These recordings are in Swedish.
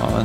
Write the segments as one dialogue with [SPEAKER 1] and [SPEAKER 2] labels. [SPEAKER 1] Ja,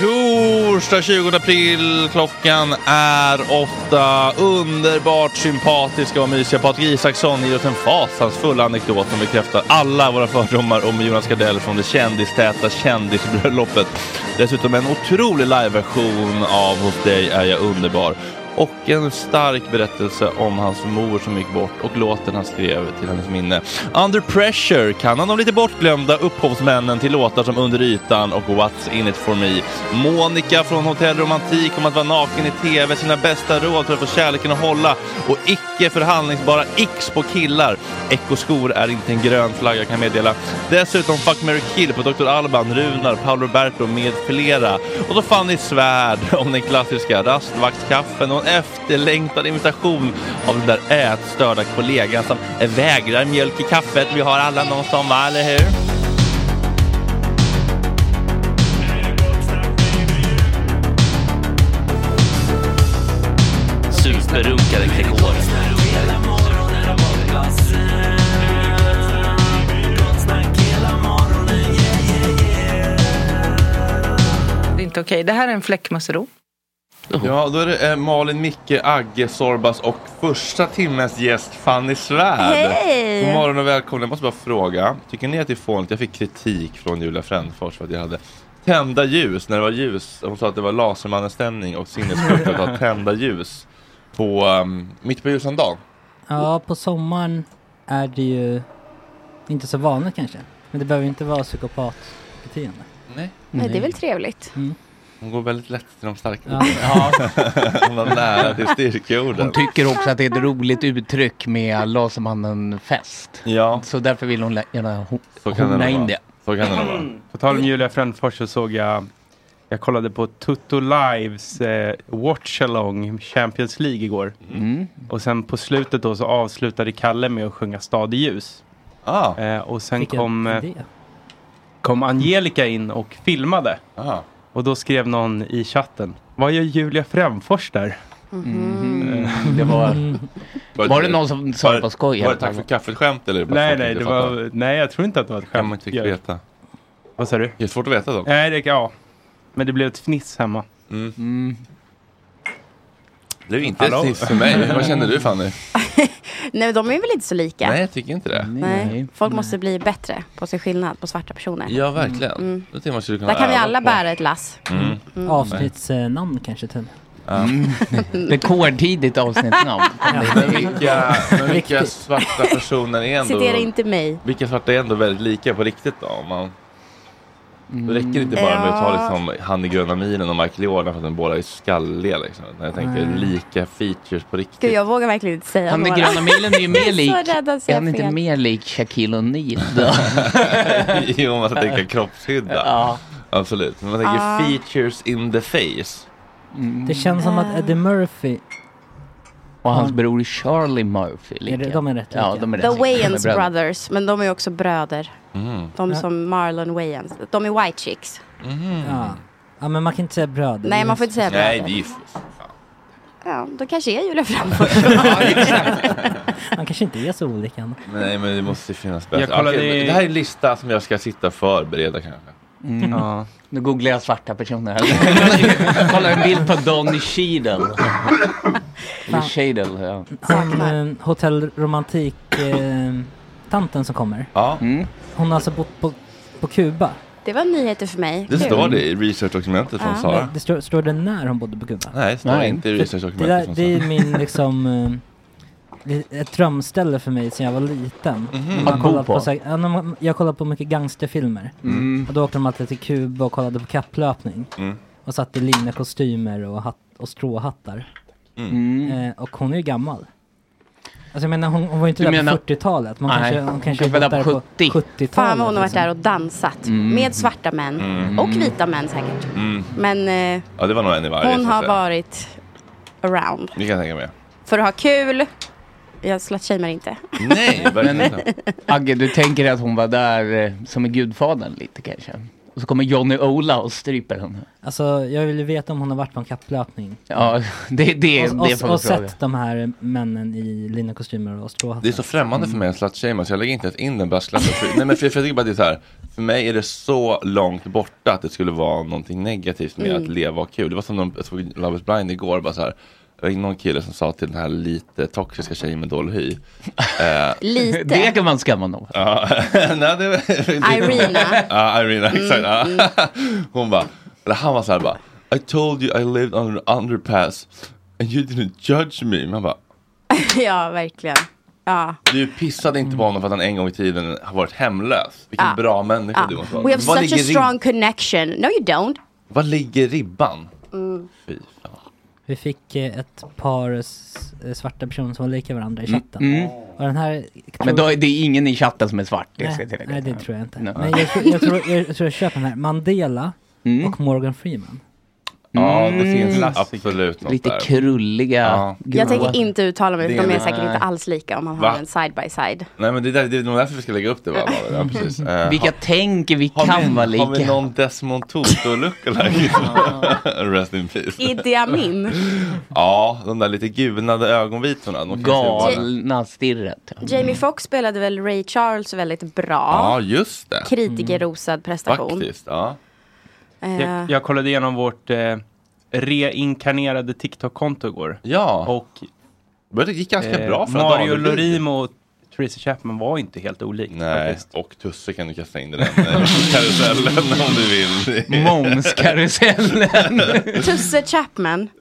[SPEAKER 1] Torsdag 20 april, klockan är åtta. Underbart sympatiska och mysiga Patrik Isaksson ger oss en fasansfull anekdot som bekräftar alla våra fördomar om Jonas Gardell från det kändistäta kändisbröllopet. Dessutom en otrolig liveversion av Hos dig är jag underbar. och en stark berättelse om hans mor som gick bort och låten han skrev till hennes minne. Under Pressure kan han de lite bortglömda upphovsmännen till låtar som Under ytan och What's in it for me. Monica från Hotell Romantik om att vara naken i TV, sina bästa råd för att få kärleken att hålla och icke förhandlingsbara x på killar. Ekoskor är inte en grön flagga kan jag meddela. Dessutom Fuck, Mary kill på Dr. Alban, Runar, Paolo Roberto med flera. Och så Fanny Svärd om den klassiska rastvaktskaffen och en efterlängtad imitation av den där ätstörda kollegan som vägrar mjölk i kaffet. Vi har alla någon som, va, eller hur? Superrunkare Gregor.
[SPEAKER 2] Det är inte okej. Det här är en fläckmussero.
[SPEAKER 1] Ja, då är det eh, Malin, Micke, Agge, Sorbas och första timmens gäst Fanny Svärd. Hej! God morgon och välkommen. Jag måste bara fråga. Tycker ni att det är fånigt? Jag fick kritik från Julia Frändfors för att jag hade tända ljus när det var ljus. Hon sa att det var Lasermannen-stämning och sinnessjukt att ha tända ljus på, um, mitt på ljusan dag.
[SPEAKER 3] Ja, på sommaren är det ju inte så vanligt kanske. Men det behöver ju inte vara psykopatbeteende.
[SPEAKER 1] Nej.
[SPEAKER 4] Mm.
[SPEAKER 5] Nej, det är väl trevligt.
[SPEAKER 1] Hon går väldigt lätt till de starka ja. Hon var nära till styrkeorden.
[SPEAKER 6] Hon tycker också att det är ett roligt uttryck med Lasermannen-fest.
[SPEAKER 1] Ja,
[SPEAKER 6] Så därför vill hon lä- gärna ho-
[SPEAKER 1] så kan det
[SPEAKER 6] hona
[SPEAKER 1] nog
[SPEAKER 6] in
[SPEAKER 1] vara.
[SPEAKER 6] det.
[SPEAKER 1] Så kan det nog vara.
[SPEAKER 4] På tal om Julia Frändfors så såg jag jag kollade på Tutto Lives eh, Watch Along Champions League igår.
[SPEAKER 6] Mm.
[SPEAKER 4] Och sen på slutet då så avslutade Kalle med att sjunga Stad i ljus.
[SPEAKER 1] Ah,
[SPEAKER 4] Eh, och sen
[SPEAKER 3] Vilken
[SPEAKER 4] kom, eh,
[SPEAKER 3] idé.
[SPEAKER 4] kom Angelica in och filmade.
[SPEAKER 1] ah.
[SPEAKER 4] Och då skrev någon i chatten. Vad gör Julia Frändfors där?
[SPEAKER 6] Mm-hmm.
[SPEAKER 4] Eh,
[SPEAKER 6] det var, var det någon som sa det på skoj?
[SPEAKER 1] Var det tack för kaffet-skämt eller? är det bara
[SPEAKER 4] Nej, nej,
[SPEAKER 1] folk inte
[SPEAKER 4] det
[SPEAKER 1] fattar?
[SPEAKER 4] var, nej, jag tror inte att det var ett
[SPEAKER 1] Kan
[SPEAKER 4] skämt.
[SPEAKER 1] man inte fick
[SPEAKER 4] Jag-
[SPEAKER 1] veta.
[SPEAKER 4] Vad sa du?
[SPEAKER 1] Det är svårt att veta då.
[SPEAKER 4] Nej, det, ja. Men det blev ett fniss hemma.
[SPEAKER 1] Mm. Det är inte
[SPEAKER 4] Hallå?
[SPEAKER 1] ett tips för mig. Vad känner du Fanny?
[SPEAKER 5] Nej, men de är väl inte så lika?
[SPEAKER 1] Nej, jag tycker inte det.
[SPEAKER 5] Nej. Folk måste bli bättre på sin skillnad på svarta personer.
[SPEAKER 1] Ja,
[SPEAKER 6] Mm.
[SPEAKER 1] verkligen. Då tycker jag man skulle kunna
[SPEAKER 5] Mm. Där kan vi
[SPEAKER 1] öva
[SPEAKER 5] alla
[SPEAKER 1] på.
[SPEAKER 5] bära ett lass.
[SPEAKER 1] Mm.
[SPEAKER 3] Avsnittsnamn kanske till.
[SPEAKER 6] Rekordtidigt avsnittsnamn.
[SPEAKER 1] Men vilka, men vilka
[SPEAKER 3] Riktigt.
[SPEAKER 1] svarta personer är ändå...
[SPEAKER 5] Citera inte mig.
[SPEAKER 1] Vilka svarta är ändå väldigt lika på riktigt då? Om man... Då räcker det inte bara med att ta
[SPEAKER 5] Mm.
[SPEAKER 1] liksom, han i gröna milen och Michael Jordan för att de båda är skalliga. Liksom. När jag tänker
[SPEAKER 5] Mm.
[SPEAKER 1] lika features på riktigt.
[SPEAKER 5] Gud, jag vågar verkligen inte säga
[SPEAKER 6] Han med
[SPEAKER 5] några.
[SPEAKER 6] gröna milen är ju
[SPEAKER 5] Jag är
[SPEAKER 6] mer
[SPEAKER 5] så
[SPEAKER 6] lik.
[SPEAKER 5] rädd att
[SPEAKER 6] Är
[SPEAKER 5] säga
[SPEAKER 6] han inte
[SPEAKER 5] fel.
[SPEAKER 6] mer lik Shaquille O'Neal då?
[SPEAKER 1] jo, man ska tänka kroppshydda.
[SPEAKER 6] Ja.
[SPEAKER 1] Absolut. Men man tänker
[SPEAKER 5] Ah.
[SPEAKER 1] features in the face. Mm.
[SPEAKER 3] Det känns som
[SPEAKER 5] Eh.
[SPEAKER 3] att Eddie Murphy,
[SPEAKER 6] Och hans bror Charlie Murphy.
[SPEAKER 3] Är det- de är rätt
[SPEAKER 6] Ja,
[SPEAKER 3] lika.
[SPEAKER 6] de är rätt
[SPEAKER 5] The
[SPEAKER 6] lika. De är
[SPEAKER 5] Wayans
[SPEAKER 6] bröder.
[SPEAKER 5] Brothers, men de är också bröder.
[SPEAKER 1] Mm.
[SPEAKER 5] De som Marlon Wayans. De är white chicks.
[SPEAKER 6] Mm.
[SPEAKER 1] Mm.
[SPEAKER 3] ja. Ja men man kan inte säga bröder.
[SPEAKER 5] Nej, man får inte säga
[SPEAKER 1] Nej,
[SPEAKER 5] bröder.
[SPEAKER 1] det är ju...
[SPEAKER 5] Ja, då kanske är Julia Framfors.
[SPEAKER 3] Man kanske inte är så olika ändå.
[SPEAKER 1] Nej, men det måste ju finnas bättre.
[SPEAKER 4] Jag kollade
[SPEAKER 1] Okej, men
[SPEAKER 4] i-
[SPEAKER 1] Det här är en lista som jag ska sitta och förbereda kanske.
[SPEAKER 4] Ja.
[SPEAKER 6] Mm. Nu googlar jag svarta personer här. Kolla en bild på Don Cheadle. Eller Cheadle, ja.
[SPEAKER 3] Hon, eh, Hotell Romantik eh, tanten som kommer.
[SPEAKER 1] Ja,
[SPEAKER 4] Mm.
[SPEAKER 3] Hon har alltså bott på, på Kuba.
[SPEAKER 5] Det var nyheter för mig.
[SPEAKER 1] det
[SPEAKER 5] Kul. Ah.
[SPEAKER 1] står det i researchdokumentet från Sara.
[SPEAKER 3] Det står, står det när hon bodde på Kuba?
[SPEAKER 1] Nej, det står
[SPEAKER 6] Nej.
[SPEAKER 1] inte i
[SPEAKER 3] Det, där,
[SPEAKER 1] researchdokumentet från
[SPEAKER 3] det
[SPEAKER 1] Sara.
[SPEAKER 3] är min liksom, eh, det är ett drömställe för mig sedan jag var liten.
[SPEAKER 1] Mhm.
[SPEAKER 3] Man
[SPEAKER 6] Att bo
[SPEAKER 3] kollat
[SPEAKER 6] på?
[SPEAKER 3] så här- ja, när man- jag kollade på mycket gangsterfilmer.
[SPEAKER 1] Mm.
[SPEAKER 3] Och då åkte de alltid till Kuba och kollade på kapplöpning. Och satt i linnekostymer och, hatt, och stråhattar.
[SPEAKER 1] Mm.
[SPEAKER 6] Mm.
[SPEAKER 3] Eh, och hon är ju gammal. Alltså jag menar hon, hon var ju inte
[SPEAKER 6] Du
[SPEAKER 3] där
[SPEAKER 6] menar-
[SPEAKER 3] på 40-talet. Man
[SPEAKER 6] Nej,
[SPEAKER 3] kanske,
[SPEAKER 6] hon
[SPEAKER 3] hon kanske
[SPEAKER 6] kanske
[SPEAKER 3] var
[SPEAKER 6] var
[SPEAKER 3] där
[SPEAKER 6] där
[SPEAKER 3] på
[SPEAKER 6] 70.
[SPEAKER 3] 70-talet.
[SPEAKER 5] Fan vad hon har varit
[SPEAKER 3] liksom.
[SPEAKER 5] där och dansat.
[SPEAKER 1] Mm.
[SPEAKER 5] Med svarta män. Och vita män säkert. Men eh,
[SPEAKER 1] Ja, det var nog en i varje.
[SPEAKER 5] hon
[SPEAKER 1] så att
[SPEAKER 5] har
[SPEAKER 1] säga.
[SPEAKER 5] varit around.
[SPEAKER 1] Det kan jag tänka mig.
[SPEAKER 5] För att ha kul. Jag slutshamear inte.
[SPEAKER 1] Nej, verkligen inte.
[SPEAKER 6] Agge, du tänker att hon var där eh, som i Gudfadern lite kanske? Och så kommer Johnny Ola och stryper henne.
[SPEAKER 3] Alltså jag vill ju veta om hon har varit på en kapplöpning.
[SPEAKER 6] Ja, det, det,
[SPEAKER 3] Och,
[SPEAKER 6] det
[SPEAKER 3] och,
[SPEAKER 6] får vi
[SPEAKER 3] och
[SPEAKER 6] fråga.
[SPEAKER 3] sett de här männen i linnekostymer och Mm. stråhattar.
[SPEAKER 1] Det är så främmande
[SPEAKER 5] Mm.
[SPEAKER 1] för mig att slutshamea så jag lägger inte ens in den brasklappen. För- Nej men för, för jag tycker bara att det är så här. För mig är det så långt borta att det skulle vara någonting negativt med
[SPEAKER 5] Mm.
[SPEAKER 1] att leva och ha kul. Det var som när jag såg Love is blind igår. Bara så här, det var någon kille som sa till den här lite toxiska tjejen med dålig hy. eh,
[SPEAKER 5] Lite.
[SPEAKER 6] Det kan man skämma någon.
[SPEAKER 1] Ja, nej, det var,
[SPEAKER 5] Irina. Mm,
[SPEAKER 1] Ja, Irina, exakt. ja. Hon bara, eller han var så här bara, I told you I lived under an underpass. You didn't judge me. Man bara,
[SPEAKER 5] ja, verkligen. Ja.
[SPEAKER 1] du pissade inte på honom för att han en gång i tiden har varit hemlös. Vilken
[SPEAKER 5] Ja.
[SPEAKER 1] bra människa
[SPEAKER 5] ja.
[SPEAKER 1] du måste vara.
[SPEAKER 5] Ah. We have
[SPEAKER 1] Vad
[SPEAKER 5] such
[SPEAKER 1] ligger
[SPEAKER 5] a
[SPEAKER 1] rib-
[SPEAKER 5] strong connection. No you don't.
[SPEAKER 1] Vad ligger ribban?
[SPEAKER 5] Mm.
[SPEAKER 1] Fy.
[SPEAKER 3] Vi fick eh, ett par s- eh, svarta personer som var lika varandra i
[SPEAKER 6] Mm,
[SPEAKER 3] chatten.
[SPEAKER 6] mm.
[SPEAKER 3] Och den här...
[SPEAKER 6] Men då är det är ingen i chatten som är svart. Det ska jag
[SPEAKER 3] nej,
[SPEAKER 6] tillägga.
[SPEAKER 3] nej, det tror jag inte.
[SPEAKER 6] Nej.
[SPEAKER 3] Men jag, tror- jag, tror, jag tror jag köper den här. Mandela
[SPEAKER 6] Mm.
[SPEAKER 3] och Morgan Freeman.
[SPEAKER 1] Ja, det
[SPEAKER 6] Mm.
[SPEAKER 1] finns
[SPEAKER 6] Klassiker.
[SPEAKER 1] absolut något
[SPEAKER 6] Lite
[SPEAKER 1] där.
[SPEAKER 6] krulliga.
[SPEAKER 5] Jag tänker inte uttala mig
[SPEAKER 1] Det
[SPEAKER 5] för de
[SPEAKER 1] är
[SPEAKER 5] är
[SPEAKER 1] det.
[SPEAKER 5] säkert inte alls lika om man
[SPEAKER 1] Va?
[SPEAKER 5] har en side by side.
[SPEAKER 1] Nej men det, där, det är nog därför vi ska lägga upp det va? Bara, Ja, precis. Eh,
[SPEAKER 6] Mm. Vilka
[SPEAKER 1] har-
[SPEAKER 6] tänker vi
[SPEAKER 1] har
[SPEAKER 6] kan
[SPEAKER 1] vi-
[SPEAKER 6] vara
[SPEAKER 1] Har vi
[SPEAKER 6] lika?
[SPEAKER 1] någon Desmond Tutu lookalike? Rest in peace.
[SPEAKER 5] Idi Amin.
[SPEAKER 1] Ja, de där lite gulnade ögonvitorna. de kan se ut som-
[SPEAKER 6] Galna stirret.
[SPEAKER 5] Jamie Foxx spelade väl Ray Charles väldigt
[SPEAKER 1] Ja,
[SPEAKER 5] bra.
[SPEAKER 1] just det. Mm.
[SPEAKER 5] Kritikerrosad prestation.
[SPEAKER 1] Faktiskt, ja.
[SPEAKER 5] Eh,
[SPEAKER 4] Jag, jag kollade igenom vårt eh, reinkarnerade TikTok-konto igår.
[SPEAKER 1] Ja.
[SPEAKER 4] Och eh,
[SPEAKER 1] Men det gick ganska bra för en
[SPEAKER 4] Mario
[SPEAKER 1] daglig bild.
[SPEAKER 4] Lorim och Tracy Chapman var inte helt olika.
[SPEAKER 1] Nej, och Tusse kan du kasta in i den eh, karusellen om du vill.
[SPEAKER 6] Momskarusellen.
[SPEAKER 5] Tusse Chapman.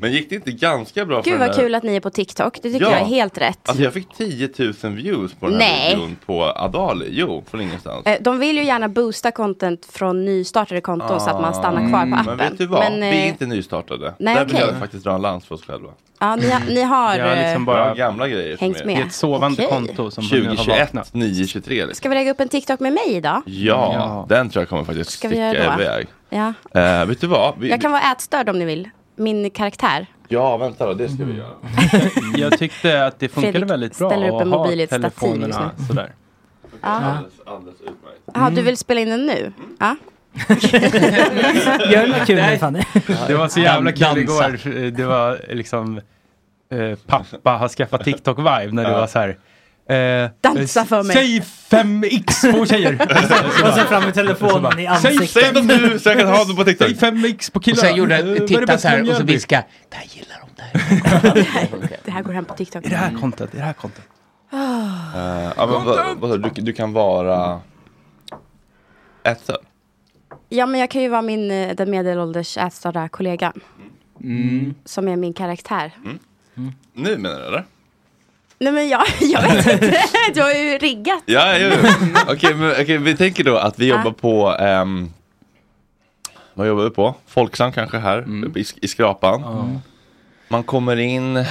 [SPEAKER 1] Men gick det inte ganska bra för
[SPEAKER 5] Gud
[SPEAKER 1] den
[SPEAKER 5] vad
[SPEAKER 1] här-
[SPEAKER 5] kul att ni är på TikTok. Det tycker
[SPEAKER 1] Ja.
[SPEAKER 5] jag är helt rätt.
[SPEAKER 1] Alltså jag fick 10 000 views på den här
[SPEAKER 5] Nej.
[SPEAKER 1] videon på Adali. Jo, från ingenstans.
[SPEAKER 5] Eh, De vill ju gärna boosta content från nystartade konton så att man stannar kvar
[SPEAKER 1] Mm,
[SPEAKER 5] på appen.
[SPEAKER 1] Men vet du vad?
[SPEAKER 5] Men,
[SPEAKER 1] Vi är
[SPEAKER 5] eh,
[SPEAKER 1] inte nystartade.
[SPEAKER 5] nej,
[SPEAKER 1] Där vill
[SPEAKER 5] okej.
[SPEAKER 1] jag faktiskt dra en lans för oss själva.
[SPEAKER 5] ja, ni, har- ni
[SPEAKER 4] Mm.
[SPEAKER 5] har...
[SPEAKER 1] Vi har
[SPEAKER 5] eh,
[SPEAKER 1] liksom bara gamla grejer. som
[SPEAKER 5] hängt
[SPEAKER 1] är-
[SPEAKER 5] med. Det är ett sovande Okej. konto
[SPEAKER 4] som nu har
[SPEAKER 1] 2021, 923 liksom.
[SPEAKER 5] eh, Ska vi lägga upp en TikTok med mig idag?
[SPEAKER 1] Ja, den tror jag kommer faktiskt
[SPEAKER 5] Ska
[SPEAKER 1] sticka
[SPEAKER 5] vi göra då?
[SPEAKER 1] iväg.
[SPEAKER 5] Ja.
[SPEAKER 1] Eh, vet du vad? Vi,
[SPEAKER 5] Jag kan vara ätstörd om ni vill. Min karaktär.
[SPEAKER 1] Ja, vänta då, det ska vi göra.
[SPEAKER 4] Mm. Jag tyckte att det funkade
[SPEAKER 5] Fredrik
[SPEAKER 4] väldigt bra
[SPEAKER 5] ställer upp
[SPEAKER 4] att
[SPEAKER 5] en
[SPEAKER 4] ha
[SPEAKER 5] mobil i ett stativ
[SPEAKER 4] telefonerna
[SPEAKER 5] just nu.
[SPEAKER 4] sådär.
[SPEAKER 5] Ja.
[SPEAKER 1] Alldeles utmärkt.
[SPEAKER 5] Jaha, du vill spela in den nu? Ja.
[SPEAKER 3] Gör något kul nu Fanny.
[SPEAKER 4] Det var så jävla kul
[SPEAKER 3] Dansa.
[SPEAKER 4] igår. Det var liksom eh, pappa har skaffat TikTok-vibe när det
[SPEAKER 1] Ja.
[SPEAKER 4] var så här. Eh,
[SPEAKER 5] Dansa för mig.
[SPEAKER 4] Säg fem x på tjejer.
[SPEAKER 3] Och sen fram med telefonen i ansiktet.
[SPEAKER 4] alltså, Säg, säg dem nu så jag kan ha
[SPEAKER 1] dem på TikTok.
[SPEAKER 4] Säg fem x på killar.
[SPEAKER 6] Och
[SPEAKER 4] Eh,
[SPEAKER 6] sen gjorde han, titta så här och så viska.
[SPEAKER 5] Det här går hem på TikTok.
[SPEAKER 4] Är det här content? Är det här content?
[SPEAKER 5] Ah.
[SPEAKER 1] Eh, ja, men vad- vad sa du, Du- du kan vara
[SPEAKER 4] Mm.
[SPEAKER 1] ätstörd.
[SPEAKER 5] Ja, men jag kan ju vara min, eh, den medelålders ätstörda kollegan.
[SPEAKER 1] Mm.
[SPEAKER 5] Som är min karaktär.
[SPEAKER 1] Nu menar du eller?
[SPEAKER 5] Nej, men jag, jag vet inte. Du har ju riggat.
[SPEAKER 1] Ja, jo, jo. Okej, men okej, vi tänker då att vi
[SPEAKER 5] Ja.
[SPEAKER 1] jobbar på ehm, Vad jobbar vi på? Folksam kanske här
[SPEAKER 6] Mm.
[SPEAKER 1] uppe i, sk- i skrapan Man kommer in man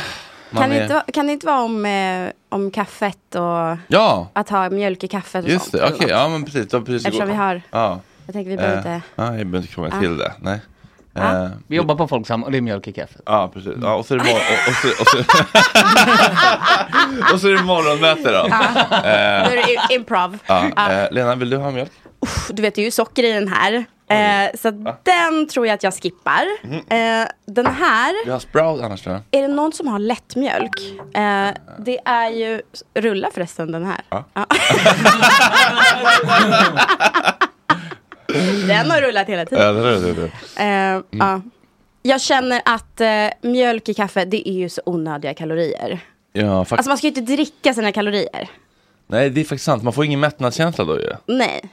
[SPEAKER 5] Kan det,
[SPEAKER 1] är-
[SPEAKER 5] inte, va- kan det inte vara om, eh, om kaffet och
[SPEAKER 1] Ja,
[SPEAKER 5] att ha mjölk i kaffet och
[SPEAKER 1] just
[SPEAKER 5] sånt?
[SPEAKER 1] det, okej, ja men precis, då precis
[SPEAKER 5] Eftersom vi har-
[SPEAKER 1] ja.
[SPEAKER 5] Jag tänker vi behöver
[SPEAKER 1] Eh,
[SPEAKER 5] inte-
[SPEAKER 1] Ja, jag behöver inte komma
[SPEAKER 5] Ja.
[SPEAKER 1] till det, nej Eh,
[SPEAKER 6] Vi jobbar på Folksam och det är mjölk i kaffet.
[SPEAKER 1] Ja, precis. Ja, och så är det, mor- och, och så, och så, och så är det morgonmöte då.
[SPEAKER 5] Nu Ah! är
[SPEAKER 1] Eh,
[SPEAKER 5] det i- improv.
[SPEAKER 1] ja,
[SPEAKER 5] Ja.
[SPEAKER 1] eh, Lena, vill du ha mjölk?
[SPEAKER 5] Uff, Du vet, det är ju socker i den här. Eh, så att den tror jag att jag skippar.
[SPEAKER 1] Mhm.
[SPEAKER 5] Eh, den här.
[SPEAKER 1] Vi har sprout annars tror jag.
[SPEAKER 5] Är det någon som har lättmjölk? Eh, det är ju... Rulla förresten den här.
[SPEAKER 1] Ja.
[SPEAKER 5] den har rullat hela
[SPEAKER 1] Ja,
[SPEAKER 5] tiden.
[SPEAKER 1] det är det, det. Mm. är det.
[SPEAKER 5] Eh, ja. Jag känner att eh, mjölk i kaffe, det är ju så onödiga kalorier.
[SPEAKER 1] Ja, faktiskt.
[SPEAKER 5] Alltså man ska ju inte dricka sina kalorier.
[SPEAKER 1] Nej, det är faktiskt sant. Man får ingen mättnadskänsla då ju.
[SPEAKER 5] Nej.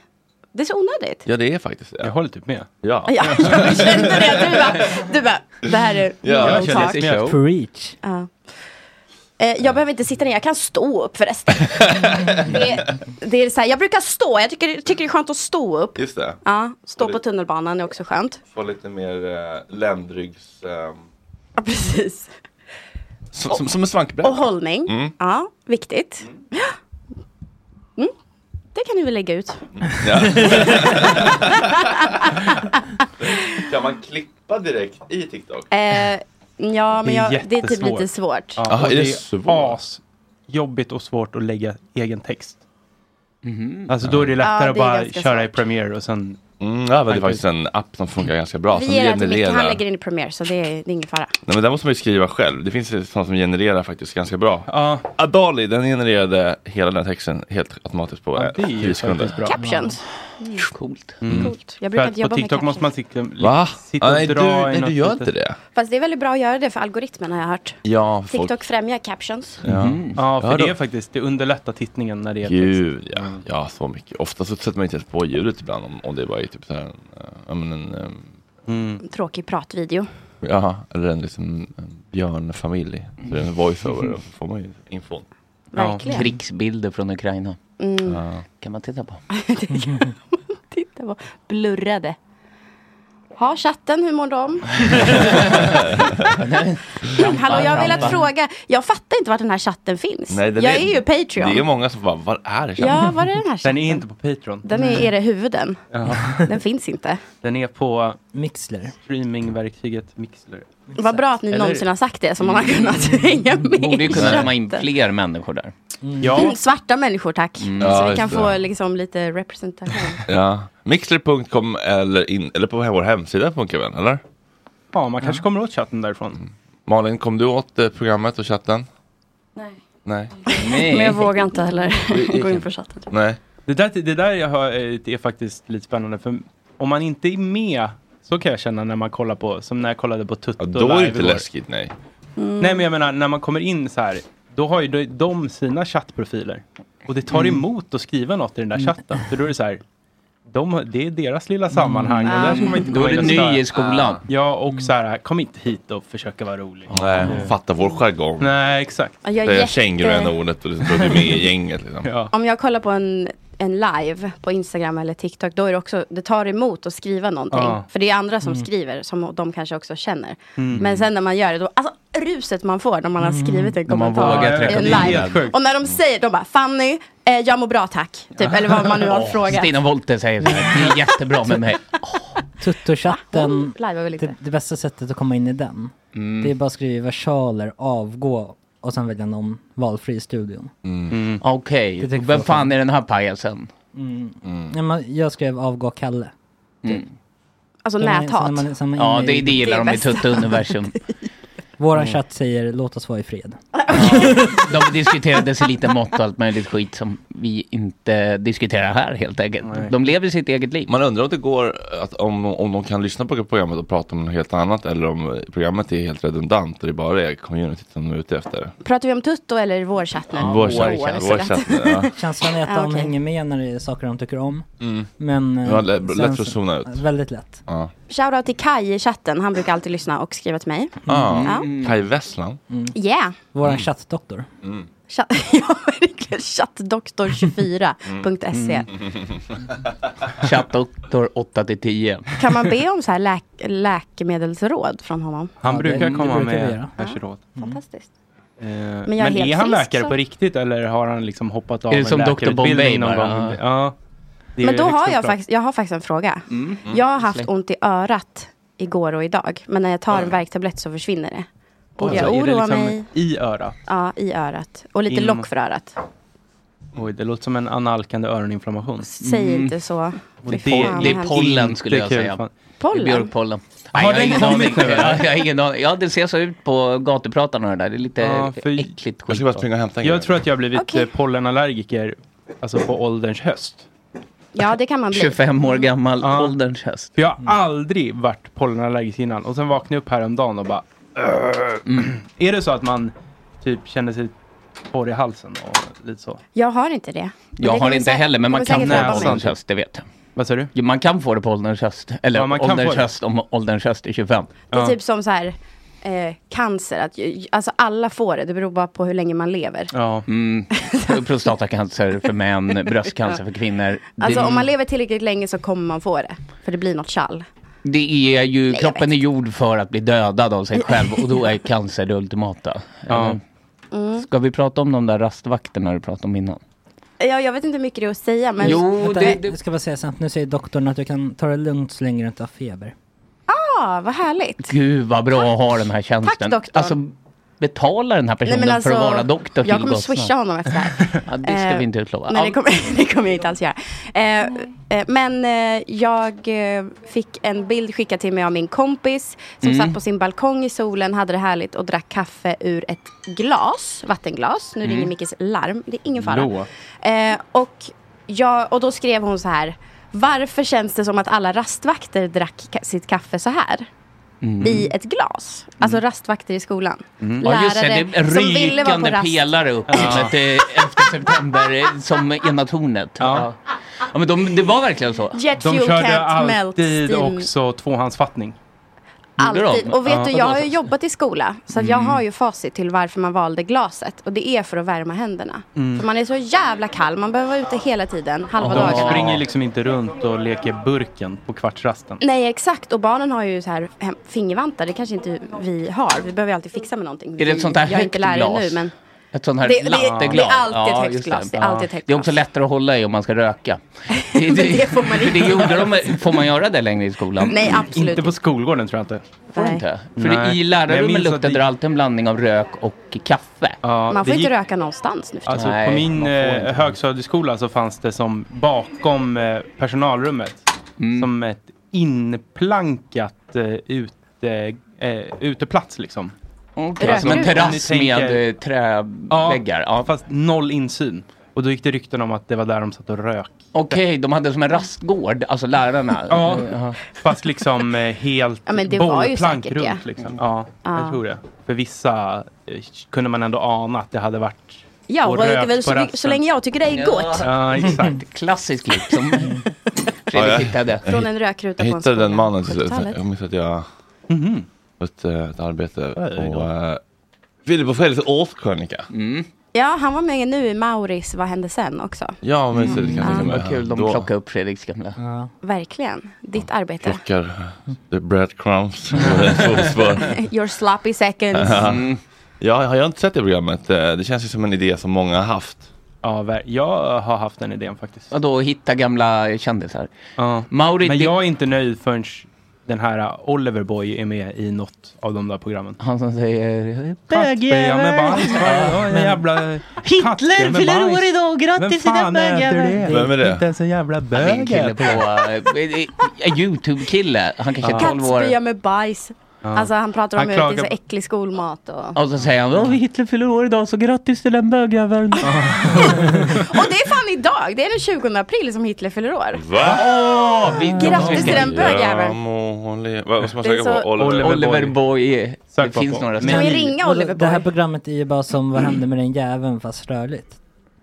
[SPEAKER 5] Det är så onödigt.
[SPEAKER 1] Ja, det är faktiskt det. Jag
[SPEAKER 4] håller typ med.
[SPEAKER 1] Ja.
[SPEAKER 5] Ja, jag kände det. Du bara, du bara det här är
[SPEAKER 1] Ja,
[SPEAKER 5] no
[SPEAKER 1] jag kände
[SPEAKER 5] talk.
[SPEAKER 1] det med.
[SPEAKER 3] Preach.
[SPEAKER 5] Ja. Eh, jag behöver inte sitta ner, jag kan stå upp förresten. det, det är så här, jag brukar stå, jag tycker, tycker det är skönt att stå upp.
[SPEAKER 1] Just det.
[SPEAKER 5] Ja, stå på tunnelbanan är också skönt.
[SPEAKER 1] Få lite mer eh, ländryggs... ehm,
[SPEAKER 5] Ja, precis.
[SPEAKER 1] som, som, som en svankbräda.
[SPEAKER 5] Och hållning,
[SPEAKER 1] Mm.
[SPEAKER 5] ja, viktigt. Mm. Det kan ni väl lägga ut.
[SPEAKER 1] Ja. kan man klippa direkt i TikTok?
[SPEAKER 5] Eh, ja, men
[SPEAKER 4] Det är
[SPEAKER 5] jag, det är typ
[SPEAKER 4] jättesvårt.
[SPEAKER 5] lite svårt.
[SPEAKER 4] Ja,
[SPEAKER 1] Aha,
[SPEAKER 4] och
[SPEAKER 1] är det
[SPEAKER 4] det
[SPEAKER 1] svårt?
[SPEAKER 4] är asjobbigt och svårt att lägga egen text.
[SPEAKER 6] Mhm.
[SPEAKER 4] Alltså då är det lättare
[SPEAKER 5] Ja,
[SPEAKER 4] att
[SPEAKER 5] det är
[SPEAKER 4] bara
[SPEAKER 5] ganska
[SPEAKER 4] köra i Premiere och sen...
[SPEAKER 1] Mm, ja, men det är faktiskt en app som funkar ganska bra.
[SPEAKER 5] Vi
[SPEAKER 1] som
[SPEAKER 5] ger inte mycket, han
[SPEAKER 1] genererar.
[SPEAKER 5] lägger in i Premiere så det är, det är ingen fara.
[SPEAKER 1] Nej, men där måste man ju skriva själv. Det finns ju sådana som genererar faktiskt ganska bra. Adali, den genererade hela den här texten helt automatiskt på
[SPEAKER 4] det är
[SPEAKER 1] eh,
[SPEAKER 4] ju
[SPEAKER 1] 10 sekunder.
[SPEAKER 4] faktiskt bra.
[SPEAKER 5] Captions. Mm.
[SPEAKER 6] Coolt.
[SPEAKER 1] Mm.
[SPEAKER 5] Coolt. Jag
[SPEAKER 4] För
[SPEAKER 5] brukar inte
[SPEAKER 4] att på
[SPEAKER 5] jobba med
[SPEAKER 4] TikTok
[SPEAKER 5] captions.
[SPEAKER 4] måste man sitta,
[SPEAKER 1] Va?
[SPEAKER 4] sitta
[SPEAKER 1] Ah,
[SPEAKER 4] och
[SPEAKER 1] nej, du,
[SPEAKER 4] dra i
[SPEAKER 1] nej,
[SPEAKER 4] något
[SPEAKER 1] du gör
[SPEAKER 4] litet.
[SPEAKER 1] inte det.
[SPEAKER 5] Fast det är väldigt bra att göra det för algoritmen har jag hört.
[SPEAKER 1] Ja, folk...
[SPEAKER 5] TikTok främjar captions. Mm.
[SPEAKER 1] Ja.
[SPEAKER 4] Ja, för
[SPEAKER 1] Ja, då-
[SPEAKER 4] det är faktiskt, det underlättar tittningen när det är
[SPEAKER 1] Gud ja.
[SPEAKER 4] Mm.
[SPEAKER 1] ja, så mycket. Ofta så sätter man inte ens på
[SPEAKER 4] Mm.
[SPEAKER 1] ljudet ibland om, om det bara är typ så här en, eh, ja, men en, eh,
[SPEAKER 5] Tråkig pratvideo.
[SPEAKER 1] Jaha, eller en liten en björnfamilj.
[SPEAKER 4] Mm.
[SPEAKER 1] Så det är en voiceover, då får man ju infon.
[SPEAKER 6] Ja,
[SPEAKER 5] Verkligen.
[SPEAKER 6] krigsbilder från Ukraina.
[SPEAKER 5] Mm.
[SPEAKER 6] Kan man titta på.
[SPEAKER 5] Titta på, blurrade. Ha chatten, hur mår de? Hallå, jag har velat fråga. Jag fattar inte var den här chatten finns.
[SPEAKER 1] den
[SPEAKER 5] jag är, ju Patreon.
[SPEAKER 1] Det är ju många som bara, var är det?
[SPEAKER 5] Ja, var är den här chatten?
[SPEAKER 4] Den är inte på Patreon.
[SPEAKER 5] Den är i era huvuden.
[SPEAKER 4] Ja.
[SPEAKER 1] Mm.
[SPEAKER 5] Den finns inte.
[SPEAKER 4] Den är på
[SPEAKER 3] Mixler.
[SPEAKER 4] streamingverktyget Mixler.
[SPEAKER 5] Vad bra att ni
[SPEAKER 4] Eller-
[SPEAKER 5] någonsin har sagt det, som man har kunnat hänga med.
[SPEAKER 6] Borde ju kunna
[SPEAKER 5] i
[SPEAKER 6] komma in
[SPEAKER 5] chatten.
[SPEAKER 6] fler människor där.
[SPEAKER 5] Mm, Svarta människor, tack.
[SPEAKER 1] Mm.
[SPEAKER 5] Så
[SPEAKER 1] Ja,
[SPEAKER 5] vi kan
[SPEAKER 1] just
[SPEAKER 5] få
[SPEAKER 1] det.
[SPEAKER 5] liksom, lite representation.
[SPEAKER 1] Ja. Mixler.com eller, in, eller på vår hemsida funkar väl, eller?
[SPEAKER 4] Ja, man kanske kommer åt chatten
[SPEAKER 1] Mm.
[SPEAKER 4] därifrån.
[SPEAKER 1] Malin, kom du åt eh, programmet och chatten?
[SPEAKER 7] Nej.
[SPEAKER 1] Nej.
[SPEAKER 7] Men jag vågar inte heller gå in på chatten.
[SPEAKER 1] Nej.
[SPEAKER 4] Det där, det där jag hör eh, är faktiskt lite spännande. För om man inte är med, så kan jag känna när man kollar på, som när jag kollade på Tutto
[SPEAKER 1] Då är det
[SPEAKER 4] live
[SPEAKER 1] inte
[SPEAKER 4] igår.
[SPEAKER 1] läskigt, nej.
[SPEAKER 7] Mm.
[SPEAKER 4] Nej, men jag menar när man kommer in så här, då har ju de, de sina chattprofiler. Och det tar
[SPEAKER 1] Mm.
[SPEAKER 4] emot att skriva något i den där
[SPEAKER 1] Mm.
[SPEAKER 4] chatten. För då är det så här, de, har- det är deras lilla sammanhang. Och
[SPEAKER 5] Mm.
[SPEAKER 4] där ska man inte
[SPEAKER 6] Då är
[SPEAKER 4] komma in
[SPEAKER 6] du
[SPEAKER 4] och
[SPEAKER 6] ny
[SPEAKER 4] störa.
[SPEAKER 6] i skolan.
[SPEAKER 4] Ja, och så här, kom inte hit och försöka vara rolig.
[SPEAKER 1] Nej,
[SPEAKER 4] Mm.
[SPEAKER 1] fatta vår jargong.
[SPEAKER 4] Nej, exakt.
[SPEAKER 5] Ja, jag är
[SPEAKER 1] Det är
[SPEAKER 5] jätte-
[SPEAKER 1] känguruen-ordet och liksom, då är du med i gänget liksom.
[SPEAKER 4] Ja.
[SPEAKER 5] Om jag kollar på en, en live på Instagram eller TikTok, då är det också, det tar emot att skriva någonting.
[SPEAKER 1] Ja.
[SPEAKER 5] För det är andra som
[SPEAKER 1] Mm.
[SPEAKER 5] skriver, som de kanske också känner.
[SPEAKER 1] Mm.
[SPEAKER 5] Men sen när man gör det, då, alltså ruset man får när man har skrivit en
[SPEAKER 6] När man
[SPEAKER 5] kommentar
[SPEAKER 6] vågar
[SPEAKER 5] i
[SPEAKER 6] trycka
[SPEAKER 5] en
[SPEAKER 6] på
[SPEAKER 5] live.
[SPEAKER 6] igen. Sjukt.
[SPEAKER 5] Och när de säger, de bara Fanny, eh, jag mår bra tack. Typ, eller vad man nu har
[SPEAKER 6] Åh,
[SPEAKER 5] frågat.
[SPEAKER 6] Stina Wollter säger så här, ni är jättebra med mig.
[SPEAKER 3] Tuttochatten,
[SPEAKER 5] Live är väl inte.
[SPEAKER 3] det, det bästa sättet att komma in i den,
[SPEAKER 6] Mm.
[SPEAKER 3] det är bara att skriva versaler, avgå och sen välja någon valfri i studion.
[SPEAKER 6] Mm. Okej,
[SPEAKER 3] Det tycker
[SPEAKER 6] vem
[SPEAKER 3] jag
[SPEAKER 6] fan är den här pajasen?
[SPEAKER 3] Mm. Ja, men jag skrev avgå Kalle.
[SPEAKER 6] Mm.
[SPEAKER 5] Alltså
[SPEAKER 3] Så när-
[SPEAKER 5] näthat.
[SPEAKER 3] så när man- så när man är
[SPEAKER 6] Ja,
[SPEAKER 3] inne
[SPEAKER 6] det,
[SPEAKER 3] i-
[SPEAKER 6] det gillar de i
[SPEAKER 5] bästa.
[SPEAKER 6] Tutte-universum.
[SPEAKER 3] Våran
[SPEAKER 6] Mm.
[SPEAKER 3] chatt säger låt oss vara i fred.
[SPEAKER 6] De diskuterade sig lite mått och allt möjligt skit som vi inte diskuterar här helt enkelt. De lever sitt eget liv.
[SPEAKER 1] Man undrar om det går, att om, om de kan lyssna på programmet och prata om något helt annat eller om programmet är helt redundant och det bara är communityt som de är ute efter.
[SPEAKER 5] Pratar vi om Tutto eller vår chatt nu?
[SPEAKER 1] Vår chatt,
[SPEAKER 5] så
[SPEAKER 1] vår
[SPEAKER 5] lätt.
[SPEAKER 1] chatt, ja.
[SPEAKER 3] Känslan är att
[SPEAKER 5] Ja,
[SPEAKER 3] de
[SPEAKER 5] Ah, okej.
[SPEAKER 3] hänger med när det är saker de tycker om.
[SPEAKER 1] Mm.
[SPEAKER 3] Men... eh,
[SPEAKER 1] Det var lä- lätt
[SPEAKER 3] sen-
[SPEAKER 1] att zona ut.
[SPEAKER 3] Väldigt lätt.
[SPEAKER 6] Mm.
[SPEAKER 1] Ja.
[SPEAKER 5] Shoutout till Kai i chatten, han brukar alltid lyssna och skriva till mig.
[SPEAKER 1] Ah,
[SPEAKER 5] Ja.
[SPEAKER 1] Kaj Wesslan.
[SPEAKER 6] Mm.
[SPEAKER 5] Yeah.
[SPEAKER 3] Våran chattdoktor.
[SPEAKER 1] Mm.
[SPEAKER 5] Chatt, ja, verkligen. Chattdoktor24.se.
[SPEAKER 6] Chattdoktor 8 till 10.
[SPEAKER 5] Kan man be om så här läk läkemedelsråd från honom?
[SPEAKER 4] Han
[SPEAKER 6] Ja, det-
[SPEAKER 4] brukar
[SPEAKER 6] det
[SPEAKER 4] komma
[SPEAKER 6] brukar vi
[SPEAKER 4] med
[SPEAKER 6] göra.
[SPEAKER 4] kanske råd.
[SPEAKER 5] Mm. Fantastiskt.
[SPEAKER 4] Eh,
[SPEAKER 5] jag
[SPEAKER 4] Men,
[SPEAKER 5] är
[SPEAKER 4] är,
[SPEAKER 5] helt
[SPEAKER 4] han
[SPEAKER 5] frisk,
[SPEAKER 4] läkare
[SPEAKER 5] så-
[SPEAKER 4] på riktigt eller har han liksom hoppat av
[SPEAKER 6] Är det
[SPEAKER 4] en
[SPEAKER 6] som Dr. Bombay
[SPEAKER 4] läkarutbildning någon
[SPEAKER 6] bara?
[SPEAKER 4] gång?
[SPEAKER 6] Ja.
[SPEAKER 4] Ja. det är
[SPEAKER 5] Men då
[SPEAKER 4] högst
[SPEAKER 5] har jag,
[SPEAKER 4] oklart.
[SPEAKER 5] faktiskt, jag har faktiskt en fråga.
[SPEAKER 4] Mm. Mm.
[SPEAKER 5] Jag har haft
[SPEAKER 4] Släng.
[SPEAKER 5] ont i örat igår och idag. Men när jag tar en värktablett så försvinner det. Borde
[SPEAKER 4] Oj,
[SPEAKER 5] jag
[SPEAKER 4] är det
[SPEAKER 5] oroa
[SPEAKER 4] liksom
[SPEAKER 5] mig?
[SPEAKER 4] I örat?
[SPEAKER 5] Ja, i örat. Och lite
[SPEAKER 4] In-
[SPEAKER 5] lock för örat.
[SPEAKER 4] Oj, det låter som en analkande öroninflammation.
[SPEAKER 5] Säg inte så.
[SPEAKER 4] Och
[SPEAKER 5] Fy
[SPEAKER 4] det-
[SPEAKER 5] fan,
[SPEAKER 6] Mm. Det,
[SPEAKER 5] vad
[SPEAKER 6] det är
[SPEAKER 5] hemskt.
[SPEAKER 6] pollen skulle jag
[SPEAKER 4] Inte kul,
[SPEAKER 6] säga.
[SPEAKER 4] fan.
[SPEAKER 5] Pollen?
[SPEAKER 6] Det är björkpollen. Nej,
[SPEAKER 4] Har
[SPEAKER 6] jag har
[SPEAKER 4] den
[SPEAKER 6] ingen aning.
[SPEAKER 4] kommit nu,
[SPEAKER 6] Jag
[SPEAKER 4] eller?
[SPEAKER 6] har ingen aning. Ja, det ser så ut på gatupratarna det där. Det är lite
[SPEAKER 4] Ja, för-
[SPEAKER 6] äckligt skit.
[SPEAKER 1] Jag ska bara springa och hämta en
[SPEAKER 4] Jag
[SPEAKER 1] grej.
[SPEAKER 4] tror att jag har blivit eh, pollenallergiker alltså på ålderns höst.
[SPEAKER 5] Ja, det kan man bli.
[SPEAKER 6] år gammal, ålderns häst.
[SPEAKER 4] För jag har aldrig varit pollenallergisk innan. Och sen vaknade jag upp häromdagen och bara...
[SPEAKER 6] Mm.
[SPEAKER 4] Är det så att man typ känner sig torr i halsen och lite så?
[SPEAKER 5] Jag har inte det. Men
[SPEAKER 6] Jag
[SPEAKER 5] det
[SPEAKER 6] har
[SPEAKER 5] kommer
[SPEAKER 6] det inte
[SPEAKER 5] säkert-
[SPEAKER 6] heller, men man
[SPEAKER 5] kommer
[SPEAKER 6] kan få
[SPEAKER 5] säkert
[SPEAKER 6] det
[SPEAKER 5] drabba
[SPEAKER 6] på
[SPEAKER 5] mig.
[SPEAKER 6] ålderns höst, det vet jag.
[SPEAKER 4] Vad säger du?
[SPEAKER 6] Jo, man kan få det på ålderns höst. Eller
[SPEAKER 4] Ja, man kan
[SPEAKER 6] ålderns
[SPEAKER 4] få det.
[SPEAKER 6] höst om ålderns höst är 25.
[SPEAKER 5] Det är typ som så här, eh, cancer, att, ju- alltså alla får det, det beror bara på hur länge man lever.
[SPEAKER 4] Ja.
[SPEAKER 6] Mm. Prostatacancer för män, bröstcancer för kvinnor.
[SPEAKER 5] Alltså
[SPEAKER 6] det,
[SPEAKER 5] om man lever tillräckligt länge så kommer man få det, för det blir något tjall.
[SPEAKER 6] det är ju,
[SPEAKER 5] jag
[SPEAKER 6] kroppen är gjord för att bli dödad av sig själv och då är cancer det ultimata. Eller?
[SPEAKER 5] Mm.
[SPEAKER 6] Ska vi prata om de där rastvakterna du pratade om innan?
[SPEAKER 5] Ja, jag vet inte hur mycket det är att säga, men...
[SPEAKER 3] Vänta, Jag ska bara säga sen, nu säger doktorn att du kan ta det lugnt så länge du inte har feber.
[SPEAKER 5] Ah, vad härligt!
[SPEAKER 6] Gud vad bra att ha den här tjänsten.
[SPEAKER 5] Tack, doktorn. alltså,
[SPEAKER 6] Alltså betala den här personen för att vara doktor till
[SPEAKER 5] jag kommer
[SPEAKER 6] oss.
[SPEAKER 5] swisha honom efter det här.
[SPEAKER 6] Ja, det ska
[SPEAKER 5] Eh,
[SPEAKER 6] vi inte utlova.
[SPEAKER 5] Nej, det
[SPEAKER 6] Ja,
[SPEAKER 5] kommer, det kommer jag inte alls göra. Eh, eh, men eh, jag eh, fick en bild skickad till mig av min kompis som
[SPEAKER 6] Mm.
[SPEAKER 5] satt på sin balkong i solen, hade det härligt och drack kaffe ur ett glas, vattenglas. Nu
[SPEAKER 6] Mm.
[SPEAKER 5] ringer Mickes larm, det är ingen fara.
[SPEAKER 6] Hallå.
[SPEAKER 5] Eh, och, jag, och då skrev hon så här, varför känns det som att alla rastvakter drack ka- sitt kaffe så här?
[SPEAKER 6] Mm.
[SPEAKER 5] I ett glas. Alltså rastvakter i skolan.
[SPEAKER 6] Mm. Ja, just det, det är rykande pelare upp som ett, eh, efter september, eh, som ena tornet. Ja. ja, men de, det var verkligen så.
[SPEAKER 5] Jet fuel can't melt
[SPEAKER 4] alltid
[SPEAKER 5] steam.
[SPEAKER 4] också tvåhandsfattning.
[SPEAKER 5] Alltid. Och vet
[SPEAKER 8] Ja.
[SPEAKER 5] du, jag har ju jobbat i skola. Så att jag
[SPEAKER 4] Mm.
[SPEAKER 5] har ju facit till varför man valde glaset. Och det är för att värma händerna.
[SPEAKER 4] Mm.
[SPEAKER 5] För man är så jävla kall. Man behöver vara ute hela tiden, halva
[SPEAKER 4] De
[SPEAKER 5] dagarna.
[SPEAKER 4] springer liksom inte runt och leker burken på kvartsrasten.
[SPEAKER 5] Nej, exakt. Och barnen har ju så här hem- fingervantar. Det kanske inte vi har. Vi behöver ju alltid fixa med någonting.
[SPEAKER 6] Är det ett
[SPEAKER 5] Vi-
[SPEAKER 6] sånt där
[SPEAKER 5] jag är
[SPEAKER 6] högt
[SPEAKER 5] inte lärare
[SPEAKER 6] glas?
[SPEAKER 5] nu, men...
[SPEAKER 6] Ett sånt här
[SPEAKER 5] Det- det-
[SPEAKER 6] latteglas.
[SPEAKER 5] det är alltid ett högt
[SPEAKER 6] just
[SPEAKER 5] glas, det är alltid ett högt
[SPEAKER 6] Det är också lättare att hålla i om man ska röka. Det,
[SPEAKER 5] får man
[SPEAKER 6] för det gjorde de, får man göra det längre i skolan?
[SPEAKER 5] Nej, absolut
[SPEAKER 6] Inte
[SPEAKER 4] på skolgården tror jag inte.
[SPEAKER 6] Får
[SPEAKER 5] Nej.
[SPEAKER 6] du inte? För
[SPEAKER 4] Nej.
[SPEAKER 6] i
[SPEAKER 4] Men jag
[SPEAKER 6] lärarrummet
[SPEAKER 4] minns att
[SPEAKER 6] luktade det alltid en blandning av rök och kaffe.
[SPEAKER 5] Man får inte röka någonstans nu för
[SPEAKER 4] Alltså
[SPEAKER 5] tiden.
[SPEAKER 4] på min eh, högstadieskola så fanns det som bakom eh, personalrummet som ett inplankat eh, ut, eh, eh, uteplats liksom.
[SPEAKER 6] Okej, som en
[SPEAKER 4] Alltså, om ni
[SPEAKER 6] terrass med, eh, träväggar.
[SPEAKER 4] Ja, fast noll insyn. Och då gick det rykten om att det var där de satt och rök.
[SPEAKER 6] Okej, de hade som en rastgård, alltså lärarna.
[SPEAKER 4] Ja,
[SPEAKER 6] Jaha.
[SPEAKER 4] fast liksom eh, helt
[SPEAKER 5] Ja, men det var ju
[SPEAKER 4] bollplank
[SPEAKER 5] säkert det.
[SPEAKER 4] runt.
[SPEAKER 6] Mm.
[SPEAKER 4] Liksom. Ja,
[SPEAKER 5] Ja.
[SPEAKER 4] jag tror det. För vissa eh, kunde man ändå ana att det hade varit
[SPEAKER 5] Ja,
[SPEAKER 4] och
[SPEAKER 5] var det
[SPEAKER 4] rökt
[SPEAKER 5] väl
[SPEAKER 4] på
[SPEAKER 5] så,
[SPEAKER 4] rasten.
[SPEAKER 5] så länge jag tycker det är gott.
[SPEAKER 4] Ja, exakt.
[SPEAKER 6] Klassiskt klipp som
[SPEAKER 1] Ja, jag-
[SPEAKER 6] Fredrik hittade.
[SPEAKER 5] Från en rökruta
[SPEAKER 1] Jag
[SPEAKER 5] på en
[SPEAKER 1] hittade
[SPEAKER 5] skola.
[SPEAKER 1] den mannen till slut.
[SPEAKER 5] 70-talet.
[SPEAKER 1] Jag minns att jag
[SPEAKER 4] Mm-hmm.
[SPEAKER 5] Mhm.
[SPEAKER 1] på ett, eh, ett arbete
[SPEAKER 5] Ja, det är
[SPEAKER 1] på eh, Filip och Fredriks årskrönika.
[SPEAKER 4] Mm.
[SPEAKER 5] Ja, han var med nu i Mauris Vad hände sen också.
[SPEAKER 1] Ja, men så det kan
[SPEAKER 6] Mm.
[SPEAKER 1] jag tänka mig.
[SPEAKER 6] Vad kul, de
[SPEAKER 1] Då-
[SPEAKER 6] plockade upp Fredriks gamla. Ja.
[SPEAKER 5] Verkligen. Ditt arbete.
[SPEAKER 1] Plockar eh, the breadcrumbs. Fotspår.
[SPEAKER 5] Your sloppy seconds.
[SPEAKER 1] Mm. Ja, har jag inte sett det programmet? Eh, Det känns ju som en idé som många har haft.
[SPEAKER 4] Ja, ver- jag har haft den idén faktiskt.
[SPEAKER 6] Vadå, hitta gamla kändisar?
[SPEAKER 4] Ja.
[SPEAKER 6] Mauri,
[SPEAKER 4] Men
[SPEAKER 6] det-
[SPEAKER 4] jag är inte nöjd förrän den här eh, Oliver Boy är med i något av de där programmen.
[SPEAKER 6] Han som säger
[SPEAKER 4] Kattspya med bajs. Ja,
[SPEAKER 6] Men-
[SPEAKER 4] jävla kattspya
[SPEAKER 6] Hitler
[SPEAKER 4] med
[SPEAKER 6] fyller
[SPEAKER 4] bajs.
[SPEAKER 6] år idag, grattis
[SPEAKER 4] Vem
[SPEAKER 6] till
[SPEAKER 4] fan
[SPEAKER 6] den bögjäveln.
[SPEAKER 4] äter det?
[SPEAKER 1] Vem är det?
[SPEAKER 4] Inte ens en jävla
[SPEAKER 6] Det är en kille
[SPEAKER 4] bög.
[SPEAKER 6] på, eh, eh, YouTube-kille, han kanske är 12 år.
[SPEAKER 5] Kattspya med bajs.
[SPEAKER 6] Ja.
[SPEAKER 5] Alltså han pratar
[SPEAKER 6] Han
[SPEAKER 5] om hur det är så
[SPEAKER 6] klagar-
[SPEAKER 5] äcklig skolmat och...
[SPEAKER 6] Och så säger han, "Ja, Hitler fyller år idag så grattis till den bögjäveln.
[SPEAKER 5] Och det är fan idag! Det är den 20 april som Hitler fyller år.
[SPEAKER 1] Va?
[SPEAKER 4] Ah,
[SPEAKER 5] Grattis till den
[SPEAKER 1] Ja,
[SPEAKER 5] bögjäveln.
[SPEAKER 1] må hon le- Vad vad ska man
[SPEAKER 5] Det är
[SPEAKER 1] söka på?
[SPEAKER 5] så-
[SPEAKER 1] Oliver,
[SPEAKER 6] Oliver Boy. Det
[SPEAKER 1] på-
[SPEAKER 6] finns några
[SPEAKER 5] Kan vi ringa
[SPEAKER 3] vadå,
[SPEAKER 5] Oliver
[SPEAKER 3] Det här
[SPEAKER 5] Borg?
[SPEAKER 3] programmet är ju bara som Vad hände med den jäveln fast rörligt.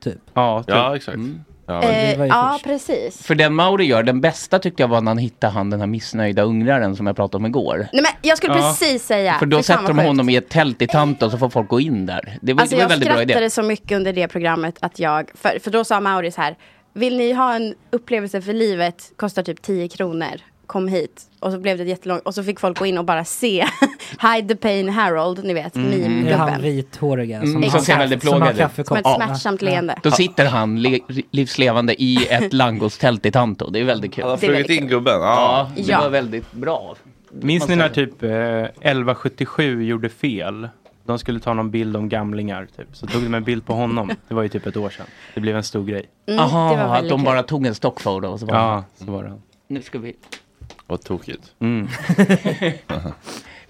[SPEAKER 3] Typ.
[SPEAKER 4] Ja,
[SPEAKER 1] ja exakt.
[SPEAKER 6] Mm.
[SPEAKER 1] Ja,
[SPEAKER 3] det
[SPEAKER 5] Eh,
[SPEAKER 3] var ju
[SPEAKER 5] ja, precis.
[SPEAKER 6] För den Mauri gör, den bästa tyckte jag var när han hittade han den här missnöjda ungraren som jag pratade om igår.
[SPEAKER 5] Nej men jag skulle
[SPEAKER 6] Ja.
[SPEAKER 5] precis säga.
[SPEAKER 6] För då
[SPEAKER 5] Fy fan
[SPEAKER 6] sätter
[SPEAKER 5] vad
[SPEAKER 6] de
[SPEAKER 5] sjukt.
[SPEAKER 6] honom i ett tält i Tanto så får folk gå in där. Det var, det
[SPEAKER 5] Alltså
[SPEAKER 6] var en
[SPEAKER 5] jag
[SPEAKER 6] väldigt bra
[SPEAKER 5] skrattade
[SPEAKER 6] idé.
[SPEAKER 5] så mycket under det programmet att jag, för, för då sa Mauri så här, vill ni ha en upplevelse för livet, kostar typ 10 kronor, kom hit. Och så blev det jättelångt, och så fick folk gå in och bara se Hide the Pain Harold, ni vet,
[SPEAKER 6] Mm.
[SPEAKER 3] Det är han
[SPEAKER 5] meme-gubben.
[SPEAKER 3] vithåriga som,
[SPEAKER 6] Mm,
[SPEAKER 3] har
[SPEAKER 6] som ser
[SPEAKER 3] kaff-
[SPEAKER 6] väldigt
[SPEAKER 3] som har
[SPEAKER 6] plågad ut.
[SPEAKER 3] kaffekopp.
[SPEAKER 5] Som ett smärtsamt leende.
[SPEAKER 6] Då sitter han le, livslevande i ett langostält i Tanto. Det är väldigt kul.
[SPEAKER 1] Han har Det är flugit väldigt in kul. gubben, ja.
[SPEAKER 6] det
[SPEAKER 5] Ja.
[SPEAKER 6] var väldigt bra.
[SPEAKER 4] Minns ni när
[SPEAKER 6] Alltså-
[SPEAKER 4] typ eh, 1177 gjorde fel? De skulle ta någon bild om gamlingar, typ. så tog de en bild på honom. Det var ju typ ett år sedan. Det blev en stor grej.
[SPEAKER 6] Mm, Aha, det var väldigt att de kul. bara tog en stockfoto och så var
[SPEAKER 4] Ja,
[SPEAKER 6] han-
[SPEAKER 4] så var det.
[SPEAKER 6] Nu ska vi...
[SPEAKER 1] Vad tokigt.
[SPEAKER 4] Mm.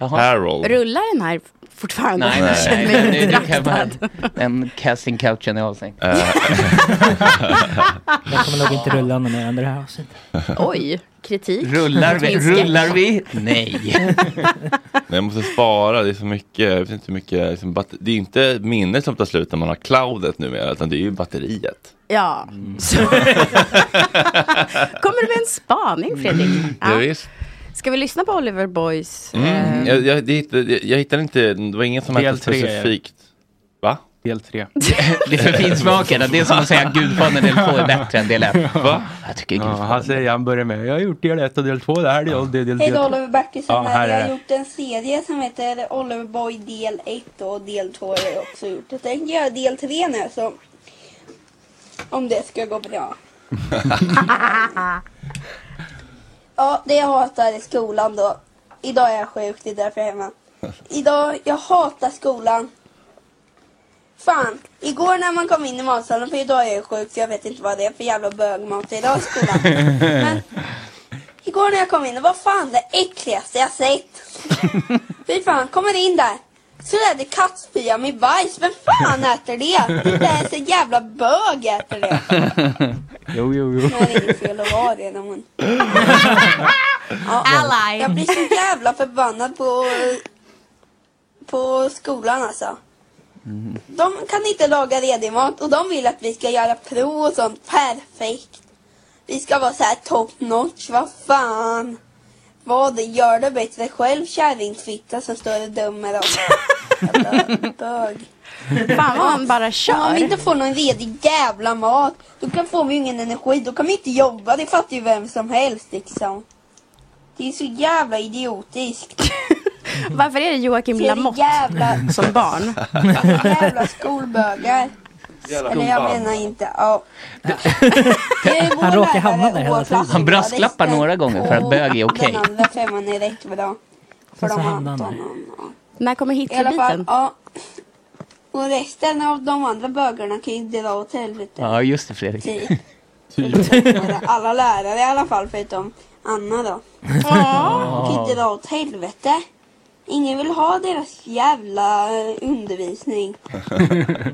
[SPEAKER 1] Harold.
[SPEAKER 5] Rullar den här fortfarande?
[SPEAKER 6] Nej,
[SPEAKER 5] Jag
[SPEAKER 6] nej,
[SPEAKER 5] känner mig
[SPEAKER 6] nej.
[SPEAKER 5] lite
[SPEAKER 6] Nu, nu kan man,
[SPEAKER 5] draktad.
[SPEAKER 6] den casting couchen är avstängd.
[SPEAKER 3] Den kommer nog inte rulla någon mer under det här avsnittet.
[SPEAKER 5] Oj, kritik.
[SPEAKER 6] Rullar
[SPEAKER 5] mot
[SPEAKER 6] vi?
[SPEAKER 5] min sketch.
[SPEAKER 6] Rullar vi? Nej.
[SPEAKER 1] Nej, jag måste spara, det är så mycket, jag vet inte hur mycket, liksom, batter- det är inte minnet som tar slut när man har cloudet numera, utan det är ju batteriet.
[SPEAKER 5] Ja. Så. Kommer du med en spaning Fredrik?
[SPEAKER 1] Ja. visst.
[SPEAKER 5] Ska vi lyssna på Oliver Boys?
[SPEAKER 1] Mm. Jag, jag, det, hittade- jag, jag hittade inte, det var inget som
[SPEAKER 4] Del
[SPEAKER 1] hette
[SPEAKER 4] tre är det.
[SPEAKER 1] specifikt. Va?
[SPEAKER 4] Del 3.
[SPEAKER 6] Det är för finsmakare. Det är som att säga Gudfadern del 2 är bättre än del 1.
[SPEAKER 4] Va?
[SPEAKER 6] Jag tycker
[SPEAKER 4] ja, han, säger, han börjar med, jag har gjort del 1 och del 2, det här är del, del, del,
[SPEAKER 9] Hej
[SPEAKER 4] del
[SPEAKER 9] då
[SPEAKER 4] två."
[SPEAKER 9] Oliver Bertilsson
[SPEAKER 4] Ja, här
[SPEAKER 9] här. Jag
[SPEAKER 4] är
[SPEAKER 9] har
[SPEAKER 4] det.
[SPEAKER 9] gjort en serie som heter Oliver Boy del 1 och del 2 har jag också gjort. Jag tänker göra del 3 nu så om det ska gå bra. ja, det jag hatar i skolan då. Idag är jag sjuk, det är därför jag är hemma. Idag, jag hatar skolan. Fan, igår när man kom in i matsalen, för idag är jag sjuk så jag vet inte vad det är för jävla bögmat idag i skolan. Igår när jag kom in, det var fan det äckligaste jag sett. Fy fan, kommer in där. Så är det kattspya med bajs. Vem fan äter det? Det är så jävla bög äter det.
[SPEAKER 4] Jo, jo, jo.
[SPEAKER 9] Men det är ju fel att vara det när man... Ja,
[SPEAKER 5] Ally.
[SPEAKER 9] Jag blir så jävla förbannad på, på skolan alltså. De kan inte laga redig mat och de vill att vi ska göra prov och sånt perfekt. Vi ska vara så här top notch, vad fan. Vad gör du bättre själv kärringfitta som står och dömer oss? Jävla bög.
[SPEAKER 5] Fan vad han bara
[SPEAKER 9] Om
[SPEAKER 5] kör.
[SPEAKER 9] man inte får någon redig jävla mat, då kan får vi ju ingen energi. Då kan vi inte jobba, det fattar ju vem som helst liksom. Det är så jävla idiotiskt.
[SPEAKER 5] Varför är det Joakim
[SPEAKER 9] Så är det
[SPEAKER 5] Lamotte
[SPEAKER 9] jävla-
[SPEAKER 5] som barn?
[SPEAKER 9] jävla skolbögar.
[SPEAKER 6] Jävla
[SPEAKER 9] Eller jag
[SPEAKER 6] skolbarn.
[SPEAKER 9] menar inte, ja.
[SPEAKER 6] Han råkar hamna där
[SPEAKER 9] hela tiden.
[SPEAKER 6] Han brasklappar några gånger för att bög är okej.
[SPEAKER 9] Den andra femman är rätt bra. För de andra.
[SPEAKER 5] När kommer
[SPEAKER 9] I alla fall,
[SPEAKER 5] Hitlerbiten?
[SPEAKER 9] ja. Och resten av de andra bögarna kan ju dra åt helvete.
[SPEAKER 6] Ja, just det Fredrik.
[SPEAKER 9] Typ. Alla lärare i alla fall förutom Anna då. Ja. Kan ju dra åt helvete. Ingen vill ha deras jävla eh, undervisning.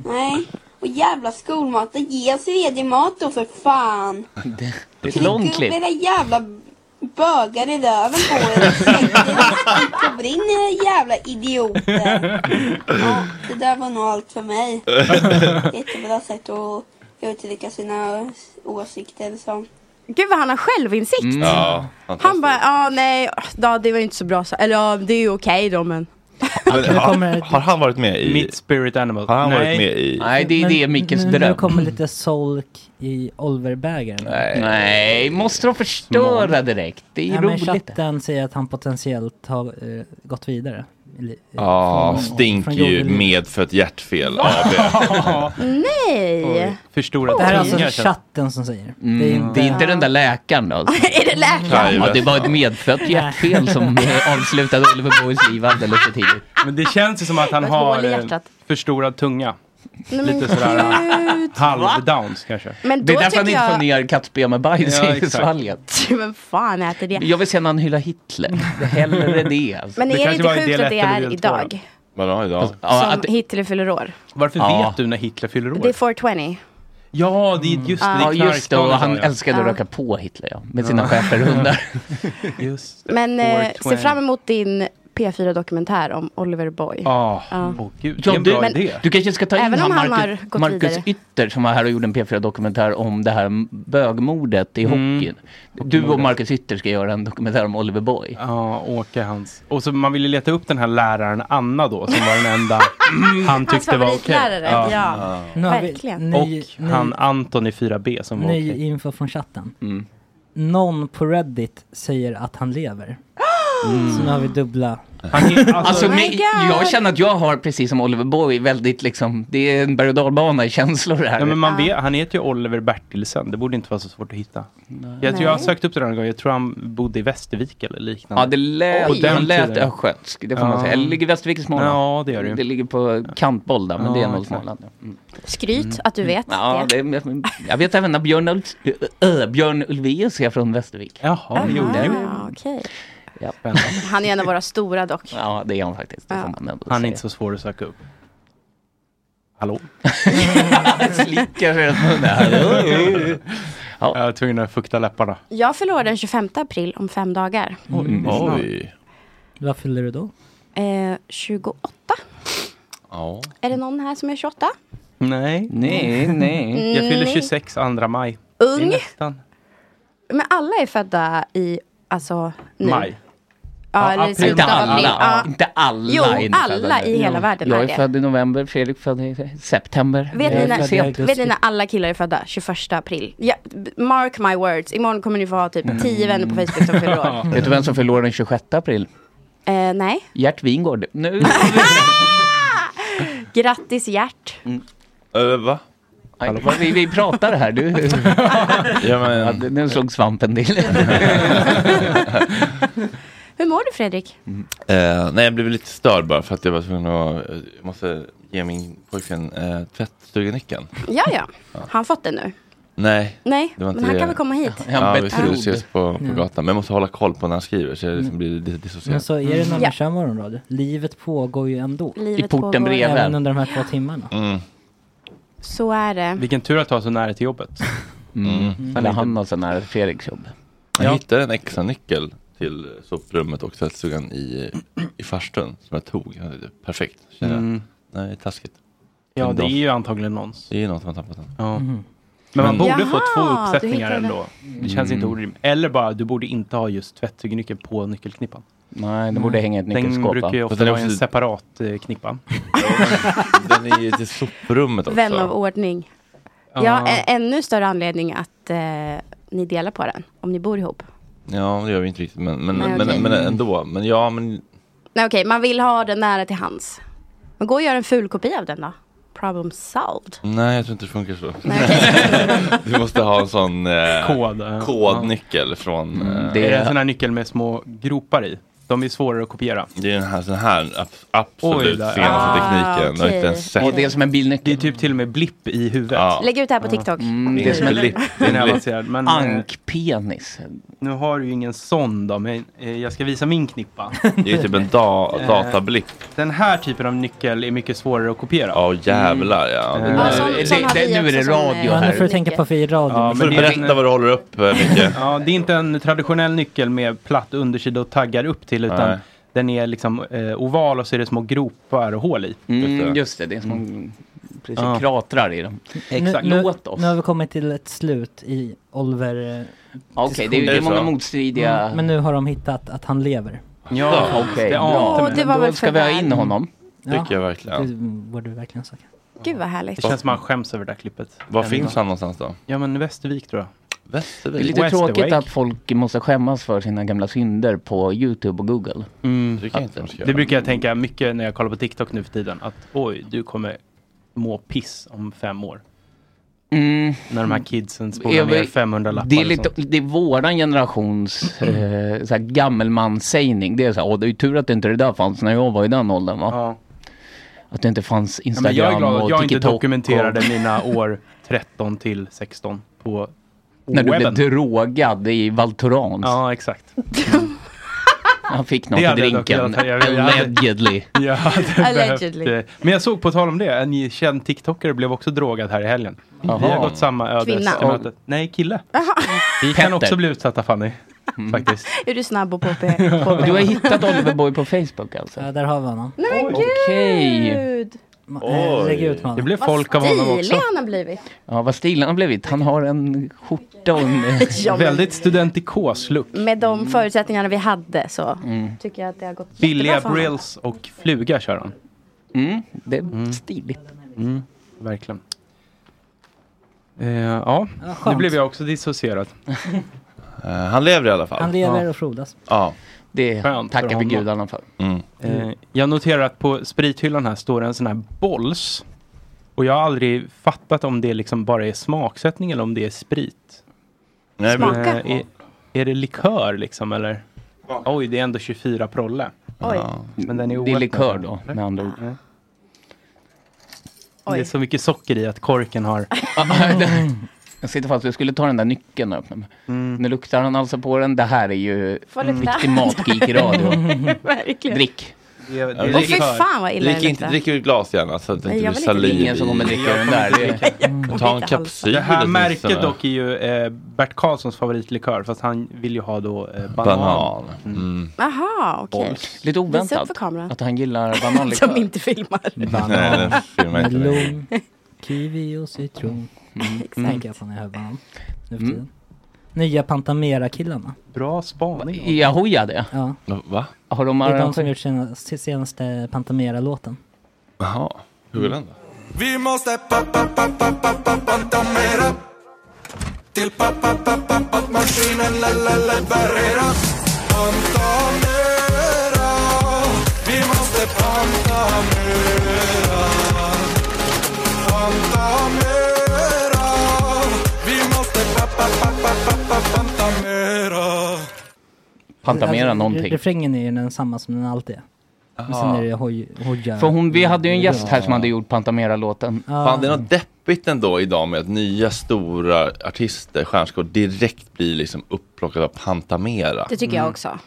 [SPEAKER 9] Nej. Och jävla skolmaten, ge oss redig mat då för fan.
[SPEAKER 6] Det det är ett långt klipp.
[SPEAKER 9] Era jävla bögar i röven på er. Kom in era jävla idioter. Ja, det där var nog allt för mig. Jättebra sätt att uttrycka sina åsikter som.
[SPEAKER 5] Gud vad han har självinsikt.
[SPEAKER 9] Mm. Ja,
[SPEAKER 5] han bara, ja nej, ja, det var ju inte så bra. Så. Eller ja, det är ju okej då men.
[SPEAKER 1] Men, har, har han varit med i... Mitt
[SPEAKER 4] spirit animal.
[SPEAKER 1] Har han
[SPEAKER 4] Nej.
[SPEAKER 1] varit med i...
[SPEAKER 6] Nej, det är det Mickes
[SPEAKER 3] nu, Nu
[SPEAKER 6] dröm.
[SPEAKER 3] kommer lite solk i Olverbägaren.
[SPEAKER 6] Nej. måste de förstöra direkt? Det är
[SPEAKER 3] Nej, men
[SPEAKER 6] roligt.
[SPEAKER 3] chatten säger att han potentiellt har eh, gått vidare. i li- eh,
[SPEAKER 1] Ja,
[SPEAKER 3] från-
[SPEAKER 1] Stink
[SPEAKER 3] från
[SPEAKER 1] är ju
[SPEAKER 3] jorden.
[SPEAKER 1] medfött hjärtfel AB.
[SPEAKER 5] Nej!
[SPEAKER 4] Förstora
[SPEAKER 3] Det här är alltså
[SPEAKER 6] tunga, känns-
[SPEAKER 3] chatten som säger.
[SPEAKER 6] Mm.
[SPEAKER 3] Det är inte-
[SPEAKER 6] den där läkaren då?
[SPEAKER 5] är det läkaren?
[SPEAKER 6] Ja, det var ett medfött hjärtfel som eh, avslutade Oliver Boys liv alldeles för tidigt.
[SPEAKER 4] Men det känns ju som att han
[SPEAKER 5] Det var ett hål
[SPEAKER 4] har
[SPEAKER 5] i
[SPEAKER 4] eh,
[SPEAKER 5] hjärtat.
[SPEAKER 4] förstorad tunga.
[SPEAKER 5] Nej, men
[SPEAKER 4] Lite sådär eh,
[SPEAKER 5] gud.
[SPEAKER 4] halvdowns kanske.
[SPEAKER 5] Men Det är då därför han tycker inte får jag-
[SPEAKER 6] ner kattben med bajs
[SPEAKER 4] Ja,
[SPEAKER 6] i
[SPEAKER 4] exakt.
[SPEAKER 6] svalget.
[SPEAKER 5] Vem fan äter det?
[SPEAKER 6] Jag vill se när han hyllar Hitler. Hellre det. Alltså.
[SPEAKER 5] Men är det, inte sjukt att det är idag?
[SPEAKER 1] Vadå idag?
[SPEAKER 5] som Hitler fyller år.
[SPEAKER 4] Varför
[SPEAKER 6] Ja.
[SPEAKER 4] vet du när Hitler fyller
[SPEAKER 5] Det är
[SPEAKER 4] år?
[SPEAKER 5] 420.
[SPEAKER 4] Ja, det är just det.
[SPEAKER 6] Mm. Ja,
[SPEAKER 4] det. är
[SPEAKER 6] just det. Och han
[SPEAKER 4] knarkdagen, ja.
[SPEAKER 6] älskade att
[SPEAKER 5] Ja.
[SPEAKER 6] röka på Hitler, ja. Med sina schäferhundar.
[SPEAKER 4] Just
[SPEAKER 5] Men eh, se
[SPEAKER 6] 420.
[SPEAKER 5] fram emot din P4-dokumentär om Oliver Boy. Ja.
[SPEAKER 6] Ja,
[SPEAKER 4] Ah, vilken bra
[SPEAKER 6] du,
[SPEAKER 4] idé.
[SPEAKER 6] du kanske ska ta in
[SPEAKER 5] Även
[SPEAKER 6] han,
[SPEAKER 5] om han
[SPEAKER 6] Marcus,
[SPEAKER 5] har gått
[SPEAKER 6] Marcus
[SPEAKER 5] vidare.
[SPEAKER 6] Ytter som var här och gjorde en P4-dokumentär om det här bögmordet i
[SPEAKER 4] Mm.
[SPEAKER 6] hockeyn. Du och Marcus Ytter ska göra en dokumentär om Oliver Boy.
[SPEAKER 4] Ja, Åke hans. Och så man ville leta upp den här läraren Anna då, som var den enda han tyckte var okej.
[SPEAKER 3] favoritlärare, ja. Nu har vi
[SPEAKER 5] Verkligen.
[SPEAKER 3] ny- ny-
[SPEAKER 4] Och han Anton i 4B som var
[SPEAKER 3] Ny
[SPEAKER 4] okej.
[SPEAKER 3] info från chatten.
[SPEAKER 6] Mm.
[SPEAKER 3] Någon på Reddit säger att han lever. Så nu har vi dubbla.
[SPEAKER 6] Alltså,
[SPEAKER 3] Oh my
[SPEAKER 6] men-
[SPEAKER 3] God.
[SPEAKER 6] jag känner att jag har, precis som Oliver Boy, väldigt liksom, det är en berg och dalbana i känslor det här.
[SPEAKER 4] Ja, men man vet, han heter ju Oliver Bertilsen, det borde inte vara så svårt att hitta. Jag tror jag har
[SPEAKER 6] Nej.
[SPEAKER 4] sökt upp det någon gång, jag tror han bodde i Västervik eller liknande.
[SPEAKER 6] Ja, det lät,
[SPEAKER 4] På den
[SPEAKER 6] han lät
[SPEAKER 4] tiden.
[SPEAKER 6] östgötsk, det får man
[SPEAKER 4] Ja.
[SPEAKER 6] säga. Eller ligger Västervik i Småland?
[SPEAKER 4] Ja, det gör det ju.
[SPEAKER 6] Det ligger på kantboll där, men
[SPEAKER 4] Ja,
[SPEAKER 6] det är nog
[SPEAKER 4] exakt.
[SPEAKER 6] Småland. ja. Mm.
[SPEAKER 5] Skryt att du vet
[SPEAKER 6] Ja,
[SPEAKER 5] det.
[SPEAKER 6] det, jag- jag vet även när Björn, Ulf, äh, Björn Ulvaeus är från Västervik.
[SPEAKER 4] Jaha,
[SPEAKER 5] jo, jo. Ah, okej.
[SPEAKER 6] Ja.
[SPEAKER 5] Han är en av våra stora dock.
[SPEAKER 6] ja, det är han faktiskt. Det
[SPEAKER 5] Ja.
[SPEAKER 6] får man ändå
[SPEAKER 4] Han är
[SPEAKER 6] säga.
[SPEAKER 4] inte så svår att söka upp. Hallå?
[SPEAKER 6] Slickar sig runt munnen. Hallå?
[SPEAKER 4] Jag var tvungen att fukta läpparna.
[SPEAKER 5] Jag förlorar den 25 april om fem dagar.
[SPEAKER 3] Mm. Vad fyller du då?
[SPEAKER 5] Eh, 28.
[SPEAKER 1] Ja.
[SPEAKER 5] Är det någon här som är 28?
[SPEAKER 4] Nej.
[SPEAKER 6] Nej, nej.
[SPEAKER 4] Jag fyller
[SPEAKER 5] Nej.
[SPEAKER 4] 26 2 maj. Det är
[SPEAKER 5] Ung?
[SPEAKER 4] nästan.
[SPEAKER 5] Men alla är födda i, alltså nu.
[SPEAKER 4] Maj.
[SPEAKER 5] Ja, eller i
[SPEAKER 6] april.
[SPEAKER 5] slutet
[SPEAKER 6] Inte
[SPEAKER 5] av april.
[SPEAKER 6] alla.
[SPEAKER 5] Ja.
[SPEAKER 6] Inte alla.
[SPEAKER 5] Jo,
[SPEAKER 6] är infödda
[SPEAKER 5] alla
[SPEAKER 6] nu.
[SPEAKER 5] i hela
[SPEAKER 6] Jo.
[SPEAKER 5] världen
[SPEAKER 6] Jag
[SPEAKER 5] är
[SPEAKER 6] är
[SPEAKER 5] det.
[SPEAKER 6] född i november, Fredrik född i september.
[SPEAKER 5] Vet
[SPEAKER 6] Jag
[SPEAKER 5] ni,
[SPEAKER 6] är född i augusti.
[SPEAKER 5] när, vet ni när alla killar är födda? 21 april. Ja, b- mark my words. Imorgon kommer ni få ha typ 10 vänner på Facebook som fyller år.
[SPEAKER 6] Mm. Vet du vem som fyller år den 26 april?
[SPEAKER 5] Eh, nej.
[SPEAKER 6] Gert Wingård. Nu.
[SPEAKER 5] Grattis Gert.
[SPEAKER 1] Uh, va?
[SPEAKER 6] Aj, vad vi, vi pratar här. Du.
[SPEAKER 1] ja, men...
[SPEAKER 6] nu slog svampen till.
[SPEAKER 5] Hur mår du Fredrik?
[SPEAKER 6] Mm.
[SPEAKER 1] Eh, nej, jag blev lite störd bara för att jag var tvungen att... eh, Jag måste ge min pojkvän uh, tvättstugennyckeln.
[SPEAKER 5] Ja, ja. Har han fått den nu?
[SPEAKER 1] Nej.
[SPEAKER 5] Nej,
[SPEAKER 1] det var
[SPEAKER 5] men
[SPEAKER 1] inte
[SPEAKER 5] han
[SPEAKER 1] det.
[SPEAKER 5] kan väl komma hit?
[SPEAKER 1] Ja, vi skulle
[SPEAKER 5] Ja.
[SPEAKER 1] ses på, på
[SPEAKER 3] Ja. Mm.
[SPEAKER 1] gatan. Men jag måste hålla koll på när han skriver så jag liksom blir lite dissocierad.
[SPEAKER 3] Men så är det när
[SPEAKER 5] Mm. Ja.
[SPEAKER 3] man kör morgonradio. Livet pågår ju ändå.
[SPEAKER 5] Livet I porten pågår. bredvid.
[SPEAKER 3] Även under de här två timmarna.
[SPEAKER 1] Mm.
[SPEAKER 5] Så är det.
[SPEAKER 4] Vilken tur att ha så nära till jobbet.
[SPEAKER 6] Mm. Eller han har så nära Fredriks jobb.
[SPEAKER 1] Jag hittade en extra nyckel till soprummet och tvättstugan i, i farstun som jag tog. Jag tänkte, Perfekt, känner jag.
[SPEAKER 4] Mm.
[SPEAKER 1] Nej, det är taskigt.
[SPEAKER 4] Ja,
[SPEAKER 1] Men
[SPEAKER 4] det är
[SPEAKER 1] de-
[SPEAKER 4] ju antagligen någons.
[SPEAKER 3] Mm.
[SPEAKER 1] Det är någon som har tappat den.
[SPEAKER 4] Ja. Men man borde få två
[SPEAKER 5] Jaha, du
[SPEAKER 4] uppsättningar
[SPEAKER 5] hittade-
[SPEAKER 4] ändå. Det känns inte orimligt. Eller bara, du borde inte ha just tvättnyckeln på nyckelknippan. Mm.
[SPEAKER 6] Nej, den borde hänga i ett
[SPEAKER 4] Den
[SPEAKER 6] nyckelskåp,
[SPEAKER 4] brukar ju
[SPEAKER 6] va?
[SPEAKER 4] ofta
[SPEAKER 6] Den är
[SPEAKER 4] vara i en
[SPEAKER 6] också-
[SPEAKER 4] separat eh, knippa.
[SPEAKER 1] Den är ju till soprummet också.
[SPEAKER 5] Vän av ordning.
[SPEAKER 1] Ja.
[SPEAKER 5] Ja, ä- ännu större anledning att eh, ni delar på den om ni bor ihop.
[SPEAKER 1] Ja, det gör vi inte riktigt. Men, men,
[SPEAKER 5] Nej,
[SPEAKER 1] men,
[SPEAKER 5] okej.
[SPEAKER 1] men ändå. Men ja, men
[SPEAKER 5] Nej okej, man vill ha den nära till hands. Men gå och gör en ful kopia av den då. Problem solved.
[SPEAKER 1] Nej, jag tror inte det funkar så. du måste ha en sån eh,
[SPEAKER 4] Kod, ja. Mm.
[SPEAKER 1] kodnyckel från... eh,
[SPEAKER 4] Det är en sån här nyckel med små gropar i. De är svårare att kopiera.
[SPEAKER 1] det är den här, den här ab- absolut
[SPEAKER 4] Oj, där.
[SPEAKER 1] senaste
[SPEAKER 4] Ah,
[SPEAKER 1] tekniken. Jag har inte ens sett.
[SPEAKER 4] okej. Och det
[SPEAKER 6] är som en bilnyckel.
[SPEAKER 4] Det är typ till och med blipp i huvudet.
[SPEAKER 5] Lägg ut det här på TikTok.
[SPEAKER 4] Mm.
[SPEAKER 5] Mm.
[SPEAKER 4] det är som en blipp. Den är avancerad. Men, eh,
[SPEAKER 6] Ankpenis.
[SPEAKER 4] Nu har du ju ingen sån då, men eh, jag ska visa min knippa.
[SPEAKER 1] Det är typ en da-
[SPEAKER 4] Eh,
[SPEAKER 1] datablipp.
[SPEAKER 4] Den här typen av nyckel är mycket svårare att kopiera.
[SPEAKER 1] Ja, jävlar ja.
[SPEAKER 4] Mm. Ja, sån- sån har vi också som, eh,
[SPEAKER 3] Ja, nu får du tänka på att vi är i radio.
[SPEAKER 4] Ja, men
[SPEAKER 1] berätta vad du håller upp, eh, Micke.
[SPEAKER 4] Ja, det är inte en traditionell nyckel med platt undersida och taggar upp till utan
[SPEAKER 6] Nej.
[SPEAKER 4] den är liksom eh, oval och så är det små gropar och hål i.
[SPEAKER 6] Mm, just det, det är små precis,
[SPEAKER 4] Ja.
[SPEAKER 6] kratrar i dem. Exakt.
[SPEAKER 3] Nu,
[SPEAKER 6] Låt oss.
[SPEAKER 3] nu har vi kommit till ett slut i Oliver... eh,
[SPEAKER 6] Okej,
[SPEAKER 3] diskussion. Mm,
[SPEAKER 6] det är- det är Är det många så? motstridiga-
[SPEAKER 3] men nu har de hittat att han lever.
[SPEAKER 6] Ja, okej.
[SPEAKER 3] det ante
[SPEAKER 6] bra.
[SPEAKER 3] mig. Det var
[SPEAKER 6] Då
[SPEAKER 3] väl
[SPEAKER 6] ska vi ha
[SPEAKER 3] förvärv.
[SPEAKER 6] in honom.
[SPEAKER 3] Ja.
[SPEAKER 1] Tycker jag verkligen.
[SPEAKER 3] Det borde du verkligen sagt.
[SPEAKER 5] Gud vad härligt.
[SPEAKER 4] Det känns som man skäms över det här klippet.
[SPEAKER 1] Var
[SPEAKER 4] Än
[SPEAKER 1] finns
[SPEAKER 4] idag.
[SPEAKER 1] han någonstans då?
[SPEAKER 4] Ja, men Västervik tror jag.
[SPEAKER 6] Det är lite tråkigt att folk måste skämmas för sina gamla synder på YouTube och Google.
[SPEAKER 4] Mm.
[SPEAKER 1] Det, kan jag inte önska.
[SPEAKER 4] Det brukar jag tänka mycket när jag kollar på TikTok nu för tiden. Att oj, du kommer må piss om fem år. När de här kidsen spolar
[SPEAKER 6] Jag
[SPEAKER 4] ner
[SPEAKER 6] vet-
[SPEAKER 4] 500 lappar.
[SPEAKER 6] Mm. Det är,
[SPEAKER 4] och
[SPEAKER 6] lite,
[SPEAKER 4] sånt. Mm.
[SPEAKER 6] det är våran generations eh, så här gammelmanssägning. Det är så här, åh det är ju tur att inte det där fanns när jag var i den åldern va? Att det inte fanns
[SPEAKER 4] Ja, men
[SPEAKER 6] Instagram
[SPEAKER 4] jag är glad att
[SPEAKER 6] och
[SPEAKER 4] jag inte
[SPEAKER 6] TikTok.
[SPEAKER 4] dokumenterade
[SPEAKER 6] och...
[SPEAKER 4] mina år 13 till 16 på
[SPEAKER 6] När du blev
[SPEAKER 4] webben.
[SPEAKER 6] drogad i Valtorans.
[SPEAKER 4] Ja, exakt.
[SPEAKER 6] Han fick något
[SPEAKER 4] Det
[SPEAKER 6] i
[SPEAKER 4] hade jag dock
[SPEAKER 6] drinken.
[SPEAKER 4] velat ha. Jag- jag hade-
[SPEAKER 6] Allegedly.
[SPEAKER 4] Jag hade
[SPEAKER 6] Allegedly.
[SPEAKER 4] behövt, eh, men jag såg, på tal om det, en känd TikTokare blev också drogad här i helgen. Vi har
[SPEAKER 6] Jaha.
[SPEAKER 4] gått samma öde.
[SPEAKER 5] Kvinna.
[SPEAKER 4] som mötet. Nej, kille. Vi kan
[SPEAKER 6] Petter.
[SPEAKER 4] också bli utsatta Fanny. Faktiskt.
[SPEAKER 5] Är du snabb och påpe-
[SPEAKER 6] Och Du har
[SPEAKER 5] påpe?
[SPEAKER 6] hittat Oliver Boy på Facebook alltså?
[SPEAKER 3] Ja, där har vi honom.
[SPEAKER 5] Nej men
[SPEAKER 6] Okej.
[SPEAKER 5] gud.
[SPEAKER 3] Eh, Lägg ut honom.
[SPEAKER 5] Vad stilig han har blivit.
[SPEAKER 6] Ja, vad stilig han har blivit. Han har en skjorta och en...
[SPEAKER 5] Ja, men- Väldigt
[SPEAKER 4] studentikos-look.
[SPEAKER 5] Med de förutsättningarna vi hade så
[SPEAKER 4] Mm.
[SPEAKER 5] tycker jag att det har gått
[SPEAKER 4] Billiga
[SPEAKER 5] jättebra för honom.
[SPEAKER 4] brills och fluga kör han.
[SPEAKER 6] Mm, det är stiligt.
[SPEAKER 4] Mm, verkligen. Eh, ja, nu
[SPEAKER 3] skönt.
[SPEAKER 4] blev jag också dissocierad.
[SPEAKER 1] Eh, han lever i alla fall.
[SPEAKER 3] Han lever och frodas.
[SPEAKER 1] Ja.
[SPEAKER 6] Det
[SPEAKER 4] Skönt för
[SPEAKER 6] tackar vi
[SPEAKER 4] honom.
[SPEAKER 6] gudarna för.
[SPEAKER 1] Mm.
[SPEAKER 4] Eh, jag noterar att på sprithyllan här står en sån här bolls. Och jag har aldrig fattat om det liksom bara är smaksättning eller om det är sprit.
[SPEAKER 1] Nej, men- Smaka.
[SPEAKER 4] Eh, är, är det likör liksom eller? Oj, det är ändå 24 prolle.
[SPEAKER 5] Oj.
[SPEAKER 4] Men den är Mm.
[SPEAKER 6] det är
[SPEAKER 4] oöppnad.
[SPEAKER 6] likör då, med andra ord.
[SPEAKER 4] Det är så mycket socker i att korken har...
[SPEAKER 6] Jag sitter fast, jag skulle ta den där nyckeln och öppna mig.
[SPEAKER 4] Mm.
[SPEAKER 6] Nu luktar han alltså på den. Det här är ju
[SPEAKER 5] Får lukta.
[SPEAKER 6] riktig matgeek-radio.
[SPEAKER 5] Verkligen.
[SPEAKER 6] Drick!
[SPEAKER 4] Det,
[SPEAKER 5] det är Åh, fy likör. fan, vad illa
[SPEAKER 1] drick,
[SPEAKER 5] det
[SPEAKER 1] inte,
[SPEAKER 5] luktar.
[SPEAKER 1] drick ur glas gärna så att det
[SPEAKER 5] Nej,
[SPEAKER 1] inte
[SPEAKER 5] jag
[SPEAKER 1] blir
[SPEAKER 5] vill
[SPEAKER 6] Ingen
[SPEAKER 1] saliv.
[SPEAKER 5] inte dricka.
[SPEAKER 6] som kommer dricka den där. Det
[SPEAKER 1] är- Ta en kapsyl.
[SPEAKER 4] Det här
[SPEAKER 1] åtminstone.
[SPEAKER 4] märket dock är ju eh, Bert Karlssons favoritlikör. Fast han vill ju ha då eh, banan.
[SPEAKER 1] Banan.
[SPEAKER 5] Mm. Aha, okej.
[SPEAKER 6] Bolls. Lite
[SPEAKER 5] Visa upp
[SPEAKER 6] oväntat
[SPEAKER 5] för kameran.
[SPEAKER 6] att han gillar bananlikör.
[SPEAKER 5] Som inte filmar.
[SPEAKER 1] Nej, det filmar inte mig.
[SPEAKER 3] Melon, kiwi och citron. Tänker jag på när jag hör banan. Nu för
[SPEAKER 6] Mm.
[SPEAKER 3] tiden. Nya Pantamera-killarna.
[SPEAKER 4] Bra spaning.
[SPEAKER 6] I Ahoja det?
[SPEAKER 3] Ja.
[SPEAKER 1] Va?
[SPEAKER 6] Har de
[SPEAKER 3] Det är de som
[SPEAKER 6] arrangerat?
[SPEAKER 3] gjort senaste, senaste Pantamera-låten.
[SPEAKER 1] Jaha, hur går den då?
[SPEAKER 8] Vi måste pappa, pappa, pappa, pantamera Till pappa, pappa, pappmaskinen, la, la, la, barrera Pantamera Vi måste pantamera Pantamera Vi måste pappa, pappa, pappa, pantamera
[SPEAKER 6] Pantamera
[SPEAKER 3] Alltså,
[SPEAKER 6] någonting.
[SPEAKER 3] Refrängen är ju den samma som den alltid är. Men sen
[SPEAKER 6] Aha.
[SPEAKER 3] är det hoj- hoja.
[SPEAKER 6] För hon, vi hade ju en gäst här som hade gjort Pantamera-låten.
[SPEAKER 1] Fan, det är något deppigt ändå idag med att nya stora artister, stjärnskor direkt blir liksom upplockade av Pantamera.
[SPEAKER 5] Det
[SPEAKER 4] Mm.
[SPEAKER 6] Mm.
[SPEAKER 5] tycker jag också.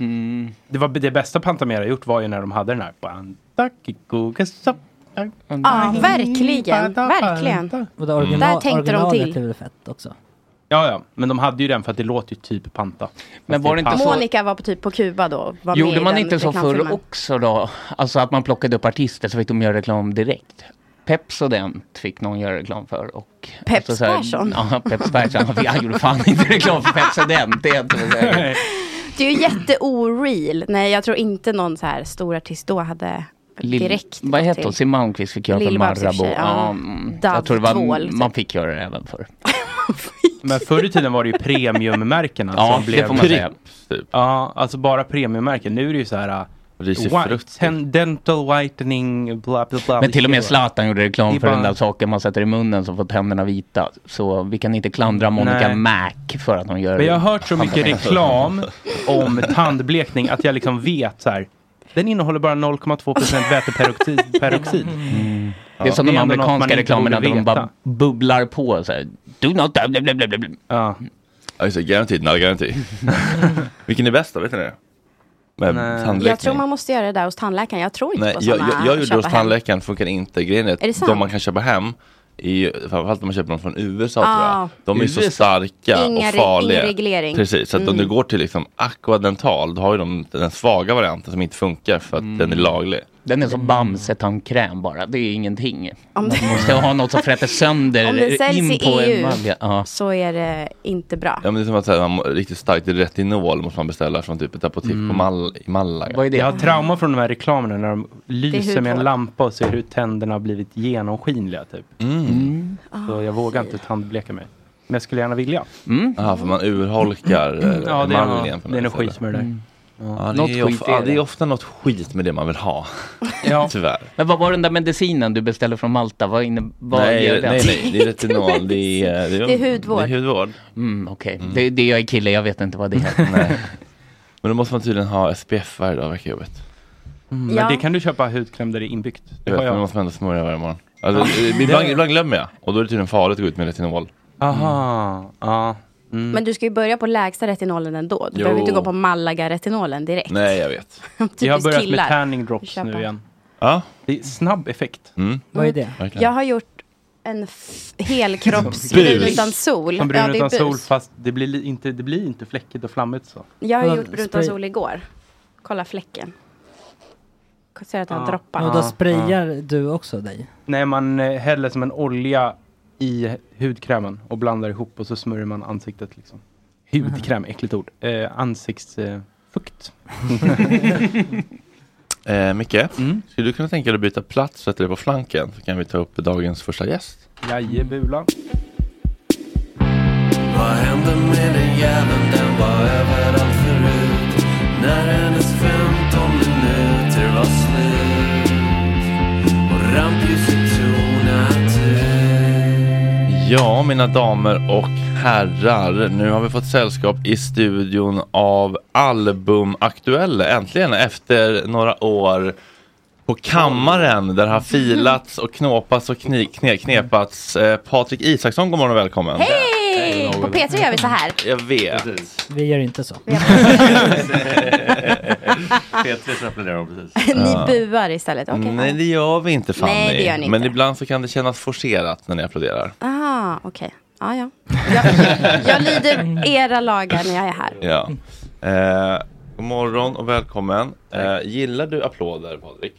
[SPEAKER 4] Det, var, det bästa Pantamera gjort var ju när de hade den här... Bandakikugasap.
[SPEAKER 5] Ja, verkligen. Verkligen.
[SPEAKER 3] Och det original,
[SPEAKER 5] Där tänkte de
[SPEAKER 3] originalet
[SPEAKER 5] till.
[SPEAKER 3] är väl fett också.
[SPEAKER 4] Ja, ja, men de hade ju den för att det låter ju typ panta. Fast
[SPEAKER 6] Men var det inte
[SPEAKER 4] panta.
[SPEAKER 6] så-
[SPEAKER 5] Monica var på typ på Kuba då. Var med
[SPEAKER 6] Gjorde
[SPEAKER 5] i
[SPEAKER 6] man
[SPEAKER 5] den
[SPEAKER 6] inte så förr
[SPEAKER 5] reklamfilmen.
[SPEAKER 6] också då? Alltså att man plockade upp artister så fick de göra reklam direkt. Peps och den fick någon göra reklam för. Och, alltså
[SPEAKER 5] Peps
[SPEAKER 6] så här-
[SPEAKER 5] Persson?
[SPEAKER 6] Ja, Peps Persson. Han fick- Han gjorde fan inte reklam för Peps och den. Det är inte så säkert.
[SPEAKER 5] Det är ju jätteoreal. Nej, jag tror inte någon så här stor artist då hade
[SPEAKER 6] Lill-
[SPEAKER 5] direkt
[SPEAKER 6] Vad
[SPEAKER 5] gått
[SPEAKER 6] hette hon?
[SPEAKER 5] till.
[SPEAKER 6] Siw Malmkvist fick göra för
[SPEAKER 5] Lill-Babs i och för
[SPEAKER 6] Marabou.
[SPEAKER 5] sig, ja.
[SPEAKER 6] mm.
[SPEAKER 5] Dove
[SPEAKER 6] jag tror det var,
[SPEAKER 5] Tvål, typ.
[SPEAKER 6] man fick göra det även för.
[SPEAKER 4] Men förr i tiden var det ju premiummärkena
[SPEAKER 6] Ja,
[SPEAKER 4] som
[SPEAKER 6] det
[SPEAKER 4] blev...
[SPEAKER 6] får man säga.
[SPEAKER 4] Ja, alltså bara premiummärken. Nu är det ju så här... äh,
[SPEAKER 6] frukt.
[SPEAKER 4] White, ten- dental whitening, bla bla bla.
[SPEAKER 6] Men till och med Zlatan gjorde
[SPEAKER 4] Det
[SPEAKER 6] reklam
[SPEAKER 4] är
[SPEAKER 6] för den
[SPEAKER 4] bara-
[SPEAKER 6] där saken man sätter i munnen som får tänderna vita. Så vi kan inte klandra Monica
[SPEAKER 4] Nej.
[SPEAKER 6] Mac för att hon gör
[SPEAKER 4] Men jag har hört så mycket
[SPEAKER 6] Hamburgare.
[SPEAKER 4] reklam om tandblekning att jag liksom vet så här. Den innehåller bara 0,2% väteperoxid. Peroxid.
[SPEAKER 6] Det är som de
[SPEAKER 4] ändå något man
[SPEAKER 6] amerikanska
[SPEAKER 4] inte
[SPEAKER 6] reklamerna
[SPEAKER 4] borde
[SPEAKER 6] där de
[SPEAKER 4] veta.
[SPEAKER 6] bara bubblar på så här. Do not... blablabla."
[SPEAKER 4] Ja.
[SPEAKER 1] Ja, just det. Guaranteed, not guaranteed. Vilken är bäst då? Vet ni det? Med tandläkning.
[SPEAKER 5] Jag tror man måste göra det där hos tandläkaren. Jag tror inte
[SPEAKER 1] Nej,
[SPEAKER 5] på
[SPEAKER 1] jag,
[SPEAKER 5] sådana
[SPEAKER 1] jag, jag gjorde
[SPEAKER 5] typ köpa
[SPEAKER 1] hos
[SPEAKER 5] hem.
[SPEAKER 1] tandläkaren, funkar inte. Grejen är att
[SPEAKER 5] Är det
[SPEAKER 1] de
[SPEAKER 5] sant?
[SPEAKER 1] man kan köpa hem, i, framförallt om man köper dem från USA
[SPEAKER 5] Ah.
[SPEAKER 1] tror jag, de är så
[SPEAKER 5] USA.
[SPEAKER 1] starka
[SPEAKER 5] Ingen
[SPEAKER 1] och
[SPEAKER 5] re-
[SPEAKER 1] farliga.
[SPEAKER 5] ingen reglering.
[SPEAKER 1] Precis, så att om
[SPEAKER 5] Mm.
[SPEAKER 1] du går till liksom Aquadental, då har ju de den svaga varianten som inte funkar för att den är
[SPEAKER 6] Mm.
[SPEAKER 1] laglig.
[SPEAKER 6] Den är som Bamse-tandkräm bara, det är ingenting. Man måste ha något som fräter sönder
[SPEAKER 5] Om det säljs
[SPEAKER 6] in
[SPEAKER 5] i E
[SPEAKER 6] på en
[SPEAKER 5] EU.
[SPEAKER 6] mage. Ja.
[SPEAKER 5] Så är det inte bra.
[SPEAKER 1] Ja men det är som att säga, man, riktigt starkt retinol måste man beställa från typ ett apotek
[SPEAKER 6] Mm.
[SPEAKER 1] på Mal i Malaga.
[SPEAKER 6] Vad är det?
[SPEAKER 4] Jag har trauma från de här reklamerna när de lyser med en
[SPEAKER 5] hudvård.
[SPEAKER 4] lampa och ser hur tänderna har blivit genomskinliga typ.
[SPEAKER 1] Mm.
[SPEAKER 4] Så jag vågar inte tandbleka mig. Men jag skulle gärna vilja.
[SPEAKER 1] Ja, för man urholkar eh,
[SPEAKER 4] Mm. Ja, det är-
[SPEAKER 1] emaljen.
[SPEAKER 4] det är något skit med det där. Mm.
[SPEAKER 1] Ja,
[SPEAKER 6] Något
[SPEAKER 1] det, är
[SPEAKER 6] skit
[SPEAKER 1] of,
[SPEAKER 6] är
[SPEAKER 1] ja, det är
[SPEAKER 6] det.
[SPEAKER 1] ofta något skit med det man vill ha. Tyvärr.
[SPEAKER 6] Men vad var den där medicinen du beställde från Malta? Vad innebar
[SPEAKER 1] nej,
[SPEAKER 6] det?
[SPEAKER 1] nej, nej, det är retinol. Det är,
[SPEAKER 5] Det är hudvård.
[SPEAKER 1] Det är hudvård.
[SPEAKER 6] Mm, Okej, det, det jag är kille, jag vet inte vad det är.
[SPEAKER 1] Nej. Men då måste man tydligen ha SPF varje dag, verkar jobbigt.
[SPEAKER 4] Men
[SPEAKER 5] Ja.
[SPEAKER 4] det kan du köpa hudkräm där det är inbyggt. Det
[SPEAKER 1] Jag
[SPEAKER 4] har
[SPEAKER 1] vet, men då
[SPEAKER 4] jag.
[SPEAKER 1] måste man ändå smörja varje morgon. Alltså, eh, ibland, ibland glömmer jag och då är det tydligen farligt att gå ut med retinol.
[SPEAKER 4] Aha, ja. Mm.
[SPEAKER 5] Men du ska ju börja på lägsta retinolen ändå. Du
[SPEAKER 1] Jo.
[SPEAKER 5] behöver inte gå på Malaga-retinolen direkt.
[SPEAKER 1] Nej, jag vet.
[SPEAKER 4] jag har
[SPEAKER 5] Typiskt
[SPEAKER 4] börjat
[SPEAKER 5] killar.
[SPEAKER 4] med tanning drops
[SPEAKER 5] Köpa.
[SPEAKER 4] nu igen.
[SPEAKER 1] Ja. Mm.
[SPEAKER 4] Det är snabb effekt.
[SPEAKER 3] Vad är det?
[SPEAKER 5] Jag har gjort en f- helkroppsbrun
[SPEAKER 4] Bus.
[SPEAKER 5] utan sol.
[SPEAKER 4] Som brun
[SPEAKER 5] ja, det är
[SPEAKER 4] utan sol
[SPEAKER 5] bus.
[SPEAKER 4] fast det blir, li- inte, det blir inte fläckigt och flammigt så.
[SPEAKER 5] Jag
[SPEAKER 3] Vadå,
[SPEAKER 5] har gjort brun
[SPEAKER 3] spray?
[SPEAKER 5] utan sol igår. Kolla fläcken. Jag Ser att den
[SPEAKER 4] Ja.
[SPEAKER 5] droppar.
[SPEAKER 3] Och då sprayar du också dig?
[SPEAKER 4] Nej, man eh, häller som en olja i hudkrämen och blandar ihop och så smörjer man ansiktet liksom. Hudkräm, äckligt ord. Eh, ansiktsfukt.
[SPEAKER 1] Eh, Micke,
[SPEAKER 4] Mm.
[SPEAKER 1] skulle du kunna tänka dig att byta plats och sätta dig på flanken? Så kan vi ta upp dagens första gäst.
[SPEAKER 4] Jajebula.
[SPEAKER 8] Vad hände med den jäveln? Den var överallt förut När hennes 15 minuter var slut Och rampljuset tonat ut
[SPEAKER 1] Ja, mina damer och herrar. Nu har vi fått sällskap i studion av Albumaktuella. Äntligen efter några år på kammaren där det har filats och knåpats och kni- kne- knepats. Eh, Patrik Isaksson, god morgon och välkommen.
[SPEAKER 5] Hej! På P3 gör vi så här.
[SPEAKER 1] Jag vet.
[SPEAKER 3] Vi gör inte så.
[SPEAKER 1] P3 applåderar hon precis.
[SPEAKER 5] Ni buar istället. Okej.
[SPEAKER 1] Nej, det gör vi inte Fanny.
[SPEAKER 5] Nej, det gör ni
[SPEAKER 1] Men
[SPEAKER 5] inte.
[SPEAKER 1] ibland så kan det kännas forcerat när ni applåderar.
[SPEAKER 5] Aha, okej. Ja, ja. Jag, jag lyder era lagar när jag är här.
[SPEAKER 10] Mm.
[SPEAKER 1] Ja. Eh, god morgon och välkommen. Eh, gillar du applåder Patrik?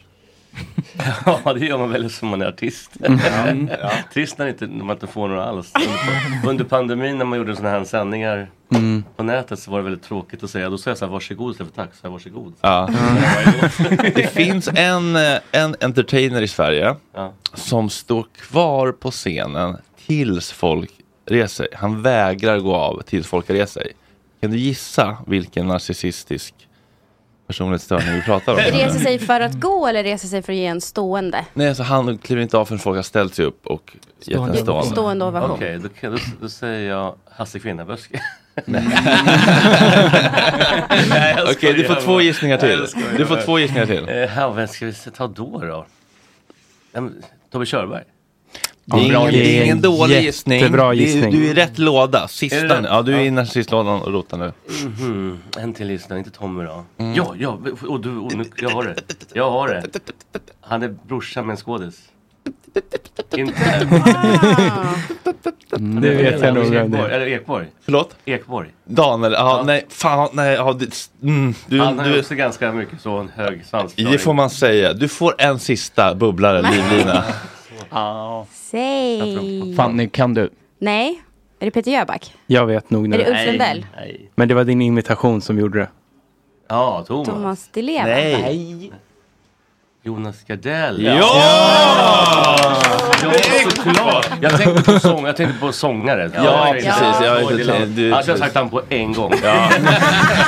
[SPEAKER 10] Ja, det gör man väl som man är artist.
[SPEAKER 1] Mm.
[SPEAKER 10] Ja. Trist när, inte, när man inte får några alls. Under- Under pandemin när man gjorde sådana här sändningar
[SPEAKER 4] Mm.
[SPEAKER 10] på nätet så var det väldigt tråkigt att säga. Då sa jag så här, varsågod istället för tack. Så här, varsågod.
[SPEAKER 1] Ja. Det finns en, eh, en entertainer i Sverige
[SPEAKER 10] Ja.
[SPEAKER 1] som står kvar på scenen tills folk reser sig. Han vägrar gå av tills folk har rest sig. Kan du gissa vilken narcissistisk personlighetsstörning vi pratar om?
[SPEAKER 5] Reser sig för att gå eller reser sig för att ge en stående?
[SPEAKER 1] Nej, alltså han kliver inte av förrän folk har ställt sig upp och gett en stående.
[SPEAKER 5] Stående ovation.
[SPEAKER 10] Okej, då, kan- då, då säger jag Hasse Kvinnaböske.
[SPEAKER 1] Okej, du får två gissningar till. Du får två gissningar till.
[SPEAKER 10] Eh, Ja, vem ska vi ta då då? Ja, men, Tobbe Körberg.
[SPEAKER 1] Det är ingen, det är ingen dålig gissning.
[SPEAKER 4] jättebra
[SPEAKER 1] Det är-
[SPEAKER 4] gissning.
[SPEAKER 1] Du är i rätt låda.
[SPEAKER 10] Är det
[SPEAKER 1] Sista
[SPEAKER 10] rätt?
[SPEAKER 1] nu. Ja, du är i narcissistlådan och rotar nu. Mm.
[SPEAKER 10] Mhm, En till lyssnare, inte Tommy då. Mm. Ja, ja, och du, och nu, jag har det. Jag har det. Han är brorsan med en skådis. Inte...
[SPEAKER 4] Mm, Det vet jag nog vem det
[SPEAKER 10] Ekborg,
[SPEAKER 4] är.
[SPEAKER 10] eller Ekborg.
[SPEAKER 1] Mm. Förlåt?
[SPEAKER 10] Ekborg.
[SPEAKER 1] Daniel, ja, nej, fan, nej, ja, du, mm, du,
[SPEAKER 10] Han har ju
[SPEAKER 1] du,
[SPEAKER 10] också ganska mycket så en hög svansföring.
[SPEAKER 1] det får man säga. Du får en sista bubblare, Livlina.
[SPEAKER 4] Ja.
[SPEAKER 5] Säg.
[SPEAKER 6] Fanny, kan du?
[SPEAKER 5] Nej. Är det Peter Jöback?
[SPEAKER 4] Jag vet nog nu.
[SPEAKER 5] Är det Ulf Nej, Lundell?
[SPEAKER 4] Men det var din invitation som gjorde det.
[SPEAKER 10] Ja, Thomas.
[SPEAKER 5] Thomas Di Leva?
[SPEAKER 10] Nej. Jonas Gardell.
[SPEAKER 4] Ja!
[SPEAKER 10] Ja, såklart. Jag tänkte på, sång, jag tänkte på sångare.
[SPEAKER 1] Ja, precis. Jag har inte tänkt- du-
[SPEAKER 10] Alltså, jag har sagt han på en gång.
[SPEAKER 1] Ja.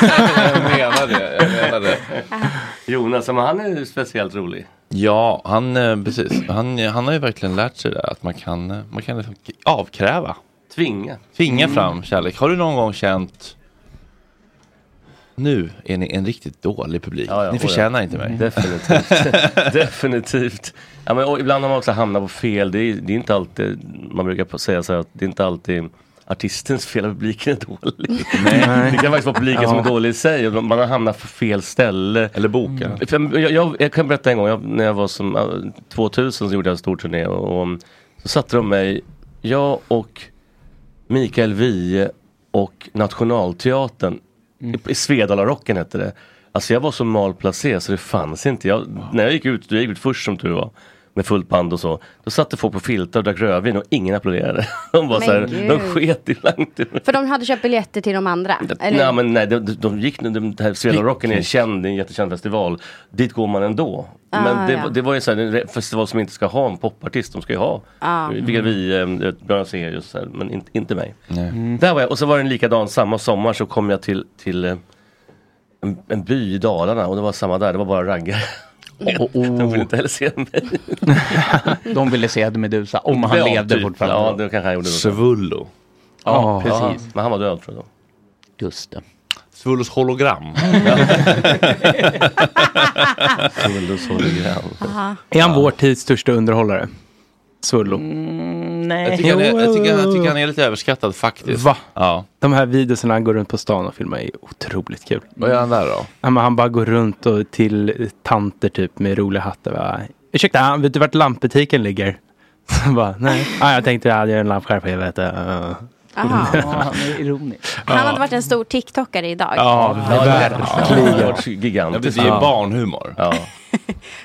[SPEAKER 1] Jag menar det, jag menar det.
[SPEAKER 10] Jonas, men han är speciellt rolig.
[SPEAKER 1] Ja, han, eh, precis. Han, han har ju verkligen lärt sig det där, att man kan, eh, man kan liksom avkräva.
[SPEAKER 10] Tvinga.
[SPEAKER 1] Tvinga
[SPEAKER 10] Mm.
[SPEAKER 1] fram kärlek. Har du någon gång känt nu är ni en riktigt dålig publik. ni förtjänar inte mig.
[SPEAKER 10] Definitivt. Definitivt. Ja, men, och ibland har man också hamnat på fel. Det är, det är inte alltid, man brukar på- säga så här att det är inte alltid artistens fel att publiken är dålig. Det kan faktiskt vara publiken
[SPEAKER 4] Ja.
[SPEAKER 10] som är dålig i sig. och Man har hamnat på fel ställe. Mm.
[SPEAKER 1] Eller boken.
[SPEAKER 10] Jag, jag, jag kan berätta en gång, jag, när jag var som äh, 2000 så gjorde jag en stor turné och, och så satte de mig, jag och Mikael Wiehe och Nationalteatern.
[SPEAKER 5] Mm.
[SPEAKER 10] I- I Svedalarocken hette det. Alltså jag var så malplacerad så det fanns inte. Jag, När jag gick ut, jag gick ut först som tur var. Med fullt band och så. Då satte folk på filtar och drack rödvin och ingen applåderade. De var
[SPEAKER 5] Men
[SPEAKER 10] så här,
[SPEAKER 5] gud.
[SPEAKER 10] de sket i langt.
[SPEAKER 5] För de hade köpt biljetter till de andra? Eller?
[SPEAKER 10] Nej men nej, de, de, de gick, de, de här Svedalarocken är en känd, det är en jättekänd festival. Dit går man ändå.
[SPEAKER 5] Ah,
[SPEAKER 10] men det,
[SPEAKER 5] ja.
[SPEAKER 10] var- det var ju så här, en re- festival som inte ska ha en popartist, de ska ju ha.
[SPEAKER 5] Ah.
[SPEAKER 10] Vilka vi, eh, Björn Afzelius, så här, men inte, inte mig. Mm. Där var jag, och så var det en likadan, samma sommar så kom jag till, till eh, en, en by i Dalarna och det var samma där, det var bara raggare.
[SPEAKER 5] Oh,
[SPEAKER 10] De ville inte heller se mig.
[SPEAKER 6] De ville se Eddie Meduza, om han
[SPEAKER 10] Ja,
[SPEAKER 6] levde
[SPEAKER 10] typ.
[SPEAKER 6] fortfarande.
[SPEAKER 10] Ja, det kanske han gjorde. då.
[SPEAKER 1] Svullo.
[SPEAKER 6] Ja,
[SPEAKER 4] Ah.
[SPEAKER 10] Ja,
[SPEAKER 6] precis.
[SPEAKER 10] Men han var död tror jag då.
[SPEAKER 6] Just det.
[SPEAKER 1] Svullos hologram.
[SPEAKER 10] Svullos hologram.
[SPEAKER 4] Aha. Är han vår tids största underhållare? Svullo.
[SPEAKER 5] Mm.
[SPEAKER 6] nej.
[SPEAKER 1] Jag tycker, han är, jag, tycker, jag tycker han är lite överskattad faktiskt.
[SPEAKER 4] Va?
[SPEAKER 1] Ja.
[SPEAKER 4] De här videorna han går runt på stan och filmar är otroligt kul.
[SPEAKER 1] Vad gör han där då?
[SPEAKER 4] Ja, men han bara går runt och till tanter typ med roliga hattar. Bara, Ursäkta, vet du vart lampbutiken ligger? Så bara, nej. Ja, jag tänkte jag gör en lampskärp, jag vet det.
[SPEAKER 5] Aha.
[SPEAKER 6] Ja, han är ironisk.
[SPEAKER 5] Han hade varit en stor TikTokare idag.
[SPEAKER 4] Ja, verkligen.
[SPEAKER 1] Ja, det
[SPEAKER 10] Gigantiskt.
[SPEAKER 1] är ju
[SPEAKER 10] Ja.
[SPEAKER 1] barnhumor.
[SPEAKER 10] Ja.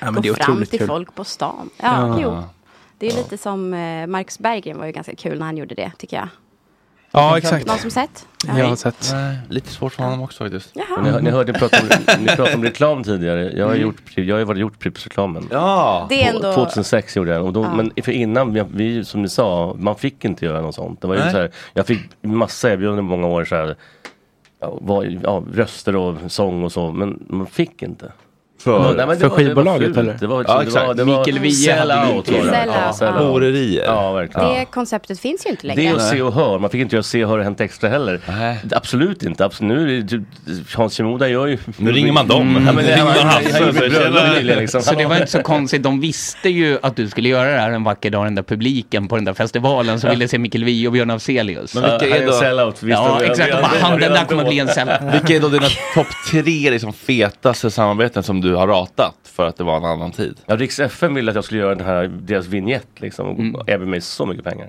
[SPEAKER 4] Ja,
[SPEAKER 5] Gå fram till folk på stan. Ja,
[SPEAKER 4] Ja.
[SPEAKER 5] jo. Det är
[SPEAKER 4] Ja.
[SPEAKER 5] lite som eh, Marcus Berggren var ju ganska kul när han gjorde det, tycker jag.
[SPEAKER 4] Ja, exakt.
[SPEAKER 5] Någon som sett?
[SPEAKER 4] Jag har sett.
[SPEAKER 1] Nej, lite svårt för honom också faktiskt.
[SPEAKER 5] Jaha. Mm.
[SPEAKER 10] Ni, ni hörde prata om, ni pratade om reklam tidigare. Jag har, gjort, jag har ju varit gjort Pripps-reklamen.
[SPEAKER 1] Ja.
[SPEAKER 5] Det är
[SPEAKER 10] På-
[SPEAKER 5] ändå-
[SPEAKER 10] 2006 gjorde jag den. och då,
[SPEAKER 5] Ja.
[SPEAKER 10] Men för innan, vi, vi, som ni sa, man fick inte göra något sånt. Det var ju
[SPEAKER 1] Nej.
[SPEAKER 10] så här, jag fick massa erbjudanden i många år. Så här, ja, var, ja, röster och sång och så, men man fick inte. Nej,
[SPEAKER 1] För-
[SPEAKER 10] men det var-
[SPEAKER 1] för
[SPEAKER 10] det var
[SPEAKER 1] skivbolaget,
[SPEAKER 10] fult.
[SPEAKER 1] eller?
[SPEAKER 10] Det var,
[SPEAKER 1] Ja,
[SPEAKER 10] det var,
[SPEAKER 1] exakt.
[SPEAKER 10] det var
[SPEAKER 1] Mikael Wiehe
[SPEAKER 10] sell
[SPEAKER 1] hade
[SPEAKER 10] out.
[SPEAKER 1] mycket.
[SPEAKER 10] var det.
[SPEAKER 5] Sell out,
[SPEAKER 10] sell
[SPEAKER 5] ja.
[SPEAKER 10] out.
[SPEAKER 1] Horerier.
[SPEAKER 10] Ja, verkligen.
[SPEAKER 5] Det konceptet finns ju inte längre.
[SPEAKER 10] Det och Se och Hör. Man fick inte göra Se och Hör och Hänt Extra heller. Absolut inte. Absolut. Nu är det typ, Hans Shimoda gör ju...
[SPEAKER 1] Nu ringer man dem.
[SPEAKER 10] Ja, men det,
[SPEAKER 1] Mm. Ringer
[SPEAKER 10] han, han,
[SPEAKER 1] man
[SPEAKER 10] han,
[SPEAKER 1] Hasse och
[SPEAKER 10] gjorde
[SPEAKER 1] säger,
[SPEAKER 10] bröllop
[SPEAKER 1] "Tjena."
[SPEAKER 10] nyligen, liksom.
[SPEAKER 6] Så det var inte så konstigt. De visste ju att du skulle göra det här en vacker dag, den där publiken på den där festivalen som ville se Mikael Wiehe och Björn Afzelius.
[SPEAKER 1] Men vilka är då-
[SPEAKER 6] Ja, exakt. Och bara, Han, den där kommer bli en sellout.
[SPEAKER 1] Vilka är då dina topp tre liksom, fetaste samarbeten som du har ratat för att det var en annan tid?
[SPEAKER 10] Ja, Rix FM ville att jag skulle göra den här, deras vignett liksom. Och erbjöd mig så mycket pengar.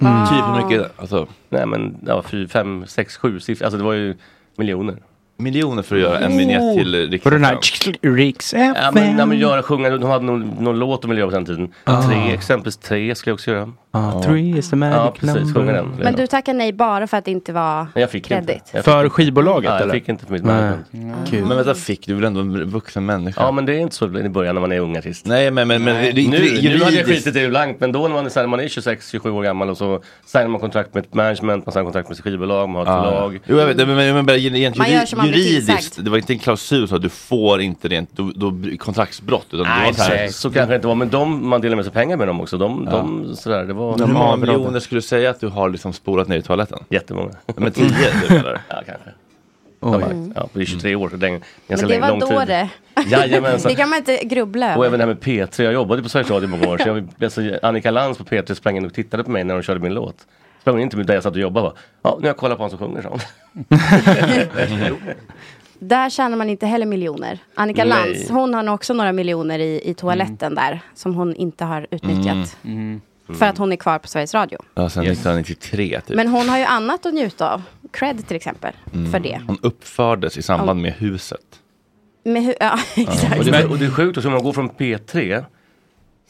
[SPEAKER 1] Mm. Typ hur mycket? Alltså,
[SPEAKER 10] Nej men, ja, fy, fem, sex, sju siffror. Alltså det var ju miljoner.
[SPEAKER 1] miljoner för att göra en vignett till eh, Riks
[SPEAKER 4] Oh. För den här
[SPEAKER 1] FM.
[SPEAKER 4] Riks FM.
[SPEAKER 10] Ja men, ja, men göra, sjunga, de hade någon, någon låt de ville göra på den tiden.
[SPEAKER 4] Ah.
[SPEAKER 10] Tre, exempelvis tre skulle jag också göra.
[SPEAKER 4] Ja, three is the magic
[SPEAKER 10] Ja, precis, sjunga
[SPEAKER 4] number.
[SPEAKER 10] den.
[SPEAKER 5] Men du tackar nej bara för att det inte var
[SPEAKER 10] Men jag fick
[SPEAKER 5] kredit?
[SPEAKER 10] inte. Jag fick
[SPEAKER 4] För
[SPEAKER 10] inte.
[SPEAKER 4] skivbolaget
[SPEAKER 10] Ja, jag
[SPEAKER 4] eller?
[SPEAKER 10] fick inte för mitt
[SPEAKER 4] Nej.
[SPEAKER 10] management.
[SPEAKER 4] Kul.
[SPEAKER 1] Men vänta, fick du väl ändå en vuxen människa?
[SPEAKER 10] Ja men det är inte så i början när man är ung artist.
[SPEAKER 1] Nej men, men, men
[SPEAKER 10] Nej.
[SPEAKER 1] det är inte
[SPEAKER 10] nu, nu hade jag
[SPEAKER 1] juridiskt.
[SPEAKER 10] skitit i det blankt men då när man är, så här, man är 26-27 år gammal och så signar man kontrakt med ett management, man signar kontrakt med sitt skivbolag, man har ett förlag.
[SPEAKER 1] Ah. Jo, jag vet, men, men, men, men egentligen
[SPEAKER 10] Man gör som man blir
[SPEAKER 1] juridiskt,
[SPEAKER 10] tillsagd.
[SPEAKER 1] det var inte en klausul så att du får inte rent, då, då kontraktsbrott. Utan det
[SPEAKER 10] Nej,
[SPEAKER 1] var så här,
[SPEAKER 10] så, så kanske det inte var. Men de, man delade med sig pengar med dem också. De,
[SPEAKER 1] Ja.
[SPEAKER 10] de sådär, det var...
[SPEAKER 1] Hur många miljoner skulle du säga att du har liksom spolat ner i toaletten?
[SPEAKER 10] Jättemånga.
[SPEAKER 1] Men tio typ eller?
[SPEAKER 10] Ja, kanske.
[SPEAKER 1] Oj.
[SPEAKER 10] Mm. Ja, på 23 år, så det är en ganska
[SPEAKER 5] Men det
[SPEAKER 10] länge-
[SPEAKER 5] var
[SPEAKER 10] lång
[SPEAKER 5] då
[SPEAKER 10] tid.
[SPEAKER 5] det.
[SPEAKER 10] Jajamensan.
[SPEAKER 5] det kan man inte grubbla
[SPEAKER 10] Och
[SPEAKER 5] över.
[SPEAKER 10] även det här med P3, jag jobbade på Sveriges Radio i många år. Så jag, alltså, Annika Lantz på P3 sprang in och tittade på mig när hon körde min låt. Sprang hon inte med där jag satt och jobbade va? Ja, nu har jag kollat på han som sjunger, sa hon.
[SPEAKER 5] Där tjänar man inte heller miljoner. Annika
[SPEAKER 10] Nej. Mm.
[SPEAKER 5] Lantz, hon har nog också några miljoner i, i toaletten där. Som hon inte har utnyttjat. För att hon är kvar på Sveriges Radio.
[SPEAKER 1] Mm. Ja, sen 1993 typ.
[SPEAKER 5] Men hon har ju annat att njuta av. Cred till exempel.
[SPEAKER 1] Mm.
[SPEAKER 5] För det.
[SPEAKER 1] Hon uppfördes i samband med huset.
[SPEAKER 5] Med hu- ja, exakt.
[SPEAKER 10] Och det, och det är sjukt också, om man går från P3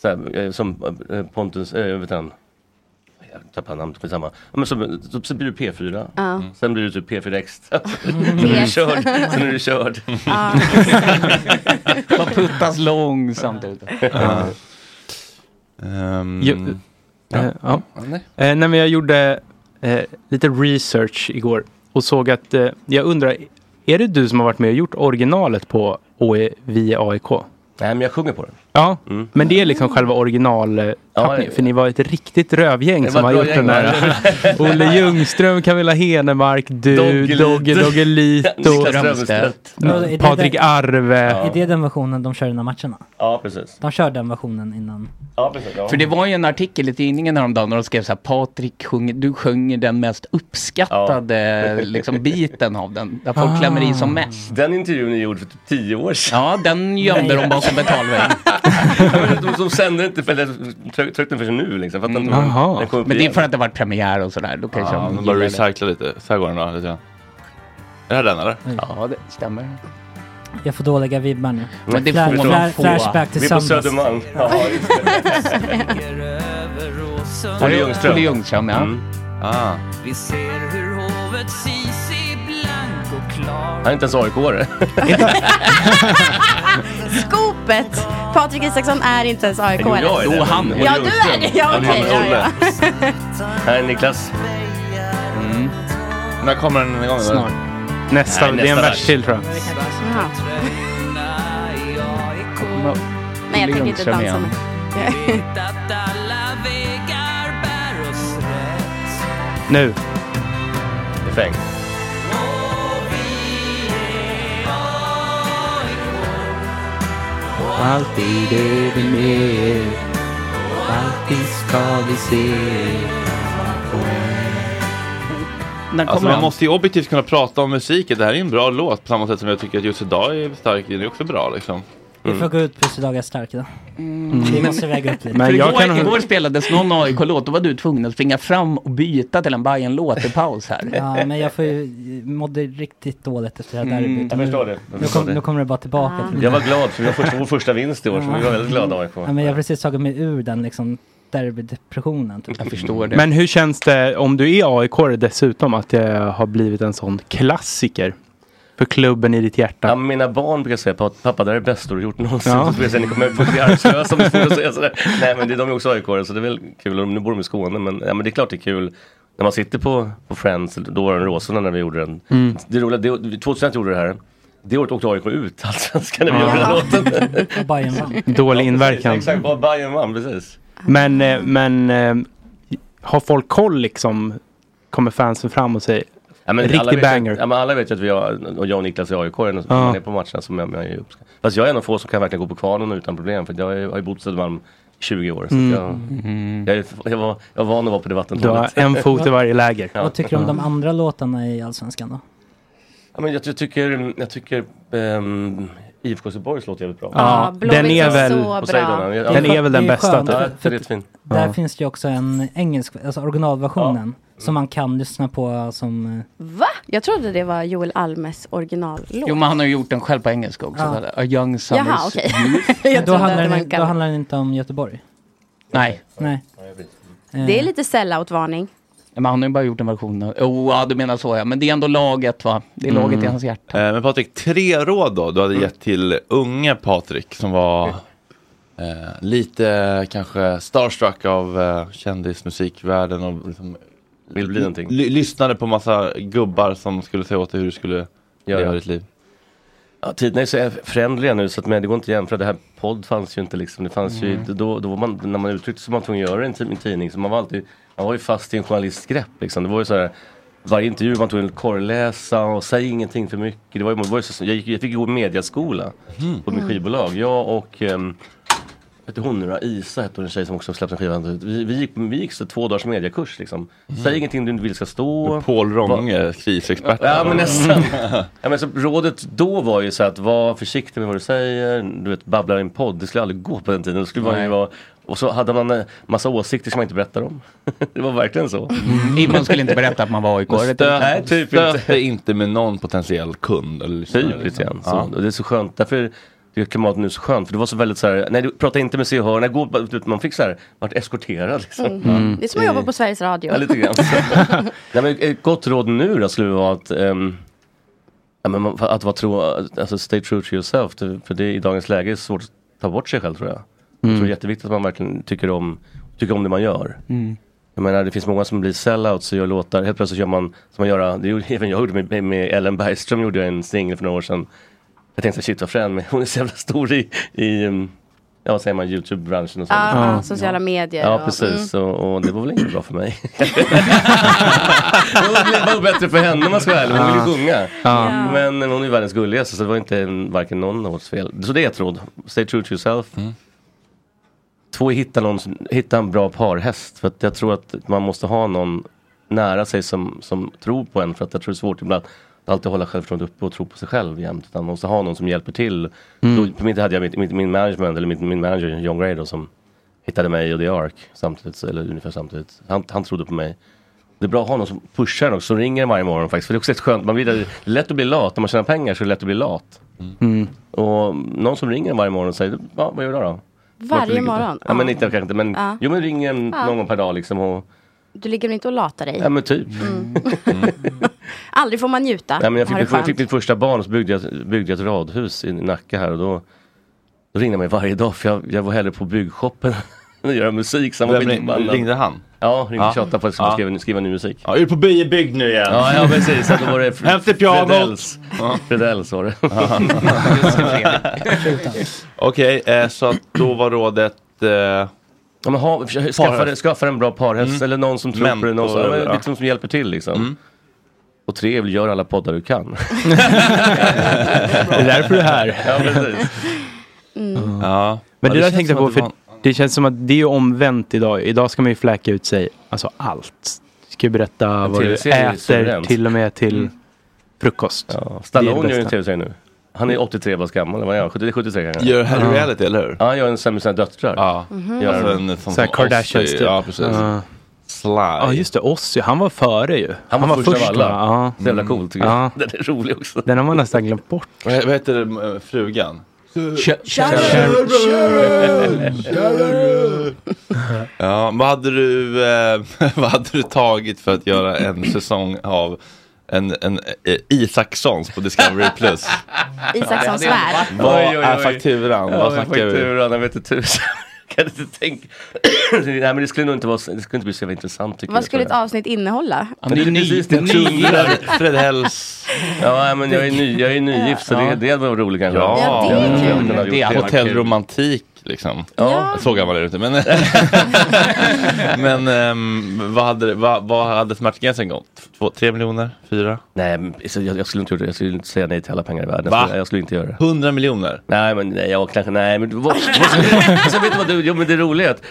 [SPEAKER 10] Så här, eh, som eh, Pontus, eh, vet han, jag tappar namnet, skitsamma. Ja, men som, så, så blir du P4,
[SPEAKER 8] Ja. Mm.
[SPEAKER 10] sen blir du typ P4 extra. sen är du körd. Sen är du körd.
[SPEAKER 8] Ja.
[SPEAKER 6] Man puttas långsamt ut.
[SPEAKER 4] Ja. Jo, eh,
[SPEAKER 6] Ehm, Ja.
[SPEAKER 4] ja.
[SPEAKER 6] Ja,
[SPEAKER 4] Eh,
[SPEAKER 6] nej.
[SPEAKER 4] nej, men jag gjorde eh, lite research igår och såg att eh, jag undrar, är det du som har varit med och gjort originalet på OE via AIK?
[SPEAKER 10] Nej, men jag sjunger på den. Mm.
[SPEAKER 4] Ja, men det är liksom själva originaltappningen.
[SPEAKER 10] ja.
[SPEAKER 4] För ni var ett riktigt rövgäng
[SPEAKER 10] Det
[SPEAKER 4] som
[SPEAKER 10] var
[SPEAKER 4] har
[SPEAKER 10] ett bra
[SPEAKER 4] gjort den
[SPEAKER 10] gäng,
[SPEAKER 4] där.
[SPEAKER 10] va?
[SPEAKER 4] Olle Ljungström, Camilla Henemark, du,
[SPEAKER 10] Doggelito.
[SPEAKER 4] Dogge Doggelito,
[SPEAKER 10] Niklas Strömstedt.
[SPEAKER 3] Men då är det-
[SPEAKER 4] Mm. Patrik Arve.
[SPEAKER 3] Är det den versionen de kör i den här matcherna?
[SPEAKER 10] Ja, precis.
[SPEAKER 3] De kör den versionen innan.
[SPEAKER 6] För det var ju en artikel i tidningen häromdagen där de skrev så här, Patrik, sjunger, du sjunger den mest uppskattade
[SPEAKER 10] Ja.
[SPEAKER 6] liksom, biten av den, där folk klämmer i
[SPEAKER 1] Ah.
[SPEAKER 6] som mest.
[SPEAKER 10] Ah. Den intervjun är gjord för typ tio år sedan.
[SPEAKER 6] Ja, den gömde de bakom betalväggen.
[SPEAKER 10] de som sände inte, för, eller tryck- tryckte den förrän nu liksom. Fattar inte
[SPEAKER 6] Mm.
[SPEAKER 10] vad-
[SPEAKER 6] Jaha.
[SPEAKER 10] den kom upp
[SPEAKER 6] Men det är
[SPEAKER 10] igen.
[SPEAKER 6] för att det varit premiär och sådär. Då kanske
[SPEAKER 1] Ja,
[SPEAKER 6] de
[SPEAKER 1] de bara
[SPEAKER 6] gillar det.
[SPEAKER 1] recycla lite. Så här går den då, lite grann. Är det här den eller?
[SPEAKER 6] Ja, det stämmer.
[SPEAKER 3] Jag får dåliga vibbar nu.
[SPEAKER 1] Men det
[SPEAKER 3] Fla-
[SPEAKER 1] får man
[SPEAKER 3] fla-
[SPEAKER 1] få.
[SPEAKER 3] flashback till
[SPEAKER 1] Vi är på
[SPEAKER 3] söndags.
[SPEAKER 1] Södermalm.
[SPEAKER 10] Ja, Olle Ljungström.
[SPEAKER 6] Olle Ljungström, ja.
[SPEAKER 10] Mm.
[SPEAKER 3] Ah.
[SPEAKER 8] Vi ser hur hovet Sisi blank och klar
[SPEAKER 10] Han är inte ens AIK-are.
[SPEAKER 5] Skopet! Patrik Isaksson är inte ens aik
[SPEAKER 10] Jo, jag är det. Jo, han, Olle
[SPEAKER 5] Ja, du är det.
[SPEAKER 10] Ljungström. Han
[SPEAKER 5] Ja,
[SPEAKER 10] är
[SPEAKER 5] okej.
[SPEAKER 10] Olle.
[SPEAKER 5] ja, ja.
[SPEAKER 10] Här är Niklas.
[SPEAKER 1] Mm. När kommer den igång? eller?
[SPEAKER 4] Snart. Nästa,
[SPEAKER 1] Nej,
[SPEAKER 4] det är en
[SPEAKER 1] nästa
[SPEAKER 4] vers till tror jag.
[SPEAKER 5] Jaha. Men jag tänker inte
[SPEAKER 4] Lundström
[SPEAKER 5] dansa
[SPEAKER 4] igen.
[SPEAKER 5] med.
[SPEAKER 4] Nu.
[SPEAKER 10] Fäng.
[SPEAKER 6] Alltid är vi med. Alltid ska vi se. När
[SPEAKER 1] Alltså
[SPEAKER 6] kommer
[SPEAKER 1] man
[SPEAKER 6] han?
[SPEAKER 1] måste ju objektivt kunna prata om musiken. Det här är en bra låt på samma sätt som jag tycker att just idag är stark. Den är också bra liksom.
[SPEAKER 3] Vi får gå ut på Sydafrika är stark då.
[SPEAKER 4] Mm.
[SPEAKER 3] Vi måste väga upp lite.
[SPEAKER 6] Mm. För igår, igår spelades någon AIK-låt, då var du tvungen att springa fram och byta till en bayern låt i paus här.
[SPEAKER 3] Ja, men jag får ju, mådde riktigt dåligt efter det här
[SPEAKER 6] Mm,
[SPEAKER 3] derbyt.
[SPEAKER 6] jag
[SPEAKER 3] Nu-
[SPEAKER 6] förstår det. Jag
[SPEAKER 3] Nu,
[SPEAKER 6] förstår
[SPEAKER 3] kom,
[SPEAKER 6] det.
[SPEAKER 3] nu kommer det bara
[SPEAKER 4] Ah.
[SPEAKER 3] tillbaka. till
[SPEAKER 10] Jag
[SPEAKER 3] det.
[SPEAKER 10] var glad för vi har först, vår första vinst i år, så vi var väldigt glada AIK.
[SPEAKER 3] Ja, men jag har precis tagit mig ur den liksom derbydepressionen. Typ.
[SPEAKER 6] Jag förstår
[SPEAKER 4] Men hur känns det om du är aik dessutom att det har blivit en sån klassiker för klubben i ditt hjärta?
[SPEAKER 10] Ja, men mina barn brukar säga "Pa- pappa det här är det bästa du har gjort någonsin.
[SPEAKER 4] Ja.
[SPEAKER 10] Så brukar jag säga ni kommer att bli arbetslösa om du får säga sådär. Nej men det, de är också aik så det är väl kul. Och Nu bor de i Skåne men, ja, men det är klart det är kul. När man sitter på, på Friends, då var den Råsunda när vi gjorde den.
[SPEAKER 8] Mm.
[SPEAKER 10] Det roliga, det, 2001 gjorde det här. Det året åkte AIK ut allsvenskan när vi
[SPEAKER 4] Ja.
[SPEAKER 10] gjorde den låten.
[SPEAKER 3] Bajen vann.
[SPEAKER 4] Dålig
[SPEAKER 10] Exakt,
[SPEAKER 4] inverkan.
[SPEAKER 10] Exakt, bara Bayern vann, precis.
[SPEAKER 4] Men, eh, men eh, har folk koll liksom? Kommer fansen fram och säger
[SPEAKER 10] Ja, men alla
[SPEAKER 4] riktig
[SPEAKER 10] vet,
[SPEAKER 4] banger?
[SPEAKER 10] Ja, men alla vet ju att vi har, och jag och Niklas är aik när
[SPEAKER 4] Ja.
[SPEAKER 10] man är på matcherna som jag, jag uppskattar. Fast jag är en av få som kan verkligen gå på kvarnen utan problem för jag har ju- har ju bott i Södermalm i 20 år. Så
[SPEAKER 4] Mm.
[SPEAKER 10] att jag, jag, är, jag, var, jag var van att vara på det
[SPEAKER 4] Du har
[SPEAKER 10] vattentornet.
[SPEAKER 4] en fot i varje läger.
[SPEAKER 10] Ja.
[SPEAKER 3] Vad tycker du om de andra låtarna i Allsvenskan då?
[SPEAKER 10] Ja, men jag, jag tycker, jag tycker ehm, IFK Göteborgs låt är jävligt bra.
[SPEAKER 3] Ja, Ja, Blåvitt
[SPEAKER 4] den Ah, är är väl- så
[SPEAKER 10] Och säg
[SPEAKER 4] bra.
[SPEAKER 10] den,
[SPEAKER 4] Den är väl den typ.
[SPEAKER 3] Det
[SPEAKER 10] Ja,
[SPEAKER 3] skönt,
[SPEAKER 10] den är
[SPEAKER 3] för-
[SPEAKER 10] jättefin.
[SPEAKER 3] för Där
[SPEAKER 10] Ja.
[SPEAKER 3] finns det ju också en engelsk, alltså originalversionen. Som man kan lyssna på som... eh,
[SPEAKER 5] Va? Jag trodde det var Joel Almes originallåt.
[SPEAKER 6] Jo, men han har ju gjort den själv på engelska också.
[SPEAKER 3] Ja.
[SPEAKER 6] så här, A young summers
[SPEAKER 5] Jaha, okej.
[SPEAKER 3] Men
[SPEAKER 5] Jag
[SPEAKER 3] då,
[SPEAKER 5] trodde att
[SPEAKER 3] handlar
[SPEAKER 5] det var
[SPEAKER 3] den,
[SPEAKER 5] en
[SPEAKER 3] då
[SPEAKER 5] gammal.
[SPEAKER 3] handlar den inte om Göteborg.
[SPEAKER 6] Nej.
[SPEAKER 3] Nej.
[SPEAKER 10] eh,
[SPEAKER 5] Det är lite sellout-varning.
[SPEAKER 6] Eh, Men han har ju bara gjort en version. av- Oh, ja, du menar så ja. Men det är ändå laget va? Det är
[SPEAKER 10] Mm.
[SPEAKER 6] laget i hans hjärta.
[SPEAKER 1] Eh, Men Patrik, tre råd då du hade
[SPEAKER 6] Mm.
[SPEAKER 1] gett till unge Patrik som var eh, lite kanske starstruck av eh, kändismusikvärlden och liksom,
[SPEAKER 10] Vill bli någonting.
[SPEAKER 1] ly- lyssnade på massa gubbar som skulle säga åt dig hur du skulle
[SPEAKER 10] Ja,
[SPEAKER 1] leva
[SPEAKER 10] ja.
[SPEAKER 1] ditt liv.
[SPEAKER 10] Ja, tiderna är så föränderliga nu så att, men det går inte att jämföra. Det här podd fanns ju inte liksom. Det fanns
[SPEAKER 1] Mm.
[SPEAKER 10] ju, då, då var man, när man uttryckte sig var man tvungen att göra det i en tid- i en tidning. Så man var alltid, man var ju fast i en journalistgrepp liksom. Det var ju så här, varje intervju man tvungen att korrläsa och säg ingenting för mycket. Det var, ju- det var ju så, jag, gick, jag fick gå mediaskola
[SPEAKER 1] Mhm.
[SPEAKER 10] på mitt
[SPEAKER 1] Mm.
[SPEAKER 10] skivbolag. Jag och ehm, vet hon nu då? Isa hette hon, en tjej som också släppte en skiva. Vi, vi, gick, vi gick så två dagars mediakurs liksom. Säg ingenting du inte vill ska stå.
[SPEAKER 1] Paul Ronge, krisexpert.
[SPEAKER 10] Ja men nästan. ja, men så rådet då var ju så att var försiktig med vad du säger. Du vet babbla i en podd, det skulle aldrig gå på den tiden. Då skulle man ju
[SPEAKER 6] Nej.
[SPEAKER 10] vara, och så hade man eh, massa åsikter som man inte berättade om. det var verkligen så.
[SPEAKER 1] Mm.
[SPEAKER 6] Man Mm. skulle inte berätta att man var AIK.
[SPEAKER 1] Stöt,
[SPEAKER 10] Nej, typ
[SPEAKER 1] stöt
[SPEAKER 10] inte.
[SPEAKER 1] dig inte med någon potentiell kund. Eller
[SPEAKER 10] Typ lite grann. Så,
[SPEAKER 1] Ja.
[SPEAKER 10] och Det är så skönt. Därför tycker att klimatet nu är så skönt för det var så väldigt så här, nej du pratar inte med Se och Hör, nej gå, bara ut. man fick så här, vart eskorterad liksom.
[SPEAKER 5] Mm. Det är som att jobba på Sveriges Radio.
[SPEAKER 10] Ja, lite grann. Nej, men ett gott råd nu då skulle vara att, ehm, ja, men man- att vara tro, alltså stay true to yourself. det- För det är i dagens läge är svårt att ta bort sig själv tror jag. Jag tror det är jätteviktigt att man verkligen tycker om, tycker om det man gör.
[SPEAKER 6] Mm.
[SPEAKER 10] Jag menar det finns många som blir sellouts och gör låtar. Helt plötsligt gör man, som man göra, det gjorde även jag gjorde med, med Ellen Bergström gjorde jag en singel för några år sedan. Jag tänkte shit vad frän, men hon är så jävla stor i, i um, ja vad säger man, YouTube-branschen och så.
[SPEAKER 5] Ja, Ah, sociala medier.
[SPEAKER 10] Ja
[SPEAKER 5] och- Mm.
[SPEAKER 10] precis, och, och det var väl inte bra för mig. det var bättre för henne om man ska vara ärlig, hon vill ju sjunga.
[SPEAKER 5] Ja.
[SPEAKER 10] Men men hon är världens gulligaste så det var inte en- varken någon av oss fel. Så det är ett råd, stay true to yourself.
[SPEAKER 5] Mm.
[SPEAKER 10] Två, hitta, någon, som- hitta en bra parhäst. För att jag tror att man måste ha någon nära sig som, som tror på en. För att jag tror det är svårt ibland att alltid hålla självförtroendet uppe och tro på sig själv jämt. Utan man måste ha någon som hjälper till.
[SPEAKER 5] Mm.
[SPEAKER 10] Då, på mitt hade jag mitt, mitt, min management, eller min, min manager John Gray då, som hittade mig och The Ark samtidigt, så- eller ungefär samtidigt. Han, han trodde på mig. Det är bra att ha någon som pushar en också, som ringer en varje morgon faktiskt. För det är också ett skönt, man blir, det är lätt att bli lat. När man tjänar pengar så är det lätt att bli lat.
[SPEAKER 1] Mm.
[SPEAKER 10] Och någon som ringer en varje morgon och säger, ja, vad gör du då?
[SPEAKER 5] Varje
[SPEAKER 10] Vart ligger du?"
[SPEAKER 5] morgon?
[SPEAKER 10] Ja, men inte kanske inte, men
[SPEAKER 5] Ja.
[SPEAKER 10] jo men ringer en
[SPEAKER 5] Ja.
[SPEAKER 10] någon gång per dag liksom och,
[SPEAKER 5] Du ligger väl inte och latar dig?
[SPEAKER 10] ja men typ.
[SPEAKER 5] Mm. Aldrig får man njuta.
[SPEAKER 10] Ja, men jag fick,
[SPEAKER 5] Ha det
[SPEAKER 10] mitt, jag
[SPEAKER 5] skönt.
[SPEAKER 10] fick mitt första barn och så byggde jag, byggde jag ett radhus i Nacka här och då, då ringde han mig varje dag för jag, jag var hellre på byggshoppen än att göra musik. Så han var
[SPEAKER 1] Vem ring-
[SPEAKER 10] skitförbannad.
[SPEAKER 1] ringde han?
[SPEAKER 10] Ja, ringde
[SPEAKER 1] Ja.
[SPEAKER 10] och tjatade på att jag skulle
[SPEAKER 1] Ja.
[SPEAKER 10] skriva, skriva ny musik.
[SPEAKER 1] Ja, är du på biobygd nu igen?
[SPEAKER 10] Ja, ja precis. Så då var det
[SPEAKER 1] Hämta pianot.
[SPEAKER 10] Fredells. Fredells var det.
[SPEAKER 1] Okej, eh, så att då var rådet... Eh,
[SPEAKER 10] ja, men ha, skaffa, skaffa en bra parhäst
[SPEAKER 1] Mm.
[SPEAKER 10] eller någon som tror på dig, någon som, ja, men liksom, som hjälper till liksom. Och tre, är väl, gör alla poddar du kan.
[SPEAKER 4] Det är därför du är här.
[SPEAKER 10] Ja, precis.
[SPEAKER 1] Ja.
[SPEAKER 4] Mm. Men
[SPEAKER 1] Ja,
[SPEAKER 4] det,
[SPEAKER 1] det
[SPEAKER 4] där
[SPEAKER 1] känns
[SPEAKER 4] tänkte jag
[SPEAKER 1] som
[SPEAKER 4] på,
[SPEAKER 1] att det
[SPEAKER 4] för det känns som att det är ju omvänt idag. Idag ska man ju fläka ut sig, alltså allt. Du ska ju berätta vad du
[SPEAKER 10] TV-serie är
[SPEAKER 4] äter,
[SPEAKER 10] suveränt.
[SPEAKER 4] till och med till
[SPEAKER 10] Mm.
[SPEAKER 4] frukost. Det är
[SPEAKER 10] Stallone
[SPEAKER 4] det
[SPEAKER 10] gör ju en
[SPEAKER 4] bästa.
[SPEAKER 10] tv-serie nu. Han är 83 bast gammal, eller vad är han? 70 73 kanske?
[SPEAKER 1] Gör Harry Ja. Reality, eller hur?
[SPEAKER 10] Ja, han gör en sämre sina döttrar.
[SPEAKER 1] Ja,
[SPEAKER 4] Mhm.
[SPEAKER 10] gör han.
[SPEAKER 1] alltså en- som- Så här som Kardashians Ozzy, typ. ja, precis. Ja. Sly.
[SPEAKER 4] Ja just det, Ozzy, han var före ju.
[SPEAKER 10] Han var först av alla.
[SPEAKER 4] va?
[SPEAKER 10] Så jävla cool, tycker jag. Den är rolig också.
[SPEAKER 4] Den har man nästan glömt bort.
[SPEAKER 1] Mm. Vad he- vad heter eh, frugan?
[SPEAKER 4] Sharon.
[SPEAKER 1] Sharon. Ja, vad hade du, eh, vad hade du tagit för att göra en säsong av en, en eh, Isakssons på Discovery Plus?
[SPEAKER 5] Isakssons värld.
[SPEAKER 1] Vad är fakturan?
[SPEAKER 10] Ja,
[SPEAKER 1] Vad
[SPEAKER 10] vad är
[SPEAKER 1] snackar vi?
[SPEAKER 10] fakturan? Jag vet inte tusan. Kan inte tänka. Nej men det skulle nog inte vara, så- det skulle inte bli så jävla intressant tycker
[SPEAKER 5] Vad
[SPEAKER 10] jag,
[SPEAKER 5] skulle ett
[SPEAKER 10] tror jag.
[SPEAKER 5] avsnitt innehålla?
[SPEAKER 10] Men det är precis det
[SPEAKER 1] ny-
[SPEAKER 10] Fred-
[SPEAKER 1] Fred Hells.
[SPEAKER 10] Ja men jag är, ny, jag är nygift så det, det hade varit roligt kanske.
[SPEAKER 1] Ja,
[SPEAKER 10] Jag tror jag kunde ha gjort
[SPEAKER 1] det är
[SPEAKER 10] det.
[SPEAKER 1] hotellromantik liksom. Ja. Så gammal är du inte. Men, men ehm, vad hade, vad, vad hade smärtgränsen gått? Två, tre miljoner? Fyra?
[SPEAKER 10] Nej, men, så jag, jag skulle inte gjort det. Jag skulle inte säga nej till alla pengar i världen.
[SPEAKER 1] Va?
[SPEAKER 10] Jag skulle, jag skulle inte göra det.
[SPEAKER 1] 100 miljoner?
[SPEAKER 10] Nej, men nej, jag kanske, nej, men vad, vad, alltså, vet du vad, du- jo, men det roliga är att,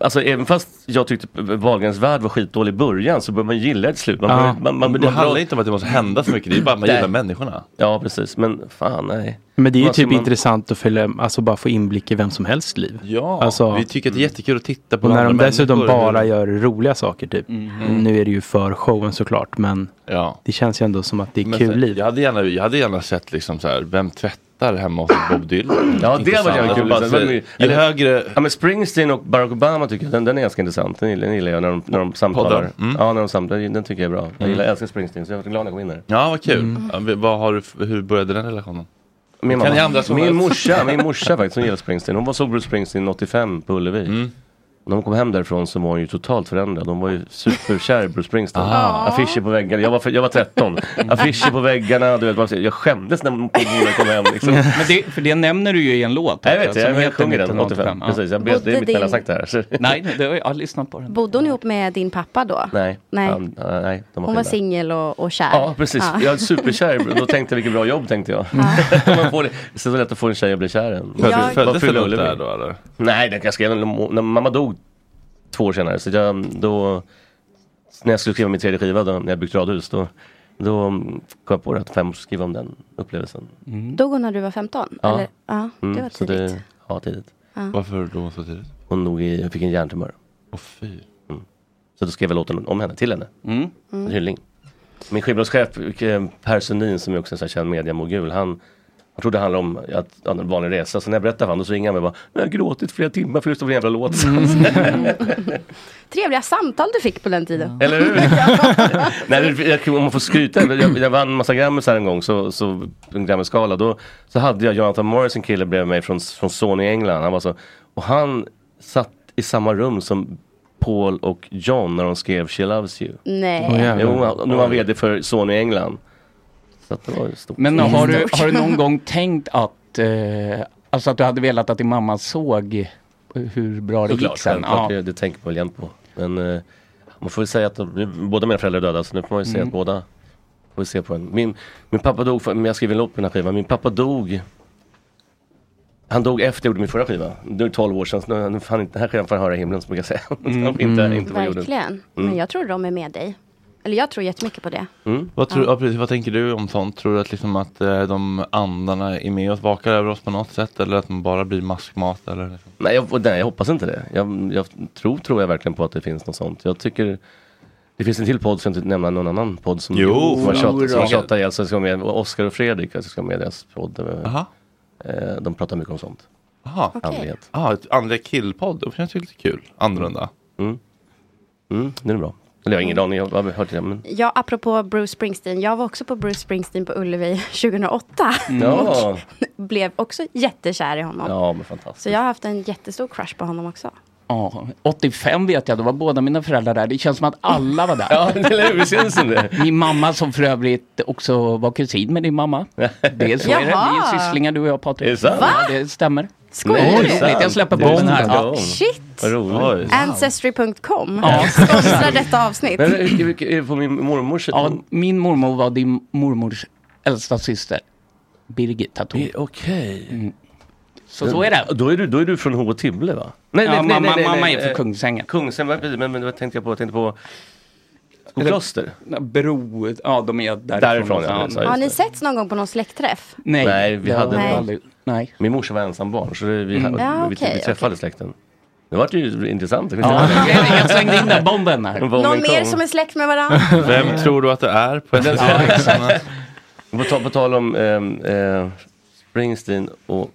[SPEAKER 10] alltså även fast jag tyckte Wahlgrens värld var skitdålig i början så börjar man gilla det till slut. Man,
[SPEAKER 1] Ja.
[SPEAKER 10] börjar- man, man,
[SPEAKER 1] Men det
[SPEAKER 10] man
[SPEAKER 1] handlar inte om att det måste hända så mycket, det är bara att man
[SPEAKER 10] Nej.
[SPEAKER 1] gillar människorna.
[SPEAKER 10] Ja, precis, men fan nej.
[SPEAKER 4] Men det är ju
[SPEAKER 10] Vad ska
[SPEAKER 4] typ
[SPEAKER 10] man-
[SPEAKER 4] intressant att följa, alltså bara få inblick i vem som helst liv.
[SPEAKER 1] Ja,
[SPEAKER 4] alltså,
[SPEAKER 1] vi tycker att det är jättekul att titta på
[SPEAKER 4] och när
[SPEAKER 1] andra
[SPEAKER 4] de dessutom
[SPEAKER 1] människor,
[SPEAKER 4] bara
[SPEAKER 1] hur-
[SPEAKER 4] gör roliga saker typ.
[SPEAKER 10] Mhm.
[SPEAKER 1] Mm.
[SPEAKER 4] Nu är det ju för showen såklart, men
[SPEAKER 1] Ja.
[SPEAKER 4] det känns ju ändå som att det är
[SPEAKER 1] Men
[SPEAKER 4] kul
[SPEAKER 1] sen-
[SPEAKER 4] liv.
[SPEAKER 1] Jag hade gärna, jag hade gärna sett liksom så här, vem tvättar hemma hos Bob Dylan?
[SPEAKER 10] Ja, det hade varit jävligt kul.
[SPEAKER 1] Intressant. Alltså,
[SPEAKER 10] Sen-
[SPEAKER 1] Ju
[SPEAKER 10] eller-
[SPEAKER 1] högre...
[SPEAKER 10] Ja, men Springsteen och Barack Obama tycker jag, den, den är ganska intressant. Den gillar, den gillar jag när de, när de samtalar.
[SPEAKER 1] Poddar. Mm.
[SPEAKER 10] Ja, när de samtalar, den tycker jag är bra. Jag
[SPEAKER 1] Mm.
[SPEAKER 10] gillar, jag älskar Springsteen, så jag är glad när jag kom in där. Mm.
[SPEAKER 1] Ja, vad kul. Ja, vi- vad har du, f- hur började den relationen?
[SPEAKER 10] Min,
[SPEAKER 1] Kan ni
[SPEAKER 10] mamma,
[SPEAKER 1] andra som
[SPEAKER 10] min,
[SPEAKER 1] helst?
[SPEAKER 10] morsa, min morsa faktiskt, hon gillar Springsteen. Hon var såg Bruce Springsteen 85 på Ullevi.
[SPEAKER 1] Mm.
[SPEAKER 10] När hon kom hem därifrån så var hon ju totalt förändrad. Hon var ju superkär i Bruce Springsteen.
[SPEAKER 1] Ah.
[SPEAKER 10] Affischer på väggarna. Jag var, jag var 13. Affischer på väggarna. Du vet, man ser- jag skämdes när polare kom hem. Liksom.
[SPEAKER 6] Men det, för det nämner du ju i en låt.
[SPEAKER 10] Nej, jag vet,
[SPEAKER 6] som
[SPEAKER 10] jag, jag
[SPEAKER 6] heter
[SPEAKER 10] sjunger den 85.
[SPEAKER 6] 1985, ja.
[SPEAKER 10] Precis, jag ber, det är
[SPEAKER 5] Bodde
[SPEAKER 10] mitt enda
[SPEAKER 5] din-
[SPEAKER 10] sagt det här. Så.
[SPEAKER 6] Nej, nej, det har jag har lyssnat på den.
[SPEAKER 5] Bodde hon ihop med din pappa då?
[SPEAKER 10] Nej.
[SPEAKER 5] Nej.
[SPEAKER 10] Han- äh, nej de
[SPEAKER 5] Hon var
[SPEAKER 10] skilda.
[SPEAKER 5] singel och, och kär.
[SPEAKER 10] Ja, precis. Jag är superkär. Då tänkte jag vilket bra jobb tänkte jag. Man får det. Så det är lätt att få en tjej att bli kär än.
[SPEAKER 1] Föddes-
[SPEAKER 10] Vad
[SPEAKER 1] föddes
[SPEAKER 10] fyller
[SPEAKER 1] du
[SPEAKER 10] Ullevi?
[SPEAKER 1] där då, eller?
[SPEAKER 10] Nej, det jag skrev en, när mamma dog två år senare. Så jag, då, när jag skulle skriva min tredje skiva, då, när jag byggt radhus, då, då kom jag på det att fem år skulle skriva om den upplevelsen.
[SPEAKER 6] Mm.
[SPEAKER 5] Dog hon när du var 15?
[SPEAKER 10] Ja.
[SPEAKER 5] Eller? ja det
[SPEAKER 10] Mm,
[SPEAKER 5] var
[SPEAKER 10] så
[SPEAKER 5] tidigt.
[SPEAKER 10] ja, tidigt.
[SPEAKER 5] Ja.
[SPEAKER 1] Varför då så tidigt?
[SPEAKER 10] Hon dog i, fick en hjärntumör.
[SPEAKER 1] Åh fy. Mm.
[SPEAKER 10] Mm. Så då skrev jag låten om henne, till henne.
[SPEAKER 5] Mm.
[SPEAKER 10] En hyllning. Min skivbolagschef eh, Per Sundin som är också en sån här känd mediamogul, han Jag trodde det handlade om att, ja, en vanlig resa, så när jag berättade för honom så ringde han mig och bara "Men Jag har gråtit flera timmar för just av en jävla låt.
[SPEAKER 5] Mm. Trevliga samtal du fick på den tiden.
[SPEAKER 10] Eller hur? Nej, det- jag, om man får skryta, jag, jag vann massa grammisar en gång, så, så, en grammisgala. Då så hade jag Jonathan Morris, en kille bredvid mig från, från Sony i England. Han var så, och han satt i samma rum som Paul och John när de skrev She Loves You.
[SPEAKER 5] Nej.
[SPEAKER 6] Åh, jävlar.
[SPEAKER 10] jo, han- nu var han vd för Sony i England. Så att det var ju stort.
[SPEAKER 6] Men har du, har du någon gång tänkt att, eh, alltså att du hade velat att din mamma såg hur bra det
[SPEAKER 10] Såklart,
[SPEAKER 6] gick sen?
[SPEAKER 10] självklart. Det, det tänker man väl jämt på. Men eh, man får väl säga att de- båda mina föräldrar är döda, så nu får man ju säga
[SPEAKER 6] Mm.
[SPEAKER 10] att båda får vi se på den. Min, min pappa dog, för, men jag skrev en låt på den här skivan, min pappa dog han dog efter jag gjorde min förra skiva. Det är 12 år sedan. så Nu, nu fan, inte- den här skivan får han höra i himlen, som jag brukar säga. Mm. inte, inte på jorden. Mm.
[SPEAKER 5] Verkligen. Mm. Men jag tror de är med dig. Eller jag tror jättemycket på det.
[SPEAKER 10] Mm.
[SPEAKER 1] Vad, tror,
[SPEAKER 5] Ja.
[SPEAKER 1] ja. precis, vad tänker du om sånt? Tror du att, liksom att eh, de andarna är med oss, vakar över oss på något sätt? Eller att man bara blir maskmat? Eller liksom?
[SPEAKER 10] Nej jag, och nej, jag hoppas inte det. Jag, jag tror, tror jag verkligen på att det finns något sånt. Jag tycker det finns en till podd som jag inte nämner någon annan podd som
[SPEAKER 1] Jo,
[SPEAKER 10] som har
[SPEAKER 1] jo då.
[SPEAKER 10] tjatat- som har tjatat ihjäl sig. som är- Oskar och Fredrik alltså, ska vara med i deras podd. Eh, De pratar mycket om sånt.
[SPEAKER 1] Jaha,
[SPEAKER 10] Andlighet.
[SPEAKER 1] ah, ett andliga killpodd, det känns ju lite kul. Annorlunda.
[SPEAKER 10] Mm. Mm, det är bra. Eller jag har ingen aning, jag har hört det. Men...
[SPEAKER 5] Ja, apropå Bruce Springsteen. Jag var också på Bruce Springsteen på Ullevi 2008.
[SPEAKER 6] Mm.
[SPEAKER 10] Ja.
[SPEAKER 5] Och blev också jättekär i honom.
[SPEAKER 10] ja, men fantastiskt.
[SPEAKER 5] Så jag har haft en jättestor crush på honom också.
[SPEAKER 6] Ja, 85 vet jag, då var båda mina föräldrar där. Det känns som att alla var där.
[SPEAKER 10] ja, eller hur? Visst känns det?
[SPEAKER 6] Min mamma som för övrigt också var kusin med din mamma. Det är så är det. Vi är
[SPEAKER 5] Jaha.
[SPEAKER 6] sysslingar du och jag Patrik.
[SPEAKER 10] Är det sant?
[SPEAKER 6] Ja, det stämmer.
[SPEAKER 5] Skojar
[SPEAKER 6] Nej,
[SPEAKER 5] du?
[SPEAKER 6] det är roligt. Jag släpper
[SPEAKER 10] Det är
[SPEAKER 6] bomben här.
[SPEAKER 10] sant.
[SPEAKER 6] Ja.
[SPEAKER 5] Shit!
[SPEAKER 10] Vad roligt.
[SPEAKER 5] Ancestry.com
[SPEAKER 6] Ja.
[SPEAKER 5] sponsrar detta avsnitt.
[SPEAKER 10] Men hur- hur- hur- på min mormors...
[SPEAKER 6] Ja, min mormor var din mormors äldsta syster. Birgit hette hon.
[SPEAKER 10] Eh, Okej.
[SPEAKER 6] Mm. Så så är det.
[SPEAKER 10] Då är du, då är du från Hå Tibble va?
[SPEAKER 6] Ja, mamma- mamma är från
[SPEAKER 10] eh,
[SPEAKER 6] Kungsängen.
[SPEAKER 10] Kungsängen, vad- precis, men, men vad tänkte jag på? Jag tänkte på Skokloster.
[SPEAKER 6] Bro, ja de är därifrån. alltså.
[SPEAKER 10] Därifrån, ja.
[SPEAKER 6] Ja.
[SPEAKER 10] Så-
[SPEAKER 5] Har ni setts någon gång på någon släktträff?
[SPEAKER 6] Nej,
[SPEAKER 10] Nej, vi
[SPEAKER 6] det
[SPEAKER 10] hade
[SPEAKER 5] har vi
[SPEAKER 6] aldrig- Nej.
[SPEAKER 10] Min morsa var ensam barn så det, vi,
[SPEAKER 6] Mm.
[SPEAKER 10] hade,
[SPEAKER 5] Ja,
[SPEAKER 10] vi,
[SPEAKER 5] okej,
[SPEAKER 10] vi träffade släkten. Det var ju intressant.
[SPEAKER 6] Ja, jag slängde in den bomben här.
[SPEAKER 10] Bomben
[SPEAKER 5] Någon mer
[SPEAKER 10] kom.
[SPEAKER 5] som är släkt med varandra?
[SPEAKER 1] Vem tror du att det är på SVT?
[SPEAKER 10] Ja, exakt. på, tal, på tal om ehm, eh, Springsteen och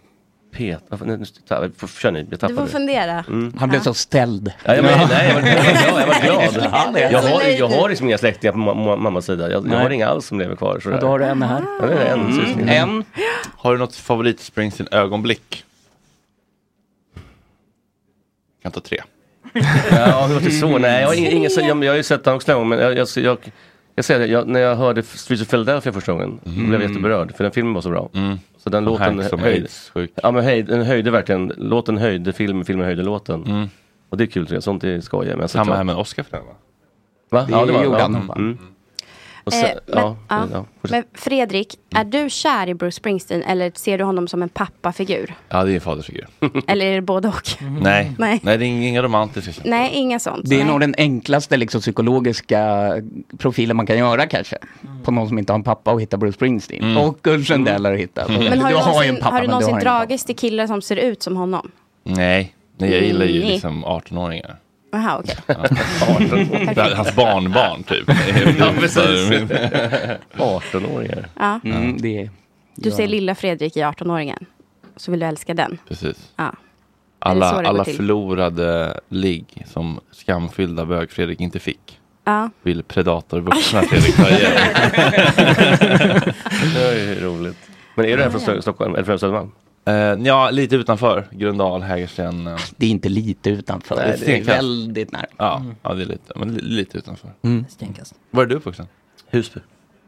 [SPEAKER 10] Pet... varför- nej, nu- ta- får- Kör ni, jag
[SPEAKER 5] Du får
[SPEAKER 10] tappade det. Mm.
[SPEAKER 5] fundera.
[SPEAKER 6] Han blev så ställd.
[SPEAKER 10] Ja, jag, men, nej, jag var glad. Jag, var glad.
[SPEAKER 6] Ja, det är
[SPEAKER 10] jag,
[SPEAKER 6] så
[SPEAKER 10] har,
[SPEAKER 6] nöjd
[SPEAKER 10] jag
[SPEAKER 6] nu.
[SPEAKER 10] har liksom inga släktingar på ma- ma- mammas sida. Jag, jag
[SPEAKER 6] Nej.
[SPEAKER 10] har inga alls som lever kvar. Sådär.
[SPEAKER 6] Ja, då har du en här. Mm.
[SPEAKER 10] Ja, det är en, syssling.
[SPEAKER 6] En.
[SPEAKER 1] Har du något favorit Springsteen ögonblick? Jag kan ta tre.
[SPEAKER 10] Ja, det var inte så. Nej, jag har, ing- ingen, så- jag, jag har ju sett honom också någon gång, men jag, jag, jag, jag säger det, jag, när jag hörde Streets of Philadelphia första gången blev jag jätteberörd, för den filmen var så bra. Så den
[SPEAKER 1] Mm. Och
[SPEAKER 10] låten
[SPEAKER 1] Hanks som
[SPEAKER 10] höjde,
[SPEAKER 1] AIDS-sjuk.
[SPEAKER 10] ja, men höjde, den höjde verkligen, låten höjde filmen, filmen höjde låten. Och det är kul, tror jag. sånt är skoj. Men
[SPEAKER 1] Mm. Samma här
[SPEAKER 10] med Oscar för den va? va?
[SPEAKER 6] Det gjorde han,
[SPEAKER 10] mm,
[SPEAKER 6] va?
[SPEAKER 10] mm. Och
[SPEAKER 5] Eh,
[SPEAKER 10] sen,
[SPEAKER 5] men,
[SPEAKER 10] ja,
[SPEAKER 5] ja.
[SPEAKER 10] ja, fortsätt.
[SPEAKER 5] Men Fredrik, är du kär i Bruce Springsteen eller ser du honom som en pappafigur?
[SPEAKER 1] Ja, det är en fadersfigur.
[SPEAKER 5] Eller är det både och?
[SPEAKER 1] Nej.
[SPEAKER 5] Nej.
[SPEAKER 1] Nej, det är inga romantiska känslor.
[SPEAKER 5] Nej, inga sånt.
[SPEAKER 6] Det är
[SPEAKER 5] Nej.
[SPEAKER 6] nog den enklaste liksom, psykologiska profilen man kan göra kanske.
[SPEAKER 5] Mm.
[SPEAKER 6] På någon som inte har en pappa och hittar Bruce Springsteen.
[SPEAKER 10] Mm.
[SPEAKER 6] Och Ulf Sundell har du hittat.
[SPEAKER 5] Men har du,
[SPEAKER 6] du har ju
[SPEAKER 5] någonsin,
[SPEAKER 6] en pappa
[SPEAKER 5] Alltså, har
[SPEAKER 6] men
[SPEAKER 5] du
[SPEAKER 6] du
[SPEAKER 5] någonsin
[SPEAKER 6] har ingen pappa.
[SPEAKER 5] dragits till killar som ser ut som honom?
[SPEAKER 1] Nej. Nej, jag gillar ju
[SPEAKER 5] Nej.
[SPEAKER 1] liksom 18-åringar.
[SPEAKER 5] Jaha, okej.
[SPEAKER 1] Ja. Hans barnbarn typ.
[SPEAKER 10] Ja, precis. 18-åringar.
[SPEAKER 5] Ja.
[SPEAKER 6] Mm, det är...
[SPEAKER 5] Du ser lilla Fredrik i 18-åringen. Så vill du älska den.
[SPEAKER 1] Precis.
[SPEAKER 5] Ja.
[SPEAKER 1] Alla,
[SPEAKER 5] Är det så det går
[SPEAKER 1] alla
[SPEAKER 5] till?
[SPEAKER 1] förlorade ligg som skamfyllda bög-Fredrik inte fick.
[SPEAKER 5] Ja.
[SPEAKER 1] Vill predatorvuxna Fredrik ta igen.
[SPEAKER 10] Det var ju roligt. Men är du här från Stö- Stockholm, eller från Södermalm?
[SPEAKER 1] Eh, ja, lite utanför. Grundal, Hägersten. eh.
[SPEAKER 6] Det är inte lite utanför.
[SPEAKER 1] Nej,
[SPEAKER 6] det är
[SPEAKER 1] stenkast.
[SPEAKER 6] väldigt nära.
[SPEAKER 1] Ja, ja, det är lite, men li, lite utanför.
[SPEAKER 6] Mm.
[SPEAKER 3] Stenkast.
[SPEAKER 1] Var är du uppvuxen?
[SPEAKER 10] Husby.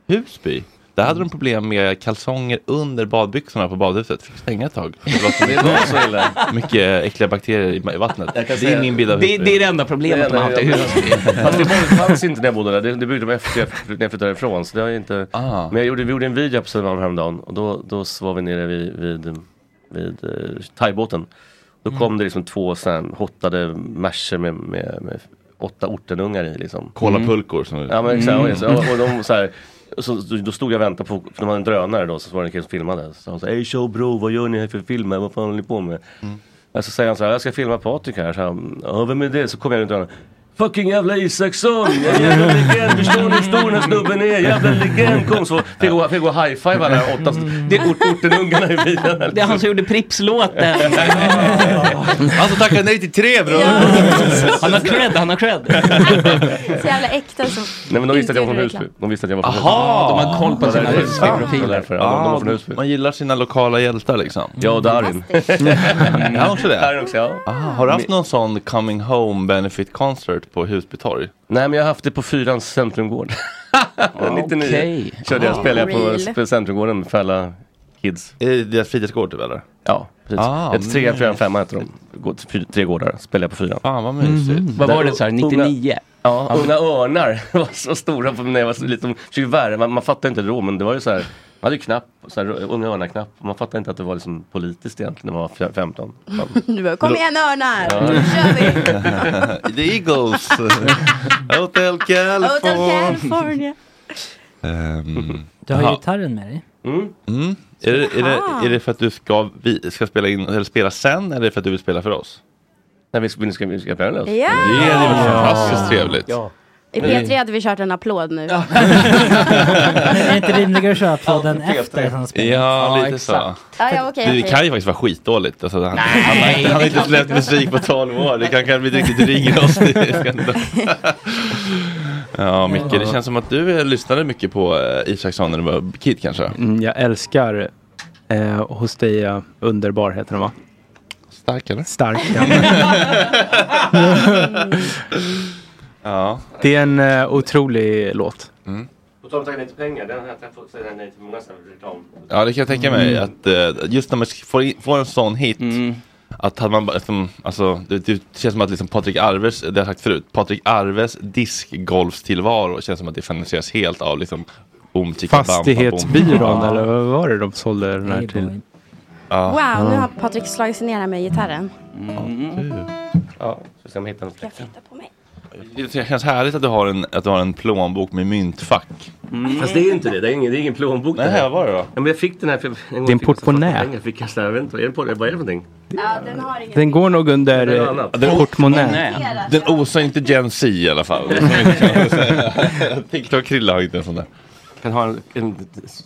[SPEAKER 1] Husby? Där hade de problem med kalsonger under badbyxorna på badhuset. Fick stänga ett tag. Det var så,
[SPEAKER 10] Det var så illa.
[SPEAKER 1] Mycket äckliga bakterier i i vattnet.
[SPEAKER 10] Jag kan
[SPEAKER 1] Det
[SPEAKER 10] säga-
[SPEAKER 1] är min bild av
[SPEAKER 6] Det-
[SPEAKER 1] Husby.
[SPEAKER 6] det är det enda problemet man har haft i huset.
[SPEAKER 10] Fast det var- fanns inte när jag bodde där. Det, det byggde de efter jag flytt- när jag flyttade ifrån. Så det har ju inte...
[SPEAKER 1] Ah.
[SPEAKER 10] Men jag gjorde, vi gjorde en video på Södermalm häromdagen och då, då så var vi nere vid, vid, vid eh, thaibåten. Då kom
[SPEAKER 1] Mm.
[SPEAKER 10] det liksom två så här hottade marscher med, med, med åtta ortenungar i. Liksom.
[SPEAKER 1] Kolapulkor som
[SPEAKER 10] Ja men exakt,
[SPEAKER 1] Mm.
[SPEAKER 10] och, så- och, och de så här, och så, då stod jag och väntade på, för de hade en drönare då, så var det en kille som filmade. Så han sa, hej show bro, vad gör ni här för film? här? Vad fan håller ni på med? Mm. Så säger han så här, jag ska filma Patrik här. Så här, ja, vem är det? Så kommer jag runt och Fucking jävla Isaksson! Jävla legend! Förstår ni hur stor den här snubben är? Jävla legend! Kom så! Fick gå, fick gå high-five alla åtta. st- Det är ort, ortenungarna i bilen.
[SPEAKER 6] Mm. Det är han som gjorde Pripps-låten.
[SPEAKER 1] Han som tackade nej till tre bror.
[SPEAKER 6] Han har cred, han har cred.
[SPEAKER 5] Så jävla äkta som...
[SPEAKER 10] Nej men de visste att jag var från
[SPEAKER 5] Inte
[SPEAKER 10] Husby. De visste att jag var från Husby.
[SPEAKER 1] Aha!
[SPEAKER 10] De har koll på sina
[SPEAKER 1] Husby-profiler.
[SPEAKER 10] Ja, de var från Husby.
[SPEAKER 1] Man gillar sina lokala hjältar liksom.
[SPEAKER 10] Ja, och Darin.
[SPEAKER 1] Han också det?
[SPEAKER 10] Darin också, ja.
[SPEAKER 1] Ah, har du haft någon sån coming home benefit concert på Husby torg?
[SPEAKER 10] Nej men jag har haft det på Fyrans centrumgård. 99
[SPEAKER 1] Okej.
[SPEAKER 10] körde jag,
[SPEAKER 1] Ah.
[SPEAKER 10] spelade jag på
[SPEAKER 1] Real.
[SPEAKER 10] sp- Centrumgården för alla kids. I deras fritidsgård typ eller? Ja, precis.
[SPEAKER 1] Ah,
[SPEAKER 10] Ett, tre,
[SPEAKER 1] nice.
[SPEAKER 10] fyra, femma heter de. Gå- fy- Tre gårdar, spelade jag på fyran. Mm-hmm.
[SPEAKER 1] Fan vad mysigt. Mhm. Vad var det, så här, 99?
[SPEAKER 10] Ja,
[SPEAKER 1] Ja.
[SPEAKER 10] Unga Örnar var så stora på när jag var så liten. Försökte värva, man, man fattade inte det då men det var ju så här. Man hade ju knapp, så här, Unga Örnar-knapp. Man fattade inte att det var liksom politiskt egentligen när man var fj- 15.
[SPEAKER 5] Du bara, kom igen örnar!
[SPEAKER 10] Ja.
[SPEAKER 5] Nu kör vi!
[SPEAKER 1] The Eagles. Hotel
[SPEAKER 5] Hotel
[SPEAKER 1] California.
[SPEAKER 5] California.
[SPEAKER 1] Ehm,
[SPEAKER 3] Du har
[SPEAKER 1] jaha.
[SPEAKER 3] gitarren med dig.
[SPEAKER 10] Mm.
[SPEAKER 1] Är, det, är,
[SPEAKER 3] Jaha.
[SPEAKER 1] det, är det för att du ska, vi ska spela in eller spela sen eller är det för att du vill spela för oss?
[SPEAKER 10] Nej, vi ska, vi ska, vi ska spela
[SPEAKER 5] Ja!
[SPEAKER 1] Det är ju fantastiskt trevligt.
[SPEAKER 5] I P3 hade vi kört en applåd nu.
[SPEAKER 3] Är det inte rimligare att köra applåden efter? som spelar?
[SPEAKER 1] Ja, lite så.
[SPEAKER 5] Ja, ja, okej,
[SPEAKER 1] det
[SPEAKER 5] okej.
[SPEAKER 1] kan ju faktiskt vara skitdåligt. Alltså, han, han, har inte, han har inte släppt musik på 12 år. Det kan kanske bli riktigt ringer oss. Det ska inte- ja, Micke, det känns som att du eh, lyssnade mycket på eh, Isaksson när du var kid kanske?
[SPEAKER 4] Mm, jag älskar eh, Hostea Underbar heter den va?
[SPEAKER 1] Stark eller?
[SPEAKER 4] Stark.
[SPEAKER 1] ja. Mm.
[SPEAKER 4] Det är en eh, otrolig låt.
[SPEAKER 10] På tal om tacka nej till pengar, den här jag fått säga nej till många reklam.
[SPEAKER 1] Ja, det kan jag tänka mig.
[SPEAKER 10] Mm.
[SPEAKER 1] Att eh, just när man får, in, får en sån hit.
[SPEAKER 4] Mm.
[SPEAKER 1] Att hade man bara, liksom, alltså, det, det känns som att liksom Patrik Arves, det har jag sagt förut, Patrik Arves diskgolfstillvaro känns som att det finansieras helt av liksom boom, chicka, bam, bam, boom.
[SPEAKER 4] Fastighetsbyrån
[SPEAKER 1] Ja.
[SPEAKER 4] eller vad var det de sålde den här till?
[SPEAKER 1] Ja.
[SPEAKER 5] Wow, nu har Patrik slagit sig ner här med gitarren.
[SPEAKER 1] Mm.
[SPEAKER 10] Ja, så ska man hitta något.
[SPEAKER 1] Det känns härligt att du har en, att du har en plånbok med myntfack.
[SPEAKER 10] Fast det är inte det, det är ingen, det är ingen plånbok det
[SPEAKER 1] Mm. Nej,
[SPEAKER 10] här.
[SPEAKER 1] vad var det då?
[SPEAKER 10] Ja, men jag fick den här för en gång
[SPEAKER 4] Det är en
[SPEAKER 10] fick jag så fattiga
[SPEAKER 4] portmonnä.
[SPEAKER 10] pengar, Fick jag, så här, jag vet inte, vad är det på det? Vad är det för någonting?
[SPEAKER 4] Den går nog under
[SPEAKER 10] Det är
[SPEAKER 4] eh,
[SPEAKER 10] annat.
[SPEAKER 4] portmonnä.
[SPEAKER 1] Den osar inte Gen Z i alla fall. Det kan man inte säga. TikTok-Krille har inte en sån där.
[SPEAKER 10] Kan ha en, en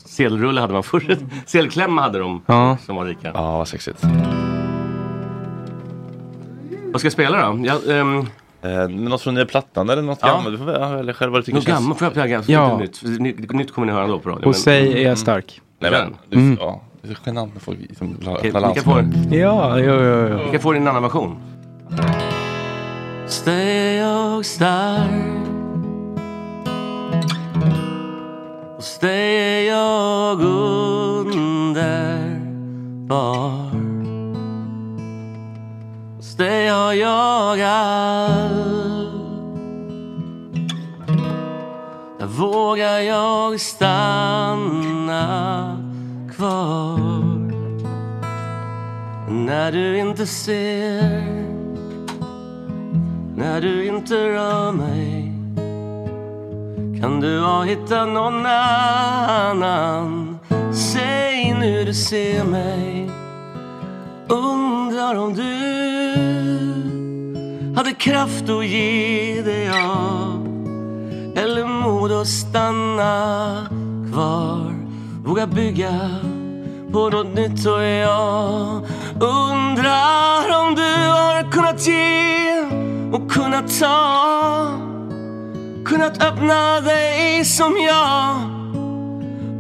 [SPEAKER 10] selrulle hade man förr. Selklämma hade de
[SPEAKER 4] Ja.
[SPEAKER 10] som var rika.
[SPEAKER 1] Ja, vad sexigt.
[SPEAKER 10] Vad ska jag spela då? Jag, ehm,
[SPEAKER 1] Eh, något från nya plattan eller något
[SPEAKER 10] Ja.
[SPEAKER 1] gammalt? Du får väl- välja själv vad du tycker
[SPEAKER 10] något gammalt? Får jag plugga?
[SPEAKER 4] Ja.
[SPEAKER 10] Ja. Nytt, nytt, nytt kommer ni höra då på radio. men-
[SPEAKER 4] Hosei är stark.
[SPEAKER 1] Nej, men, du,
[SPEAKER 4] Mm.
[SPEAKER 1] ja, det är genant med folk liksom som
[SPEAKER 10] Okej,
[SPEAKER 1] öppnar
[SPEAKER 10] Vilka får,
[SPEAKER 1] landskap.
[SPEAKER 4] Ja, jo, jo, jo.
[SPEAKER 10] vilka får din annan version? Stay jag stark Och steg jag underbar Och steg har jag allt Där vågar jag stanna kvar När du inte ser När du inte rör mig kan du ha hittat någon annan? Säg nu du ser mig Undrar om du hade kraft att ge dig av Eller mod att stanna kvar Våga bygga på något nytt och jag Undrar om du har kunnat ge och kunnat ta kunnat öppna dig som jag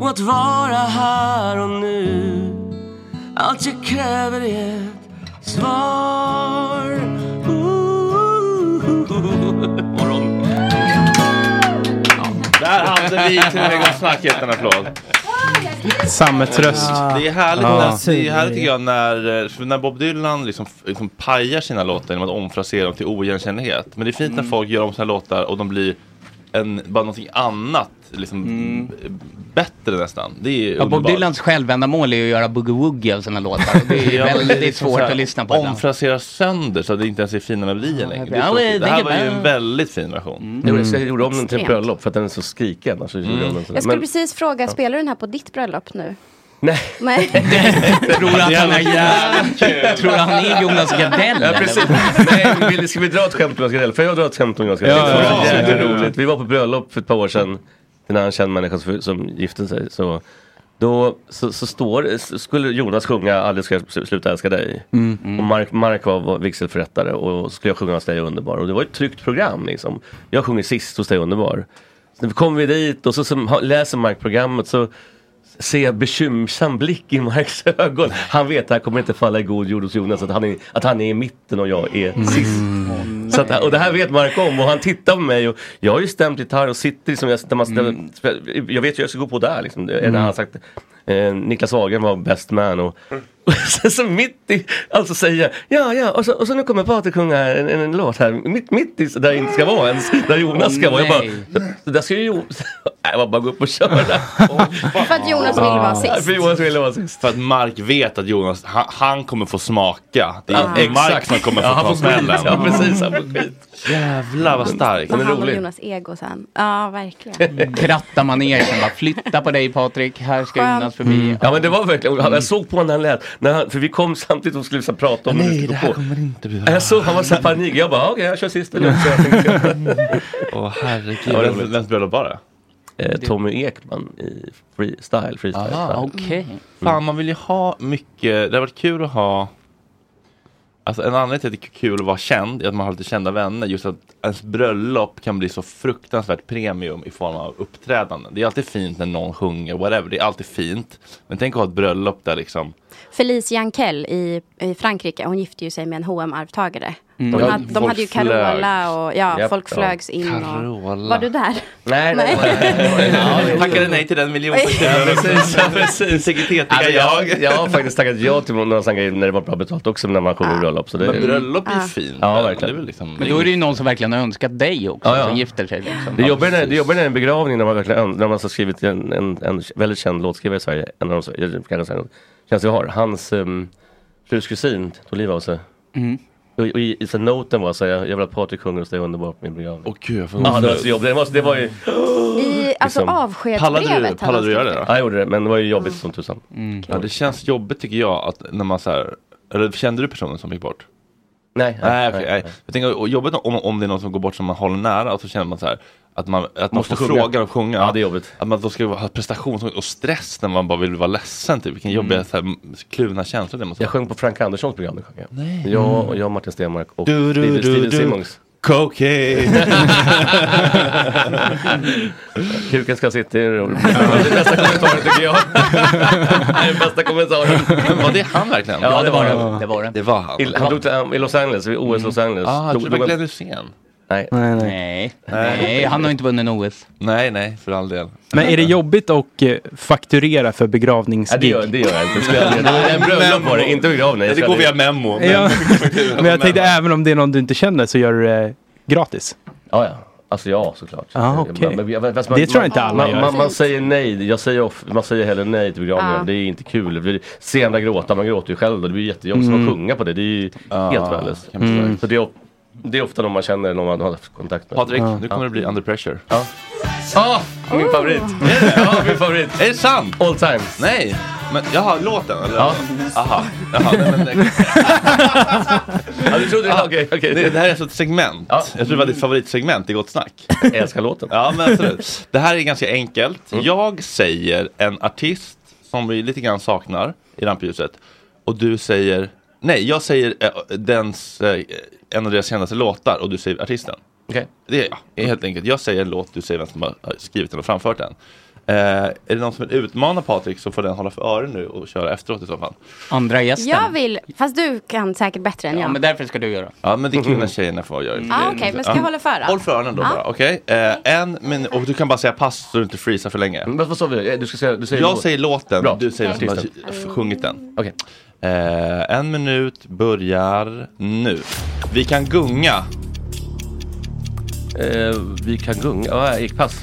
[SPEAKER 10] och att vara här och nu. Allt jag kräver är ett svar. Ooh. Morgon.
[SPEAKER 1] Där hade vi trädgårdssnacket en applåd.
[SPEAKER 4] Sammetsröst.
[SPEAKER 1] Det är härligt,
[SPEAKER 4] Ja.
[SPEAKER 1] när, det är härligt tycker jag när, eh, för när Bob Dylan liksom, liksom pajar sina låtar genom att omfrasera dem till oigenkännlighet. Men det är
[SPEAKER 10] Mm.
[SPEAKER 1] fint när folk gör om sina låtar och de blir en, bara någonting annat, liksom,
[SPEAKER 10] Mm.
[SPEAKER 1] bättre nästan. Det är
[SPEAKER 6] Ja, Bob
[SPEAKER 1] underbart.
[SPEAKER 6] Dylans självändamål är ju att göra boogie-woogie av sina låtar. Och Det är
[SPEAKER 1] Ja, men
[SPEAKER 6] väldigt
[SPEAKER 1] det är liksom
[SPEAKER 6] svårt
[SPEAKER 1] så här,
[SPEAKER 6] att lyssna på. ibland.
[SPEAKER 1] Omfrasera sönder så att det inte ens är fina melodier längre. Det, är
[SPEAKER 6] Ja,
[SPEAKER 1] så-
[SPEAKER 6] men
[SPEAKER 1] det här
[SPEAKER 6] tänk
[SPEAKER 1] var ju
[SPEAKER 6] bara-
[SPEAKER 1] en väldigt fin version.
[SPEAKER 10] Mm. Jag gjorde om den till ett
[SPEAKER 5] Extremt.
[SPEAKER 10] bröllop för att den är så skriken. Alltså,
[SPEAKER 1] Mm.
[SPEAKER 10] mm.
[SPEAKER 5] Jag skulle precis fråga, spelar du den här på ditt bröllop nu?
[SPEAKER 10] Nej.
[SPEAKER 5] Nej.
[SPEAKER 6] Tror han är jävligt kul. Tror han är Jonas Gardell?
[SPEAKER 10] Ja, precis. Nej, vill- ska vi dra ett skämt om Jonas Gardell? Får jag dra ett skämt om Jonas Gardell?
[SPEAKER 6] Ja, ja, ja.
[SPEAKER 10] Det
[SPEAKER 6] Ja,
[SPEAKER 10] är
[SPEAKER 6] ja, ja.
[SPEAKER 10] jävligt roligt. Vi var på bröllop för ett par år sedan. Den här känd människa som- som gifte sig. Så, då så, så står, s- skulle Jonas sjunga Aldrig ska jag sl- sluta älska dig.
[SPEAKER 6] Mm.
[SPEAKER 10] Och Mark, Mark var var vigselförrättare och skulle jag sjunga hos dig är underbar. Och det var ett tryggt program liksom. Jag sjunger sist hos dig är underbar. Så kom vi dit och så, så ha- läser Mark programmet så ser jag bekymmersam blick i Marks ögon. Han vet att han kommer inte falla i god jord hos Jonas, att han är, att han är i mitten och jag är
[SPEAKER 6] Mm.
[SPEAKER 10] sist. Så att, och det här vet Mark om och han tittar på mig och jag har ju stämt gitarr och sitter liksom, jag, när man stämmer, jag vet ju jag ska gå på där liksom. Det är
[SPEAKER 6] Mm.
[SPEAKER 10] när han har sagt eh, Niklas Hagen var best man och och sen så mitt i, alltså säger jag, ja ja och så, och så nu kommer Patrik sjunga en, en, en låt här, mitt, mitt i så där jag inte ska vara ens, där Jonas ska
[SPEAKER 6] Åh,
[SPEAKER 10] vara. Jag bara,
[SPEAKER 6] nej.
[SPEAKER 10] "Så där ska ju Jonas, jag var bara gå upp och köra.
[SPEAKER 5] För att Jonas Alltså, vill vara sist.
[SPEAKER 1] För Jonas ville vara sist. För att Mark vet att Jonas, han, han kommer få smaka. Det är
[SPEAKER 10] Ja.
[SPEAKER 1] Mark
[SPEAKER 10] Exakt.
[SPEAKER 1] som kommer få
[SPEAKER 10] Ja, han
[SPEAKER 1] ta
[SPEAKER 10] får skit.
[SPEAKER 1] smällen. Mm.
[SPEAKER 10] Ja, precis, han får
[SPEAKER 1] Jävlar vad starkt.
[SPEAKER 5] Man handlar om Jonas ego sen. Ja, verkligen.
[SPEAKER 6] Krattar man ner sen bara flytta på dig Patrik, här ska
[SPEAKER 5] Skönt.
[SPEAKER 6] Jonas förbi.
[SPEAKER 10] Ja men det var verkligen,
[SPEAKER 1] Mm.
[SPEAKER 10] jag såg på honom när han lät, när han, för vi kom samtidigt och skulle så här prata om hur det skulle gå på.
[SPEAKER 1] inte bli
[SPEAKER 10] Jag såg, han var så här panik, jag bara okej jag kör sist nu. Så jag tänkte,
[SPEAKER 1] Åh herregud.
[SPEAKER 10] Ja, det
[SPEAKER 1] Ja,
[SPEAKER 10] är
[SPEAKER 1] vems
[SPEAKER 10] roligt.
[SPEAKER 1] vems bröllop var det?
[SPEAKER 10] eh, Tommy Ekman i freestyle, freestyle. Mm.
[SPEAKER 1] Aha,
[SPEAKER 10] style.
[SPEAKER 6] okej.
[SPEAKER 1] Fan man vill ju ha mycket, det har varit kul att ha Alltså en anledning till att det är kul att vara känd är att man har lite kända vänner. Just att ens bröllop kan bli så fruktansvärt premium i form av uppträdanden. Det är alltid fint när någon sjunger, whatever. Det är alltid fint. Men tänk att ha ett bröllop där liksom
[SPEAKER 5] Felice Jankell i, i Frankrike, hon gifte ju sig med en hm arvtagare
[SPEAKER 1] Mm.
[SPEAKER 5] De,
[SPEAKER 1] Ja,
[SPEAKER 5] hade, de
[SPEAKER 1] folk
[SPEAKER 5] hade ju Carola
[SPEAKER 1] flögs.
[SPEAKER 5] och ja,
[SPEAKER 1] Japp,
[SPEAKER 5] folk
[SPEAKER 1] ja.
[SPEAKER 5] flögs in. Och,
[SPEAKER 1] Carola.
[SPEAKER 5] var du där?
[SPEAKER 10] Nej,
[SPEAKER 5] nej,
[SPEAKER 1] Jag tackade nej till den miljonen.
[SPEAKER 10] Ja, precis, ja, precis.
[SPEAKER 1] Integritetiga
[SPEAKER 10] jag,
[SPEAKER 1] jag.
[SPEAKER 10] jag, har faktiskt tackat ja till några sådana grejer när det var bra betalt också när man sjunger bröllop. Så det,
[SPEAKER 1] Men bröllop är
[SPEAKER 10] Ja.
[SPEAKER 1] ju fint.
[SPEAKER 10] Ja, verkligen.
[SPEAKER 1] liksom-
[SPEAKER 6] Men då är det ju någon som verkligen har önskat dig också,
[SPEAKER 10] Ja, ja.
[SPEAKER 6] som gifter sig. Liksom.
[SPEAKER 10] Det jobbar när, det jobbar när en begravning när man verkligen öns- när man har skrivit en, en, en väldigt känd låtskrivare i Sverige, en av de jag kan säga, känns jag har, hans um, frus kusin tog livet av sig.
[SPEAKER 6] Mm.
[SPEAKER 10] Och, och i, i så noten var så här, jag vill att Patrik sjunger hos dig underbart på min begravning.
[SPEAKER 1] Åh gud, jag
[SPEAKER 6] får
[SPEAKER 10] Ja, det var
[SPEAKER 6] gåshud.
[SPEAKER 10] så jobbigt. Det var, det var ju...
[SPEAKER 5] I alltså
[SPEAKER 10] Liksom.
[SPEAKER 5] avskedsbrevet hade han skrivit.
[SPEAKER 10] Ja, jag gjorde det, men det var ju jobbigt som tusan.
[SPEAKER 1] Ja, det känns jobbigt tycker jag att när man så här, eller kände du personen som gick bort?
[SPEAKER 10] Nej.
[SPEAKER 1] Nej,
[SPEAKER 10] nej,
[SPEAKER 1] okej,
[SPEAKER 10] nej,
[SPEAKER 1] nej.
[SPEAKER 10] nej.
[SPEAKER 1] Jag tänker och jobbigt om, om det är någon som går bort som man håller nära och så känner man så här att man, att man
[SPEAKER 10] Måste
[SPEAKER 1] får
[SPEAKER 10] sjunga.
[SPEAKER 1] frågan att sjunga.
[SPEAKER 10] Ja, det är jobbigt.
[SPEAKER 1] Att man då ska ha prestation och stress när man bara vill vara ledsen typ. Vilken jobbiga så här, kluvna känslor det måste
[SPEAKER 10] Mm. Jag sjöng på Frank Anderssons program. det sjöng jag.
[SPEAKER 1] Nej.
[SPEAKER 10] Jag, och jag, Martin Stenmark och
[SPEAKER 1] Du, du,
[SPEAKER 10] Steven-
[SPEAKER 1] du,
[SPEAKER 10] Steven
[SPEAKER 1] du.
[SPEAKER 10] Simmons.
[SPEAKER 1] Cocaine.
[SPEAKER 10] Kuken ska sitta i en roll. Det är den bästa kommentaren tycker jag. Det är den bästa kommentaren.
[SPEAKER 1] Var det han verkligen?
[SPEAKER 10] Ja, det var
[SPEAKER 6] han.
[SPEAKER 10] han.
[SPEAKER 6] Det var det.
[SPEAKER 1] Det var han.
[SPEAKER 10] I, han dog till, um, i Los Angeles, vid OS Los Angeles.
[SPEAKER 1] Ah, jag
[SPEAKER 10] Dog-
[SPEAKER 1] trodde det var
[SPEAKER 10] dog-
[SPEAKER 1] Glenn Hysén.
[SPEAKER 10] Nej.
[SPEAKER 6] Nej, nej. nej, han har inte vunnit en OS.
[SPEAKER 1] Nej, nej, för all del.
[SPEAKER 4] Men är det jobbigt att eh, fakturera för
[SPEAKER 10] Ja, det,
[SPEAKER 4] begravningsgig?
[SPEAKER 10] gör, det gör jag inte. Det spelar ingen roll. Det är en bröllop var det, inte begravning.
[SPEAKER 1] Ja, det går via memo.
[SPEAKER 4] Ja. Men jag tänkte
[SPEAKER 10] Memo.
[SPEAKER 4] även om det är någon du inte känner så gör du det gratis.
[SPEAKER 10] Ja, ja. Alltså ja, såklart.
[SPEAKER 4] Ah, okej.
[SPEAKER 10] Men- men- fast
[SPEAKER 4] Det tror jag inte alla
[SPEAKER 10] man,
[SPEAKER 4] gör.
[SPEAKER 10] Man, man säger nej, jag säger off, man säger heller nej till begravningen.
[SPEAKER 4] Ja.
[SPEAKER 10] Det är inte kul. Det blir sena gråta, man gråter ju själv då. Det blir jättejobbigt mm.
[SPEAKER 4] Mm.
[SPEAKER 10] att sjunga på det. Det är ju helt värdelöst.
[SPEAKER 1] Ah, kan man säga.
[SPEAKER 10] Så det är, of- det är ofta någon man känner, någon man har haft kontakt med.
[SPEAKER 1] Patrik,
[SPEAKER 10] Ja.
[SPEAKER 1] nu kommer det bli under pressure.
[SPEAKER 10] Ja. Ah, min favorit. Ja, min favorit.
[SPEAKER 1] Är det sant?
[SPEAKER 10] All time.
[SPEAKER 1] Nej. Men jaha, låten eller?
[SPEAKER 10] Ja.
[SPEAKER 1] Aha. Jaha, nej, men, nej.
[SPEAKER 10] ja, du trodde det? Ah, Okej, okej.
[SPEAKER 1] Det, det här är alltså ett segment. Jag trodde det var ditt favoritsegment i Gott Snack.
[SPEAKER 10] Jag älskar låten. Mm.
[SPEAKER 1] Ja, men absolut. Det här är ganska enkelt. Jag säger en artist som vi lite grann saknar i rampljuset. Och du säger, nej, jag säger eh, dens, eh, en av deras senaste låtar och du säger artisten.
[SPEAKER 10] Okej.
[SPEAKER 1] Det är jag, helt enkelt. Jag säger en låt, du säger vem som har har skrivit den och framfört den. Eh, är det någon som vill utmana Patrik så får den hålla för öronen nu och köra efteråt i så fall.
[SPEAKER 6] Andra gästen.
[SPEAKER 5] Jag vill, fast du kan säkert bättre än
[SPEAKER 6] Ja,
[SPEAKER 5] jag.
[SPEAKER 6] men därför ska du göra.
[SPEAKER 1] Ja men det är kul när tjejerna får göra det.
[SPEAKER 5] Ja, Mm. Ah, okej, men ska jag hålla för då?
[SPEAKER 1] Håll för öronen då
[SPEAKER 5] Ja.
[SPEAKER 1] bara, okej? Eh, en min- och du kan bara säga pass så du inte freezar för länge.
[SPEAKER 10] Men vad sa vi? Eh, Du ska säga, du säger
[SPEAKER 1] jag
[SPEAKER 10] låt.
[SPEAKER 1] säger låten,
[SPEAKER 10] Bra.
[SPEAKER 1] du säger
[SPEAKER 10] Okej.
[SPEAKER 1] vem som har sjungit den.
[SPEAKER 10] Okej.
[SPEAKER 1] Eh, en minut börjar nu. Vi kan gunga.
[SPEAKER 10] Eh, vi kan gunga, ja, gick pass.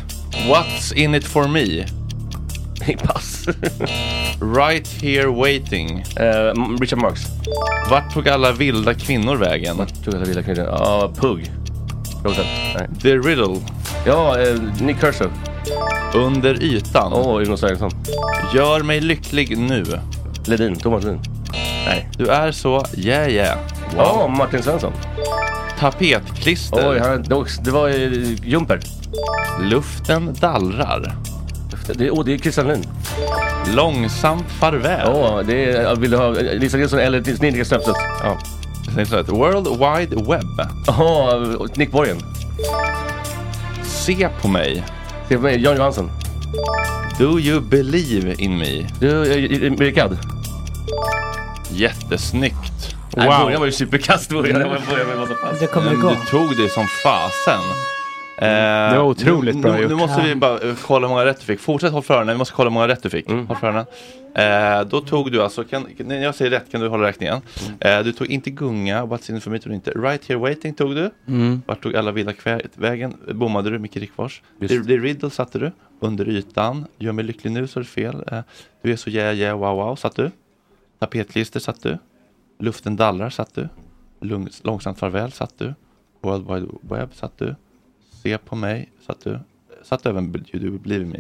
[SPEAKER 1] What's in it for me?
[SPEAKER 10] Gick pass.
[SPEAKER 1] right here waiting.
[SPEAKER 10] Eh, Richard Marx.
[SPEAKER 1] Vart tog alla vilda kvinnor vägen?
[SPEAKER 10] Vart tog alla vilda kvinnor? Ja, Pugh. Rosen. Nej.
[SPEAKER 1] The Riddle.
[SPEAKER 10] Ja, eh, Nick Kershaw.
[SPEAKER 1] Under ytan.
[SPEAKER 10] Åh, Uno Svensson.
[SPEAKER 1] Gör mig lycklig nu.
[SPEAKER 10] Ledin, Thomas Ledin.
[SPEAKER 1] Nej. Du är så yeah yeah.
[SPEAKER 10] Ja, Martin Svensson.
[SPEAKER 1] Tapetklister.
[SPEAKER 10] Oj, han, det var- det var eh, Jumper.
[SPEAKER 1] Luften dallrar.
[SPEAKER 10] Det, är- åh, det är Christian Lund.
[SPEAKER 1] Långsamt farväl.
[SPEAKER 10] Åh, det är, vill du ha eh, Lisa Nilsson eller Snickare Strömstedt? Ja.
[SPEAKER 1] Snyggt. World Wide Web.
[SPEAKER 10] Jaha, Nick Borgen.
[SPEAKER 1] Se på mig.
[SPEAKER 10] Se på mig, Jan Johansson.
[SPEAKER 1] Do you believe in me?
[SPEAKER 10] Du, eh, Rickard.
[SPEAKER 1] Jättesnyggt.
[SPEAKER 10] Nej, början var ju superkast. Början Jag började med massa pass.
[SPEAKER 3] Det kommer
[SPEAKER 1] Men
[SPEAKER 3] igång.
[SPEAKER 1] Du tog det som fasen.
[SPEAKER 10] Mm.
[SPEAKER 1] Eh,
[SPEAKER 4] Det var otroligt
[SPEAKER 1] nu,
[SPEAKER 4] bra
[SPEAKER 1] nu, nu
[SPEAKER 4] gjort.
[SPEAKER 1] måste
[SPEAKER 4] Ja.
[SPEAKER 1] vi bara eh, kolla hur många rätt du fick. Fortsätt håll för öronen, vi måste kolla hur många rätt du fick.
[SPEAKER 10] Mm.
[SPEAKER 1] Håll för öronen. Eh, då tog du alltså, kan, när jag säger rätt kan du hålla räkningen.
[SPEAKER 10] Mm.
[SPEAKER 1] Eh, du tog inte Gunga, What's in for me tog du inte. Right here waiting tog du.
[SPEAKER 4] Mm.
[SPEAKER 1] Vart tog alla vilda kvä- vägen? Bommade du Micke Rickfors?
[SPEAKER 4] Just.
[SPEAKER 1] Det, det Riddle satte du. Under ytan. Gör mig lycklig nu så är det fel. Eh, du är så yeah yeah wow wow satt du. Tapetklister satt du. Luften dallrar satt du. Lugn, långsamt farväl satt du. World Wide Web satt du. Se på mig satt du. Satt du även You Do Believe Me?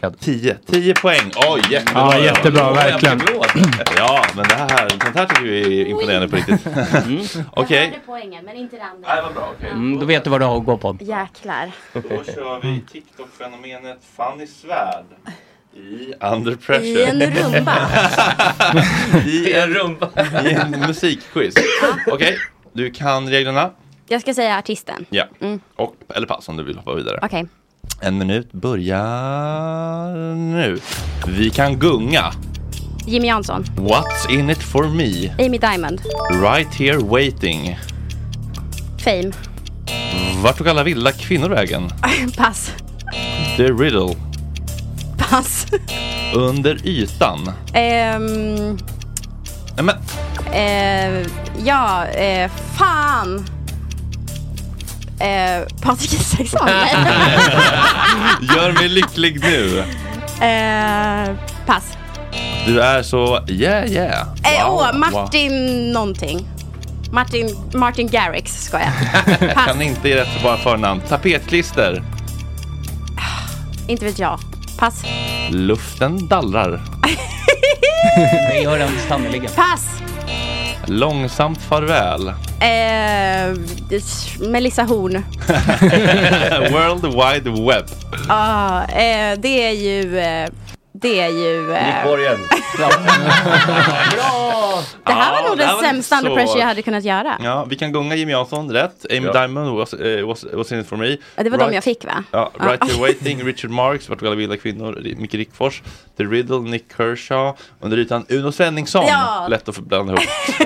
[SPEAKER 1] Ja. 10. 10 poäng. Oj, jättebra.
[SPEAKER 4] Ja, jättebra,
[SPEAKER 1] Oj,
[SPEAKER 4] verkligen.
[SPEAKER 1] applåd. Ja, men det här, sånt här tycker vi är imponerande på riktigt.
[SPEAKER 4] Mm.
[SPEAKER 1] Okej.
[SPEAKER 5] poängen, men inte det andra.
[SPEAKER 1] Nej, vad bra. Okej.
[SPEAKER 6] Mm, då vet du vad du har att gå på.
[SPEAKER 5] Jäklar.
[SPEAKER 1] Då kör vi TikTok-fenomenet Fanny Svärd i Under Pressure.
[SPEAKER 5] I en rumba.
[SPEAKER 1] I en rumba. I en musikquiz. Okej, du kan reglerna.
[SPEAKER 5] Jag ska säga artisten.
[SPEAKER 1] Ja.
[SPEAKER 5] Mm.
[SPEAKER 1] Och, eller pass om du vill hoppa vidare.
[SPEAKER 5] Okej.
[SPEAKER 1] En minut börjar nu. Vi kan gunga.
[SPEAKER 5] Jimmy Jansson.
[SPEAKER 1] What's in it for me?
[SPEAKER 5] Amy Diamond.
[SPEAKER 1] Right here waiting.
[SPEAKER 5] Fame.
[SPEAKER 1] Vart tog alla vilda kvinnor vägen?
[SPEAKER 5] Pass.
[SPEAKER 1] The riddle.
[SPEAKER 5] Pass.
[SPEAKER 1] Under ytan.
[SPEAKER 5] Ehm,
[SPEAKER 1] Nej, men
[SPEAKER 5] eh, ja, eh, fan. Eh, Patrik Isaksson.
[SPEAKER 1] Gör mig lycklig nu.
[SPEAKER 5] eh, pass.
[SPEAKER 1] Du är så yeah yeah.
[SPEAKER 5] Eh,
[SPEAKER 1] Wow,
[SPEAKER 5] åh,
[SPEAKER 1] wow.
[SPEAKER 5] Martin någonting. Martin, Martin Garrix, ska jag.
[SPEAKER 1] Jag kan inte ge rätt för bara förnamn. Tapetklister.
[SPEAKER 5] Inte vet jag. Pass.
[SPEAKER 1] Luften dallrar.
[SPEAKER 6] Det gör den sannoliken.
[SPEAKER 5] Pass.
[SPEAKER 1] Långsamt farväl.
[SPEAKER 5] Eh, Melissa Horn.
[SPEAKER 1] World Wide Web.
[SPEAKER 5] Ja, eh, det är ju... Eh, det är ju... Eh,
[SPEAKER 10] Borgen.
[SPEAKER 5] bra! Det här
[SPEAKER 1] Ja,
[SPEAKER 5] var nog
[SPEAKER 1] det här var
[SPEAKER 5] den
[SPEAKER 1] inte så-
[SPEAKER 5] sämsta
[SPEAKER 1] Mm.
[SPEAKER 5] under pressure jag hade kunnat göra.
[SPEAKER 1] Ja, vi kan gunga Jimmy Jansson rätt. Amy
[SPEAKER 5] Ja.
[SPEAKER 1] Diamond was, eh, was, was in it for me.
[SPEAKER 5] Ja, Det var de
[SPEAKER 1] Right-
[SPEAKER 5] jag fick va?
[SPEAKER 1] Ja,
[SPEAKER 5] Ja.
[SPEAKER 1] Right Here Waiting, Richard Marx, Vart tog alla vilda kvinnor, Micke Rickfors, The Riddle, Nick Kershaw, Under ytan Uno Svenningsson.
[SPEAKER 5] Ja.
[SPEAKER 1] Lätt att blanda ihop.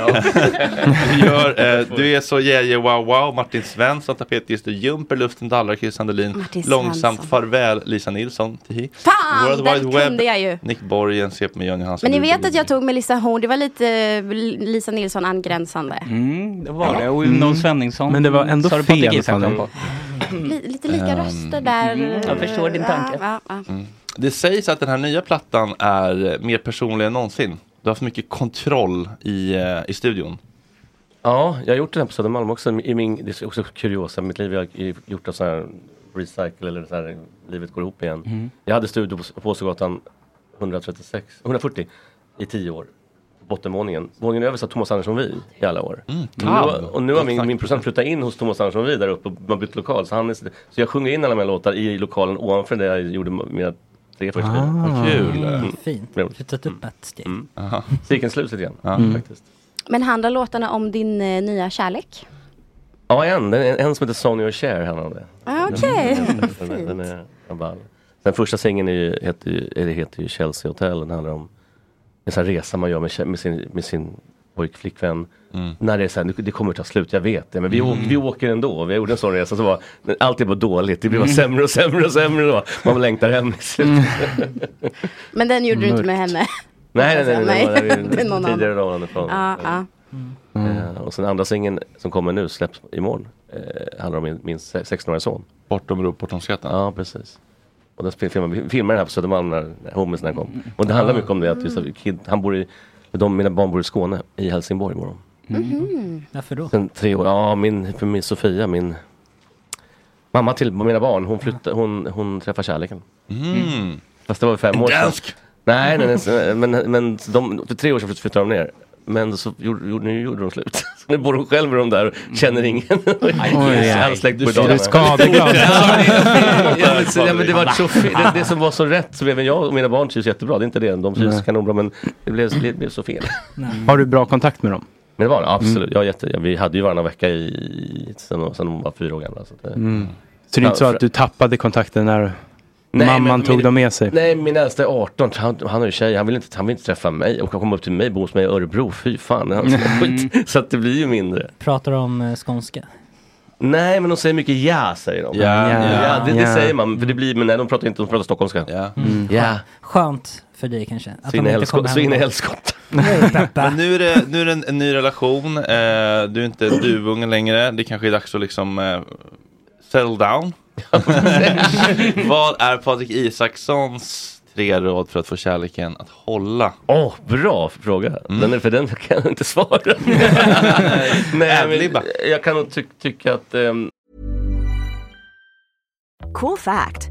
[SPEAKER 1] Gör, eh, du är så yeah, yeah wow wow, Martin Svensson, Tapetgister, Jumper, Luften Dallrar, Chris Sandelin,
[SPEAKER 5] Martin
[SPEAKER 1] Långsamt
[SPEAKER 5] Svensson.
[SPEAKER 1] farväl, Lisa Nilsson, Tihi.
[SPEAKER 5] Fan, den kunde jag ju.
[SPEAKER 1] Nick Borgen, Se på mig, Johnny Hansson.
[SPEAKER 5] Men ni vet att jag tog Melissa Horn, det var lite eh, Lisa Nilsson angränsande.
[SPEAKER 6] Mm, det var det. Och Uno Svenningsson. Men det var ändå
[SPEAKER 4] fel, Fanny.
[SPEAKER 5] Li- lite lika
[SPEAKER 1] Ehm.
[SPEAKER 5] röster där.
[SPEAKER 6] Mm, jag förstår din tanke.
[SPEAKER 5] Ja, ja, ja.
[SPEAKER 1] Det sägs att den här nya plattan är eh, mer personlig än någonsin. Du har haft mycket kontroll i, eh, i studion.
[SPEAKER 10] Ja, jag har gjort det här på Södermalm också. I min, det är också kuriosa i mitt liv. Jag har gjort en sån här recycle eller så här, livet går ihop igen.
[SPEAKER 6] Mm.
[SPEAKER 10] Jag hade studio på- på Åsögatan 136, 140 i tio år. Bottenvåningen. Våningen över satt Thomas Andersson Vi i alla år.
[SPEAKER 3] Mm,
[SPEAKER 10] Och nu,
[SPEAKER 1] Wow.
[SPEAKER 10] har- och nu har min, min producent flyttat in hos Thomas Andersson Vi där uppe och man bytt lokal. Så, han är, så jag sjunger in alla mina låtar i lokalen ovanför där jag gjorde mina tre första
[SPEAKER 3] Ah.
[SPEAKER 10] skivor.
[SPEAKER 3] Vad kul. Fint.
[SPEAKER 10] Mm.
[SPEAKER 3] Flyttat upp ett steg.
[SPEAKER 10] Mm. Cirkeln sluts lite grann
[SPEAKER 3] Ja. Mm.
[SPEAKER 10] faktiskt.
[SPEAKER 5] Men handlar låtarna om din eh, nya kärlek?
[SPEAKER 10] Ja, en. Den- En, en som heter Sonny och Cher han hade.
[SPEAKER 5] Ah, okej.
[SPEAKER 10] Den- den-
[SPEAKER 5] Fint.
[SPEAKER 10] Den, den är den ball. Den första singeln är ju, heter, ju, eller heter ju Chelsea Hotel. Den handlar om en sån här resa man gör med, tje- med sin, med sin pojk, flickvän. När det är så här, "Nu- det kommer ta slut, jag vet det. Men vi, å-
[SPEAKER 4] Mm.
[SPEAKER 10] vi åker ändå. Vi gjorde en sån resa som var, men allt det var dåligt. Det blev bara sämre och sämre och sämre. Då. Man längtar hem i slutet.
[SPEAKER 5] Men den gjorde du inte med henne.
[SPEAKER 10] Nej, nej, nej. nej, nej, nej,
[SPEAKER 5] Det är någon annan.
[SPEAKER 10] tidigare dagen ifrån.
[SPEAKER 5] Ja, ja.
[SPEAKER 10] Eh, och sen andra singeln som kommer nu släpps imorgon. Eh, handlar om min, min se- 16-åriga son.
[SPEAKER 1] Bortom ro, bortom skatten?
[SPEAKER 10] Ja, precis. Och den spel- filmar- vi filmade den här på Södermalm när när homiesna kom. Och det handlar mycket om det att just, att kid, han bor i, de, mina barn bor i Skåne, i Helsingborg imorgon.
[SPEAKER 5] Mm-hmm.
[SPEAKER 3] Varför då?
[SPEAKER 10] Sen tre år, ja min, för min Sofia, min Mamma till mina barn, hon, flyttar, hon, hon träffar kärleken.
[SPEAKER 1] Mm.
[SPEAKER 10] Fast det var ju fem
[SPEAKER 1] En
[SPEAKER 10] år sedan.
[SPEAKER 1] dansk.
[SPEAKER 10] Nej, nej, nej men, men de, för tre år sedan flyttade de ner. Men så gjorde, gjorde, nu gjorde de slut. Så nu bor hon själv med dem där och känner ingen.
[SPEAKER 1] Mm.
[SPEAKER 6] aj.
[SPEAKER 10] All släkt
[SPEAKER 6] Du
[SPEAKER 10] bor i
[SPEAKER 6] känner dig
[SPEAKER 10] Dalarna.
[SPEAKER 6] skadeglad.
[SPEAKER 10] Ja, men så- ja, men det, var så fel. det, det som var så rätt, så även jag och mina barn trivs jättebra. Det är inte det, de trivs
[SPEAKER 4] Nej.
[SPEAKER 10] kanonbra men det blev, det blev så fel.
[SPEAKER 4] Har du bra kontakt med dem?
[SPEAKER 10] Men det var det, absolut.
[SPEAKER 1] Mm.
[SPEAKER 10] Jag är jätte, ja, vi hade ju varannan vecka i, sen, sen hon var fyra år gammal. Så, att, eh.
[SPEAKER 4] Mm. Så det är inte så
[SPEAKER 10] Ja,
[SPEAKER 4] att du tappade kontakten när
[SPEAKER 10] Nej,
[SPEAKER 4] mamman
[SPEAKER 10] men-
[SPEAKER 4] tog
[SPEAKER 10] men-
[SPEAKER 4] dem med sig?
[SPEAKER 10] Nej, min äldsta är 18. Han, han har ju tjej. Han vill, inte, han vill inte träffa mig. Och han kom upp till mig, bo hos mig i Örebro. Fy fan, han ska
[SPEAKER 4] Mm.
[SPEAKER 10] skit. Så att det blir ju mindre.
[SPEAKER 3] Pratar om eh, skånska.
[SPEAKER 10] Nej, men de säger mycket ja, säger de.
[SPEAKER 3] Ja, ja,
[SPEAKER 10] det, det
[SPEAKER 3] ja.
[SPEAKER 10] säger man. För det blir, men nej, de pratar inte, de pratar stockholmska. Ja.
[SPEAKER 3] Mm.
[SPEAKER 10] ja.
[SPEAKER 3] Skönt för dig kanske. att
[SPEAKER 10] Så in
[SPEAKER 3] de
[SPEAKER 10] i
[SPEAKER 3] inte
[SPEAKER 10] helskott-
[SPEAKER 3] kommer
[SPEAKER 10] så in i
[SPEAKER 3] hem.
[SPEAKER 10] helskott.
[SPEAKER 3] Nej, Peppa.
[SPEAKER 1] Men nu är det, nu är det en, en ny relation. Eh, du är
[SPEAKER 10] Mm.
[SPEAKER 1] inte duvungen längre. Det kanske är dags att liksom eh, settle down. Vad är Patrik Isakssons tre råd för att få kärleken att hålla?
[SPEAKER 10] Åh, bra fråga.
[SPEAKER 3] Mm.
[SPEAKER 10] Den är, för den kan jag inte svara. nej, men, jag kan nog ty- tycka att... ehm,
[SPEAKER 11] Cool fact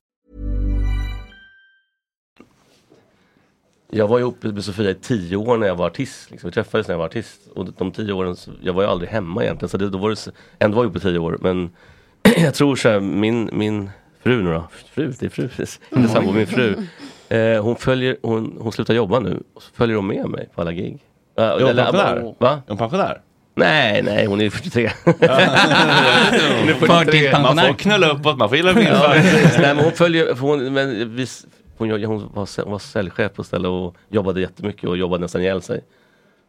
[SPEAKER 10] Jag var ihop med Sofia i tio år när jag var artist. Liksom. Vi träffades när jag var artist. Och de tio åren, så, jag var ju aldrig hemma egentligen. Så det, då var det, så- ändå var jag ihop i tio år. Men jag tror så här, min, min fru nu då. Fru, det är fru precis.
[SPEAKER 1] Mm.
[SPEAKER 10] Inte sambo, min fru. Eh, hon, följer, hon, hon slutar jobba nu. Och så följer hon med mig på alla gig. Eh,
[SPEAKER 1] Är hon
[SPEAKER 10] eller-
[SPEAKER 1] pensionär?
[SPEAKER 10] Va?
[SPEAKER 1] Är hon pensionär?
[SPEAKER 10] Nej, nej, hon är 43.
[SPEAKER 1] Hon är 43. Man får knulla uppåt, man får gilla min
[SPEAKER 10] Ja,
[SPEAKER 1] färg.
[SPEAKER 10] precis. Nej, men hon följer, för hon, men vi, hon, jo- hon, var, säl- hon var säljchef på stället och jobbade jättemycket och jobbade nästan ihjäl sig.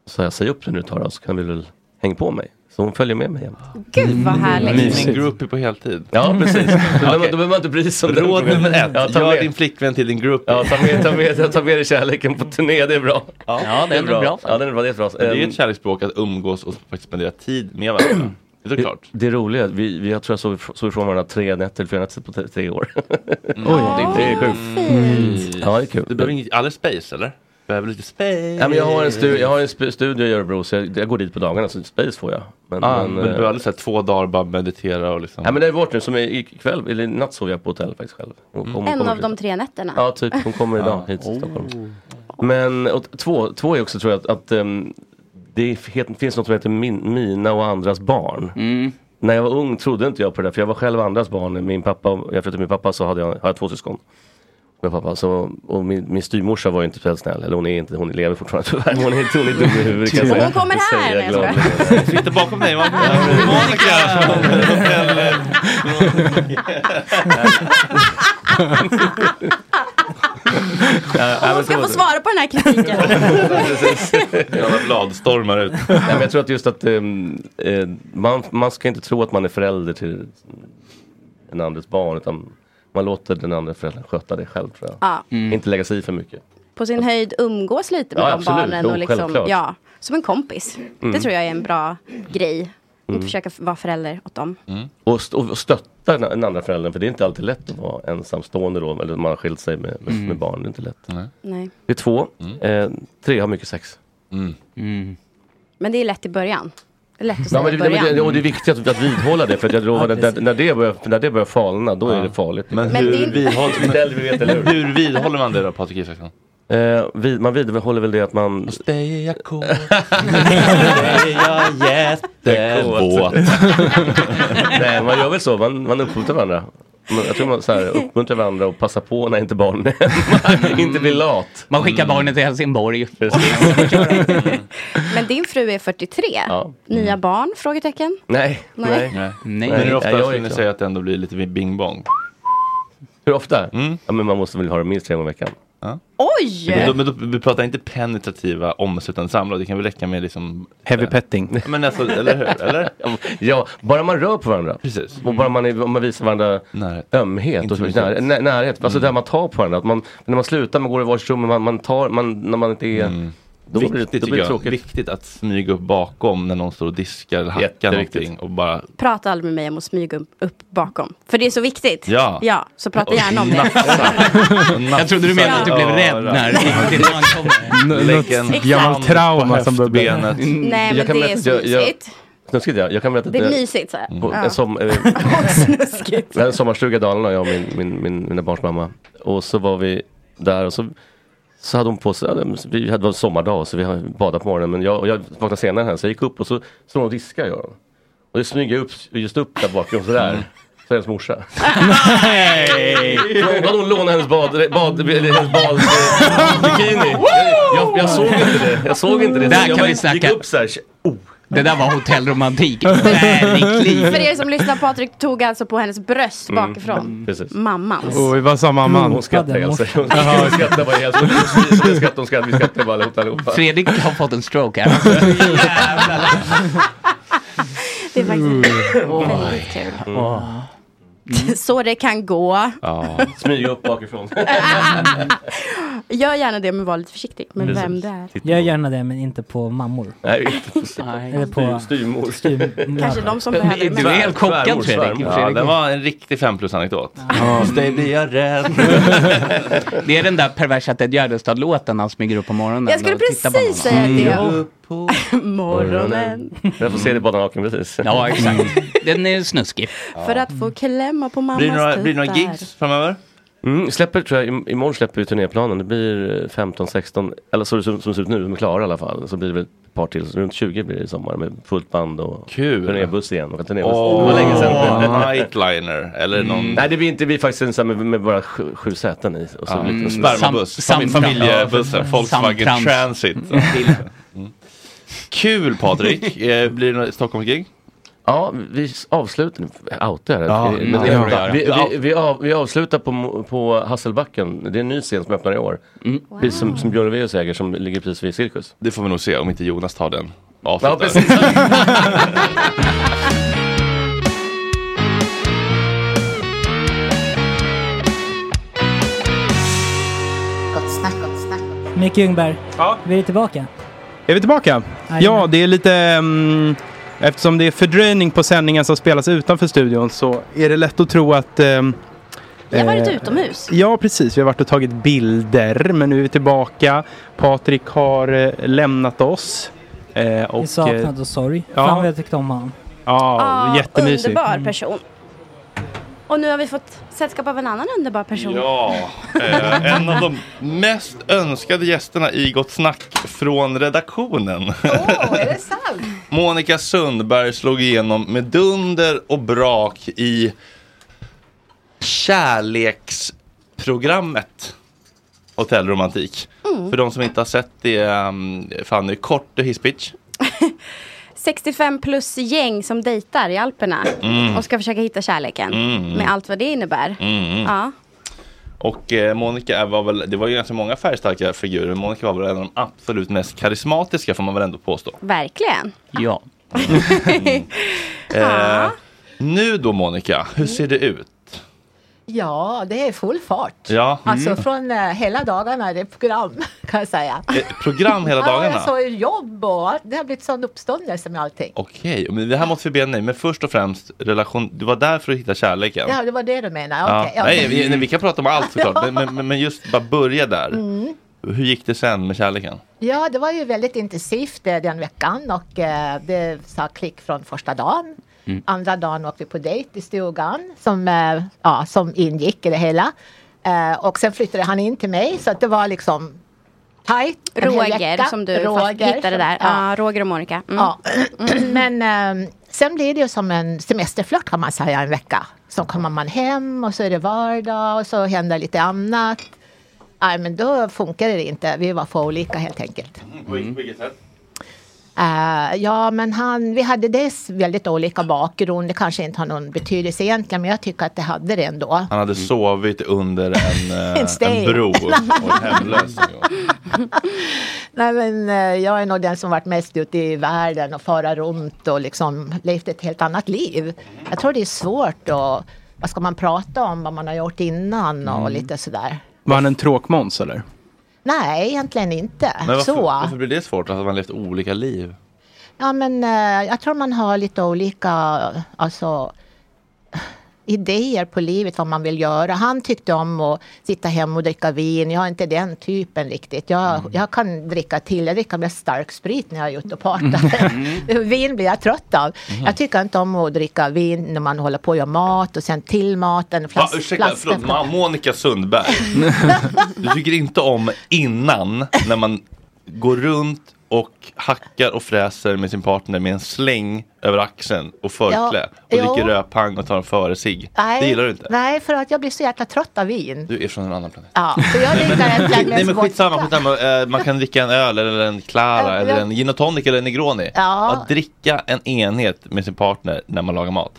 [SPEAKER 10] Så jag säger upp dig nu Tara så kan du väl hänga på mig. Så hon följer med mig jämt.
[SPEAKER 5] Gud
[SPEAKER 1] Mm.
[SPEAKER 5] vad härligt.
[SPEAKER 1] Min groupie på heltid.
[SPEAKER 10] Ja precis. Då behöver man-
[SPEAKER 1] Okej.
[SPEAKER 10] då behöver man inte bry sig om den
[SPEAKER 1] Råd
[SPEAKER 10] frågan.
[SPEAKER 1] nummer ett.
[SPEAKER 10] Ja, ta
[SPEAKER 1] Gör
[SPEAKER 10] med.
[SPEAKER 1] din flickvän till din groupie.
[SPEAKER 10] Ja, ta med, ta, med, ta med dig kärleken på turné, det är bra.
[SPEAKER 1] Ja, den är bra.
[SPEAKER 10] Ja, den är bra. Det är bra.
[SPEAKER 1] Men det är ju
[SPEAKER 10] Ehm,
[SPEAKER 1] ett kärleksspråk att umgås och faktiskt spendera tid med varandra. Det är klart.
[SPEAKER 10] Det, det roliga, är att vi, vi, jag tror jag sov, ifr- sov ifrån varandra tre nätter eller fyra nätter på tre, tre år.
[SPEAKER 1] Mm. Oj.
[SPEAKER 10] det är sjukt.
[SPEAKER 5] Mm.
[SPEAKER 10] Mm.
[SPEAKER 1] Fint.
[SPEAKER 10] Ja, det är kul.
[SPEAKER 1] Du behöver inget, alldeles space eller? Behöver lite space?
[SPEAKER 10] Ja, men jag har en, stu- jag har en sp- studio i Örebro så jag, jag går dit på dagarna så space får jag. Men,
[SPEAKER 1] ah, men, du
[SPEAKER 10] eh,
[SPEAKER 1] behöver aldrig så här två dagar bara meditera och liksom.
[SPEAKER 10] Ja men det är bort nu, som i- ikväll, eller i natt sov jag på hotell faktiskt själv. Hon-
[SPEAKER 1] Mm.
[SPEAKER 10] hon
[SPEAKER 5] En
[SPEAKER 10] kommer
[SPEAKER 5] av
[SPEAKER 10] hit.
[SPEAKER 5] de tre nätterna.
[SPEAKER 10] Ja, Oh. typ. Hon kommer idag hit till Stockholm. Men och, t- två, två är också tror jag att, att ehm, det f- het, finns något som heter min, mina och andras barn. När jag var ung trodde inte jag på det där, för jag var själv andras barn. Min pappa, och- jag flyttade till min pappa så hade jag, har jag två syskon. Med pappa. Så, och min, min styvmorsa var ju inte speciellt snäll, eller hon är inte, hon lever fortfarande tyvärr. men Hon är, hon är dum i huvudet kan jag
[SPEAKER 1] Hon
[SPEAKER 10] säga.
[SPEAKER 1] kommer
[SPEAKER 10] Det
[SPEAKER 1] här,
[SPEAKER 10] säger jag
[SPEAKER 1] nej, jag
[SPEAKER 10] gladeligen.
[SPEAKER 1] Sitter bakom dig, va? Monica!
[SPEAKER 5] Hon ska få svara på den här kritiken.
[SPEAKER 1] Jävla bladstormar ut.
[SPEAKER 10] Nej, men jag tror att just att ehm, eh, man, man ska inte tro att man är förälder till en andres barn utan man låter den andra föräldern sköta det själv tror jag.
[SPEAKER 5] Ja.
[SPEAKER 1] Mm.
[SPEAKER 10] Inte lägga sig i för mycket.
[SPEAKER 5] På sin höjd umgås lite med
[SPEAKER 10] Ja,
[SPEAKER 5] de
[SPEAKER 10] absolut.
[SPEAKER 5] barnen.
[SPEAKER 10] Jo,
[SPEAKER 5] Och liksom,
[SPEAKER 10] självklart.
[SPEAKER 5] ja, som en kompis. Det
[SPEAKER 10] Mm.
[SPEAKER 5] tror jag är en bra grej. Att
[SPEAKER 10] Mm.
[SPEAKER 5] försöka f- vara förälder åt dem.
[SPEAKER 1] Mm.
[SPEAKER 10] Och, st- och stötta den- den andra föräldern för det är inte alltid lätt att vara ensamstående då eller man har skilt sig med, med,
[SPEAKER 1] Mm.
[SPEAKER 10] med barn. Det är inte lätt.
[SPEAKER 5] Nej.
[SPEAKER 10] Det är
[SPEAKER 1] Mm.
[SPEAKER 10] två. Eh, tre har mycket sex.
[SPEAKER 5] Men det är lätt i början. Lätt att säga
[SPEAKER 10] Ja, men det,
[SPEAKER 5] i
[SPEAKER 10] men
[SPEAKER 5] början.
[SPEAKER 10] det, och det är viktigt att, att vidhålla det för att jag lovar att när, när, det börjar, när det börjar falna då är det farligt.
[SPEAKER 1] Men Men hur det är- vidhålls- hur vidhåller man det då Patrik Isaksson?
[SPEAKER 10] Eh, vid, man vidhåller väl det att man... Hos
[SPEAKER 1] dig är jag kåt.
[SPEAKER 10] jag jättevåt. Nej, man gör väl så. Man, man uppmuntrar varandra. Man, jag tror man så här, uppmuntrar varandra och passar på när inte barnen är Inte blir lat.
[SPEAKER 6] Man skickar barnen till Helsingborg.
[SPEAKER 5] Men din fru är 43.
[SPEAKER 10] Ja. Mm.
[SPEAKER 5] Nya barn? Frågetecken.
[SPEAKER 10] Nej.
[SPEAKER 5] Nej.
[SPEAKER 1] Men hur ofta
[SPEAKER 10] Nej, jag är
[SPEAKER 1] skulle ni
[SPEAKER 10] klar.
[SPEAKER 1] säga att det ändå blir lite Mm. bing bong?
[SPEAKER 10] Hur ofta? Ja, men man måste väl ha det minst en gång i veckan.
[SPEAKER 5] Oj!
[SPEAKER 1] Men, då, men då, vi pratar inte penetrativa omslutande samlag, det kan väl räcka med liksom...
[SPEAKER 4] Heavy petting.
[SPEAKER 1] Men alltså, eller hur? Eller?
[SPEAKER 10] Ja, bara man rör på varandra. Precis. Och bara man, är, om man visar varandra ömhet. Och,
[SPEAKER 1] Intimitet.
[SPEAKER 10] när, när, närhet.
[SPEAKER 1] Mm.
[SPEAKER 10] Alltså där man tar på varandra. Att man, när man slutar, man går i varsitt rum, och man, man tar, man, när man inte är... Då blir det,
[SPEAKER 1] Mm. Viktigt,
[SPEAKER 10] då blir det
[SPEAKER 1] tycker jag.
[SPEAKER 10] tråkigt.
[SPEAKER 1] Viktigt att smyga upp bakom när någon står och diskar eller hackar
[SPEAKER 10] Jätteviktigt.
[SPEAKER 1] någonting och bara...
[SPEAKER 5] Prata aldrig med mig om att smyga upp- upp bakom. För det är så viktigt.
[SPEAKER 1] Ja.
[SPEAKER 5] Ja, så prata
[SPEAKER 1] Och
[SPEAKER 5] gärna om det.
[SPEAKER 1] nafsa.
[SPEAKER 6] Jag trodde du menade att du blev rädd när riktigt man kommer.
[SPEAKER 1] Lägg en
[SPEAKER 5] Något gammalt
[SPEAKER 1] hand
[SPEAKER 4] trauma
[SPEAKER 1] på
[SPEAKER 4] som
[SPEAKER 1] höftbenet.
[SPEAKER 5] Nej, men
[SPEAKER 10] Jag kan
[SPEAKER 5] det
[SPEAKER 10] berätta-
[SPEAKER 5] är så
[SPEAKER 10] jag- jag-
[SPEAKER 5] mysigt.
[SPEAKER 10] Snuskigt ja. Jag kan berätta att
[SPEAKER 5] Det är
[SPEAKER 10] jag-
[SPEAKER 5] mysigt så här.
[SPEAKER 10] på
[SPEAKER 5] Ja.
[SPEAKER 10] en som, eh, Vi hade en sommarstuga i Dalarna, jag och min, min, min, mina barns mamma. Och så var vi där och så, så hade hon på sig, ja, vi hade det var en sommardag så vi hade badat på morgonen. Men jag, och jag vaknade senare här så jag gick upp och så står hon och diskar gör hon. Och det smyger jag upp, just upp där bakom sådär. Så är hennes morsa. Nej! Hade hon lånat hennes bad, bad, eller hennes bad, eh, bikini? Jag, jag, jag såg inte det. Jag såg inte det.
[SPEAKER 6] Där
[SPEAKER 10] Så jag
[SPEAKER 6] kan
[SPEAKER 10] bara
[SPEAKER 6] vi snacka.
[SPEAKER 10] Gick upp så här, oh.
[SPEAKER 6] Det där var hotellromantik. Verkligen.
[SPEAKER 5] För er som lyssnar, Patrik tog alltså på hennes bröst bakifrån.
[SPEAKER 10] Precis.
[SPEAKER 5] Mammans.
[SPEAKER 4] Och vi var samma
[SPEAKER 6] Mm.
[SPEAKER 4] man.
[SPEAKER 10] Hon skrattar alltså. Hon
[SPEAKER 4] Jaha.
[SPEAKER 10] skrattar bara helt. Vi skrattar, hon skrattar, vi skrattar bara allihop, allihopa.
[SPEAKER 6] Fredrik har fått en stroke här.
[SPEAKER 5] Det är faktiskt väldigt
[SPEAKER 10] Mm.
[SPEAKER 5] kul. Så det kan gå.
[SPEAKER 10] Ja. Smyga upp bakifrån.
[SPEAKER 5] Gör gärna det men var lite försiktig med
[SPEAKER 10] Precis.
[SPEAKER 5] vem det är.
[SPEAKER 3] Gör gärna det men inte på mammor.
[SPEAKER 10] Nej,
[SPEAKER 3] Eller på
[SPEAKER 10] styrmor.
[SPEAKER 5] Kanske de som behöver det mest.
[SPEAKER 1] Svärmor, svärmor. Ja,
[SPEAKER 6] Fredrik.
[SPEAKER 1] det var en riktig fem plus anekdot.
[SPEAKER 6] Det är den där perversa Ted Gärdestad-låten han smyger upp på morgonen.
[SPEAKER 5] Jag skulle
[SPEAKER 6] och tittar på
[SPEAKER 5] precis
[SPEAKER 6] någon.
[SPEAKER 5] säga
[SPEAKER 6] Mm.
[SPEAKER 10] Mm.
[SPEAKER 5] det. Morgonen.
[SPEAKER 10] Jag får se det bara naken precis.
[SPEAKER 6] Ja, exakt. Den är snuskig.
[SPEAKER 5] För att få klämma på mammas tuttar.
[SPEAKER 1] framöver?
[SPEAKER 10] Mm, släpper tror jag, im- imorgon släpper vi turnéplanen. Det blir eh, 15, 16, eller så som, som det ser ut nu, de är klara i alla fall. Så blir det väl ett par till, så runt 20 blir det i sommar med fullt band och
[SPEAKER 1] Kul.
[SPEAKER 10] turnébuss igen. Och turnébuss.
[SPEAKER 1] Åh,
[SPEAKER 10] det var länge sedan.
[SPEAKER 1] Nightliner eller någon...
[SPEAKER 6] Mm.
[SPEAKER 10] Nej, det blir inte, det blir faktiskt en sån här med, med bara sju, sju säten i. Och så
[SPEAKER 1] Ja, Mm.
[SPEAKER 10] blir det-
[SPEAKER 1] spermabuss,
[SPEAKER 10] Sam-
[SPEAKER 1] Fam-
[SPEAKER 10] sam-
[SPEAKER 1] familjebussen, Volkswagen
[SPEAKER 10] Samtrans.
[SPEAKER 1] Transit. Mm. Kul Patrik! Eh, Blir det något Stockholmsgig?
[SPEAKER 10] Ja, vi avslutar, outar jag
[SPEAKER 1] Ja,
[SPEAKER 10] det. Vi- vi-
[SPEAKER 1] det får du göra.
[SPEAKER 10] vi, vi, vi, av, vi avslutar på, Mo- på Hasselbacken, det är en ny scen som öppnar i år.
[SPEAKER 1] Mm.
[SPEAKER 10] Precis Som, som Björn Ulvaeus äger som ligger precis vid Cirkus.
[SPEAKER 1] Det får vi nog se om inte Jonas tar den.
[SPEAKER 10] Ja, precis.
[SPEAKER 8] Gott snack, gott snack.
[SPEAKER 3] Micke Ljungberg, vi är tillbaka.
[SPEAKER 4] Är vi tillbaka? Ja, det är lite... ehm, eftersom det är fördröjning på sändningen som spelas utanför studion så är det lätt att tro att... ehm,
[SPEAKER 5] Vi har varit
[SPEAKER 4] eh,
[SPEAKER 5] utomhus.
[SPEAKER 4] Ja, precis. Vi har varit och tagit bilder, men nu är vi tillbaka. Patrik har eh, lämnat oss. Eh, och,
[SPEAKER 3] I
[SPEAKER 4] eh,
[SPEAKER 3] saknad och sorg.
[SPEAKER 4] ja.
[SPEAKER 3] Fan vad jag tyckte om honom.
[SPEAKER 4] Ja, Mm.
[SPEAKER 5] Ah,
[SPEAKER 4] jättemysigt.
[SPEAKER 5] Underbar person. Och nu har vi fått sällskap av en annan underbar person.
[SPEAKER 1] Ja, eh, en av de mest önskade gästerna i Gott Snack från redaktionen.
[SPEAKER 2] Är det sant?
[SPEAKER 1] Monica Sundberg slog igenom med dunder och brak i kärleksprogrammet Hotellromantik.
[SPEAKER 5] Mm.
[SPEAKER 1] För de som inte har sett det, um, Fanny, kort hisspitch.
[SPEAKER 5] 65 plus gäng som dejtar i Alperna.
[SPEAKER 1] Mm.
[SPEAKER 5] Och ska försöka hitta kärleken.
[SPEAKER 1] Mm.
[SPEAKER 5] Med allt vad det innebär.
[SPEAKER 1] Mm.
[SPEAKER 5] Ja.
[SPEAKER 1] Och eh, Monica var väl, det var ju ganska många färgstarka figurer, men Monica var väl en av de absolut mest karismatiska får man väl ändå påstå. Mm.
[SPEAKER 5] Verkligen.
[SPEAKER 6] Ja.
[SPEAKER 1] Eh, nu då Monica, hur ser det ut?
[SPEAKER 12] Ja, det är full fart.
[SPEAKER 1] Ja.
[SPEAKER 12] Alltså från eh, hela dagarna, det är program kan jag säga.
[SPEAKER 1] Eh, program hela
[SPEAKER 12] Ja,
[SPEAKER 1] dagarna?
[SPEAKER 12] alltså jobb och allt. Det har blivit sån uppståndelse med allting.
[SPEAKER 1] Okej, men det här måste vi bena i. Men först och främst, relation, du var där för att hitta kärleken.
[SPEAKER 12] Ja, det var det du menade.
[SPEAKER 1] Ja.
[SPEAKER 12] Okej, ja.
[SPEAKER 1] Nej, vi, nej, vi kan prata om allt såklart, men, men, men just bara börja där.
[SPEAKER 12] Mm.
[SPEAKER 1] hur gick det sen med kärleken?
[SPEAKER 12] Ja, det var ju väldigt intensivt eh, den veckan och eh, det sa klick från första dagen.
[SPEAKER 8] Mm.
[SPEAKER 12] Andra dagen åkte vi på dejt i stugan som, eh, ja, som ingick i det hela. Eh, och sen flyttade han in till mig så att det var liksom tajt. en hel
[SPEAKER 5] Roger
[SPEAKER 12] vecka.
[SPEAKER 5] som du fast hittade
[SPEAKER 12] som-
[SPEAKER 5] där.
[SPEAKER 12] ja.
[SPEAKER 5] Ja, Roger och Monica. Mm.
[SPEAKER 12] Ja. Men ehm, sen blir det ju som en semesterflört kan man säga en vecka. Så kommer man hem och så är det vardag och så händer lite annat. Nej men då funkar det inte. Vi var för olika helt enkelt.
[SPEAKER 1] Mm. På vilket sätt?
[SPEAKER 12] Eh, ja, men han, vi hade dels väldigt olika bakgrund. Det kanske inte har någon betydelse egentligen, men jag tycker att det hade det ändå.
[SPEAKER 1] Han hade sovit under en, eh, en
[SPEAKER 12] sten.
[SPEAKER 1] bro och varit hemlös.
[SPEAKER 12] Nej, men eh, jag är nog den som varit mest ute i världen och fara runt och liksom levt ett helt annat liv. Jag tror det är svårt och vad ska man prata om, vad man har gjort innan och
[SPEAKER 4] Mm.
[SPEAKER 12] lite sådär.
[SPEAKER 4] Var han en tråkmåns eller?
[SPEAKER 12] Nej, egentligen inte.
[SPEAKER 1] Men varför,
[SPEAKER 12] Äh, så.
[SPEAKER 1] varför blir det svårt? Alltså, Att man levt olika liv?
[SPEAKER 12] Ja, men eh, jag tror man har lite olika alltså, idéer på livet, vad man vill göra. Han tyckte om att sitta hem och dricka vin. Jag är inte den typen riktigt. Jag,
[SPEAKER 1] Mm.
[SPEAKER 12] jag kan dricka till. Jag dricker mest stark sprit när jag är ute och partar.
[SPEAKER 1] Mm.
[SPEAKER 12] vin blir jag trött av. Jag tycker inte om att dricka vin när man håller på och gör mat och sen till maten.
[SPEAKER 1] Va,
[SPEAKER 12] flas-
[SPEAKER 1] ursäkta,
[SPEAKER 12] flaska-
[SPEAKER 1] förlåt, Ma- Monica Sundberg. du tycker inte om innan när man går runt och hackar och fräser med sin partner med en släng över axeln och förklä
[SPEAKER 12] Ja,
[SPEAKER 1] och
[SPEAKER 12] jo.
[SPEAKER 1] dricker rödpang och tar en före sig.
[SPEAKER 12] Nej,
[SPEAKER 1] Det gillar du inte?
[SPEAKER 12] Nej, för att jag blir så jäkla trött av vin.
[SPEAKER 1] Du är från en annan planet.
[SPEAKER 12] Ja, så jag dricker egentligen
[SPEAKER 1] Nej
[SPEAKER 12] mest
[SPEAKER 1] men
[SPEAKER 12] vodka.
[SPEAKER 1] skitsamma, skitsamma. Eh, man kan dricka en öl eller en Clara eller en gin och tonic eller en Negroni.
[SPEAKER 12] Ja.
[SPEAKER 1] Att dricka en enhet med sin partner när man lagar mat.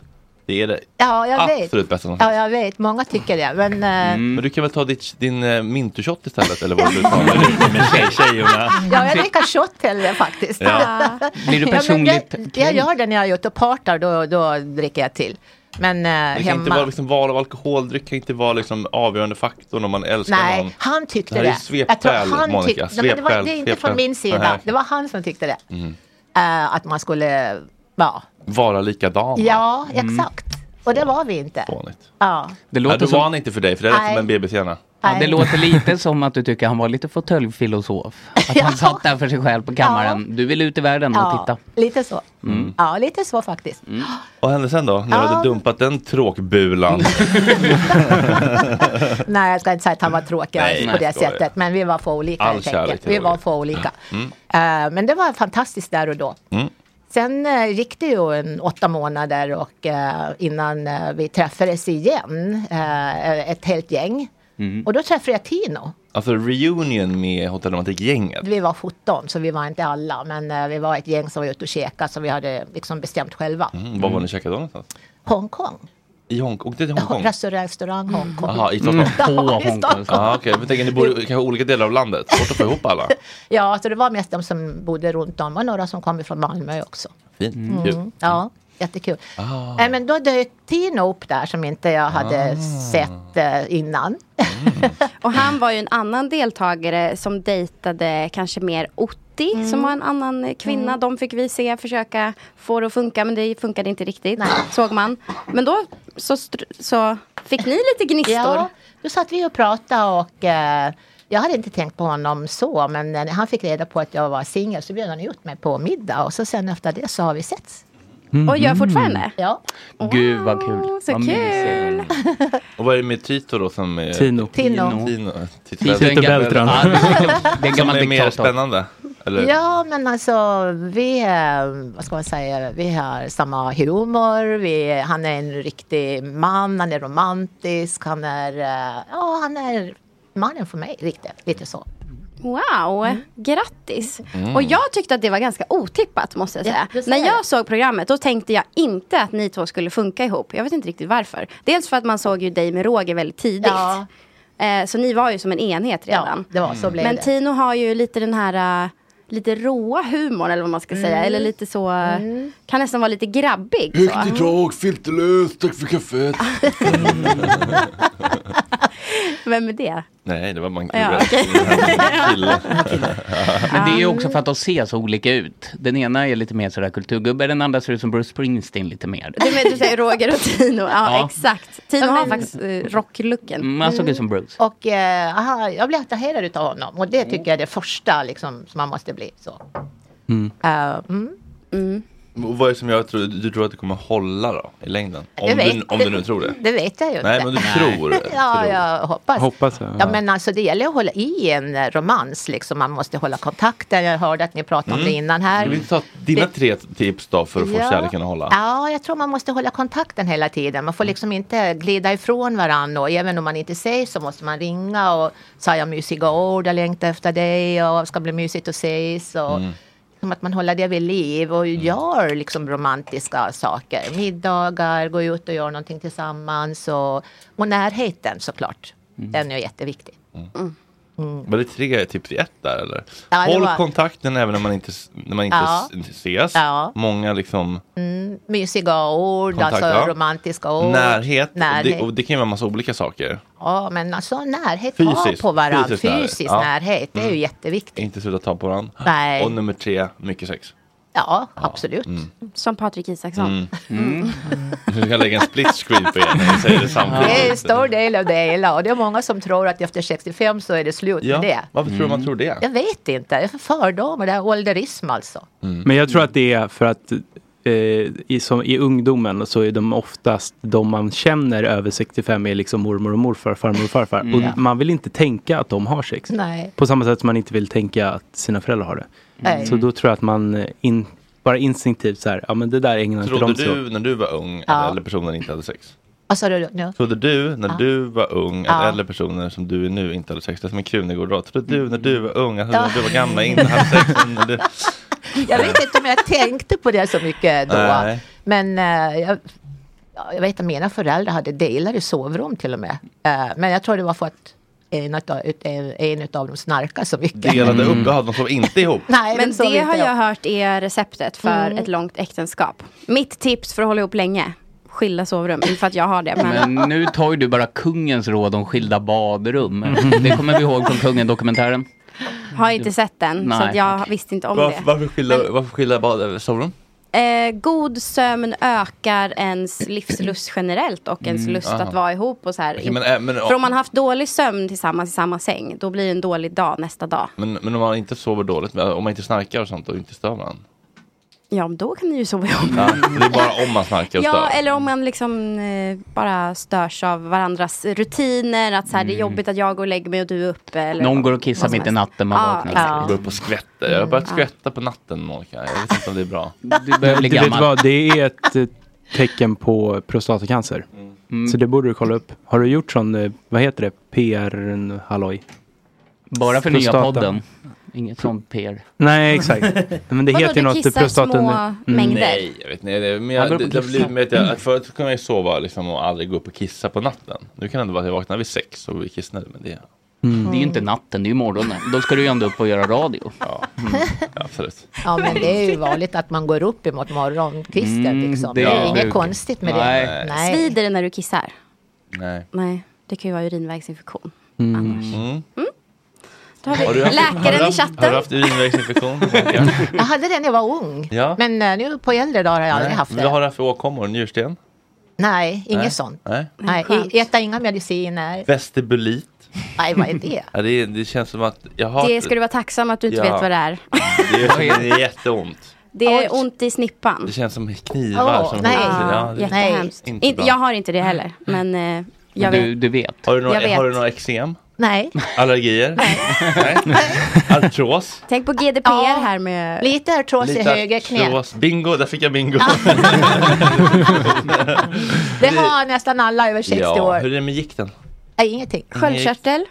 [SPEAKER 1] Det är det
[SPEAKER 12] Ja, jag vet.
[SPEAKER 1] absolut bästa som finns.
[SPEAKER 12] Ja, jag vet. Många tycker det. Men, eh,
[SPEAKER 1] Men du kan väl ta ditt, din eh, mintushot istället eller vad du tar med dig med tjej, tjejerna.
[SPEAKER 12] Ja, jag dricker shot hellre faktiskt.
[SPEAKER 1] Ja. Blir du
[SPEAKER 12] Ja, men
[SPEAKER 1] personligt
[SPEAKER 12] jag, jag gör det när jag är ute och partar, då, då dricker jag till. Men eh,
[SPEAKER 1] Det kan inte
[SPEAKER 12] hemma...
[SPEAKER 1] vara liksom val av alkoholdryck kan inte vara liksom avgörande faktorn om man älskar någon.
[SPEAKER 12] Nej, han tyckte
[SPEAKER 1] Det
[SPEAKER 12] det.
[SPEAKER 1] här är ju
[SPEAKER 12] Jag tror
[SPEAKER 1] svepskäl,
[SPEAKER 12] han
[SPEAKER 1] Monica.
[SPEAKER 12] tyckte- Nej, men det, var,
[SPEAKER 1] Svepskäl,
[SPEAKER 12] det är inte
[SPEAKER 1] svepskäl.
[SPEAKER 12] från min sida.
[SPEAKER 1] Nej.
[SPEAKER 12] Det var han som tyckte det.
[SPEAKER 1] Mm.
[SPEAKER 12] Eh, att man skulle... Ja,
[SPEAKER 1] Vara likadan.
[SPEAKER 12] ja exakt. Och det var vi inte.
[SPEAKER 1] Mm. Fånigt. Mm.
[SPEAKER 12] Ja.
[SPEAKER 6] Det
[SPEAKER 1] Nej, då
[SPEAKER 6] låter
[SPEAKER 1] var
[SPEAKER 6] som...
[SPEAKER 1] han inte för dig för det lät som
[SPEAKER 12] Nej.
[SPEAKER 1] en BBC-hjärna.
[SPEAKER 6] Ja, det
[SPEAKER 12] Nej.
[SPEAKER 6] låter lite som att du tycker han var lite fåtöljfilosof. Att han satt där för sig själv på kammaren. Du vill ut i världen och
[SPEAKER 12] Ja,
[SPEAKER 6] titta.
[SPEAKER 12] lite så.
[SPEAKER 1] Mm.
[SPEAKER 12] Ja, lite så faktiskt.
[SPEAKER 1] Vad hände sen då? När du hade dumpat den tråkbulan.
[SPEAKER 12] Mm. Nej, jag ska inte säga att han var tråkig
[SPEAKER 1] Nej,
[SPEAKER 12] alls
[SPEAKER 1] nej,
[SPEAKER 12] på det
[SPEAKER 1] skojar.
[SPEAKER 12] sättet. Men vi var för olika
[SPEAKER 1] All
[SPEAKER 12] helt
[SPEAKER 1] kärlek
[SPEAKER 12] enkelt.
[SPEAKER 1] till
[SPEAKER 12] Vi var
[SPEAKER 1] Roger.
[SPEAKER 12] för olika.
[SPEAKER 1] Mm.
[SPEAKER 12] Eh, men det var fantastiskt där och då.
[SPEAKER 1] Mm.
[SPEAKER 12] Sen eh, gick det ju en åtta månader och eh, innan eh, vi träffades igen, eh, ett helt gäng.
[SPEAKER 1] Mm.
[SPEAKER 12] Och då träffade jag Tino.
[SPEAKER 1] Alltså reunion med Hotell Romantik-gänget.
[SPEAKER 12] Vi var 17 så vi var inte alla men eh, vi var ett gäng som var ute och käkade så vi hade liksom bestämt själva.
[SPEAKER 1] Mm, vad var ni käkade då någonstans?
[SPEAKER 12] Hongkong.
[SPEAKER 1] I Hongkong? Åkte till Hongkong?
[SPEAKER 12] Restaurang, restaurang Hongkong.
[SPEAKER 1] Jaha, i
[SPEAKER 12] Ja,
[SPEAKER 1] Stockholm?
[SPEAKER 12] i Stockholm.
[SPEAKER 1] Ah, Okej, men tänk att ni bor i kanske olika delar av landet. Svårt att få ihop alla.
[SPEAKER 12] Ja, så det var mest de som bodde runt om och några som kom från Malmö också.
[SPEAKER 1] Fint.
[SPEAKER 12] Mm.
[SPEAKER 1] Kul.
[SPEAKER 12] Ja, jättekul.
[SPEAKER 1] Ah.
[SPEAKER 12] Nej, men då dök Tino upp där som inte jag hade
[SPEAKER 5] Ah.
[SPEAKER 12] sett eh, innan.
[SPEAKER 5] Och han var ju en annan deltagare som dejtade kanske mer Otti som var en annan eh, kvinna.
[SPEAKER 12] Mm.
[SPEAKER 5] De fick vi se försöka få det att funka men det funkade inte riktigt såg man. Men då så, str- så fick ni lite gnistor.
[SPEAKER 12] Ja, då satt vi och pratade och eh, jag hade inte tänkt på honom så men när han fick reda på att jag var singel så bjöd han ut mig på middag och så sen efter det så har vi setts.
[SPEAKER 5] Och gör fortfarande?
[SPEAKER 12] Ja.
[SPEAKER 6] Gud vad kul.
[SPEAKER 5] Så
[SPEAKER 6] Vad
[SPEAKER 5] kul!
[SPEAKER 1] Och vad är det med Tito då som är...
[SPEAKER 6] Tino.
[SPEAKER 12] Tino.
[SPEAKER 1] Tino, eh,
[SPEAKER 6] Tito är en Tito gammal- Beltran. Ja, det är en gammal- det är en
[SPEAKER 1] Som
[SPEAKER 6] gammal
[SPEAKER 1] är mer
[SPEAKER 6] diktator.
[SPEAKER 1] spännande? Eller?
[SPEAKER 12] Ja, men alltså vi, eh, vad ska man säga, vi har samma humor, vi, han är en riktig man, han är romantisk, han är, eh, ja han är mannen för mig riktigt, lite så.
[SPEAKER 5] Wow, grattis!
[SPEAKER 12] Mm.
[SPEAKER 5] Och jag tyckte att det var ganska otippat måste jag säga. När jag såg programmet då tänkte jag inte att ni två skulle funka ihop. Jag vet inte riktigt varför. Dels för att man såg ju dig med Roger väldigt tidigt. Eh, så ni var ju som en enhet redan.
[SPEAKER 12] det var- så blev
[SPEAKER 5] Men
[SPEAKER 12] det.
[SPEAKER 5] Tino har ju lite den här eh, lite råa humorn eller vad man ska säga.
[SPEAKER 12] Mm.
[SPEAKER 5] Eller lite så, eh, kan nästan vara lite grabbig. så.
[SPEAKER 13] Högt i tak, filterlöst, tack för kaffet.
[SPEAKER 5] Vem är det?
[SPEAKER 1] Nej, det var man
[SPEAKER 5] Ja, okej.
[SPEAKER 1] kille.
[SPEAKER 6] Men det är ju också för att de ser så olika ut. Den ena är lite mer sådär kulturgubbe, den andra ser ut som Bruce Springsteen lite mer.
[SPEAKER 5] Du, men, du säger Roger och Tino, ja,
[SPEAKER 6] Ja.
[SPEAKER 5] exakt. Tino har faktiskt eh, rocklooken.
[SPEAKER 6] Mm, han såg ut som Bruce.
[SPEAKER 12] Och eh, aha, jag blev attraherad utav honom och det tycker jag är det första liksom, som man måste bli. Så. Eh, mm.
[SPEAKER 1] Och Vad är det som gör att du, du tror att det kommer hålla då i längden?
[SPEAKER 12] Det
[SPEAKER 1] Om, du,
[SPEAKER 12] vet-
[SPEAKER 1] om du nu tror det.
[SPEAKER 12] Det vet jag ju inte.
[SPEAKER 1] Nej, men du tror.
[SPEAKER 12] Ja, jag hoppas.
[SPEAKER 1] Hoppas jag.
[SPEAKER 12] Ja, men alltså det gäller att hålla i en eh, romans, liksom. man måste hålla kontakten. Jag hörde att ni pratade om det innan här.
[SPEAKER 1] Mm. Vill du inte ta dina tre tips då för att få
[SPEAKER 12] Ja.
[SPEAKER 1] kärleken att hålla? Mm.
[SPEAKER 12] Ja, jag tror man måste hålla kontakten hela tiden. Man får liksom inte glida ifrån varandra. Och även om man inte säger så måste man ringa och säga mysiga ord. Jag längtar efter dig och ska bli mysigt att ses. Och
[SPEAKER 13] Mm.
[SPEAKER 12] liksom att man håller det vid liv
[SPEAKER 1] Mm.
[SPEAKER 12] och gör liksom romantiska saker. Middagar, gå ut och göra någonting tillsammans. Och, och närheten såklart.
[SPEAKER 1] Mm.
[SPEAKER 12] Den är jätteviktig.
[SPEAKER 1] Var det tre tips i ett där eller?
[SPEAKER 12] Ja, det
[SPEAKER 1] Håll
[SPEAKER 12] var-
[SPEAKER 1] kontakten även när man inte, s- när man inte
[SPEAKER 12] Ja.
[SPEAKER 1] s- ses.
[SPEAKER 12] Ja.
[SPEAKER 1] Många liksom
[SPEAKER 12] Mm, mysiga ord,
[SPEAKER 1] Kontakt,
[SPEAKER 12] alltså
[SPEAKER 1] ja.
[SPEAKER 12] romantiska ord.
[SPEAKER 1] närhet. Och
[SPEAKER 12] Närhet.
[SPEAKER 1] Det, och det kan ju vara massa olika saker.
[SPEAKER 12] Ja, men alltså närhet, ta
[SPEAKER 1] Fysiskt.
[SPEAKER 12] på varandra.
[SPEAKER 1] Fysisk närhet.
[SPEAKER 12] Fysisk,
[SPEAKER 1] Ja.
[SPEAKER 12] närhet, det är ju
[SPEAKER 1] Mm.
[SPEAKER 12] jätteviktigt.
[SPEAKER 1] Inte sluta ta på varandra.
[SPEAKER 12] Nej.
[SPEAKER 1] Och nummer tre, mycket sex.
[SPEAKER 12] Ja, absolut.
[SPEAKER 1] Mm.
[SPEAKER 5] Som Patrik Isaksson.
[SPEAKER 1] Mm. Du kan lägga en split screen på er när vi säger det samtidigt.
[SPEAKER 12] Det är en stor del av det hela och det är många som tror att efter 65 så är det slut
[SPEAKER 1] Ja,
[SPEAKER 12] med det. Mm.
[SPEAKER 1] varför tror man tror det?
[SPEAKER 12] Jag vet inte, det är fördomar, det är ålderism alltså.
[SPEAKER 1] Mm.
[SPEAKER 4] Men jag tror att det är för att eh, i, som, i ungdomen så är de oftast de man känner över 65 är liksom mormor och morfar, farmor och farfar.
[SPEAKER 12] Mm. Ja.
[SPEAKER 4] Och man vill inte tänka att de har sex.
[SPEAKER 12] Nej.
[SPEAKER 4] På samma sätt som man inte vill tänka att sina föräldrar har det.
[SPEAKER 12] Nej.
[SPEAKER 4] Så då tror jag att man eh, in, bara instinktivt så här, ja men det där ägnar inte
[SPEAKER 1] Trodde
[SPEAKER 4] de sig åt.
[SPEAKER 1] du när du var ung
[SPEAKER 12] Ja.
[SPEAKER 1] att äldre personer inte hade sex?
[SPEAKER 12] Vad sa du nu?
[SPEAKER 1] Trodde du när
[SPEAKER 12] Ja.
[SPEAKER 1] du var ung att
[SPEAKER 12] Ja.
[SPEAKER 1] äldre personer som du är nu inte hade sex? Det är som en Krunegård-rad. Trodde du när du var ung att
[SPEAKER 12] Ja.
[SPEAKER 1] när du var gamla inte hade sex? Men det-
[SPEAKER 12] Jag vet inte om jag tänkte på det så mycket då.
[SPEAKER 1] Nej.
[SPEAKER 12] Men eh, jag, ja, jag vet att mina föräldrar hade delade sovrum till och med. Eh, men jag tror det var för att en av, eh, en av dem snarkade så mycket. Mm.
[SPEAKER 1] Delade upp, jaha de sov inte ihop.
[SPEAKER 12] Nej,
[SPEAKER 5] Men
[SPEAKER 12] det sa vi
[SPEAKER 5] det har
[SPEAKER 12] inte.
[SPEAKER 5] jag hört är receptet för
[SPEAKER 12] Mm.
[SPEAKER 5] ett långt äktenskap. Mitt tips för att hålla ihop länge. Skilda sovrum, inte för att jag har det. Men...
[SPEAKER 6] Men nu tar ju du bara kungens råd om skilda badrum. Det kommer vi ihåg från kungen-dokumentären.
[SPEAKER 5] Har inte sett den, så
[SPEAKER 6] Nej,
[SPEAKER 5] att jag visste inte om
[SPEAKER 1] Varför,
[SPEAKER 5] det.
[SPEAKER 1] varför skilja, varför skilja bad, sovrum?
[SPEAKER 5] Eh, god sömn ökar ens livslust generellt och ens
[SPEAKER 1] Mm,
[SPEAKER 5] lust
[SPEAKER 1] aha.
[SPEAKER 5] att vara ihop. Och så här.
[SPEAKER 1] Okej, men, äh, men,
[SPEAKER 5] för om man haft dålig sömn tillsammans i samma säng, då blir det en dålig dag nästa dag.
[SPEAKER 1] men, men om man inte sover dåligt, men om man inte snarkar och sånt och inte stör varandra?
[SPEAKER 5] Ja, men då kan ni ju sova ihop.
[SPEAKER 1] Ja, det är bara om man snarkar och
[SPEAKER 5] Ja,
[SPEAKER 1] stör.
[SPEAKER 5] eller om man liksom eh, bara störs av varandras rutiner. Att så här, det är jobbigt att jag går och lägger mig och du är uppe. Eller
[SPEAKER 6] Någon går och kissar
[SPEAKER 5] vad som
[SPEAKER 6] mitt i
[SPEAKER 5] helst. Ah,
[SPEAKER 6] natten, man
[SPEAKER 5] Ja,
[SPEAKER 6] vaknar.
[SPEAKER 5] exakt.
[SPEAKER 1] Gå upp och skvätter. Jag har börjat
[SPEAKER 5] Mm.
[SPEAKER 1] skvätta på natten Monica. Jag vet inte om det är bra.
[SPEAKER 6] Du
[SPEAKER 4] Men
[SPEAKER 6] börjar bli
[SPEAKER 4] du vet
[SPEAKER 6] gammal.
[SPEAKER 4] vad, det är ett eh, tecken på prostatacancer.
[SPEAKER 6] Mm.
[SPEAKER 4] Så det borde du kolla upp. Har du gjort sån, eh, vad heter det, PR-halloj?
[SPEAKER 6] Bara för nya podden. Inget sånt PR.
[SPEAKER 4] Nej, exakt. Men det
[SPEAKER 6] Vadå,
[SPEAKER 4] heter ju
[SPEAKER 6] du
[SPEAKER 4] något typ Mm. i
[SPEAKER 6] kissar
[SPEAKER 4] prostatan
[SPEAKER 6] små mängder?
[SPEAKER 1] Nej, jag vet inte. Det- Men
[SPEAKER 6] Han går
[SPEAKER 1] jag, det,
[SPEAKER 6] upp och
[SPEAKER 1] det har blivit
[SPEAKER 6] kissar.
[SPEAKER 1] med att jag, att förut kunde jag ju sova liksom, och aldrig gå upp och kissa på natten. Nu kan det ändå vara att jag vaknar vid sex och vi kissnödig. Men det
[SPEAKER 6] Mm. Det är ju inte natten, det är ju morgonen. Då ska du ju ändå upp och göra radio. Mm.
[SPEAKER 1] Ja, absolut.
[SPEAKER 12] Ja, men det är ju vanligt att man går upp emot morgonkvisten.
[SPEAKER 6] Mm,
[SPEAKER 12] liksom.
[SPEAKER 6] det
[SPEAKER 12] Det är
[SPEAKER 6] är
[SPEAKER 12] inget
[SPEAKER 6] sjukt.
[SPEAKER 12] konstigt med
[SPEAKER 6] Nej.
[SPEAKER 12] det. Nej.
[SPEAKER 5] Svider det Eh, när du kissar?
[SPEAKER 1] Nej.
[SPEAKER 5] Nej, det kan ju vara urinvägsinfektion.
[SPEAKER 1] Mm.
[SPEAKER 5] Då har vi
[SPEAKER 1] Har du haft- har du
[SPEAKER 5] läkaren i
[SPEAKER 1] haft- Har
[SPEAKER 5] chatten.
[SPEAKER 1] du haft urinvägsinfektion? Monica?
[SPEAKER 12] Jag hade det när jag var ung.
[SPEAKER 1] Ja.
[SPEAKER 12] Men eh, nu på äldre dagar har jag aldrig
[SPEAKER 1] Nej.
[SPEAKER 12] haft
[SPEAKER 1] Vad
[SPEAKER 12] det.
[SPEAKER 1] har du haft för åkommor? Njursten?
[SPEAKER 12] Nej,
[SPEAKER 1] Nej.
[SPEAKER 12] inget sånt.
[SPEAKER 1] Nej.
[SPEAKER 12] Nej, i- äta inga mediciner.
[SPEAKER 1] Vestibulit?
[SPEAKER 12] Nej, vad är det?
[SPEAKER 1] Ja, det, det känns som att jag har...
[SPEAKER 5] Det ska du vara tacksam att du inte
[SPEAKER 1] Ja.
[SPEAKER 5] vet vad det är.
[SPEAKER 1] det gör det är jätteont.
[SPEAKER 5] Det är ont i snippan.
[SPEAKER 1] Det känns som knivar.
[SPEAKER 5] Åh,
[SPEAKER 1] som
[SPEAKER 5] nej.
[SPEAKER 1] Ja, det-
[SPEAKER 5] Jättehemskt.
[SPEAKER 1] Inte
[SPEAKER 5] Inte
[SPEAKER 1] bra.
[SPEAKER 5] jag har inte det heller, men eh, jag vet.
[SPEAKER 6] vet.
[SPEAKER 1] Har du några,
[SPEAKER 5] Jag vet.
[SPEAKER 1] Har du några eksem?
[SPEAKER 12] Nej.
[SPEAKER 1] Allergier? Nej. Artros?
[SPEAKER 5] Tänk på GDPR här med...
[SPEAKER 12] Lite artros
[SPEAKER 1] Lite artros. Bingo, där fick jag bingo.
[SPEAKER 12] Det har nästan alla över 60
[SPEAKER 1] ja,
[SPEAKER 12] år.
[SPEAKER 1] hur är det med gikten?
[SPEAKER 12] Nej, ingenting.
[SPEAKER 1] Sköldkörtel?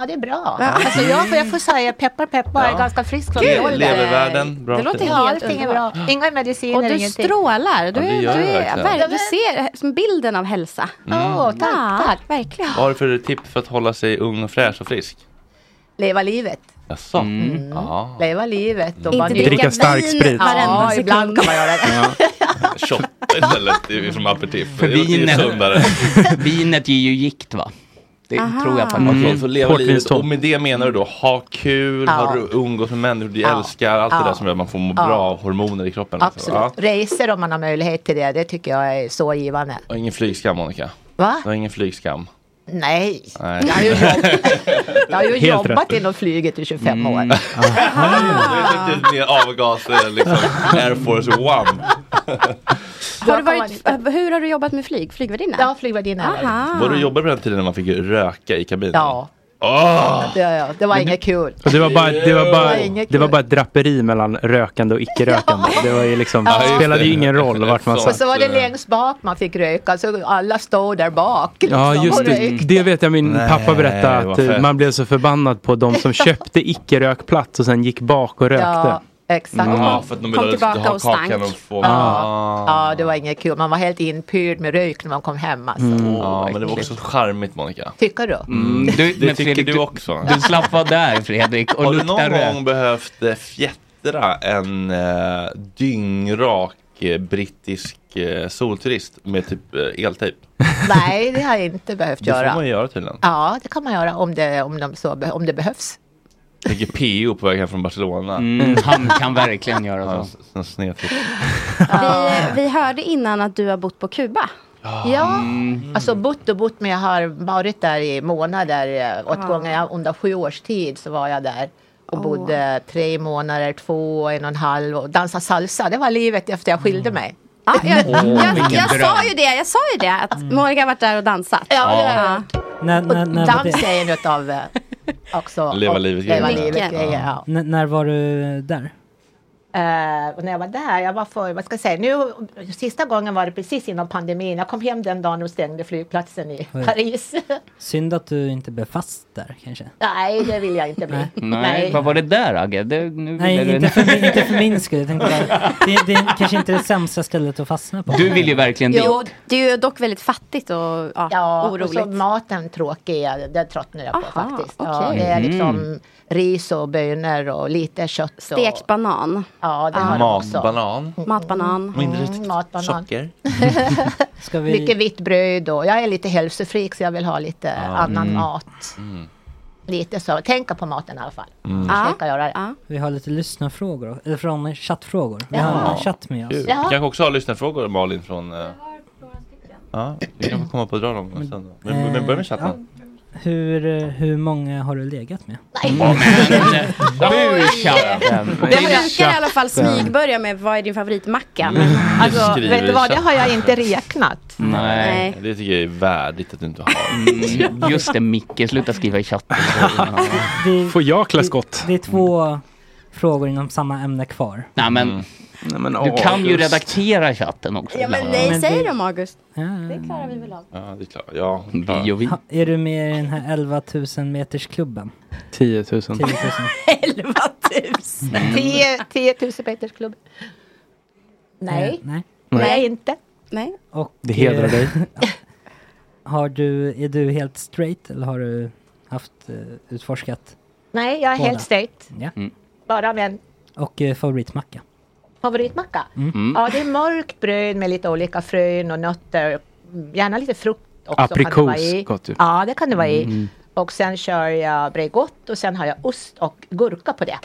[SPEAKER 12] Ja, det är bra. Alltså, jag, får, jag får säga peppar, peppar, jag är ganska frisk från
[SPEAKER 1] Gud.
[SPEAKER 12] min ålder.
[SPEAKER 1] Levervärden, bra. Det låter
[SPEAKER 12] ja,
[SPEAKER 5] helt
[SPEAKER 12] allting är bra. Inga mediciner,
[SPEAKER 5] Och du
[SPEAKER 12] ingenting.
[SPEAKER 5] strålar.
[SPEAKER 1] Ja,
[SPEAKER 5] Du,
[SPEAKER 1] det
[SPEAKER 5] är, du,
[SPEAKER 1] gör jag
[SPEAKER 5] är,
[SPEAKER 1] verkligen.
[SPEAKER 5] verkligen- du ser som bilden av hälsa.
[SPEAKER 1] Mm.
[SPEAKER 12] Åh, tack,
[SPEAKER 5] Ja,
[SPEAKER 12] tack.
[SPEAKER 5] Verkligen.
[SPEAKER 1] Vad har du för tips för att hålla sig ung och fräsch och frisk?
[SPEAKER 12] Leva livet.
[SPEAKER 1] Jaså?
[SPEAKER 5] Mm.
[SPEAKER 1] Ja.
[SPEAKER 12] Leva livet. Och
[SPEAKER 1] Inte
[SPEAKER 12] vara
[SPEAKER 1] dricka
[SPEAKER 12] nyfiken.
[SPEAKER 1] stark sprit.
[SPEAKER 12] Ja,
[SPEAKER 1] varenda
[SPEAKER 12] ibland kan man göra det.
[SPEAKER 1] Shot istället det är som aperitif.
[SPEAKER 6] För
[SPEAKER 1] Det låter ju
[SPEAKER 6] vinet,
[SPEAKER 1] sundare.
[SPEAKER 6] vinet ger ju gikt va? Det
[SPEAKER 5] Aha.
[SPEAKER 6] tror jag faktiskt. Mm.
[SPEAKER 1] Att man får leva livet
[SPEAKER 6] Portvinstång.
[SPEAKER 1] och med det menar du då ha kul,
[SPEAKER 12] Ja.
[SPEAKER 1] ha ru- umgås med människor du
[SPEAKER 12] Ja.
[SPEAKER 1] älskar, allt det
[SPEAKER 12] Ja.
[SPEAKER 1] där som gör att man får må
[SPEAKER 12] Ja.
[SPEAKER 1] bra av hormoner i kroppen. alltså.
[SPEAKER 12] Absolut. Resor om man har möjlighet till det, det tycker jag är så givande.
[SPEAKER 1] Du har ingen flygskam Monica.
[SPEAKER 12] Va?
[SPEAKER 1] Du har ingen flygskam.
[SPEAKER 12] Nej,
[SPEAKER 1] Nej.
[SPEAKER 12] jag har ju, jobb... jag har ju
[SPEAKER 1] Helt
[SPEAKER 12] jobbat
[SPEAKER 1] rätt. Mm.
[SPEAKER 12] inom flyget i 25 år.
[SPEAKER 1] Det är typ mer avgas, eh, liksom Air Force One.
[SPEAKER 5] Har du varit, hur har du jobbat med flyg? Flygvärdinna? Ja,
[SPEAKER 12] flygvärdinna.
[SPEAKER 5] Aha.
[SPEAKER 1] Var du jobbade på den tiden när man fick röka i kabinen?
[SPEAKER 12] Ja.
[SPEAKER 1] Åh!
[SPEAKER 12] Det, ja, det var inget kul.
[SPEAKER 4] Ah! Och det, var bara, det, var
[SPEAKER 12] Det var
[SPEAKER 4] bara,
[SPEAKER 12] inget
[SPEAKER 4] det var bara ett draperi mellan rökande och icke-rökande. Det var ju liksom,
[SPEAKER 12] Ja.
[SPEAKER 4] spelade ju ingen roll vart man
[SPEAKER 12] Och
[SPEAKER 4] satt. eh,
[SPEAKER 12] så var det längst bak man fick röka, så alla stod där bak.
[SPEAKER 4] Ja
[SPEAKER 12] liksom,
[SPEAKER 4] just
[SPEAKER 12] och
[SPEAKER 4] det, Mm.
[SPEAKER 12] rökte.
[SPEAKER 4] det vet jag min
[SPEAKER 1] Nej,
[SPEAKER 4] pappa berättade att
[SPEAKER 1] vad fett.
[SPEAKER 4] eh, man blev så förbannad på de som köpte icke-rökplats och sen gick bak och rökte.
[SPEAKER 12] Ja, exakt.
[SPEAKER 4] Mm.
[SPEAKER 1] Ja, för att de ville
[SPEAKER 12] Kom
[SPEAKER 1] att du skulle
[SPEAKER 12] tillbaka
[SPEAKER 1] ha
[SPEAKER 12] och
[SPEAKER 1] kakan
[SPEAKER 12] stank.
[SPEAKER 1] och få-
[SPEAKER 12] Ja.
[SPEAKER 1] Ah.
[SPEAKER 12] ja, det var inget kul. Man var helt inpyrd med rök när man kom hem.
[SPEAKER 4] Mm.
[SPEAKER 12] Alltså.
[SPEAKER 1] ja, men det var också charmigt Monica.
[SPEAKER 12] Tycker du?
[SPEAKER 1] Mm,
[SPEAKER 6] Du-
[SPEAKER 1] det
[SPEAKER 6] men
[SPEAKER 1] tycker
[SPEAKER 6] Fredrik,
[SPEAKER 1] du
[SPEAKER 6] du-
[SPEAKER 1] också.
[SPEAKER 6] du slapp vara där Fredrik och
[SPEAKER 1] Har du
[SPEAKER 6] lukta
[SPEAKER 1] någon
[SPEAKER 6] rök.
[SPEAKER 1] gång behövt eh, fjättra en eh, dyngrak eh, brittisk eh, solturist med typ eh, eltejp?
[SPEAKER 12] Nej, det har jag inte behövt
[SPEAKER 1] Det får
[SPEAKER 12] göra.
[SPEAKER 1] man ju göra tydligen.
[SPEAKER 12] Ja, det kan man göra om det, om de så, be- om det behövs.
[SPEAKER 1] Tänker PO på väg hem från Barcelona.
[SPEAKER 6] Mm, han kan verkligen göra
[SPEAKER 1] så. Ja, snedtitt.
[SPEAKER 5] Vi, vi hörde innan att du har bott på Kuba.
[SPEAKER 12] Ja, alltså bott och bott, men jag har varit där i månader eh, åt
[SPEAKER 5] Ja.
[SPEAKER 12] gången. Jag, under sju års tid så var jag där och
[SPEAKER 5] Ah. Åh.
[SPEAKER 12] bodde tre månader, två, en och en halv och dansade salsa. Det var livet efter jag skilde mig. Mm.
[SPEAKER 5] Ja, Mm. Ah, jag,
[SPEAKER 12] Åh,
[SPEAKER 5] jag,
[SPEAKER 12] vilken
[SPEAKER 5] jag sa
[SPEAKER 12] dröm.
[SPEAKER 5] ju det, jag sa ju det att Monica har varit där och dansat.
[SPEAKER 12] Mm. Ja, ja, ja.
[SPEAKER 3] När, när, när, var
[SPEAKER 12] Dans
[SPEAKER 3] det?
[SPEAKER 12] är en av eh, också.
[SPEAKER 3] Leva
[SPEAKER 12] och-
[SPEAKER 3] livet-grejen.
[SPEAKER 12] Leva livet
[SPEAKER 3] Vilken?
[SPEAKER 12] grejer, ja.
[SPEAKER 3] N- när var du där?
[SPEAKER 12] Eh, och när jag var där, jag var för, vad ska jag säga, nu, sista gången var det precis innan pandemin. Jag kom hem den dagen de stängde flygplatsen i
[SPEAKER 3] Oj.
[SPEAKER 12] Paris.
[SPEAKER 3] Synd att du inte blev fast där kanske?
[SPEAKER 12] Nej, det vill jag inte bli.
[SPEAKER 6] Nej, vad var det där Agge? Det, nu ville
[SPEAKER 3] Nej,
[SPEAKER 6] du-
[SPEAKER 3] inte för, min- inte för min skull. Jag tänkte bara, det, det är kanske inte det sämsta stället att fastna på.
[SPEAKER 6] Du vill ju verkligen
[SPEAKER 5] Jo,
[SPEAKER 6] dit.
[SPEAKER 5] det är ju dock väldigt fattigt och ja,
[SPEAKER 12] Ja, och
[SPEAKER 5] oroligt.
[SPEAKER 12] så maten tråkig, är- det tröttnar jag på faktiskt. Ja,
[SPEAKER 5] okej.
[SPEAKER 12] det är liksom
[SPEAKER 5] Mm.
[SPEAKER 12] ris och bönor och lite kött. Och,
[SPEAKER 5] Stekt banan.
[SPEAKER 12] Ja, det har de också.
[SPEAKER 1] Ah. Matbanan.
[SPEAKER 5] Matbanan.
[SPEAKER 1] Och inte riktigt
[SPEAKER 12] matbanan.
[SPEAKER 1] socker.
[SPEAKER 3] Ska
[SPEAKER 1] vi-
[SPEAKER 12] Mycket vitt bröd och jag är lite hälsofreak så jag vill ha lite
[SPEAKER 3] Ah.
[SPEAKER 12] annan
[SPEAKER 3] Mm.
[SPEAKER 12] mat.
[SPEAKER 1] Mm.
[SPEAKER 12] Lite så, tänka på maten i alla fall.
[SPEAKER 3] Mm.
[SPEAKER 5] Ah,
[SPEAKER 12] Försöka göra det.
[SPEAKER 3] Vi har lite lyssnarfrågor, eller från chattfrågor. Vi har
[SPEAKER 12] Jaha.
[SPEAKER 3] en chatt med
[SPEAKER 1] Kul.
[SPEAKER 3] oss.
[SPEAKER 1] Vi kanske också har lyssnarfrågor Malin från... eh, Ja, vi kan få komma på att dra dem sen. då. Men,
[SPEAKER 12] Eh,
[SPEAKER 1] men, börja med chatten.
[SPEAKER 3] Hur, eh, hur många har du legat med?
[SPEAKER 5] Jag brukar i alla fall smygbörja med vad är din favoritmacka? Men,
[SPEAKER 12] Alltså,
[SPEAKER 1] skriver
[SPEAKER 12] vet du vad,
[SPEAKER 1] i
[SPEAKER 12] det har jag
[SPEAKER 1] chatten.
[SPEAKER 12] inte räknat.
[SPEAKER 6] Nej.
[SPEAKER 1] Det tycker jag är värdigt att du inte har.
[SPEAKER 6] Mm, Just det Micke, sluta skriva i chatten.
[SPEAKER 4] Får jag klä skott?
[SPEAKER 3] Det är två frågor inom samma ämne kvar.
[SPEAKER 6] Nej men,
[SPEAKER 1] Mm.
[SPEAKER 6] du kan ju redaktera chatten också.
[SPEAKER 5] ja, men
[SPEAKER 6] ibland.
[SPEAKER 5] nej, säg dem August.
[SPEAKER 3] Det
[SPEAKER 5] klarar vi väl av.
[SPEAKER 1] Ja, det är klart. Ja,
[SPEAKER 6] Vi och vi.
[SPEAKER 3] Ha, är du med i den här 11 000 meters klubben?
[SPEAKER 4] 10 000.
[SPEAKER 3] 10 000.
[SPEAKER 12] 11 000. 10, 10 000 Peters klubb. Nej.
[SPEAKER 3] Eh, Nej.
[SPEAKER 12] Nej, inte.
[SPEAKER 5] Nej.
[SPEAKER 3] Och,
[SPEAKER 4] Det hedrar
[SPEAKER 3] eh,
[SPEAKER 4] dig.
[SPEAKER 3] har du, är du helt straight eller har du haft eh, utforskat?
[SPEAKER 12] Nej, jag är
[SPEAKER 3] Båda.
[SPEAKER 12] helt straight.
[SPEAKER 3] Ja.
[SPEAKER 4] Mm.
[SPEAKER 12] Bara med en
[SPEAKER 3] Och eh, favoritmacka?
[SPEAKER 12] favoritmacka.
[SPEAKER 3] Mm.
[SPEAKER 12] Ja, det är mörkt bröd med lite olika frön och nötter. Mm, Gärna lite frukt också. kan det
[SPEAKER 4] Aprikos
[SPEAKER 12] vara i.
[SPEAKER 4] gott ju.
[SPEAKER 6] typ.
[SPEAKER 12] Ja, det kan det vara
[SPEAKER 4] Mm.
[SPEAKER 12] i. Och sen kör jag Bregott och sen har jag ost och gurka på det.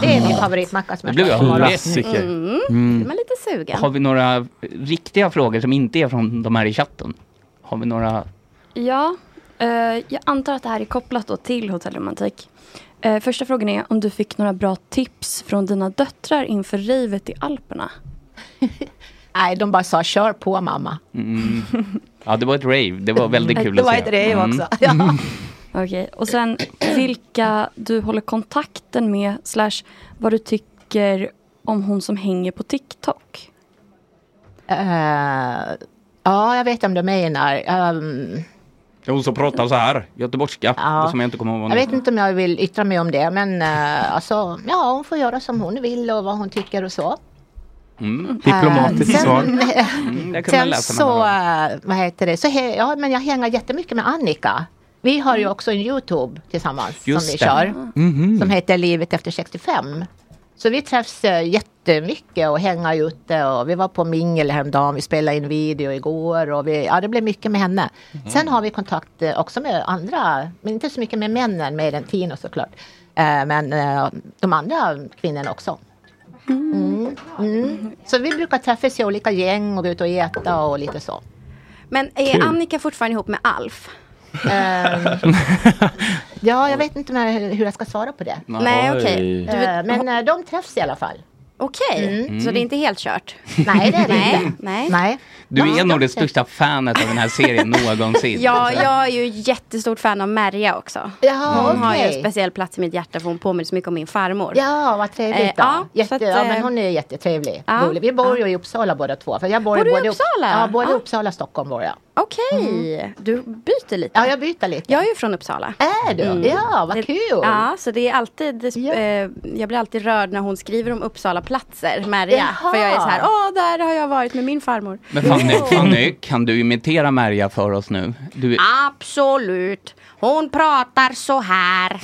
[SPEAKER 12] Det är min favoritmacka som
[SPEAKER 6] Det
[SPEAKER 12] jag
[SPEAKER 6] blev
[SPEAKER 12] kör
[SPEAKER 6] jag
[SPEAKER 12] på morgonen.
[SPEAKER 6] klassiker.
[SPEAKER 5] Oh. Mm.
[SPEAKER 6] Mm.
[SPEAKER 5] Man är lite sugen.
[SPEAKER 6] Har vi några riktiga frågor som inte är från de här i chatten? Har vi några?
[SPEAKER 7] Ja, eh, jag antar att det här är kopplat då till hotellromantik. Eh, första frågan är om du fick några bra tips från dina döttrar inför ravet i Alperna?
[SPEAKER 12] Nej, de bara sa kör på mamma.
[SPEAKER 6] Mm. Ja, det var ett rave. Det var väldigt kul
[SPEAKER 12] det
[SPEAKER 6] att
[SPEAKER 12] var
[SPEAKER 6] se.
[SPEAKER 12] ett rave
[SPEAKER 6] Mm.
[SPEAKER 12] också. Ja.
[SPEAKER 7] Okej, och sen vilka du håller kontakten med slash vad du tycker om hon som hänger på TikTok?
[SPEAKER 12] Eh, ja, jag vet om du menar. Ehm,
[SPEAKER 6] Hon som pratar så här, göteborgska,
[SPEAKER 12] Ja.
[SPEAKER 6] som jag inte kommer ihåg vad
[SPEAKER 12] jag
[SPEAKER 6] hon
[SPEAKER 12] vet
[SPEAKER 6] heter.
[SPEAKER 12] inte om jag vill yttra mig om det, men uh, alltså, ja, hon får göra som hon vill och vad hon tycker och så.
[SPEAKER 6] Mm.
[SPEAKER 12] Eh, sen,
[SPEAKER 6] Mm, det kan man
[SPEAKER 12] sen
[SPEAKER 6] läsa mellan
[SPEAKER 12] så,
[SPEAKER 6] raderna.
[SPEAKER 12] eh, vad heter det, så he, ja, men jag hänger jättemycket med Annika. Vi har ju också en Youtube tillsammans
[SPEAKER 6] Just
[SPEAKER 12] som vi
[SPEAKER 6] det.
[SPEAKER 12] kör.
[SPEAKER 6] Mhm.
[SPEAKER 12] Som heter Livet efter 65. Så vi träffs eh, jättemycket och hänga ute och vi var på mingel häromdagen, vi spelade in video igår och vi, ja det blev mycket med henne.
[SPEAKER 6] Mm-hmm.
[SPEAKER 12] Sen har vi kontakt eh, också med andra, men inte så mycket med männen, mer än Tino såklart. Eh, Men eh, de andra kvinnorna också. Mm. Mm. Så vi brukar träffas i olika gäng och gå ut och äta och lite så.
[SPEAKER 5] Men är
[SPEAKER 12] Kul.
[SPEAKER 5] Annika fortfarande ihop med Alf?
[SPEAKER 12] Ja, jag vet inte med- hur jag ska svara på det.
[SPEAKER 5] Nej, okej. Du
[SPEAKER 12] Eh, Men eh, de träffs i alla fall.
[SPEAKER 5] Okej,
[SPEAKER 12] Mm.
[SPEAKER 5] så det är inte helt kört?
[SPEAKER 12] Nej, det är det
[SPEAKER 5] Nej, nej.
[SPEAKER 12] nej.
[SPEAKER 6] Du är nog det största fanet av den här serien någonsin. Alltså.
[SPEAKER 5] Ja, jag är ju jättestort fan av Merja också.
[SPEAKER 12] Jaha,
[SPEAKER 5] hon har ju
[SPEAKER 12] okej.
[SPEAKER 5] en speciell plats i mitt hjärta för hon påminner så mycket om min farmor.
[SPEAKER 12] Ja, vad trevligt
[SPEAKER 5] Eh,
[SPEAKER 12] då.
[SPEAKER 5] ja, så
[SPEAKER 12] Jätte,
[SPEAKER 5] att,
[SPEAKER 12] ja,
[SPEAKER 5] eh,
[SPEAKER 12] men hon är jättetrevlig.
[SPEAKER 5] ja,
[SPEAKER 12] Rolig. Vi bor ju i Uppsala båda två. För jag bor,
[SPEAKER 5] Bor du i
[SPEAKER 12] både i Upps-
[SPEAKER 5] Uppsala? Ah,
[SPEAKER 12] Ja, både i
[SPEAKER 5] Ja.
[SPEAKER 12] Uppsala och Stockholm bor jag. Mm.
[SPEAKER 5] Okej, du byter lite.
[SPEAKER 12] Ja, jag byter lite.
[SPEAKER 5] Jag är ju från Uppsala. Mm.
[SPEAKER 12] Är du? Ja, vad kul.
[SPEAKER 5] Ja, så det är alltid, det, eh, jag blir alltid rörd när hon skriver om Uppsala-platser, Merja.
[SPEAKER 12] Jaha.
[SPEAKER 5] För jag är så här, åh, där har jag varit med min farmor.
[SPEAKER 6] Men Fanny, Fanny, kan du imitera Merja för oss nu? Du,
[SPEAKER 5] Ah. Absolut. Hon pratar så här.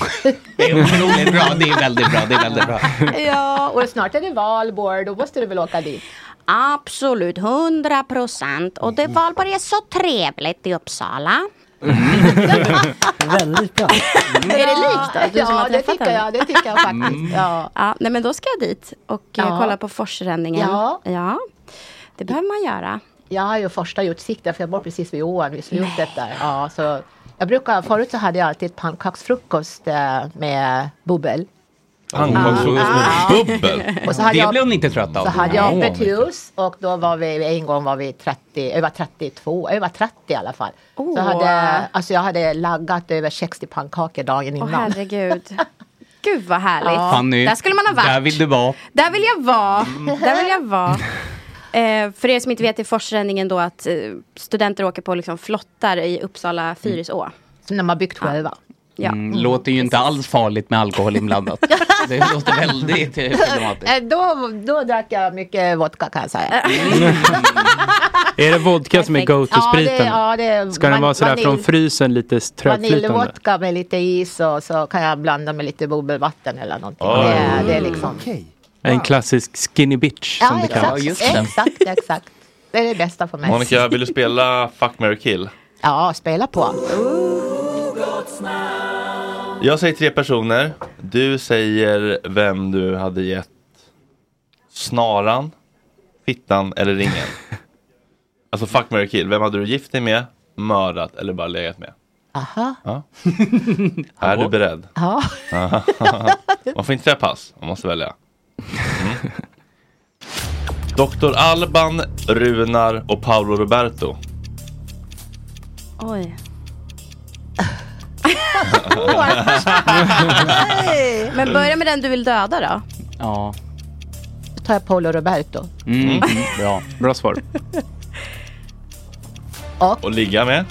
[SPEAKER 6] det är otroligt bra, det är väldigt bra, det är väldigt bra.
[SPEAKER 12] ja, och snart är det valborg. Då måste du väl åka dit?
[SPEAKER 5] Absolut, hundra procent. Och det Valborg är så trevligt i Uppsala.
[SPEAKER 3] Väldigt bra.
[SPEAKER 5] Är det likt då? Du som
[SPEAKER 12] Mm. ja,
[SPEAKER 5] har
[SPEAKER 12] det
[SPEAKER 5] träffat
[SPEAKER 12] tycker
[SPEAKER 5] henne?
[SPEAKER 12] jag, det tycker jag faktiskt.
[SPEAKER 5] Mm.
[SPEAKER 12] Ja.
[SPEAKER 5] Ja, nej men då ska jag dit och eh,
[SPEAKER 12] Ja.
[SPEAKER 5] kolla på forsränningen.
[SPEAKER 12] Ja.
[SPEAKER 5] ja. Det behöver man göra.
[SPEAKER 12] Jag har ju första utsikten för jag bor precis vid ån, vid slutet där. Ja, så jag brukar, förut så hade jag alltid pannkaksfrukost eh, med bubbel.
[SPEAKER 6] Pannkaksfrukost med bubbel?
[SPEAKER 12] Och så hade
[SPEAKER 6] Det
[SPEAKER 12] jag-
[SPEAKER 6] blev hon inte trött av.
[SPEAKER 12] Så hade jag
[SPEAKER 6] Ja.
[SPEAKER 12] öppet hus och då var vi, en gång var vi 30, över 32, över 30 i alla fall. Så
[SPEAKER 5] Åh.
[SPEAKER 12] hade, alltså jag hade laggat över 60 pannkakor dagen
[SPEAKER 5] Åh
[SPEAKER 12] innan.
[SPEAKER 5] herregud. Gud vad härligt.
[SPEAKER 12] Ja.
[SPEAKER 6] Fanny,
[SPEAKER 5] Där skulle man ha varit.
[SPEAKER 6] Där vill du Mm. vara.
[SPEAKER 5] Där vill jag vara. Där vill jag vara. Eh, för er som inte vet är forsränningen då att eh, studenter åker på liksom flottar i Uppsala Fyriså.
[SPEAKER 12] Som de har byggt själva.
[SPEAKER 5] Ja.
[SPEAKER 6] Mm, låter ju inte alls farligt med alkohol inblandat. Det låter väldigt eh, problematiskt.
[SPEAKER 12] Eh, Då, då drack jag mycket vodka kan jag säga.
[SPEAKER 4] Är det vodka som är
[SPEAKER 12] Ja, det-
[SPEAKER 4] go-to-spriten?
[SPEAKER 12] ja, det-
[SPEAKER 4] Ska den
[SPEAKER 12] van-
[SPEAKER 4] vara sådär
[SPEAKER 12] vanilj-
[SPEAKER 4] från frysen lite trögflytande?
[SPEAKER 12] Vaniljvodka med lite is och så kan jag blanda med lite bubbelvatten eller någonting.
[SPEAKER 4] Oj.
[SPEAKER 12] Det, är- det är liksom...
[SPEAKER 4] En klassisk skinny bitch som
[SPEAKER 12] Ja,
[SPEAKER 4] det kallas.
[SPEAKER 12] exakt, exakt, exakt. Det är det bästa för mig.
[SPEAKER 1] Monica, vill du spela Fuck, Mary kill?
[SPEAKER 12] Ja, spela på.
[SPEAKER 1] Jag säger tre personer. Du säger vem du hade gett snaran, fittan eller ringen. alltså fuck, marry, kill. Vem hade du gift dig med, mördat eller bara legat med?
[SPEAKER 12] Aha.
[SPEAKER 1] Ja. Är du beredd?
[SPEAKER 12] Ja.
[SPEAKER 1] Man får inte säga pass, man måste välja. Mm. Dr. Alban, Runar och Paolo Roberto.
[SPEAKER 5] Oj. Oh. Men börja med den du vill döda då.
[SPEAKER 6] Ja.
[SPEAKER 12] Då tar jag Paolo Roberto.
[SPEAKER 6] Mm, bra.
[SPEAKER 4] Bra svar.
[SPEAKER 12] Och,
[SPEAKER 1] ligga med?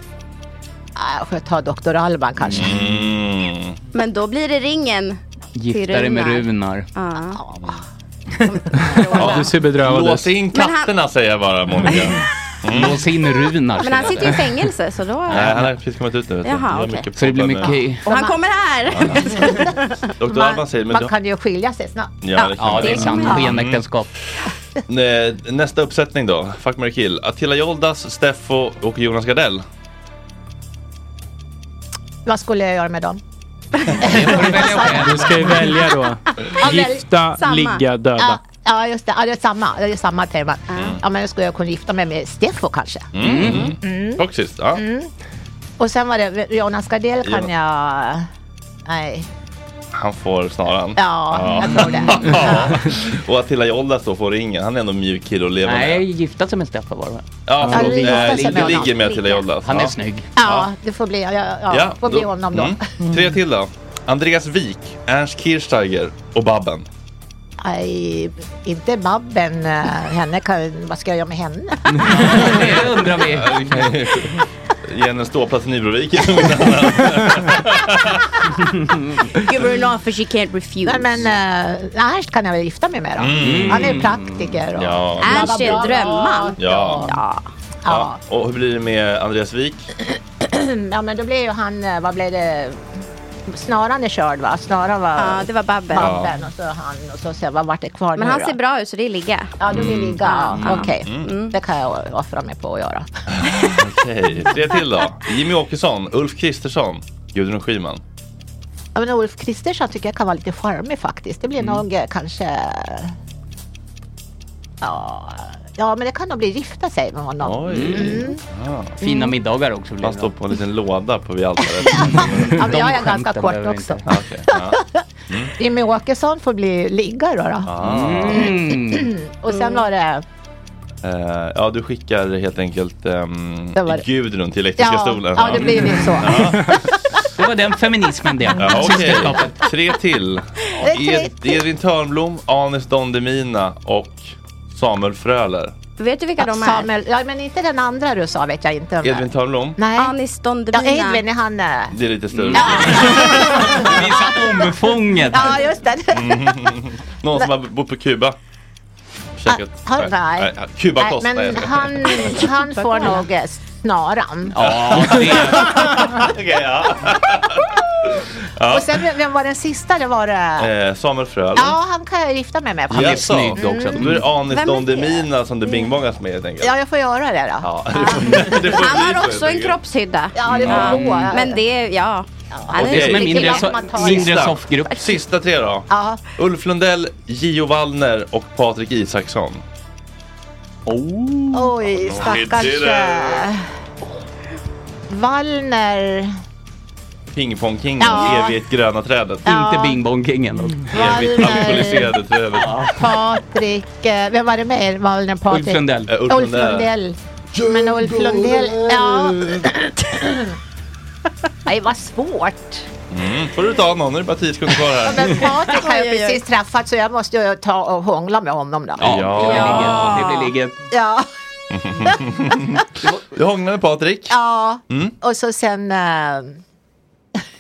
[SPEAKER 12] Ah, får jag ta Dr. Alban kanske?
[SPEAKER 1] Mm.
[SPEAKER 5] Men då blir det ringen.
[SPEAKER 6] Gifta
[SPEAKER 5] till
[SPEAKER 6] dig med Runar.
[SPEAKER 5] Ja.
[SPEAKER 4] Ja, du ser bedrövad ut.
[SPEAKER 1] Lås in katterna säger jag bara Monica.
[SPEAKER 6] Mm. Lås in Runar.
[SPEAKER 5] Men han sitter ju i fängelse så då.
[SPEAKER 1] Nej, han har precis kommit ut nu. Vet du.
[SPEAKER 5] Jaha,
[SPEAKER 1] Jag har
[SPEAKER 5] okej.
[SPEAKER 1] mycket
[SPEAKER 6] Så det blir
[SPEAKER 1] poddar nu.
[SPEAKER 6] mycket...
[SPEAKER 5] Och han kommer här.
[SPEAKER 1] Dr. Mm. Alban säger, men
[SPEAKER 12] Man
[SPEAKER 1] då,
[SPEAKER 12] kan ju skilja sig snabbt.
[SPEAKER 1] Ja, det kan man
[SPEAKER 6] Ja, det är
[SPEAKER 1] göra.
[SPEAKER 6] sant.
[SPEAKER 1] Mm.
[SPEAKER 6] Skenäktenskap.
[SPEAKER 1] Nä- nästa uppsättning då. Fuck, marry, kill. Attila Joldas, Steffo och Jonas Gardell.
[SPEAKER 12] Vad skulle jag göra med dem?
[SPEAKER 4] Du ska ju välja då.
[SPEAKER 12] Ja, välj
[SPEAKER 4] Gifta,
[SPEAKER 12] samma.
[SPEAKER 4] ligga,
[SPEAKER 12] Ja,
[SPEAKER 4] döda.
[SPEAKER 12] ja, just det. Ja, det är samma, det är samma tema. Ja, men då skulle jag kunna gifta mig med Steffo kanske.
[SPEAKER 1] Mm. Toxiskt, ja.
[SPEAKER 12] Mm. Och sen var det Jonas Gardell kan jag... Nej.
[SPEAKER 1] Han får snaran.
[SPEAKER 12] Ja, jag tror det.
[SPEAKER 1] Ja. och Attila Joldas då får ringen. Han är ändå en mjuk kille att leva med.
[SPEAKER 6] Nej, gifta sig med Steffan var det väl?
[SPEAKER 1] Ja,
[SPEAKER 12] Ja,
[SPEAKER 1] förlåt.
[SPEAKER 12] ligga.
[SPEAKER 1] Eh,
[SPEAKER 12] Ligga.
[SPEAKER 1] Du ligger med Attila Joldas.
[SPEAKER 6] Han är
[SPEAKER 1] Ja.
[SPEAKER 6] snygg.
[SPEAKER 12] Ja, det får bli, ja, ja, får bli honom då.
[SPEAKER 1] Mm. Tre till då. Andreas Wik, Ernst Kirchsteiger och Babben.
[SPEAKER 12] Nej, inte Babben. eh, Henne kan, vad ska jag göra med henne?
[SPEAKER 6] Det undrar vi.
[SPEAKER 1] Ge henne en ståplats i Nybroviken.
[SPEAKER 5] Give her an offer she can't refuse.
[SPEAKER 12] Nej, men eh, Ernst kan jag väl gifta mig med då.
[SPEAKER 1] Mm.
[SPEAKER 12] Han är ju praktiker. Och,
[SPEAKER 1] Ja.
[SPEAKER 12] Ernst är drömman.
[SPEAKER 1] Ja.
[SPEAKER 5] Ja.
[SPEAKER 1] ja. Och hur blir det med Andreas Wik?
[SPEAKER 12] ja, men då blir ju han, eh, vad blev det? snaran är körd va? Snaran var...
[SPEAKER 5] Ja, det var Babben.
[SPEAKER 12] Babben och så han och så, så vad vart det kvar
[SPEAKER 5] Men
[SPEAKER 12] nu
[SPEAKER 5] han
[SPEAKER 12] då?
[SPEAKER 5] ser bra ut så det är ligga.
[SPEAKER 12] Ja, du vill ligga. Ja,
[SPEAKER 5] Mm.
[SPEAKER 12] Okej,
[SPEAKER 1] Mm.
[SPEAKER 12] det kan jag offra mig på att göra.
[SPEAKER 1] Okej, tre till då. Jimmy Åkesson, Ulf Kristersson, Gudrun Schyman.
[SPEAKER 12] Ja, men Ulf Kristersson tycker jag kan vara lite charmig faktiskt. Det blir
[SPEAKER 1] Mm.
[SPEAKER 12] nog eh, kanske... Ja, ja, men det kan nog bli gifta sig med honom. Mm.
[SPEAKER 1] Ja.
[SPEAKER 6] Fina middagar också.
[SPEAKER 1] Han står på en liten låda på vid altaret.
[SPEAKER 12] Ja, men jag är ganska kort också.
[SPEAKER 1] Ja, okej. Ja.
[SPEAKER 12] Jimmy Åkesson får bli ligga då. då.
[SPEAKER 1] Mm. Ah.
[SPEAKER 12] Och
[SPEAKER 5] Mm.
[SPEAKER 12] sen var det...
[SPEAKER 1] Eh, ja, du skickar helt enkelt um,
[SPEAKER 12] Det var det.
[SPEAKER 1] Gudrun till elektriska
[SPEAKER 12] Ja,
[SPEAKER 1] stolen.
[SPEAKER 12] ja, det blir väl så.
[SPEAKER 1] Ja.
[SPEAKER 6] Det var den feminismen det.
[SPEAKER 1] Ja, okej.
[SPEAKER 6] Systerskapet.
[SPEAKER 1] Tre till.
[SPEAKER 12] Det är tre
[SPEAKER 1] Ed- Edvin Törnblom, Anis Don Demina och Samuel Fröler.
[SPEAKER 12] Vet du vilka
[SPEAKER 5] de är?
[SPEAKER 12] Samuel, ja, men inte den andra du sa vet jag inte. om det.
[SPEAKER 1] Edvin Törnblom?
[SPEAKER 12] Nej. Anis Don Ja, Edvin är han... eh,
[SPEAKER 1] Det är lite större.
[SPEAKER 6] Visa omfånget.
[SPEAKER 12] Ja, just det.
[SPEAKER 1] Mm. Någon som har bott på Kuba? Käkat?
[SPEAKER 12] Han, nej.
[SPEAKER 1] Kubakost.
[SPEAKER 12] Nej,
[SPEAKER 1] nej, jag
[SPEAKER 12] Men
[SPEAKER 1] skojar.
[SPEAKER 12] han, han får nog eh, snaran.
[SPEAKER 1] Ja, det... Okej, ja. ja.
[SPEAKER 12] Och sen, vem- vem var den sista? Det var det...
[SPEAKER 1] Eh, Samuel Fröler.
[SPEAKER 12] Ja, han kan jag gifta mig med. faktiskt. Mm.
[SPEAKER 1] Jaså. Då är det Anis
[SPEAKER 12] Vem är
[SPEAKER 1] Don
[SPEAKER 12] det?
[SPEAKER 1] Demina som det bingbongas med helt enkelt.
[SPEAKER 12] Ja, jag får göra det då.
[SPEAKER 1] Ja, det får- det får
[SPEAKER 5] Han
[SPEAKER 1] bli så,
[SPEAKER 5] har
[SPEAKER 1] helt
[SPEAKER 5] också en
[SPEAKER 1] enkelt.
[SPEAKER 5] kroppshydda.
[SPEAKER 12] Ja, det får
[SPEAKER 1] Mm. gå, ja.
[SPEAKER 5] Men det, är- ja. Han är
[SPEAKER 1] Okej.
[SPEAKER 5] en riktig vacker man.
[SPEAKER 1] Sista. Sista tre då.
[SPEAKER 5] Ja.
[SPEAKER 1] Ulf Lundell, Gio Wallner och Patrik Isaksson. Oh.
[SPEAKER 12] Oj, stackars... eh, Wallner...
[SPEAKER 1] Pingpongkingen,
[SPEAKER 12] Ja.
[SPEAKER 1] evigt gröna trädet.
[SPEAKER 12] Ja. Mm. Inte
[SPEAKER 1] bingbongkingen. Evigt
[SPEAKER 12] Wallner.
[SPEAKER 1] alkoholiserade trädet.
[SPEAKER 12] Patrik, eh, vem var det mer? Wallner, Patrik?
[SPEAKER 1] Ulf Lundell. Eh, Ulf
[SPEAKER 12] Ulf
[SPEAKER 1] Lundell.
[SPEAKER 12] Lundell. Men Ulf Lundell, ja. Nej, vad svårt.
[SPEAKER 1] Mm, får du ta någon, nu är det bara tio sekunder kvar här.
[SPEAKER 12] Men Patrik har jag precis träffat så jag måste ju ta och hångla med honom då.
[SPEAKER 1] Ja.
[SPEAKER 6] Det blir ligget.
[SPEAKER 12] Ja,
[SPEAKER 1] Du hånglar med Patrik,
[SPEAKER 12] ja.
[SPEAKER 1] Mm.
[SPEAKER 12] och så sen... eh,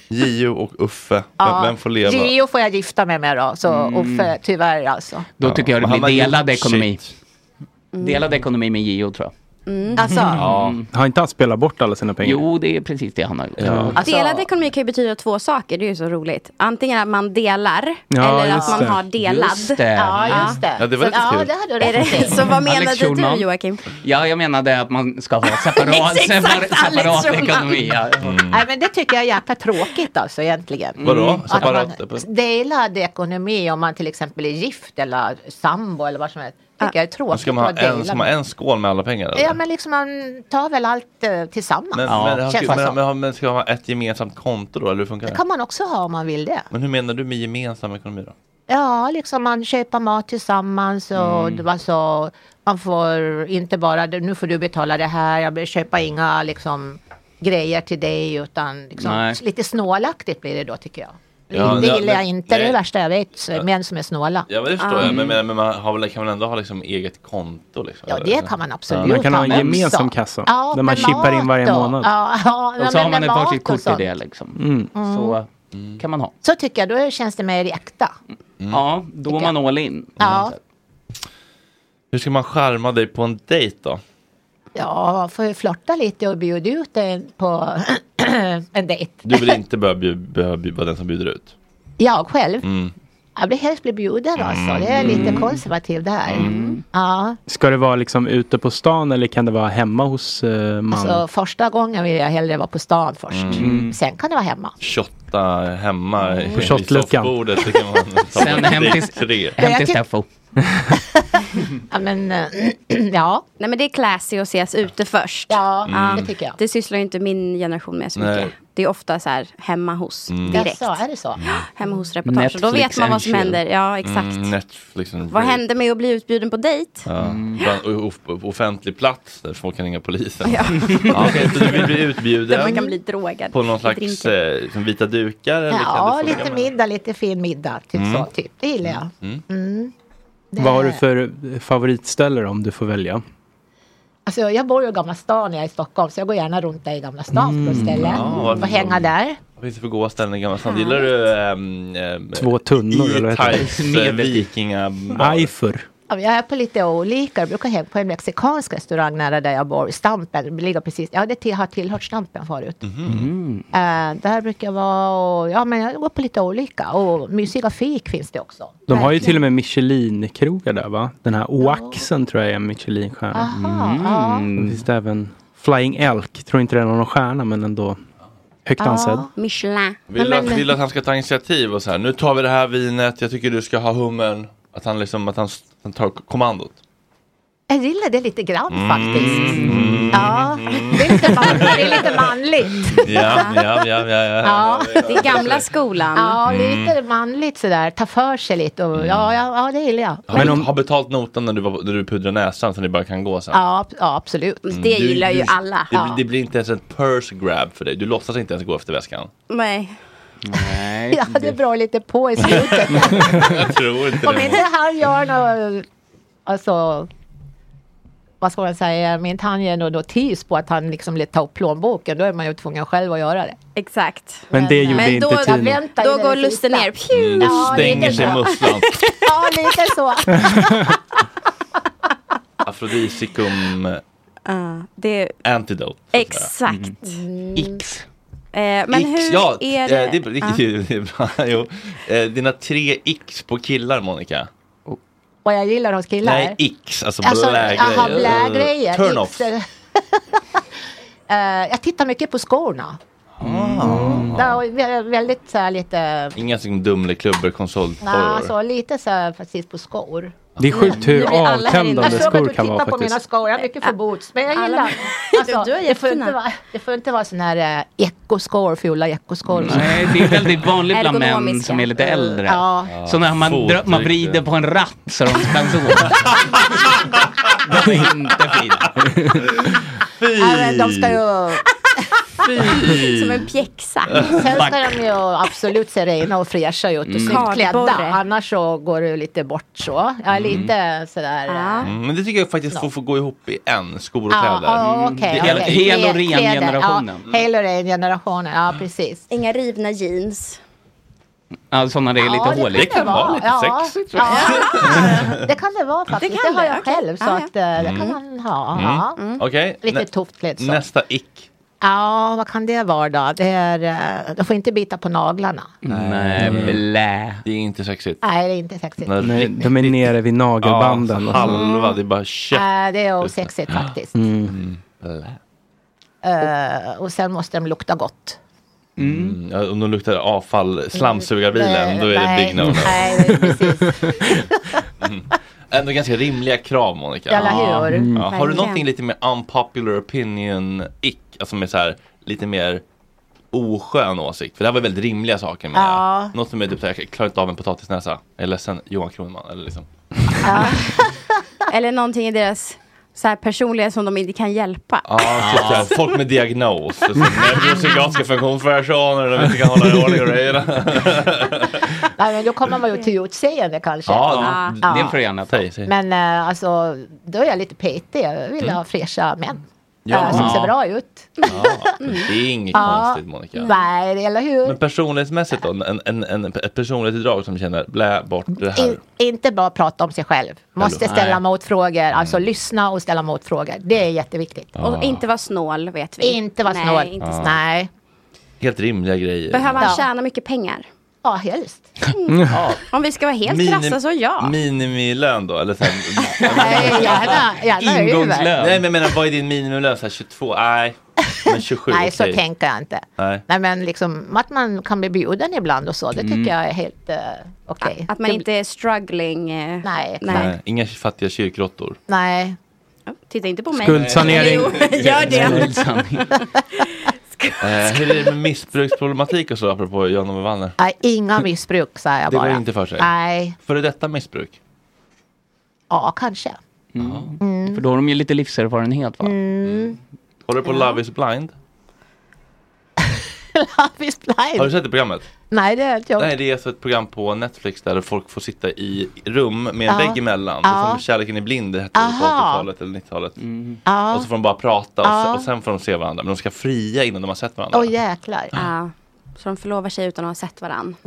[SPEAKER 1] Gio och Uffe. Vem,
[SPEAKER 12] ja.
[SPEAKER 1] vem får leva?
[SPEAKER 12] Gio får jag gifta mig med då, så
[SPEAKER 6] Mm.
[SPEAKER 12] Uffe, tyvärr alltså.
[SPEAKER 6] Då tycker jag
[SPEAKER 1] men
[SPEAKER 6] det
[SPEAKER 1] han har
[SPEAKER 6] blir delad
[SPEAKER 1] gjort
[SPEAKER 6] ekonomi. Delad ekonomi med Gio tror jag.
[SPEAKER 5] Mm.
[SPEAKER 6] Mm.
[SPEAKER 12] Alltså,
[SPEAKER 4] Har inte han spelat bort alla sina pengar?
[SPEAKER 6] Jo, det är precis det han har gjort.
[SPEAKER 4] Alltså-
[SPEAKER 5] Mm. Delad ekonomi kan ju betyda två saker, det är ju så roligt. Antingen att man delar
[SPEAKER 6] Ja,
[SPEAKER 5] eller att
[SPEAKER 6] just
[SPEAKER 5] man
[SPEAKER 6] det.
[SPEAKER 5] har delad.
[SPEAKER 6] Just det. Ja, just det. Ja, det var
[SPEAKER 5] Så-
[SPEAKER 6] lite kul.
[SPEAKER 12] hade
[SPEAKER 5] Är det- Så vad
[SPEAKER 6] Alex
[SPEAKER 5] menade du
[SPEAKER 6] Schulman.
[SPEAKER 5] Joakim?
[SPEAKER 6] Ja, jag menade att man ska ha separat,
[SPEAKER 12] Exakt,
[SPEAKER 6] separat,
[SPEAKER 12] Alex
[SPEAKER 6] separat
[SPEAKER 12] Schulman.
[SPEAKER 6] ekonomi. Ja.
[SPEAKER 12] Nej men det tycker jag är jäkla tråkigt alltså egentligen.
[SPEAKER 6] Vadå?
[SPEAKER 12] Mm. Att man
[SPEAKER 6] Separat-
[SPEAKER 12] delad ekonomi om man till exempel är gift eller sambo eller vad som helst. Tycker jag är
[SPEAKER 1] Då
[SPEAKER 12] tråkigt.
[SPEAKER 1] ska man ha
[SPEAKER 12] att vara
[SPEAKER 1] en,
[SPEAKER 12] delad.
[SPEAKER 1] ska man ha en skål med alla pengar? Eller?
[SPEAKER 12] Ja men liksom man tar väl allt eh, tillsammans.
[SPEAKER 1] Men, men,
[SPEAKER 12] känns det
[SPEAKER 1] men, men,
[SPEAKER 12] som.
[SPEAKER 1] men, men ska man ha ett gemensamt konto då, eller hur funkar
[SPEAKER 12] Det
[SPEAKER 1] det?
[SPEAKER 12] kan man också ha om man vill det.
[SPEAKER 1] Men hur menar du med gemensam ekonomi då?
[SPEAKER 12] Ja, liksom man köper mat tillsammans och
[SPEAKER 1] Mm.
[SPEAKER 12] mm. alltså, man får inte bara nu får du betala det här, jag vill köpa inga liksom grejer till dig utan liksom,
[SPEAKER 1] Nej.
[SPEAKER 12] lite snålaktigt blir det då tycker jag.
[SPEAKER 1] Ja,
[SPEAKER 12] det
[SPEAKER 1] ja,
[SPEAKER 12] gillar jag
[SPEAKER 1] men-
[SPEAKER 12] inte, det är
[SPEAKER 1] nej.
[SPEAKER 12] det värsta jag vet, män som är snåla.
[SPEAKER 1] Ja men det förstår
[SPEAKER 12] Ah.
[SPEAKER 1] jag, men, men, men man har väl, kan väl ändå ha liksom eget konto? Liksom,
[SPEAKER 12] Ja,
[SPEAKER 1] eller?
[SPEAKER 12] det kan man absolut
[SPEAKER 4] man kan ha en
[SPEAKER 12] också.
[SPEAKER 4] gemensam kassa,
[SPEAKER 12] Ja,
[SPEAKER 4] där man
[SPEAKER 12] med
[SPEAKER 4] chippar in
[SPEAKER 12] mat
[SPEAKER 4] varje
[SPEAKER 12] då.
[SPEAKER 4] månad.
[SPEAKER 12] Ja, ja,
[SPEAKER 6] Och
[SPEAKER 12] men
[SPEAKER 6] så har man
[SPEAKER 12] med
[SPEAKER 6] ett
[SPEAKER 12] mat
[SPEAKER 6] varsitt
[SPEAKER 12] och
[SPEAKER 6] kort i
[SPEAKER 12] sånt.
[SPEAKER 6] det liksom.
[SPEAKER 12] Mm.
[SPEAKER 6] Så eh, kan man ha.
[SPEAKER 12] Så tycker jag, då känns det mer äkta.
[SPEAKER 1] Mm.
[SPEAKER 6] Ja, då är man all in.
[SPEAKER 12] Ja,
[SPEAKER 1] Hur ska man charma dig på en dejt då?
[SPEAKER 12] ja man får ju flörta lite och bjuda ut en på en dejt.
[SPEAKER 1] Du vill inte behöva bju- behöva bjuda den som bjuder ut?
[SPEAKER 12] Jag själv?
[SPEAKER 1] Mm.
[SPEAKER 12] Jag vill helst bli bjuden alltså. Det är lite konservativ där.
[SPEAKER 1] Mm.
[SPEAKER 6] Mm.
[SPEAKER 12] Ja,
[SPEAKER 4] Ska det vara liksom ute på stan eller kan det vara hemma hos uh, man?
[SPEAKER 12] alltså första gången vill jag hellre vara på stan först.
[SPEAKER 4] Mm.
[SPEAKER 12] Sen kan det vara hemma.
[SPEAKER 1] Shotta hemma i-
[SPEAKER 4] På
[SPEAKER 1] i
[SPEAKER 4] shotluckan.
[SPEAKER 1] soffbordet så kan man ta
[SPEAKER 6] Sen
[SPEAKER 1] en
[SPEAKER 6] hem
[SPEAKER 1] dejt
[SPEAKER 6] till-
[SPEAKER 1] tre.
[SPEAKER 12] hem till Jag tyck-
[SPEAKER 6] Steffo.
[SPEAKER 12] Ja, men eh, ja.
[SPEAKER 5] Nej men det är classy att ses ute först.
[SPEAKER 12] Ja,
[SPEAKER 1] Mm. det tycker
[SPEAKER 5] jag. Det sysslar ju inte min generation med så
[SPEAKER 1] Nej.
[SPEAKER 5] mycket. Det är ofta så här hemma hos
[SPEAKER 1] Mm.
[SPEAKER 5] direkt.
[SPEAKER 12] Jaså, är det så?
[SPEAKER 5] Hemma hos reportage. och då vet man vad som händer. Ja exakt.
[SPEAKER 1] Mm, Netflix and
[SPEAKER 5] Vad
[SPEAKER 1] chill.
[SPEAKER 5] hände med att bli utbjuden på dejt?
[SPEAKER 1] Mm. Ja.
[SPEAKER 6] Mm.
[SPEAKER 1] Bland- o- o- offentlig plats där folk kan ringa polisen. Ja. okej, så du vill bli
[SPEAKER 5] Där man
[SPEAKER 1] utbjuden
[SPEAKER 5] kan bli drogad.
[SPEAKER 1] på någon
[SPEAKER 5] i
[SPEAKER 1] slags
[SPEAKER 5] drinken.
[SPEAKER 1] eh, liksom vita dukar? Eller
[SPEAKER 12] Ja,
[SPEAKER 1] kan det funka
[SPEAKER 12] lite
[SPEAKER 1] med-
[SPEAKER 12] middag, lite fin middag. Typ
[SPEAKER 4] Mm.
[SPEAKER 12] så, typ. Det gillar jag.
[SPEAKER 1] Mm.
[SPEAKER 12] Mm. Det-
[SPEAKER 4] Vad har du för eh, favoritställe då, om du får välja?
[SPEAKER 12] Alltså, jag bor ju i Gamla stan när jag är i Stockholm så jag går gärna runt där i Gamla stan på
[SPEAKER 1] Mm.
[SPEAKER 12] ställen.
[SPEAKER 1] Ja, varför
[SPEAKER 12] och hänga där.
[SPEAKER 1] Vad finns det för goda ställen i Gamla stan? Gillar du... ehm, ehm,
[SPEAKER 4] Två tunnor eller vad heter det?
[SPEAKER 1] E-Types eh, vikingabar?
[SPEAKER 4] Eifer.
[SPEAKER 12] Ja, men Jag är på lite olika. Jag brukar hänga på en mexikansk restaurang nära där jag bor. Stampen ligger precis. Ja, det till- har tillhört Stampen förut.
[SPEAKER 1] Mhm.
[SPEAKER 4] Mm.
[SPEAKER 12] Eh, där brukar jag vara och, ja, men jag går på lite olika. Och mysiga fik finns det också.
[SPEAKER 4] De har ju till och med Michelin-krogar där va? Den här Oaxen tror jag är en Michelin-stjärna. Mm.
[SPEAKER 12] Aha, ja.
[SPEAKER 4] Det finns det även Flying Elk. Tror inte den har någon stjärna men ändå högt ansedd.
[SPEAKER 5] Michelin.
[SPEAKER 1] Vill,
[SPEAKER 5] Nej,
[SPEAKER 1] att,
[SPEAKER 5] men-
[SPEAKER 1] vill att han ska ta initiativ och så här. Nu tar vi det här vinet. Jag tycker du ska ha hummen. Att han liksom, att han, s- han tar kommandot.
[SPEAKER 12] Jag gillar det lite grann
[SPEAKER 1] Mm.
[SPEAKER 12] faktiskt.
[SPEAKER 1] Mm.
[SPEAKER 12] Ja, det är lite manligt. Det är lite manligt.
[SPEAKER 1] Ja, ja, ja, ja, ja.
[SPEAKER 12] Ja,
[SPEAKER 5] det är gamla skolan.
[SPEAKER 12] Ja,
[SPEAKER 1] Mm.
[SPEAKER 12] lite manligt sådär. Ta för sig lite. Och, ja, ja, ja, det gillar jag.
[SPEAKER 1] Har, men har betalt notan när du, var- när du pudrar näsan så ni bara kan gå sen.
[SPEAKER 12] Ja, ab- ja, absolut.
[SPEAKER 1] Mm, du- du- Det, blir- det blir inte ens ett purse grab för dig. Du låtsas inte ens gå efter väskan.
[SPEAKER 5] Nej.
[SPEAKER 1] Nej.
[SPEAKER 12] Jag hade bra lite på i slutet.
[SPEAKER 1] Jag tror inte
[SPEAKER 12] Om
[SPEAKER 1] det.
[SPEAKER 12] inte han gör något, alltså, vad ska man säga, om inte han ger någon notis på att han liksom vill ta upp plånboken, då är man ju tvungen själv att göra det.
[SPEAKER 5] Exakt.
[SPEAKER 4] Men det gjorde
[SPEAKER 5] men
[SPEAKER 4] inte
[SPEAKER 5] då,
[SPEAKER 4] Tino.
[SPEAKER 12] väntar ju
[SPEAKER 5] Då
[SPEAKER 12] det
[SPEAKER 5] går
[SPEAKER 12] sista.
[SPEAKER 5] lusten ner. Pju!
[SPEAKER 1] Mm, då stänger
[SPEAKER 12] lite
[SPEAKER 1] sig
[SPEAKER 12] så.
[SPEAKER 1] musslan.
[SPEAKER 12] Ja, lite så.
[SPEAKER 1] Afrodisicum
[SPEAKER 5] Ja, det,
[SPEAKER 1] antidote.
[SPEAKER 5] exakt. Mm.
[SPEAKER 6] X.
[SPEAKER 5] Eh, men
[SPEAKER 1] X,
[SPEAKER 5] hur
[SPEAKER 1] Mm. ja,
[SPEAKER 5] är
[SPEAKER 1] eh,
[SPEAKER 5] det?
[SPEAKER 1] är, bra- det, är, bra. Jo. Eh, Dina tre x på killar Monica.
[SPEAKER 12] Vad jag gillar hos killar.
[SPEAKER 1] Nej, x, alltså,
[SPEAKER 12] Alltså,
[SPEAKER 1] blä-grejer.
[SPEAKER 12] aha, blä-grejer.
[SPEAKER 1] Turn off.
[SPEAKER 12] Yxor. Eh, jag tittar mycket på skorna. Mm. Ja, och vä- väldigt så här lite,
[SPEAKER 1] Inga som dumleklubbor,
[SPEAKER 12] nej,
[SPEAKER 1] konsolporr.
[SPEAKER 12] alltså, lite så här precis på skor.
[SPEAKER 1] Det är sjukt hur
[SPEAKER 12] Nu blir alla här inne.
[SPEAKER 1] avtändande
[SPEAKER 12] Jag såg att
[SPEAKER 1] skor
[SPEAKER 12] du
[SPEAKER 1] kan vara
[SPEAKER 12] tittar på mina
[SPEAKER 1] faktiskt.
[SPEAKER 12] skor, jag har mycket för boots. Men jag
[SPEAKER 5] Alla-
[SPEAKER 12] gillar, alltså,
[SPEAKER 5] Du har
[SPEAKER 12] det, får
[SPEAKER 5] jättefina.
[SPEAKER 12] inte vara, det får inte vara sån här eh, ekoskor, fula ekoskor.
[SPEAKER 6] Nej, det är väldigt vanligt bland män
[SPEAKER 12] Ergonomiska.
[SPEAKER 6] som är lite äldre.
[SPEAKER 12] Ja.
[SPEAKER 6] Så när man, dra- man vrider på en ratt så de kan så. De är inte fina.
[SPEAKER 12] Ja, men Äh, de ska ju...
[SPEAKER 5] Som en pjäxa.
[SPEAKER 12] Sen ska de ju absolut se rena och fräscha ut och
[SPEAKER 1] Mm.
[SPEAKER 12] snyggt klädda.
[SPEAKER 5] Kardborre.
[SPEAKER 12] Annars så går det ju lite bort så. Ja,
[SPEAKER 1] Mm.
[SPEAKER 12] lite sådär. eh,
[SPEAKER 1] Mm, Men det tycker jag faktiskt får, får gå ihop i en, skor och
[SPEAKER 12] Ja,
[SPEAKER 1] kläder. Mm.
[SPEAKER 12] ja, okej, okej. Kläder, kläder, Ja, hel och ren generationen, ja precis.
[SPEAKER 5] Mm. Inga rivna jeans.
[SPEAKER 6] Ja, sådana det är lite
[SPEAKER 12] Ja,
[SPEAKER 6] hål i.
[SPEAKER 12] det kan det vara. Ja, ja. Det kan det vara faktiskt. Det,
[SPEAKER 5] kan
[SPEAKER 12] har
[SPEAKER 5] det,
[SPEAKER 12] jag
[SPEAKER 5] okej.
[SPEAKER 12] själv. Så
[SPEAKER 5] Ja, ja.
[SPEAKER 12] att eh, det
[SPEAKER 1] Mm.
[SPEAKER 12] kan man ha.
[SPEAKER 1] Mm.
[SPEAKER 12] Ja.
[SPEAKER 1] Okej.
[SPEAKER 12] Lite
[SPEAKER 1] Nä-
[SPEAKER 12] tufft klädd så.
[SPEAKER 1] Nästa ick.
[SPEAKER 12] Ja, vad kan det vara då? Det är, eh, de får inte bita på naglarna.
[SPEAKER 4] Mm.
[SPEAKER 1] Nej,
[SPEAKER 6] blä.
[SPEAKER 1] Det är inte sexigt.
[SPEAKER 12] Nej, det är inte sexigt.
[SPEAKER 1] Nej,
[SPEAKER 4] Nej, de är nere vid nagelbanden.
[SPEAKER 1] Ja,
[SPEAKER 4] och så.
[SPEAKER 1] halva, det är bara kött.
[SPEAKER 12] Nej, Eh, det är osexigt faktiskt.
[SPEAKER 1] Mm.
[SPEAKER 12] Eh, och sen måste de lukta gott.
[SPEAKER 1] Mm. Ja, om de luktar avfall, slamsugarbilen,
[SPEAKER 12] Nej,
[SPEAKER 1] då är det
[SPEAKER 12] nej,
[SPEAKER 1] big no-no.
[SPEAKER 12] Nej, det är precis.
[SPEAKER 1] Ändå ganska rimliga krav Monica.
[SPEAKER 12] Eller hur? Mm.
[SPEAKER 1] Ja. Har du
[SPEAKER 12] Verkligen.
[SPEAKER 1] någonting lite mer unpopular opinion ick? Alltså med så här, lite mer oskön åsikt. För det här var väldigt rimliga saker med
[SPEAKER 12] Ja.
[SPEAKER 1] Något som är typ så här, jag klarar inte av en potatisnäsa. Jag är ledsen Johan Kronman. Eller liksom.
[SPEAKER 5] Eller någonting i deras så här personliga som de inte kan hjälpa.
[SPEAKER 1] Ja, typ så här, folk med diagnos. Så, så, neuropsykiatriska funktionsvariationer, de inte kan hålla i ordning och grejerna.
[SPEAKER 12] Mm. Nej, men då kommer man ju till utseende kanske.
[SPEAKER 1] Ja,
[SPEAKER 12] Ja.
[SPEAKER 6] det får du gärna ta.
[SPEAKER 12] Men eh, alltså, då är jag lite petig. Jag vill
[SPEAKER 1] Mm.
[SPEAKER 12] ha fräscha män.
[SPEAKER 1] Ja.
[SPEAKER 12] eh, som
[SPEAKER 1] Ja.
[SPEAKER 12] ser bra ut. Mm.
[SPEAKER 1] Ja, det är inget konstigt Monica.
[SPEAKER 12] Nej, eller hur?
[SPEAKER 1] Men personlighetsmässigt då? En, en, en, ett personlighetsdrag som känner blä bort det här.
[SPEAKER 12] In, inte bara prata om sig själv. Måste
[SPEAKER 1] Eller-
[SPEAKER 12] ställa
[SPEAKER 1] Nej. Mm.
[SPEAKER 12] motfrågor. Alltså lyssna och ställa motfrågor. Det är jätteviktigt.
[SPEAKER 1] Ja. Och inte
[SPEAKER 12] vara snål vet vi. Inte vara
[SPEAKER 5] Nej,
[SPEAKER 12] snål.
[SPEAKER 5] inte
[SPEAKER 1] Ja. snål.
[SPEAKER 12] Nej.
[SPEAKER 1] Helt rimliga grejer.
[SPEAKER 5] Behöver han tjäna mycket pengar?
[SPEAKER 12] Ja, helst.
[SPEAKER 1] Ja.
[SPEAKER 5] Om vi ska vara helt
[SPEAKER 1] Minim-
[SPEAKER 5] krassa så ja.
[SPEAKER 1] Minimilön då? Eller så här,
[SPEAKER 12] Nej, gärna, gärna över.
[SPEAKER 1] Nej men jag menar, vad är din minimilön? Så här, 22? Nej. Men 27?
[SPEAKER 12] Nej, så
[SPEAKER 1] okej.
[SPEAKER 12] tänker jag inte.
[SPEAKER 1] Nej.
[SPEAKER 12] Nej, men liksom att man kan bli bjuden ibland och så. Det tycker
[SPEAKER 1] Mm.
[SPEAKER 12] jag är helt eh, okej.
[SPEAKER 5] Att man inte är struggling. eh,
[SPEAKER 12] Nej.
[SPEAKER 5] nej.
[SPEAKER 1] Inga fattiga kyrkråttor.
[SPEAKER 12] Nej.
[SPEAKER 5] Titta inte på mig.
[SPEAKER 1] Skuldsanering.
[SPEAKER 5] Jo, gör det.
[SPEAKER 1] Skuldsanering. Eh, hur är det med missbruksproblematik och så apropå John Ove Wallner?
[SPEAKER 12] Nej, inga missbruk säger jag
[SPEAKER 1] Det går
[SPEAKER 12] bara.
[SPEAKER 1] inte för sig.
[SPEAKER 12] Nej.
[SPEAKER 1] Före detta missbruk?
[SPEAKER 12] Ja, kanske. Mm.
[SPEAKER 6] För då har de ju lite livserfarenhet va?
[SPEAKER 12] Mm.
[SPEAKER 1] Håller du på Love is blind?
[SPEAKER 12] Love is blind.
[SPEAKER 1] Har du sett det programmet?
[SPEAKER 12] Nej, det är inte jag.
[SPEAKER 1] Nej, det är alltså ett program på Netflix där folk får sitta i rum med en
[SPEAKER 12] Ja.
[SPEAKER 1] vägg emellan.
[SPEAKER 12] Ja.
[SPEAKER 1] Som Kärleken i blind det hette det på
[SPEAKER 12] Aha.
[SPEAKER 1] 80-talet eller 90-talet.
[SPEAKER 12] Ja.
[SPEAKER 1] Och så får de bara prata och,
[SPEAKER 12] Ja.
[SPEAKER 1] se, och sen får de se varandra. Men de ska fria innan de har sett varandra.
[SPEAKER 5] Åh
[SPEAKER 12] jäklar. Mm.
[SPEAKER 5] Ja. Så de förlovar sig utan att ha sett varandra.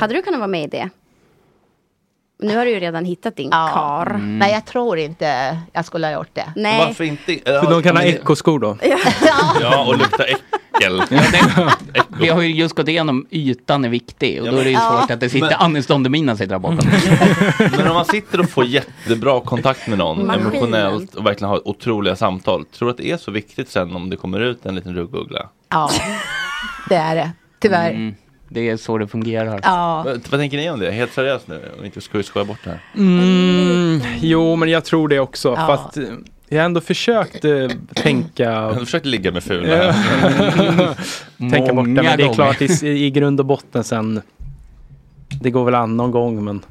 [SPEAKER 5] Hade du kunnat vara med i det? Nu har du ju redan hittat din kar.
[SPEAKER 1] Mm.
[SPEAKER 12] Nej, jag tror inte jag skulle ha gjort det.
[SPEAKER 1] Varför inte?
[SPEAKER 4] För de kan ha ekoskor då?
[SPEAKER 1] Ja, och lukta äckel.
[SPEAKER 6] Vi har ju just gått igenom ytan är viktig och då är det ju
[SPEAKER 1] Ja.
[SPEAKER 6] svårt att det sitter
[SPEAKER 1] Men-
[SPEAKER 6] Anis Don Demina sitter där bakom.
[SPEAKER 1] Men om man sitter och får jättebra kontakt med någon
[SPEAKER 6] Maskinen.
[SPEAKER 1] emotionellt och verkligen har otroliga samtal. Tror du att det är så viktigt sen om det kommer ut en liten ruggugla?
[SPEAKER 12] Ja, det är det. Tyvärr.
[SPEAKER 6] Mm. Det är så det fungerar.
[SPEAKER 12] Ja.
[SPEAKER 1] Vad, vad tänker ni om det? Helt seriöst nu, om vi inte ska skoja bort det här.
[SPEAKER 4] Mm, jo, men jag tror det också.
[SPEAKER 1] Ja.
[SPEAKER 4] För att eh, jag har ändå försökt eh, tänka...
[SPEAKER 1] Jag försökte ligga med fula.
[SPEAKER 4] Ja. tänka bort det,
[SPEAKER 1] Många
[SPEAKER 4] men det är
[SPEAKER 1] gånger.
[SPEAKER 4] klart i, i grund och botten sen. Det går väl an någon gång, men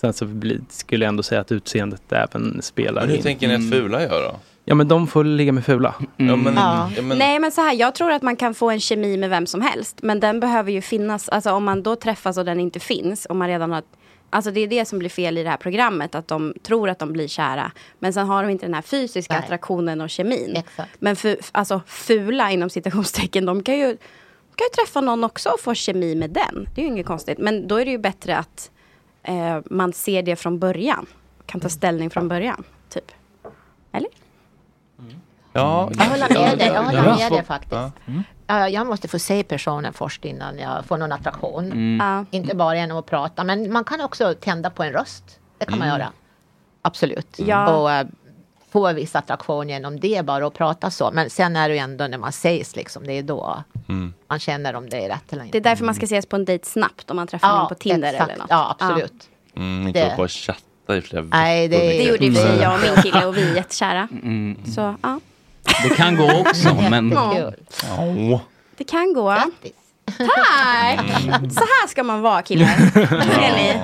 [SPEAKER 4] sen så blir, skulle jag ändå säga att utseendet även spelar
[SPEAKER 1] Men hur
[SPEAKER 4] in.
[SPEAKER 1] tänker ni att fula gör då?
[SPEAKER 4] Ja, men de får ligga med fula.
[SPEAKER 5] Ja. Nej men så här, jag tror att man kan få en kemi med vem som helst. Men den behöver ju finnas, alltså om man då träffas och den inte finns. Om man redan har, alltså det är det som blir fel i det här programmet. Att de tror att de blir kära. Men sen har de inte den här fysiska attraktionen och kemin. Men fu, alltså fula inom citationstecken, de kan ju, de kan ju träffa någon också och få kemi med den. Det är ju inget konstigt. Men då är det ju bättre att eh, man ser det från början. Kan
[SPEAKER 12] Mm.
[SPEAKER 5] ta ställning från början, typ.
[SPEAKER 1] Ja,
[SPEAKER 12] Jag håller med dig, jag håller med dig faktiskt.
[SPEAKER 1] Ja.
[SPEAKER 12] Ja, jag måste få se personen först innan jag får någon attraktion.
[SPEAKER 1] Mm. Ja.
[SPEAKER 12] Inte bara genom att prata, men man kan också tända på en röst. Det kan man
[SPEAKER 5] Mm.
[SPEAKER 12] göra. Absolut.
[SPEAKER 5] Ja.
[SPEAKER 12] Och eh, få en viss attraktion genom det, bara att prata så. Men sen är det ju ändå när man sägs, liksom, det är då
[SPEAKER 1] Mm.
[SPEAKER 12] man känner om det är rätt eller inte.
[SPEAKER 5] Det är därför man ska ses på en dejt snabbt om man träffar
[SPEAKER 12] Ja,
[SPEAKER 5] någon på Tinder
[SPEAKER 12] exakt.
[SPEAKER 5] eller något.
[SPEAKER 12] Ja, absolut.
[SPEAKER 1] Mm, inte
[SPEAKER 5] Det-
[SPEAKER 1] hålla på och chatta i flera
[SPEAKER 12] Nej, det-
[SPEAKER 1] veckor.
[SPEAKER 5] Det gjorde ju vi, jag och min kille och vi är jättekära.
[SPEAKER 1] Mm.
[SPEAKER 5] Så ja,
[SPEAKER 6] Det kan gå också, men...
[SPEAKER 5] Ja.
[SPEAKER 1] Åh.
[SPEAKER 5] det kan gå. Tack!
[SPEAKER 4] Mm.
[SPEAKER 5] Så här ska man vara killar. Ser ni?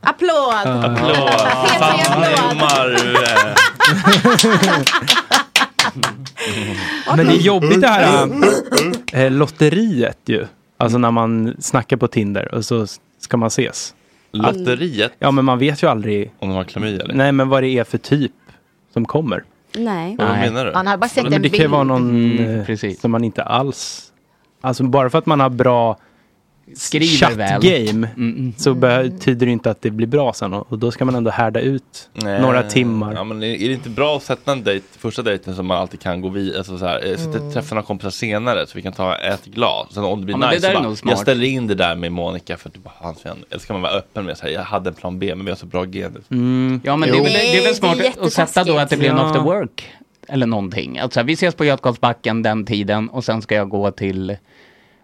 [SPEAKER 5] Applåd!
[SPEAKER 1] Applåd! Fan, Marve!
[SPEAKER 4] Men det är jobbigt det här
[SPEAKER 12] Mm.
[SPEAKER 4] äh, lotteriet ju. Alltså när man snackar på Tinder och så ska man ses.
[SPEAKER 1] Lotteriet?
[SPEAKER 4] Ja, men man vet ju aldrig.
[SPEAKER 1] Om de har klamydia eller?
[SPEAKER 4] Nej, men vad det är för typ som kommer.
[SPEAKER 5] Nej.
[SPEAKER 12] Man har bara sett
[SPEAKER 4] Men
[SPEAKER 12] en
[SPEAKER 4] det
[SPEAKER 12] bild. Mm.
[SPEAKER 4] kan ju vara någon eh, som man inte alls... Alltså bara för att man har bra
[SPEAKER 6] Skriver
[SPEAKER 4] chattgame
[SPEAKER 12] Mm,
[SPEAKER 4] så betyder det inte att det blir bra sen. Och och då ska man ändå härda ut några timmar.
[SPEAKER 1] Ja, men är är det inte bra att sätta en dejt, första dejten som man alltid kan gå vid, alltså så här, eh, sätta,
[SPEAKER 6] Mm.
[SPEAKER 1] träffa några kompisar senare så vi kan ta ett glas. Sen om det blir
[SPEAKER 6] Ja, men det
[SPEAKER 1] nice,
[SPEAKER 6] där
[SPEAKER 1] så
[SPEAKER 6] är
[SPEAKER 1] bara,
[SPEAKER 6] nog smart.
[SPEAKER 1] jag ställer in det där med Monica för att det bara är hans vän. Eller så kan man vara öppen med att säga, jag hade en plan B men vi har så bra gener.
[SPEAKER 6] Mm. Ja, men det är, väl, det är väl smart att sätta då att det blir en
[SPEAKER 1] Ja.
[SPEAKER 6] after work. Eller någonting. Alltså, vi ses på Götgatsbacken den tiden och sen ska jag gå till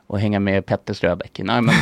[SPEAKER 6] och hänga med Petter Ströbeck. Nej, men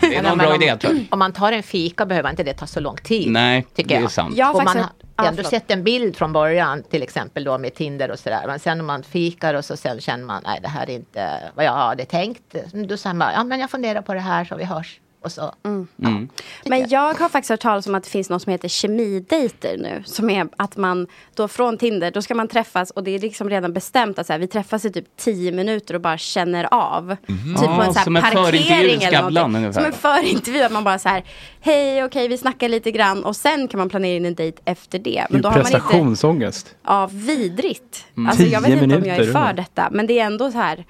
[SPEAKER 6] det är nog en bra
[SPEAKER 12] om,
[SPEAKER 6] idé tror jag.
[SPEAKER 12] Om man tar en fika behöver inte det ta så lång tid.
[SPEAKER 6] Nej,
[SPEAKER 12] tycker
[SPEAKER 6] det är
[SPEAKER 12] jag.
[SPEAKER 6] sant.
[SPEAKER 12] och man
[SPEAKER 5] faktiskt-
[SPEAKER 12] har ändå sett en bild från början, till exempel då med Tinder och sådär. Men sen om man fikar och så sen känner man, nej det här är inte vad jag hade tänkt. Mm, Då säger man, ja men jag funderar på det här så vi hörs. Och så.
[SPEAKER 5] Mm.
[SPEAKER 6] Mm.
[SPEAKER 5] Men jag har faktiskt hört talas om att det finns något som heter kemidejter nu. Som är att man då från Tinder, då ska man träffas och det är liksom redan bestämt att så här, vi träffas i typ 10 minuter och bara känner av. Typ
[SPEAKER 6] Ah,
[SPEAKER 5] på en så här
[SPEAKER 6] som en förintervju i
[SPEAKER 5] parkering eller
[SPEAKER 6] Skavlan
[SPEAKER 5] någonting.
[SPEAKER 6] ungefär.
[SPEAKER 5] Som en förintervju, att man bara så här, hej okej vi snackar lite grann och sen kan man planera in en dejt efter det.
[SPEAKER 4] Gud,
[SPEAKER 5] då har man inte,
[SPEAKER 4] prestationsångest.
[SPEAKER 5] ja vidrigt.
[SPEAKER 4] Mm.
[SPEAKER 5] Alltså jag vet
[SPEAKER 4] 10
[SPEAKER 5] inte om jag är
[SPEAKER 4] minuter,
[SPEAKER 5] för
[SPEAKER 4] undrar.
[SPEAKER 5] detta. Men det är ändå så här,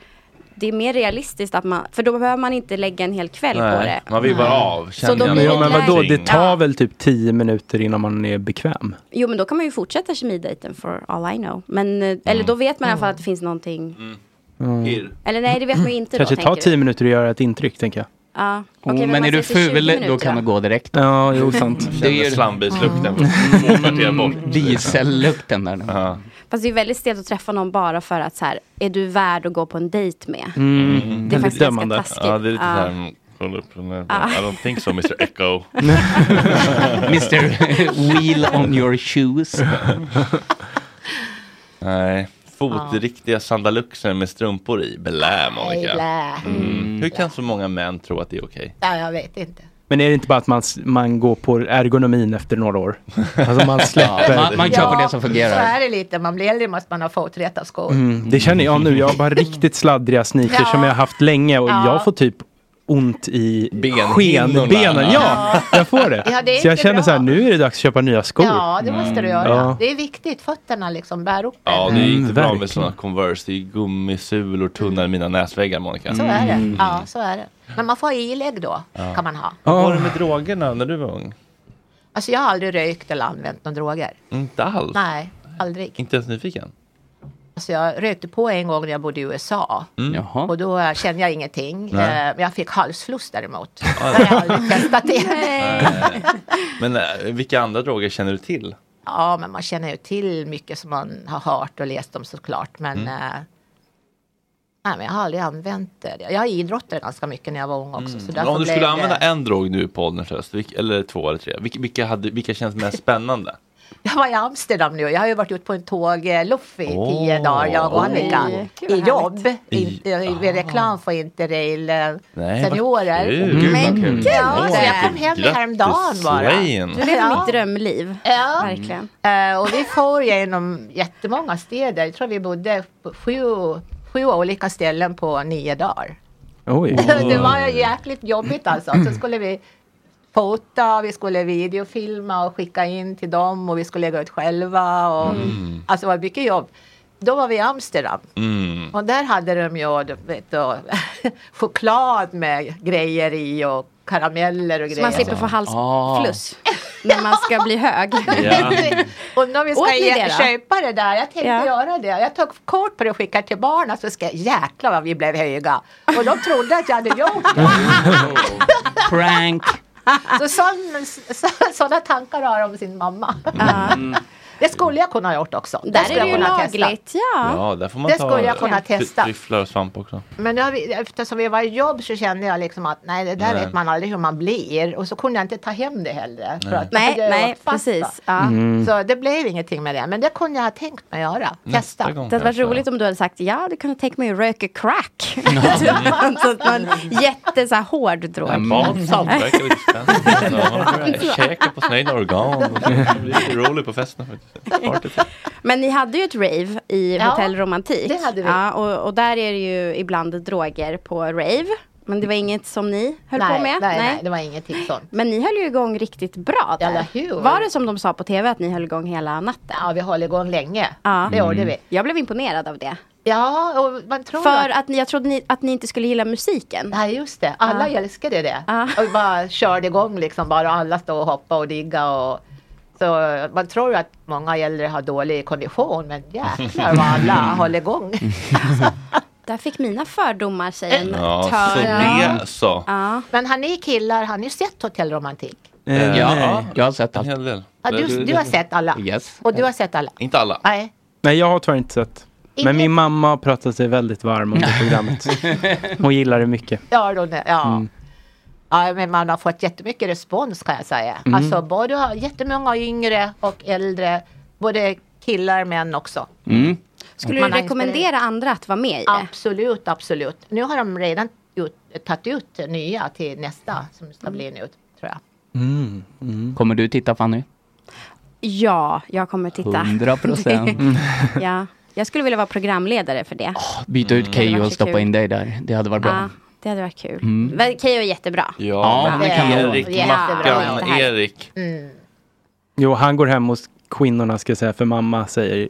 [SPEAKER 5] det är mer realistiskt att man, för då behöver man inte lägga en hel kväll på det. Mm.
[SPEAKER 1] Nej, man vill bara av.
[SPEAKER 5] Så då
[SPEAKER 4] Men,
[SPEAKER 5] blir
[SPEAKER 4] ja,
[SPEAKER 5] det
[SPEAKER 4] men
[SPEAKER 5] lätt.
[SPEAKER 4] vadå, det tar väl typ tio minuter innan man är bekväm.
[SPEAKER 5] Jo men då kan man ju fortsätta kemidejten for all I know. Men, eh, Eller då vet man i alla fall att det finns någonting.
[SPEAKER 4] Mm.
[SPEAKER 5] Eller nej det vet man ju inte
[SPEAKER 4] Kanske
[SPEAKER 5] då.
[SPEAKER 4] ta Mm,
[SPEAKER 5] tänker du.
[SPEAKER 4] tio minuter och göra ett intryck, tänker jag.
[SPEAKER 5] Ja. Okej,
[SPEAKER 6] Mm, men
[SPEAKER 5] man
[SPEAKER 6] är du
[SPEAKER 5] ses i 20
[SPEAKER 6] ful,
[SPEAKER 5] minuter,
[SPEAKER 6] då kan
[SPEAKER 5] va?
[SPEAKER 6] du gå direkt.
[SPEAKER 4] Ja, jo, sant.
[SPEAKER 1] Det är slambilslukten.
[SPEAKER 6] Mm, Diesellukten där. Ja.
[SPEAKER 5] Fast det är ju väldigt stelt att träffa någon bara för att så här, är du värd att gå på en dejt med?
[SPEAKER 1] Mm.
[SPEAKER 5] Det är faktiskt ganska taskigt.
[SPEAKER 1] Ja, det är lite
[SPEAKER 5] Ja.
[SPEAKER 1] såhär, mm, kolla upp den här.
[SPEAKER 5] Ja.
[SPEAKER 1] I don't think so Mr Echo.
[SPEAKER 6] Mr Wheel on your shoes.
[SPEAKER 1] Nej. Fotriktiga sandaluxer med strumpor i. Blä
[SPEAKER 12] Nej,
[SPEAKER 1] Monica.
[SPEAKER 12] blä.
[SPEAKER 1] Mm. Hur kan så många män tro att det är okej?
[SPEAKER 12] Ja, jag vet inte.
[SPEAKER 4] Men är det inte bara att man, s- man går på ergonomin efter några år? Alltså man släpper.
[SPEAKER 6] Ja, man- man kör på det som
[SPEAKER 12] Så är det lite, man blir äldre måste man ha foträta skor.
[SPEAKER 4] Mm, det känner jag nu. Jag har bara riktigt sladdriga sneakers som jag har haft länge och
[SPEAKER 12] Ja.
[SPEAKER 4] jag får typ ont i
[SPEAKER 1] Benhinnorna.
[SPEAKER 4] sken, benen. Ja,
[SPEAKER 12] Ja.
[SPEAKER 4] jag får det.
[SPEAKER 12] Ja, det är
[SPEAKER 4] så jag
[SPEAKER 12] inte
[SPEAKER 4] känner
[SPEAKER 12] bra.
[SPEAKER 4] så här, nu är det dags att köpa nya skor.
[SPEAKER 12] Ja, det måste
[SPEAKER 6] Mm,
[SPEAKER 12] du göra.
[SPEAKER 4] Ja.
[SPEAKER 12] Det är viktigt, fötterna liksom bär upp
[SPEAKER 1] Ja,
[SPEAKER 12] en.
[SPEAKER 1] det är ju inte bra
[SPEAKER 4] verkligen.
[SPEAKER 1] med sådana Converse. Det är ju gummisulor tunnare än mina näsväggar, Monica. Mm.
[SPEAKER 12] Så är det. Ja, så är det. Men man får ha ilägg då,
[SPEAKER 1] Ja.
[SPEAKER 12] kan man ha.
[SPEAKER 1] Hur var det med drogerna när du var ung?
[SPEAKER 12] Alltså jag har aldrig rökt eller använt några droger.
[SPEAKER 1] Inte alls?
[SPEAKER 12] Nej, aldrig.
[SPEAKER 1] Inte ens nyfiken?
[SPEAKER 12] Alltså jag rökte på en gång när jag bodde i USA.
[SPEAKER 1] Mm.
[SPEAKER 12] Och då eh, kände jag ingenting.
[SPEAKER 1] Nej.
[SPEAKER 12] Eh, Men jag fick halsfluss däremot.
[SPEAKER 1] Ja,
[SPEAKER 12] Det har jag aldrig testat igen.
[SPEAKER 1] Eh. Men eh, vilka andra droger känner du till?
[SPEAKER 12] Ja, men man känner ju till mycket som man har hört och läst om såklart. Men,
[SPEAKER 1] Mm.
[SPEAKER 12] eh, nej, men jag har aldrig använt det. Jag idrottade ganska mycket när jag var ung också. Så
[SPEAKER 1] Men
[SPEAKER 12] därför
[SPEAKER 1] Mm. Om du skulle
[SPEAKER 12] blev
[SPEAKER 1] använda
[SPEAKER 12] det...
[SPEAKER 1] en drog nu på ålderns höst, vilk- eller två eller tre, vilka, vilka, hade, vilka känns mest spännande?
[SPEAKER 12] Jag var i Amsterdam nu och jag har ju varit ute på en tågluff i
[SPEAKER 1] Åh.
[SPEAKER 12] tio dagar, jag och Annika.
[SPEAKER 1] Oj,
[SPEAKER 12] I jobb, inte, i reklam för Interrail eh,
[SPEAKER 1] Ah. Nej, vad
[SPEAKER 12] seniorer.
[SPEAKER 1] kul, Mm. vad
[SPEAKER 12] Men
[SPEAKER 1] kul.
[SPEAKER 12] gud,
[SPEAKER 1] Åh,
[SPEAKER 12] alltså, jag kom
[SPEAKER 1] grattis,
[SPEAKER 12] hem häromdagen bara.
[SPEAKER 1] Swain. Du lever
[SPEAKER 5] mitt
[SPEAKER 12] drömliv, ja.
[SPEAKER 5] verkligen.
[SPEAKER 12] Eh, och vi for genom jättemånga städer. Jag tror vi bodde på sju, sju olika ställen på nio dagar.
[SPEAKER 4] Oj.
[SPEAKER 12] Det var ju jäkligt jobbigt alltså. Så skulle vi fota, vi skulle videofilma och skicka in till dem och vi skulle lägga ut själva. Och,
[SPEAKER 1] Mm.
[SPEAKER 12] Alltså det var mycket jobb. Då var vi i Amsterdam.
[SPEAKER 1] Mm.
[SPEAKER 12] Och där hade de ju du vet, och, choklad med grejer i och karameller och grejer.
[SPEAKER 5] Så man slipper få halsfluss när man ska bli hög.
[SPEAKER 12] Ja. Undrar om vi
[SPEAKER 5] Åt
[SPEAKER 12] ska
[SPEAKER 5] ni
[SPEAKER 12] ge,
[SPEAKER 5] det då?
[SPEAKER 12] köpa det där. Jag tänkte
[SPEAKER 5] Ja.
[SPEAKER 12] göra det. Jag tog kort på det och skickade till barnen. Så ska, jäklar vad vi blev höga. Och de trodde att jag hade gjort det.
[SPEAKER 6] Prank.
[SPEAKER 12] Så sådana så, sådana tankar har de om sin mamma.
[SPEAKER 1] Mm.
[SPEAKER 12] Det skulle jag kunna ha gjort också.
[SPEAKER 5] Där
[SPEAKER 12] skulle
[SPEAKER 5] är det
[SPEAKER 12] jag
[SPEAKER 5] ju
[SPEAKER 12] kunna testa.
[SPEAKER 5] lagligt,
[SPEAKER 1] Ja, där får man
[SPEAKER 12] det
[SPEAKER 1] ta
[SPEAKER 12] skulle jag kunna
[SPEAKER 1] eh,
[SPEAKER 12] testa.
[SPEAKER 1] tri- Tryfflar och svamp också.
[SPEAKER 12] Men nu har vi, eftersom vi var i jobb så kände jag liksom att nej, det där
[SPEAKER 1] Nej.
[SPEAKER 12] vet man aldrig hur man blir. Och så kunde jag inte ta hem det heller. För
[SPEAKER 1] Nej.
[SPEAKER 12] att, då hade
[SPEAKER 5] Nej,
[SPEAKER 12] jag
[SPEAKER 5] nej,
[SPEAKER 12] varit fast,
[SPEAKER 5] precis,
[SPEAKER 12] va?
[SPEAKER 5] ja. Mm.
[SPEAKER 12] Så det blev ingenting med det. Men det kunde jag ha tänkt mig göra. Testa.
[SPEAKER 5] Det hade varit roligt om du hade sagt ja, du kunde tänka mig att röka crack. så att man jätte så här, hård drog.
[SPEAKER 1] Ja, Matsalt verkar lite spännande. Mm. Ja, Käka på sina egna organ. Det blir lite roligt på festen faktiskt. Party.
[SPEAKER 5] Men ni hade ju ett rave i
[SPEAKER 12] Ja,
[SPEAKER 5] Hotell Romantik.
[SPEAKER 12] det hade vi.
[SPEAKER 5] Ja, och, och där är det ju ibland droger på rave. Men det var inget som ni höll
[SPEAKER 12] nej,
[SPEAKER 5] på med?
[SPEAKER 12] Nej, nej, det var ingenting sånt.
[SPEAKER 5] Men ni höll ju igång riktigt bra där.
[SPEAKER 12] Eller hur?
[SPEAKER 5] Var det som de sa på tv att ni höll igång hela natten?
[SPEAKER 12] Ja, vi höll igång länge.
[SPEAKER 5] Ja. Mm.
[SPEAKER 12] Det gjorde vi.
[SPEAKER 5] Jag blev imponerad av det.
[SPEAKER 12] Ja, och man tror
[SPEAKER 5] För
[SPEAKER 12] att-
[SPEAKER 5] att ni, jag trodde ni, att ni inte skulle gilla musiken.
[SPEAKER 12] Nej, just det. Alla älskade det. Och bara körde igång liksom. Bara alla stod och hoppade och digga och... Så man tror ju att många äldre har dålig kondition. Men jäklar vad alla håller igång.
[SPEAKER 5] Där fick mina fördomar sig en
[SPEAKER 1] Ja, så
[SPEAKER 5] törn.
[SPEAKER 1] det alltså. så.
[SPEAKER 12] Men har ni killar, har ni sett Hotell Romantik?
[SPEAKER 1] Eh,
[SPEAKER 6] ja, jag har sett
[SPEAKER 1] En hel del.
[SPEAKER 12] Ja, du, du har sett alla.
[SPEAKER 6] Yes.
[SPEAKER 12] Och du har sett alla?
[SPEAKER 1] Inte alla.
[SPEAKER 12] Nej.
[SPEAKER 4] Nej, jag har tyvärr inte sett. Men min mamma har pratat sig väldigt varm om det programmet. Hon gillar det mycket.
[SPEAKER 12] Ja, då, nej. ja.
[SPEAKER 4] Mm.
[SPEAKER 12] ja, men man har fått jättemycket respons kan jag säga.
[SPEAKER 4] Mm.
[SPEAKER 12] Alltså både har jättemånga yngre och äldre. Både killar och män också.
[SPEAKER 6] Mm.
[SPEAKER 5] Skulle
[SPEAKER 12] Man
[SPEAKER 5] du
[SPEAKER 12] har
[SPEAKER 5] rekommendera andra att vara med i det?
[SPEAKER 12] Absolut, absolut. Nu har de redan ut, tagit ut nya till nästa som
[SPEAKER 5] Mm.
[SPEAKER 12] ska bli nu, tror jag.
[SPEAKER 6] Mm. Kommer du titta Fanny?
[SPEAKER 5] Ja, jag kommer titta. Mm.
[SPEAKER 6] 100%.
[SPEAKER 5] ja. Jag skulle vilja vara programledare för det. Oh,
[SPEAKER 6] Byta ut Keyyo och stoppa in
[SPEAKER 5] det.
[SPEAKER 6] dig där. Det hade varit bra.
[SPEAKER 5] Ja, det hade varit kul.
[SPEAKER 6] Mm.
[SPEAKER 5] Men Keyyo är jättebra.
[SPEAKER 6] Ja, han är kanon.
[SPEAKER 1] Erik,
[SPEAKER 5] Ja,
[SPEAKER 1] Mackan,
[SPEAKER 5] jättebra.
[SPEAKER 1] Erik.
[SPEAKER 4] Jo, han går hem hos kvinnorna ska jag säga, för mamma säger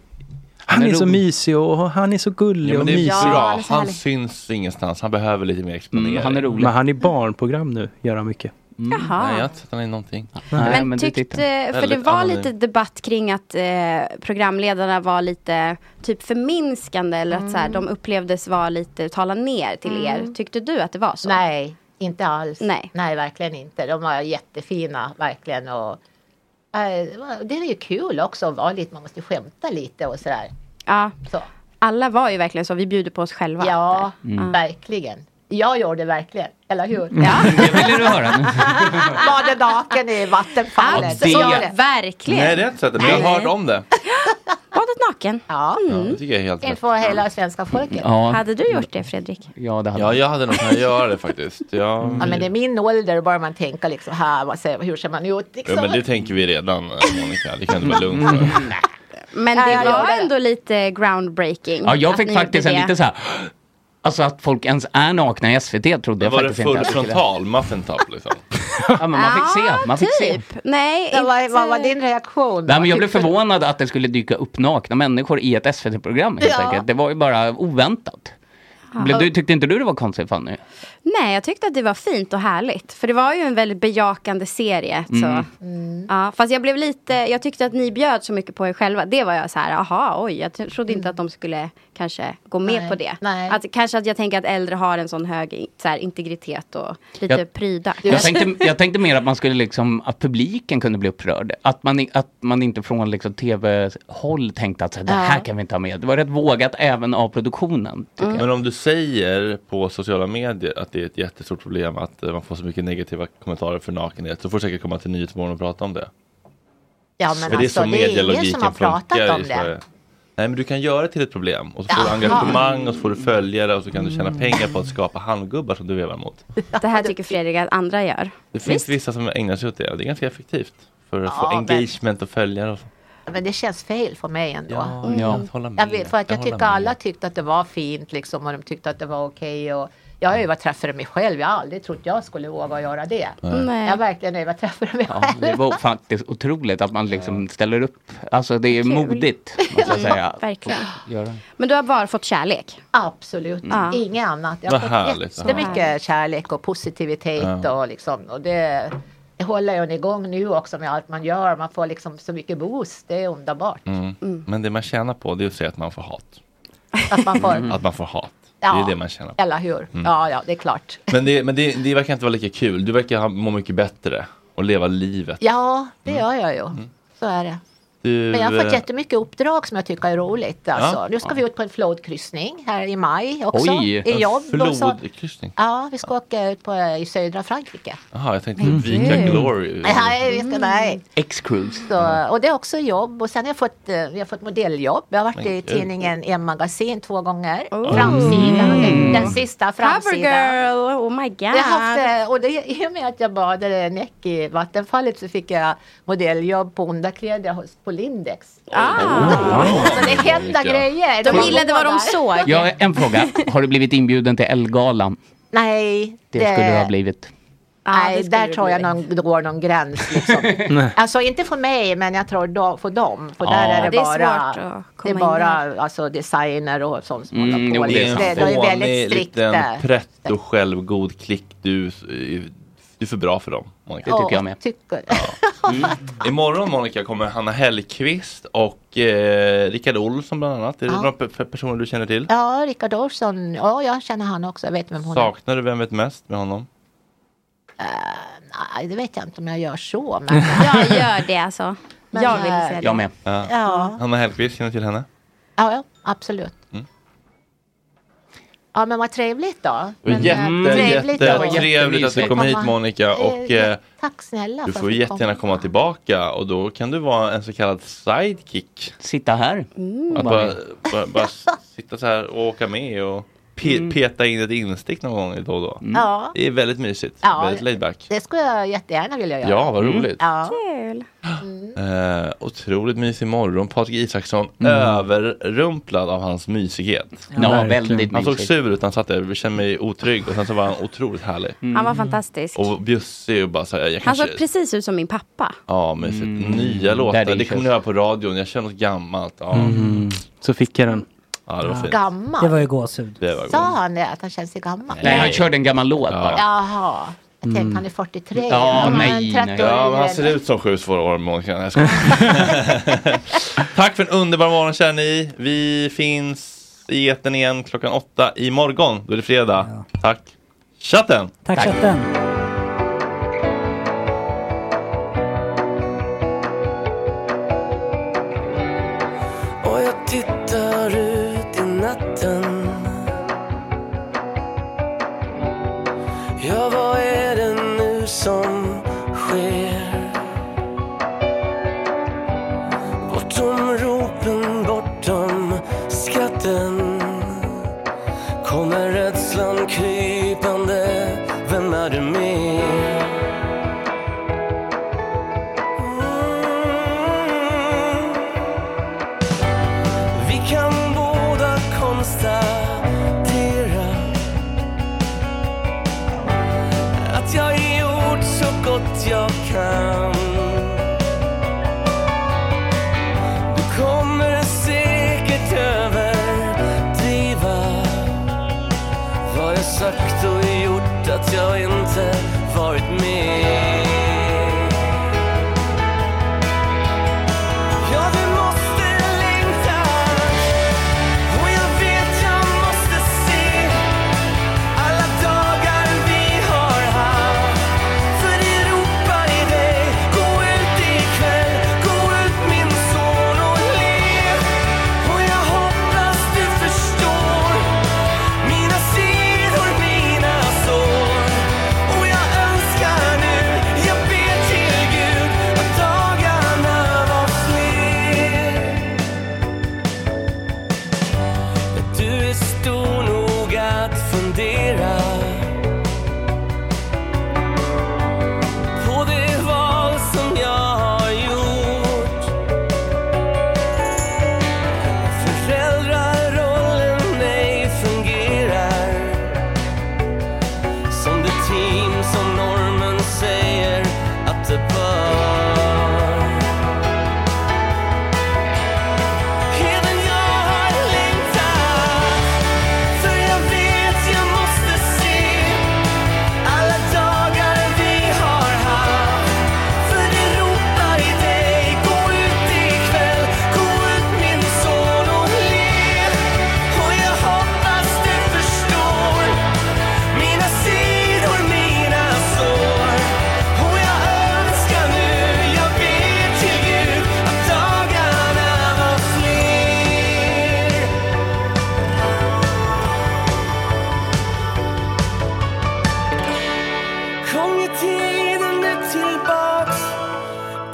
[SPEAKER 4] han
[SPEAKER 1] är
[SPEAKER 4] är så
[SPEAKER 1] rolig."
[SPEAKER 4] mysig och han är så gullig
[SPEAKER 1] Ja, men
[SPEAKER 4] och
[SPEAKER 1] det
[SPEAKER 4] mysig.
[SPEAKER 1] är bra. Han syns ingenstans. Mm, Han behöver lite mer exponering.
[SPEAKER 4] Men han är barnprogram nu, gör han mycket.
[SPEAKER 5] Jaha.
[SPEAKER 1] Mm. Nej, jag har inte sett honom i någonting.
[SPEAKER 5] Men, tyckte, för det
[SPEAKER 4] Väldigt
[SPEAKER 5] var
[SPEAKER 4] anonym.
[SPEAKER 5] lite debatt kring att eh, programledarna var lite typ förminskande eller att så här,
[SPEAKER 6] Mm.
[SPEAKER 5] de upplevdes vara lite tala ner till er.
[SPEAKER 12] Mm.
[SPEAKER 5] Tyckte du att det var så?
[SPEAKER 12] Nej, inte alls.
[SPEAKER 5] Nej.
[SPEAKER 12] verkligen inte. De var jättefina, verkligen. Och, eh, det var- det är ju kul också att vara lite, man måste skämta lite och sådär.
[SPEAKER 5] Ja.
[SPEAKER 12] Så.
[SPEAKER 5] Alla var ju verkligen så, vi bjuder på oss själva.
[SPEAKER 12] Ja,
[SPEAKER 5] där.
[SPEAKER 1] Mm.
[SPEAKER 5] Ja.
[SPEAKER 12] verkligen. Jag gjorde verkligen, eller hur?
[SPEAKER 5] Ja.
[SPEAKER 6] Det ville du höra.
[SPEAKER 12] Bada naken i vattenfallet.
[SPEAKER 1] Absolut.
[SPEAKER 12] Så var det. Mm.
[SPEAKER 5] Verkligen.
[SPEAKER 1] Nej, det har jag inte sett det. Men jag har hört om det.
[SPEAKER 5] Badat naken.
[SPEAKER 12] Ja.
[SPEAKER 1] Ja, det tycker jag är helt rätt.
[SPEAKER 12] Inför hela svenska folket.
[SPEAKER 1] Ja.
[SPEAKER 5] Hade du gjort det Fredrik?
[SPEAKER 6] Ja, det hade
[SPEAKER 1] Ja, jag hade nog kunnat göra det faktiskt. Jag...
[SPEAKER 12] Ja, men det är min ålder, bara man tänker liksom här, vad säger, hur ser man ut? Liksom.
[SPEAKER 1] Ja, men det tänker vi redan, eh, Monica. Det kan du vara lugn för.
[SPEAKER 6] Äh,
[SPEAKER 5] Men
[SPEAKER 12] Ja,
[SPEAKER 5] det
[SPEAKER 12] jag
[SPEAKER 5] var
[SPEAKER 12] gjorde det.
[SPEAKER 5] ändå lite groundbreaking.
[SPEAKER 6] Ja, jag
[SPEAKER 5] att
[SPEAKER 6] fick
[SPEAKER 5] ni
[SPEAKER 6] faktiskt
[SPEAKER 5] gjorde
[SPEAKER 6] en
[SPEAKER 5] det.
[SPEAKER 6] lite så här. Alltså att folk ens är nakna i SVT trodde jag
[SPEAKER 1] var det
[SPEAKER 6] faktiskt inte.
[SPEAKER 1] full
[SPEAKER 6] att skulle-
[SPEAKER 1] frontal, muffin top liksom?
[SPEAKER 6] Ja, men man fick se. Man fick se.
[SPEAKER 5] Typ. Nej, inte...
[SPEAKER 12] vad, vad var din reaktion?
[SPEAKER 6] Nej, men jag blev förvånad att det skulle dyka upp nakna människor i ett SVT-program helt
[SPEAKER 12] Ja.
[SPEAKER 6] enkelt. Det var ju bara oväntat. Blev du, tyckte inte du det var konstigt Fanny?
[SPEAKER 5] Nej, jag tyckte att det var fint och härligt. För det var ju en väldigt bejakande serie. Så.
[SPEAKER 6] Mm.
[SPEAKER 5] Ja, fast jag blev lite, jag tyckte att ni bjöd så mycket på er själva. Det var jag så här, aha, oj, jag t- trodde inte att de skulle kanske gå med
[SPEAKER 12] Mm. Nej,
[SPEAKER 5] på det. Att, kanske att jag tänker att äldre har en sån hög i- så här, integritet och lite
[SPEAKER 6] Jag-
[SPEAKER 5] pryda.
[SPEAKER 6] Jag tänkte, jag tänkte mer att man skulle liksom, att publiken kunde bli upprörd. Att man, i- att man inte från liksom tv-håll tänkte att så här, det här
[SPEAKER 5] Ja.
[SPEAKER 6] kan vi inte ha med. Det var rätt vågat även av produktionen. tycker
[SPEAKER 12] Mm.
[SPEAKER 6] jag.
[SPEAKER 1] Men om du säger på sociala medier att det är ett jättestort problem att eh, man får så mycket negativa kommentarer för nakenhet så får du säkert komma till Nyhetsmorgon och prata om det.
[SPEAKER 12] Ja, men
[SPEAKER 1] För
[SPEAKER 12] alltså, det är ingen som har pratat om
[SPEAKER 1] i
[SPEAKER 12] det.
[SPEAKER 1] Sverige. Nej men du kan göra det till ett problem och så får du
[SPEAKER 12] Jaha.
[SPEAKER 1] engagemang och så får du följare och så kan du tjäna pengar på att skapa handgubbar som du vevar mot.
[SPEAKER 5] Det här tycker Fredrik att andra gör.
[SPEAKER 1] Det finns vissa som ägnar sig åt det och det är ganska effektivt för att
[SPEAKER 12] Ja,
[SPEAKER 1] få
[SPEAKER 12] men-
[SPEAKER 1] engagement och följare. Och så.
[SPEAKER 12] Men det känns fel för mig ändå.
[SPEAKER 1] Ja, Mm. jag håller med.
[SPEAKER 12] Jag vet, för att
[SPEAKER 1] Jag
[SPEAKER 12] jag,
[SPEAKER 1] håller
[SPEAKER 12] tycker
[SPEAKER 1] med.
[SPEAKER 12] alla tyckte att det var fint liksom och de tyckte att det var okej. och jag har överträffade mig själv. Jag har aldrig trott jag skulle våga göra det.
[SPEAKER 6] Nej. Nej.
[SPEAKER 12] Jag har verkligen överträffade mig
[SPEAKER 6] Ja,
[SPEAKER 12] själv.
[SPEAKER 6] det var faktiskt otroligt att man liksom ställer upp. Alltså det är modigt. Måste jag säga.
[SPEAKER 5] Verkligen.
[SPEAKER 6] att Göra.
[SPEAKER 5] Men du har bara fått kärlek?
[SPEAKER 12] Absolut,
[SPEAKER 5] Mm.
[SPEAKER 12] inget annat. Jag
[SPEAKER 6] Vad
[SPEAKER 12] har fått
[SPEAKER 6] härligt.
[SPEAKER 12] jättemycket kärlek och positivitet
[SPEAKER 6] Ja.
[SPEAKER 12] och liksom. Och det, det håller jag igång nu också med allt man gör. Man får liksom så mycket boost. Det är underbart.
[SPEAKER 1] Mm. Men det man tjänar på det är att säga att man får hat.
[SPEAKER 12] Att man får,
[SPEAKER 1] Att man får hat. Det
[SPEAKER 12] Ja.
[SPEAKER 1] är det man tjänar på.
[SPEAKER 12] eller hur?
[SPEAKER 1] Mm.
[SPEAKER 12] Ja, ja, det är klart.
[SPEAKER 1] Men, det, men det, det verkar inte vara lika kul. Du verkar ha- må mycket bättre och leva livet.
[SPEAKER 12] Ja, det gör jag ju. Så är det.
[SPEAKER 1] Mm. Du,
[SPEAKER 12] Men jag har fått
[SPEAKER 1] eh,
[SPEAKER 12] jättemycket uppdrag som jag tycker är roligt. Alltså.
[SPEAKER 1] Ja.
[SPEAKER 12] Nu ska vi ut på en flodkryssning här i maj också.
[SPEAKER 1] Oj,
[SPEAKER 12] I jobb. och så-
[SPEAKER 1] flodkryssning.
[SPEAKER 12] Ja, vi ska åka ut på, i södra Frankrike.
[SPEAKER 1] Jaha, jag tänkte
[SPEAKER 12] Mm.
[SPEAKER 1] Vika
[SPEAKER 12] Mm.
[SPEAKER 1] Glory.
[SPEAKER 12] Nej, vi ska, nej.
[SPEAKER 6] X-cruise.
[SPEAKER 12] Så, och det är också jobb. Och sen har jag fått, eh, jag har fått modelljobb. Jag har varit
[SPEAKER 1] Men
[SPEAKER 12] i
[SPEAKER 1] gud.
[SPEAKER 12] tidningen M-magasin två gånger.
[SPEAKER 1] Mm.
[SPEAKER 12] Framsidan.
[SPEAKER 5] Mm.
[SPEAKER 12] Den, den sista framsidan.
[SPEAKER 5] Covergirl, oh my god.
[SPEAKER 12] Jag har haft, eh, och det, I och med att jag badade näck i vattenfallet så fick jag modelljobb på underkläder hos- på Lindex. Så det händer grejer.
[SPEAKER 5] De
[SPEAKER 12] Man
[SPEAKER 5] gillade vad de
[SPEAKER 12] vågar.
[SPEAKER 5] såg.
[SPEAKER 6] Jag har en fråga. Har du blivit inbjuden till Ellegalan?
[SPEAKER 12] Nej,
[SPEAKER 6] Det skulle du ha blivit.
[SPEAKER 12] Nej, där tror jag någon, det går någon gräns. Liksom. alltså inte för mig, men jag tror då, för dem. För
[SPEAKER 6] Ja.
[SPEAKER 12] där är
[SPEAKER 6] Ja,
[SPEAKER 12] det,
[SPEAKER 6] det är
[SPEAKER 12] bara,
[SPEAKER 6] svårt att
[SPEAKER 12] det är
[SPEAKER 6] komma in
[SPEAKER 12] bara alltså, designer och sånt som
[SPEAKER 1] Mm,
[SPEAKER 12] håller på.
[SPEAKER 1] det är en
[SPEAKER 12] liksom. de är väldigt
[SPEAKER 1] fånig
[SPEAKER 12] strikta.
[SPEAKER 1] liten pretto självgod klick. Du, eh, du är för bra för dem. Monica.
[SPEAKER 12] Ja, Tycker.
[SPEAKER 1] Mm. Imorgon Monica kommer Hanna Hellqvist och eh, Rickard Olsson bland annat. Är det
[SPEAKER 12] Ja.
[SPEAKER 1] några pe- pe- personer du känner till?
[SPEAKER 12] Ja, Rickard Olsson. Ja, jag känner han också. Jag vet vem hon är.
[SPEAKER 1] Saknar du Vem vet mest med honom?
[SPEAKER 12] Nej, det vet jag inte om jag gör så. Men,
[SPEAKER 5] Jag gör det alltså.
[SPEAKER 12] Men,
[SPEAKER 5] jag vill
[SPEAKER 12] eh,
[SPEAKER 5] se det.
[SPEAKER 1] Jag med. Ja.
[SPEAKER 12] Ja.
[SPEAKER 1] Hanna Hellqvist, känner du till henne?
[SPEAKER 12] ja, ja, absolut.
[SPEAKER 1] Mm.
[SPEAKER 12] Ja, men vad trevligt då.
[SPEAKER 1] Det var
[SPEAKER 12] Men,
[SPEAKER 1] jätte,
[SPEAKER 12] eh,
[SPEAKER 1] jätte,
[SPEAKER 12] då.
[SPEAKER 1] trevligt att du kom hit Monica och
[SPEAKER 12] Eh,
[SPEAKER 1] eh,
[SPEAKER 12] Tack snälla.
[SPEAKER 1] du
[SPEAKER 12] för
[SPEAKER 1] får
[SPEAKER 12] att
[SPEAKER 1] jättegärna komma tillbaka och då kan du vara en så kallad sidekick.
[SPEAKER 6] Sitta här.
[SPEAKER 12] Mm.
[SPEAKER 3] Mm.
[SPEAKER 1] Att
[SPEAKER 6] Bara
[SPEAKER 1] bara,
[SPEAKER 6] med.
[SPEAKER 1] bara, bara sitta så här och åka med och pe- peta in ett instick någon gång då och då.
[SPEAKER 12] Ja.
[SPEAKER 1] Det är väldigt mysigt,
[SPEAKER 12] Ja.
[SPEAKER 1] väldigt laid back.
[SPEAKER 12] Det skulle jag jättegärna vilja göra. Mm,
[SPEAKER 1] Ja, vad roligt.
[SPEAKER 12] Ja.
[SPEAKER 5] Kul.
[SPEAKER 1] Eh, otroligt mysig morgon. Patrik Isaksson överrumplad av hans mysighet.
[SPEAKER 6] Ja, Verkligen. väldigt
[SPEAKER 1] Han såg
[SPEAKER 6] mysig.
[SPEAKER 1] sur ut när han satt där. Jag kände mig otrygg och sen så var han otroligt härlig.
[SPEAKER 5] Mm. Han var fantastisk.
[SPEAKER 1] Och bjussig och bara så här, jag
[SPEAKER 5] Han
[SPEAKER 1] kanske...
[SPEAKER 5] såg precis ut som min pappa.
[SPEAKER 1] Ja, mysigt. Nya låtar.
[SPEAKER 4] Daddy
[SPEAKER 1] Det kommer ni höra på radion. Jag kör något gammalt. Ja,
[SPEAKER 4] Mhm. Så fick jag den.
[SPEAKER 1] ja det var fint.
[SPEAKER 12] Gammal.
[SPEAKER 3] Det var ju gåshud.
[SPEAKER 1] Det var
[SPEAKER 12] Sa han det, att han känner sig gammal?
[SPEAKER 6] Nej, han körde en gammal låt bara.
[SPEAKER 12] Jaha. Jag tänkte
[SPEAKER 6] Mm.
[SPEAKER 12] han är 43.
[SPEAKER 6] Ja,
[SPEAKER 12] Han är
[SPEAKER 6] nej,
[SPEAKER 12] 30
[SPEAKER 6] nej.
[SPEAKER 12] år
[SPEAKER 1] Ja, men alltså, han
[SPEAKER 12] äldre.
[SPEAKER 1] ser ut som sju svåra år Monica. Nej, jag skojar. Tack för en underbar morgon kära ni. Vi finns i etern igen klockan åtta i morgon. Då är det fredag. Tack chatten!
[SPEAKER 3] Tack, chatten.
[SPEAKER 8] Och jag tittar ut i natten Ja, vad är det nu som sker? Bortom ropen, bortom skratten Kommer rädslan krypande Vem är du med? Mm. Vi kan båda konstatera att jag är gjort så gott jag kan. Du kommer säkert överdriva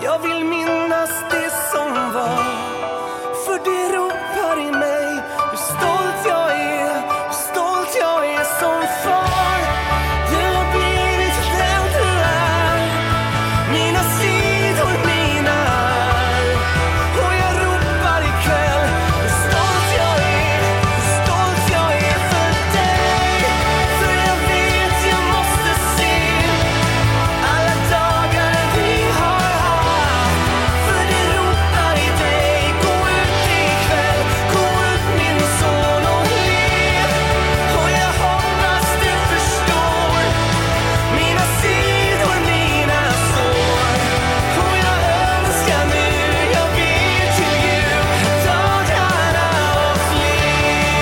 [SPEAKER 8] Jag vill minnas det som var För det ropar i mig hur stolt jag är Hur stolt jag är som far Du har blivit den du är Mina sidor, mina är Och jag ropar ikväll hur stolt jag är Hur stolt jag är för dig För jag vet jag måste se alla dagar vi har haft För det ropar i dig Gå ut ikväll Gå ut min son och lev Och jag hoppas du förstår Mina sidor, mina sår Och jag önskar nu Jag ber till Gud Dagarna och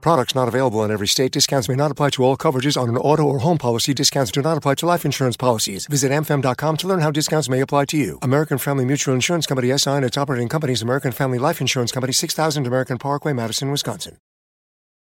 [SPEAKER 14] Products not available in every state. Discounts may not apply to all coverages on an auto or home policy. Discounts do not apply to life insurance policies. Visit mfm.com to learn how discounts may apply to you. American Family Mutual Insurance Company SI and its operating companies, American Family Life Insurance Company, 6000 American Parkway, Madison, Wisconsin.